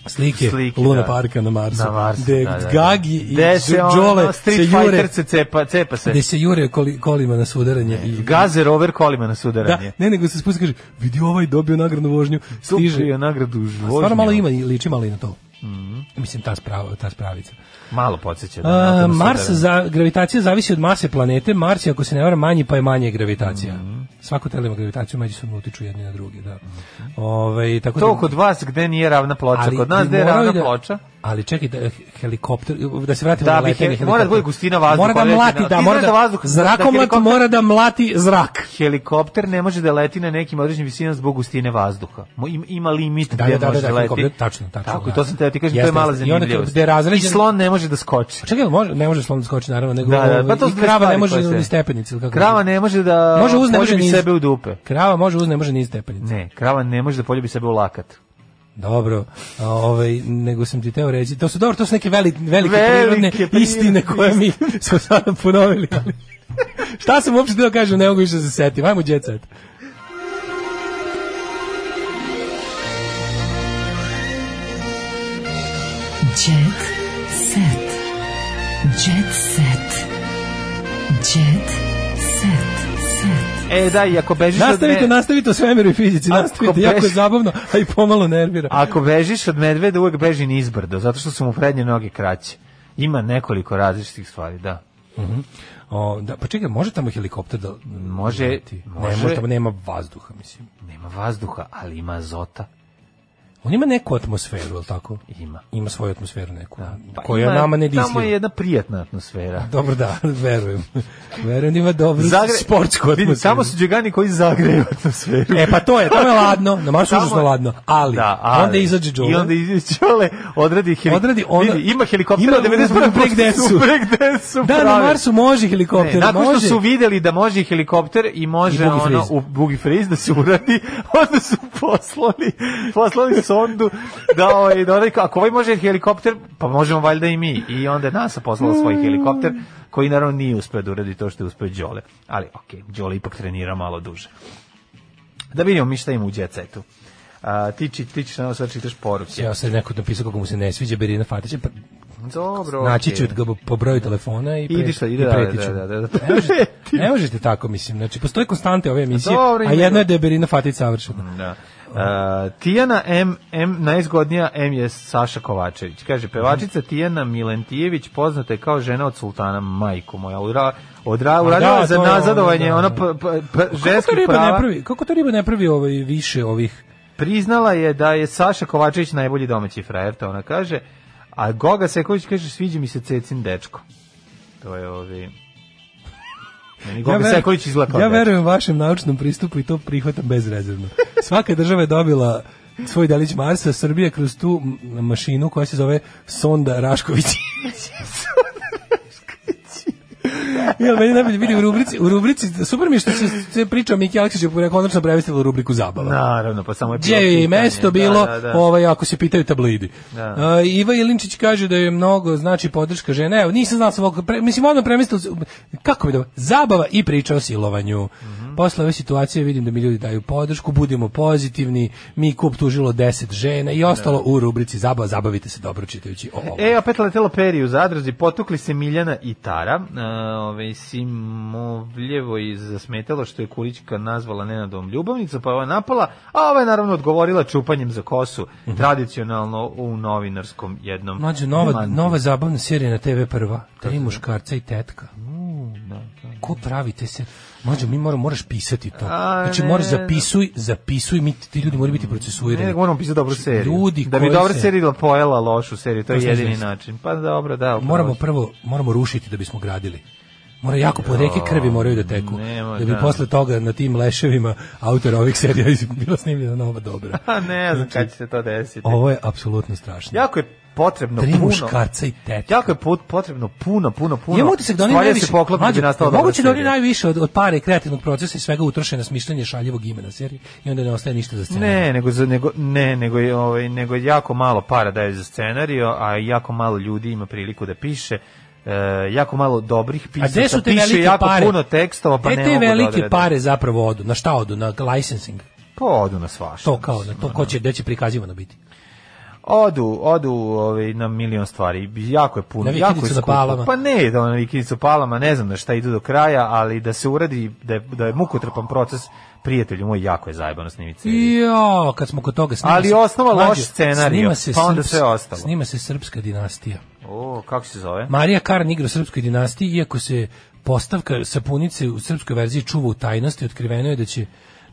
[SPEAKER 7] slike,
[SPEAKER 6] Slike,
[SPEAKER 7] Luna
[SPEAKER 6] da.
[SPEAKER 7] Parka na Marsu,
[SPEAKER 6] na Marsu.
[SPEAKER 7] gde
[SPEAKER 6] da, da, da.
[SPEAKER 7] Gagi i
[SPEAKER 6] Gde se ono,
[SPEAKER 7] Đole se
[SPEAKER 6] Street
[SPEAKER 7] jure
[SPEAKER 6] Fighter se cepa, cepa se.
[SPEAKER 7] gde se jure koli- kolima na sudaranje i
[SPEAKER 6] Gaze rover kolima na sudaranje.
[SPEAKER 7] Da, ne, nego se spusti i kaže, vidi ovaj dobio nagradnu vožnju,
[SPEAKER 6] Stiže
[SPEAKER 7] stiže.
[SPEAKER 6] je nagradu u životu.
[SPEAKER 7] Stvarno malo ima i liči malo i na to. Mislim, ta, sprava, ta spravica.
[SPEAKER 6] Malo podsjeća. da, na
[SPEAKER 7] A,
[SPEAKER 6] to da
[SPEAKER 7] Mars,
[SPEAKER 6] sudaranje.
[SPEAKER 7] za, gravitacija zavisi od mase planete. Mars je, ako se ne varam, manji, pa je manje gravitacija.
[SPEAKER 6] Mhm.
[SPEAKER 7] Svako telo ima gravitaciju, međusobno utiču jedni na druge. Da. Ovaj, tako
[SPEAKER 6] To
[SPEAKER 7] da-
[SPEAKER 6] kod vas gde nije ravna ploča,
[SPEAKER 7] ali
[SPEAKER 6] Mhm. kod nas
[SPEAKER 7] bi
[SPEAKER 6] gde je
[SPEAKER 7] morao
[SPEAKER 6] ravna
[SPEAKER 7] i da-
[SPEAKER 6] ploča.
[SPEAKER 7] Ali čekaj, da, helikopter, da se vratimo
[SPEAKER 6] Da,
[SPEAKER 7] na
[SPEAKER 6] bi
[SPEAKER 7] letenje
[SPEAKER 6] he-
[SPEAKER 7] helikoptera.
[SPEAKER 6] mora da bude gustina vazduha,
[SPEAKER 7] Mora da
[SPEAKER 6] leti
[SPEAKER 7] mlati,
[SPEAKER 6] na-
[SPEAKER 7] da,
[SPEAKER 6] Ti
[SPEAKER 7] mora
[SPEAKER 6] znaš
[SPEAKER 7] da,
[SPEAKER 6] da vazduh- da
[SPEAKER 7] zrakomlat
[SPEAKER 6] helikopter-
[SPEAKER 7] mora da mlati zrak.
[SPEAKER 6] Helikopter ne može da leti na nekim određenim visinama zbog gustine vazduha. Mo- im- Ima limit
[SPEAKER 7] Da,
[SPEAKER 6] gde
[SPEAKER 7] da, da,
[SPEAKER 6] može
[SPEAKER 7] da,
[SPEAKER 6] da
[SPEAKER 7] helikopter,
[SPEAKER 6] leti.
[SPEAKER 7] tačno, tačno,
[SPEAKER 6] Tako,
[SPEAKER 7] da.
[SPEAKER 6] to sam te ti kažem, to
[SPEAKER 7] Jeste,
[SPEAKER 6] je mala
[SPEAKER 7] jeste. I onda kad-
[SPEAKER 6] zanimljivost.
[SPEAKER 7] gde je razređen-
[SPEAKER 6] I slon ne može da skoči.
[SPEAKER 7] Čekaj, jel može, ne može slon da skoči naravno, nego
[SPEAKER 6] Da, da,
[SPEAKER 7] ovaj,
[SPEAKER 6] pa to
[SPEAKER 7] i
[SPEAKER 6] su dve
[SPEAKER 7] krava ne
[SPEAKER 6] stvari
[SPEAKER 7] može
[SPEAKER 6] koje se-
[SPEAKER 7] ni stepenice ili kako.
[SPEAKER 6] Krava ne može da
[SPEAKER 7] Može uz, ne može
[SPEAKER 6] poljubi
[SPEAKER 7] niz.
[SPEAKER 6] sebe u dupe.
[SPEAKER 7] Krava može uz, ne može ni iz stepenice.
[SPEAKER 6] Ne, krava ne može da poljubi sebe u lakat.
[SPEAKER 7] Dobro, a, ovaj, nego sam ti teo reći, to su dobro, to su neke veli, velike,
[SPEAKER 6] Velike
[SPEAKER 7] prirodne
[SPEAKER 6] prirodne
[SPEAKER 7] istine koje mi smo sada ponovili. ali Šta sam uopšte teo kažem, ne mogu više da se setim, ajmo jet set.
[SPEAKER 5] Jet set. Jet set. Jet set. set.
[SPEAKER 6] E, da, i ako bežiš od
[SPEAKER 7] Nastavite,
[SPEAKER 6] me-
[SPEAKER 7] nastavite o svemiru i fizici,
[SPEAKER 6] Ako
[SPEAKER 7] nastavite, jako je
[SPEAKER 6] bez-
[SPEAKER 7] zabavno, a i pomalo nervira.
[SPEAKER 6] Ako bežiš od medveda, uvek beži nizbrdo, zato što su mu prednje noge kraće. Ima nekoliko različitih stvari, da.
[SPEAKER 7] O, da, pa čekaj, može tamo helikopter da...
[SPEAKER 6] Može,
[SPEAKER 7] leti? Ne,
[SPEAKER 6] može.
[SPEAKER 7] može tamo nema vazduha, mislim.
[SPEAKER 6] Nema vazduha, ali ima azota.
[SPEAKER 7] On ima neku atmosferu, je li tako?
[SPEAKER 6] Ima.
[SPEAKER 7] Ima svoju atmosferu neku,
[SPEAKER 6] Pa
[SPEAKER 7] koja
[SPEAKER 6] ima-
[SPEAKER 7] nama ne
[SPEAKER 6] Tamo je
[SPEAKER 7] disljiva.
[SPEAKER 6] jedna prijatna atmosfera.
[SPEAKER 7] Dobro da, verujem. Verujem da ima dobru
[SPEAKER 6] Zagre-
[SPEAKER 7] sportsku
[SPEAKER 6] Vidi,
[SPEAKER 7] atmosferu.
[SPEAKER 6] Tamo su džegani koji zagreju atmosferu.
[SPEAKER 7] E pa to je, tamo je ladno, na Marsu je
[SPEAKER 6] Tamo-
[SPEAKER 7] užasno ladno, ali,
[SPEAKER 6] Da, ali-
[SPEAKER 7] onda izađe Đole.
[SPEAKER 6] I onda izađe Đole, odradi heli-
[SPEAKER 7] Odradi ono-
[SPEAKER 6] Vidi, ima helikoptera
[SPEAKER 7] Ima
[SPEAKER 6] 91.
[SPEAKER 7] breakdance-u.
[SPEAKER 6] breakdance-u
[SPEAKER 7] Da, na
[SPEAKER 6] prave.
[SPEAKER 7] Marsu može helikopter,
[SPEAKER 6] Ne, E, nakon što
[SPEAKER 7] može.
[SPEAKER 6] su videli da može i helikopter i može
[SPEAKER 7] I bugi
[SPEAKER 6] ono
[SPEAKER 7] friz.
[SPEAKER 6] u bugi friz da se uradi, onda su poslali, poslali sondu da ovaj da onaj, ako ovaj može helikopter, pa možemo valjda i mi. I onda je NASA poslala svoj
[SPEAKER 7] Mm.
[SPEAKER 6] helikopter koji naravno nije uspeo da uradi to što je uspeo Đole. Ali okej, Đole ipak trenira malo duže. Da vidimo mi šta ima u djecetu. A, ti, či, ti ćeš nama sad da čitaš poruke.
[SPEAKER 7] Ja sad neko napisao kako mu se ne sviđa Berina Fatić, pa
[SPEAKER 6] Dobro,
[SPEAKER 7] naći
[SPEAKER 6] okej.
[SPEAKER 7] ću ga po broju telefona i, pre,
[SPEAKER 6] Idi šta, ide,
[SPEAKER 7] i
[SPEAKER 6] da,
[SPEAKER 7] pretiću.
[SPEAKER 6] da, da, da, da.
[SPEAKER 7] Ne, možete, ne možete tako, mislim. Znači, postoje konstante ove emisije,
[SPEAKER 6] Dobro,
[SPEAKER 7] a
[SPEAKER 6] ima-
[SPEAKER 7] jedno je da je Berina Fatić savršena.
[SPEAKER 6] Da. Uh, Tijana M, M najzgodnija M je Saša Kovačević.
[SPEAKER 7] Mhm.
[SPEAKER 6] Kaže, pevačica Tijana Milentijević poznata je kao žena od sultana, majko moja. Ura, odra, uradila
[SPEAKER 7] da,
[SPEAKER 6] za
[SPEAKER 7] to je ono,
[SPEAKER 6] nazadovanje,
[SPEAKER 7] da.
[SPEAKER 6] ona p, p, p,
[SPEAKER 7] Kako to
[SPEAKER 6] ženski
[SPEAKER 7] riba ne
[SPEAKER 6] prava.
[SPEAKER 7] pravi, kako to riba ne pravi ovaj, više ovih
[SPEAKER 6] Priznala je da je Saša Kovačević najbolji domaći frajer, to ona kaže. A Goga Seković kaže, sviđa mi se Cecin dečko. To je ovi... Meni Goga
[SPEAKER 7] veru-
[SPEAKER 6] Seković izgleda kao
[SPEAKER 7] Ja
[SPEAKER 6] dečko.
[SPEAKER 7] verujem vašem naučnom pristupu i to prihvatam bezrezervno. Svaka država je dobila svoj delić Marsa, Srbija kroz tu m- mašinu koja se zove Sonda Rašković. Ja, meni najbolje vidi u rubrici, u rubrici, super mi je što se, se priča o Miki Aleksiću, pa jer je konačno prevestila u rubriku zabava.
[SPEAKER 6] Naravno, pa samo je
[SPEAKER 7] Gdje je i
[SPEAKER 6] pitanje.
[SPEAKER 7] mesto bilo,
[SPEAKER 6] Da, da, da.
[SPEAKER 7] ovaj, ako se pitaju tablidi.
[SPEAKER 6] Da.
[SPEAKER 7] A, Iva Jelinčić kaže da je mnogo, znači, podrška žene. Evo, nisam znao sam ovog, pre, mislim, odmah premislio, sam, kako bi dobro, zabava i priča o silovanju.
[SPEAKER 6] Mhm.
[SPEAKER 7] Posle ove situacije vidim da mi ljudi daju podršku, budimo pozitivni, mi kup tužilo 10 žena i ostalo u rubrici zabava, zabavite se dobro čitajući o ovom.
[SPEAKER 6] Da. E, opet letelo peri u zadrži, potukli se Miljana i Tara. E, ove, Simovljevo je zasmetalo što je Kurićka nazvala Nenadom ljubavnica, pa je ova napala, a ova je naravno odgovorila čupanjem za kosu, tradicionalno u novinarskom jednom.
[SPEAKER 7] Mlađo, Mhm. nova,
[SPEAKER 6] demantu.
[SPEAKER 7] nova zabavna serija na TV prva. Tri
[SPEAKER 6] Kako?
[SPEAKER 7] muškarca i tetka.
[SPEAKER 6] Da, da.
[SPEAKER 7] Ko pravi te se? Mlađo, mi mora, moraš pisati to.
[SPEAKER 6] A,
[SPEAKER 7] Znači,
[SPEAKER 6] ne,
[SPEAKER 7] moraš
[SPEAKER 6] ne.
[SPEAKER 7] zapisuj, zapisuj, mi, ti ljudi moraju biti procesuirani. Znači,
[SPEAKER 6] Ne, moramo pisati dobru seriju.
[SPEAKER 7] Ljudi
[SPEAKER 6] da bi
[SPEAKER 7] koji
[SPEAKER 6] dobra
[SPEAKER 7] se-
[SPEAKER 6] serija pojela lošu seriju, to je
[SPEAKER 7] To sam
[SPEAKER 6] jedini
[SPEAKER 7] izmislio.
[SPEAKER 6] način. Pa dobro, da. upravo
[SPEAKER 7] Moramo
[SPEAKER 6] si.
[SPEAKER 7] prvo, moramo rušiti da bismo gradili. Mora jako po reke krvi moraju da teku.
[SPEAKER 6] nema,
[SPEAKER 7] da bi
[SPEAKER 6] da.
[SPEAKER 7] posle toga na tim leševima autora ovih serija bila snimljena nova dobra.
[SPEAKER 6] Pa ne znam kad će se to desiti.
[SPEAKER 7] Ovo je apsolutno strašno.
[SPEAKER 6] Jako je potrebno
[SPEAKER 7] Tri
[SPEAKER 6] puno.
[SPEAKER 7] muškarca i tetka.
[SPEAKER 6] Jako je pot- potrebno puno, puno, puno.
[SPEAKER 7] Ja mogu se da oni
[SPEAKER 6] stvari
[SPEAKER 7] najviše,
[SPEAKER 6] se poklopi da bi
[SPEAKER 7] Mlađe,
[SPEAKER 6] nastala dobra
[SPEAKER 7] moguće da oni
[SPEAKER 6] serija.
[SPEAKER 7] najviše od, od pare kreativnog procesa i svega utroše na smišljanje šaljivog imena serije i onda ne ostaje ništa za scenu.
[SPEAKER 6] Ne, nego za- nego ne, nego je ovaj nego je jako malo para daje za scenarijo, a jako malo ljudi ima priliku da piše. E, jako malo dobrih
[SPEAKER 7] A
[SPEAKER 6] pisaca.
[SPEAKER 7] gde su te
[SPEAKER 6] piše
[SPEAKER 7] velike
[SPEAKER 6] jako
[SPEAKER 7] pare?
[SPEAKER 6] puno tekstova, pa
[SPEAKER 7] Gde
[SPEAKER 6] ne
[SPEAKER 7] te
[SPEAKER 6] mogu da
[SPEAKER 7] velike
[SPEAKER 6] odrade.
[SPEAKER 7] pare zapravo odu? Na šta odu? Na licensing?
[SPEAKER 6] Pa odu na svašta.
[SPEAKER 7] To kao, na to ko će, gde će prikazivano biti?
[SPEAKER 6] Odu, odu ovaj, na milion stvari. Jako je puno.
[SPEAKER 7] Na
[SPEAKER 6] jako je
[SPEAKER 7] vikendicu na
[SPEAKER 6] skupo.
[SPEAKER 7] Palama.
[SPEAKER 6] Pa ne, da na vikendicu palama, ne znam na šta idu do kraja, ali da se uradi, da je, da je mukotrpan proces, prijatelju moj, jako je zajebano snimiti seriju.
[SPEAKER 7] Jo, kad smo kod toga snima
[SPEAKER 6] Ali
[SPEAKER 7] se-
[SPEAKER 6] osnova loš
[SPEAKER 7] Mlađe,
[SPEAKER 6] scenarijo,
[SPEAKER 7] snima se
[SPEAKER 6] pa onda
[SPEAKER 7] srps-
[SPEAKER 6] sve ostalo.
[SPEAKER 7] Snima se srpska dinastija.
[SPEAKER 6] O, kako se zove?
[SPEAKER 7] Marija Karan igra u srpskoj dinastiji, iako se postavka sapunice u srpskoj verziji čuva u tajnosti, otkriveno je da će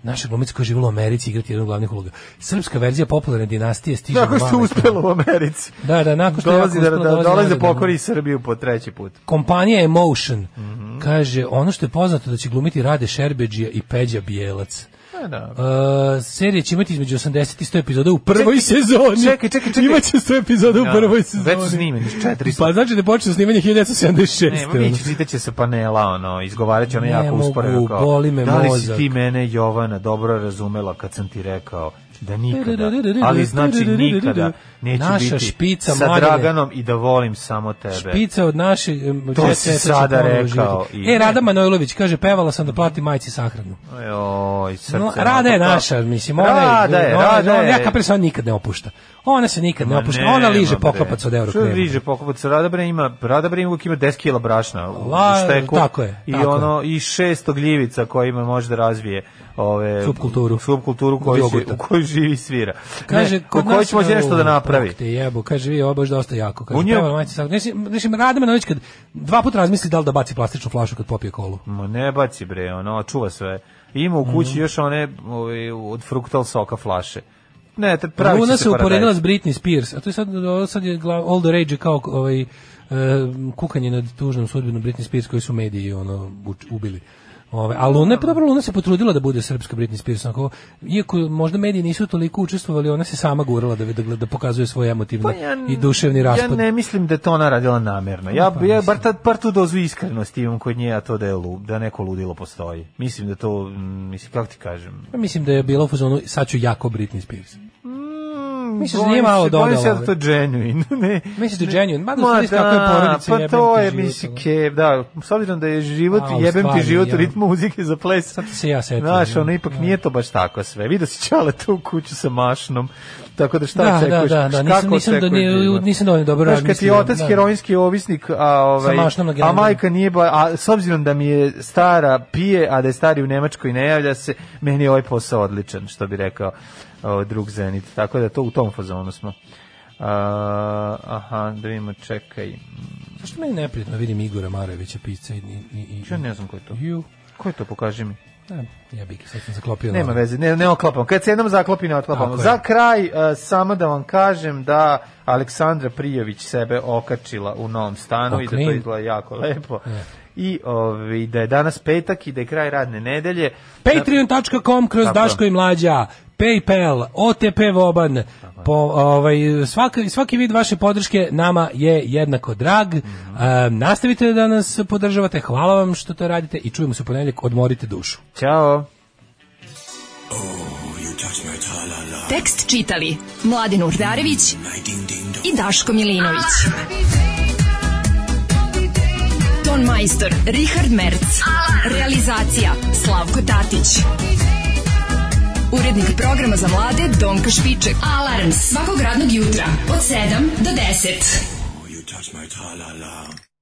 [SPEAKER 7] naša glumica koja je živjela u Americi igrati jednu od glavnih uloga. Srpska verzija popularne dinastije stiže
[SPEAKER 6] Tako
[SPEAKER 7] u
[SPEAKER 6] što
[SPEAKER 7] male
[SPEAKER 6] uspelo u Americi.
[SPEAKER 7] Da, da, nakon što je
[SPEAKER 6] dolazi
[SPEAKER 7] jako
[SPEAKER 6] da,
[SPEAKER 7] uspelo,
[SPEAKER 6] da,
[SPEAKER 7] dolazi
[SPEAKER 6] dolazi da
[SPEAKER 7] narodni
[SPEAKER 6] pokori Srbiju po treći put.
[SPEAKER 7] Kompanija Emotion
[SPEAKER 6] Mhm.
[SPEAKER 7] kaže ono što je poznato da će glumiti Rade Šerbeđija i Peđa Bijelac.
[SPEAKER 6] E, da.
[SPEAKER 7] Uh, serija će imati između 80 i 100 epizoda u prvoj sezoni.
[SPEAKER 6] čekaj, čekaj, čekaj.
[SPEAKER 7] Imaće 100 epizoda u
[SPEAKER 6] Da,
[SPEAKER 7] prvoj
[SPEAKER 6] već
[SPEAKER 7] sezoni.
[SPEAKER 6] su snimljeni, 400.
[SPEAKER 7] Pa znači da je počelo snimanje 1976.
[SPEAKER 6] Ne,
[SPEAKER 7] ono.
[SPEAKER 6] vidjet ću, čitaće se panela, ono, izgovarat će ono
[SPEAKER 7] Ne
[SPEAKER 6] jako
[SPEAKER 7] mogu,
[SPEAKER 6] usporeno kao,
[SPEAKER 7] boli me
[SPEAKER 6] da li
[SPEAKER 7] mozak."
[SPEAKER 6] si ti mene, Jovana, dobro razumela kad sam ti rekao da nikada, ali znači nikada neću
[SPEAKER 7] Naša
[SPEAKER 6] biti
[SPEAKER 7] špica,
[SPEAKER 6] sa
[SPEAKER 7] mladene.
[SPEAKER 6] Draganom i da volim samo tebe.
[SPEAKER 7] Špica od naše em,
[SPEAKER 6] To
[SPEAKER 7] Jet
[SPEAKER 6] si
[SPEAKER 7] Seta će
[SPEAKER 6] sada
[SPEAKER 7] ponovo
[SPEAKER 6] rekao
[SPEAKER 7] živjeti.
[SPEAKER 6] i-
[SPEAKER 7] E, Rada Manojlović kaže, pevala sam da plati majci sahranu.
[SPEAKER 6] Oj, srce.
[SPEAKER 7] No,
[SPEAKER 6] ono, pa
[SPEAKER 7] Rada je
[SPEAKER 6] to-
[SPEAKER 7] naša, mislim, ona je,
[SPEAKER 6] Rada je,
[SPEAKER 7] ona,
[SPEAKER 6] Rada
[SPEAKER 7] ona,
[SPEAKER 6] je.
[SPEAKER 7] ja kapre se ona nikad ne opušta. Ona se nikad ne
[SPEAKER 6] Ma
[SPEAKER 7] opušta,
[SPEAKER 6] nema,
[SPEAKER 7] ona liže
[SPEAKER 6] bre.
[SPEAKER 7] poklopac od
[SPEAKER 6] Što
[SPEAKER 7] Eurokrema.
[SPEAKER 6] liže poklopac? Rada bre ima, Rada bre ima uvijek ima 10 kila brašna u
[SPEAKER 7] La-
[SPEAKER 6] u šteku.
[SPEAKER 7] tako je,
[SPEAKER 6] I
[SPEAKER 7] tako
[SPEAKER 6] ono, i 600 gljivica kojima može da razvije ove...
[SPEAKER 7] Subkulturu.
[SPEAKER 6] Subkulturu koju se,
[SPEAKER 7] Jogurta.
[SPEAKER 6] u kojoj živi i svira.
[SPEAKER 7] Kaže,
[SPEAKER 6] ne, u kojoj će moći nešto da napravi.
[SPEAKER 7] Te jebo, kaže, vi ovo baš dosta jako. Kaže,
[SPEAKER 6] U njoj-
[SPEAKER 7] pevala majci sahranu. Mislim, mislim, Rada Manojlović kad dva puta razmisli da li da baci plastičnu flašu kad popije kolu.
[SPEAKER 6] Ma ne baci bre, ono, čuva sve. Ima u
[SPEAKER 7] Mhm.
[SPEAKER 6] kući još one ove, od fruktal soka flaše. Ne, te pravi
[SPEAKER 7] Luna se uporedila
[SPEAKER 6] paradajz.
[SPEAKER 7] s Britney Spears, a to je sad, sad je glav, all the rage je kao ovaj, e, kukanje nad tužnom sudbinom Britney Spears koji su mediji ono, uč- ubili. Ove, a Luna, je- pa dobro, Luna se potrudila da bude srpska Britney Spears, onako, iako možda mediji nisu toliko učestvovali, ona se sama gurala da, da, da pokazuje svoj emotivni
[SPEAKER 6] Pa ja n-
[SPEAKER 7] i duševni raspad.
[SPEAKER 6] Ja ne mislim da je to ona radila namerno. Ja,
[SPEAKER 7] Pa
[SPEAKER 6] ja
[SPEAKER 7] mislim.
[SPEAKER 6] bar, tad, bar tu dozu iskrenosti imam kod nje, a to da, je lu, da neko ludilo postoji. Mislim da to, mm, mislim, kako ti kažem...
[SPEAKER 7] Ja mislim da je bila u fazonu, sad ću jako Britney Spears.
[SPEAKER 6] Mm,
[SPEAKER 7] Misliš da
[SPEAKER 6] bojim
[SPEAKER 7] nije malo
[SPEAKER 6] se- bojim
[SPEAKER 7] dodala,
[SPEAKER 6] se da
[SPEAKER 7] ovaj?
[SPEAKER 6] to je genuine. ne.
[SPEAKER 7] Misliš da je genuine? Mada u
[SPEAKER 6] Ma
[SPEAKER 7] stvari s kako je porodica,
[SPEAKER 6] pa
[SPEAKER 7] jebem
[SPEAKER 6] to
[SPEAKER 7] ti
[SPEAKER 6] je,
[SPEAKER 7] život,
[SPEAKER 6] mislim,
[SPEAKER 7] ono.
[SPEAKER 6] ke, da, s obzirom da je život,
[SPEAKER 7] A, u
[SPEAKER 6] jebem
[SPEAKER 7] stvari,
[SPEAKER 6] ti život,
[SPEAKER 7] ja.
[SPEAKER 6] ritmu muzike za ples.
[SPEAKER 7] Sad se ja setim,
[SPEAKER 6] Znaš,
[SPEAKER 7] ja. Da.
[SPEAKER 6] ono, ipak
[SPEAKER 7] Ja.
[SPEAKER 6] nije to baš tako sve. Vidio si čale tu kuću sa mašnom, tako da šta
[SPEAKER 7] Da, da,
[SPEAKER 6] očekuješ?
[SPEAKER 7] da, da, nisam-
[SPEAKER 6] Kako
[SPEAKER 7] nisam do-
[SPEAKER 6] očekuješ
[SPEAKER 7] ni-
[SPEAKER 6] život?
[SPEAKER 7] nisam dovoljno dobro
[SPEAKER 6] Znaš, kad ti je
[SPEAKER 7] razmislio,
[SPEAKER 6] otac
[SPEAKER 7] da.
[SPEAKER 6] heroinski ovisnik, a, ovaj,
[SPEAKER 7] mašnom na
[SPEAKER 6] a
[SPEAKER 7] generalnom.
[SPEAKER 6] majka nije, ba, a s obzirom da mi je stara pije, a da je stari u Nemačkoj ne javlja se, meni je ovaj posao odličan, što bi rekao o, drug Zenit. Tako da to u tom fazonu smo. A, aha, da vidimo, čekaj.
[SPEAKER 7] Zašto meni neprijatno vidim Igora Marevića, pisca i... i, i
[SPEAKER 6] Ja ne znam ko je to.
[SPEAKER 7] Ju,
[SPEAKER 6] Ko je to, pokaži mi.
[SPEAKER 7] ne, ja bih, sad sam zaklopio. na-
[SPEAKER 6] Nema veze, ne, ne oklapamo. Kad se jednom zaklopi, ne oklapamo.
[SPEAKER 7] Tako je.
[SPEAKER 6] Za kraj, e, samo da vam kažem da Aleksandra Prijović sebe okačila u novom stanu i da to
[SPEAKER 7] Oknin.
[SPEAKER 6] izgleda jako lepo. I ovaj, ovi, da je danas petak i da je kraj radne nedelje.
[SPEAKER 7] Patreon.com kroz
[SPEAKER 6] Tako.
[SPEAKER 7] Daško i Mlađa. PayPal, OTP Voban, po, ovaj, svaki, svaki vid vaše podrške nama je jednako drag.
[SPEAKER 6] Mhm.
[SPEAKER 7] E, nastavite da nas podržavate, hvala vam što to radite i čujemo se u ponedjeljak, odmorite dušu.
[SPEAKER 6] Ćao.
[SPEAKER 5] Tekst čitali Mladin Urdarević i Daško Milinović. Ton majstor Richard Merc. Realizacija Slavko Tatić. Urednik programa za mlade Donka Špiček. Alarms svakog radnog jutra od 7 do 10.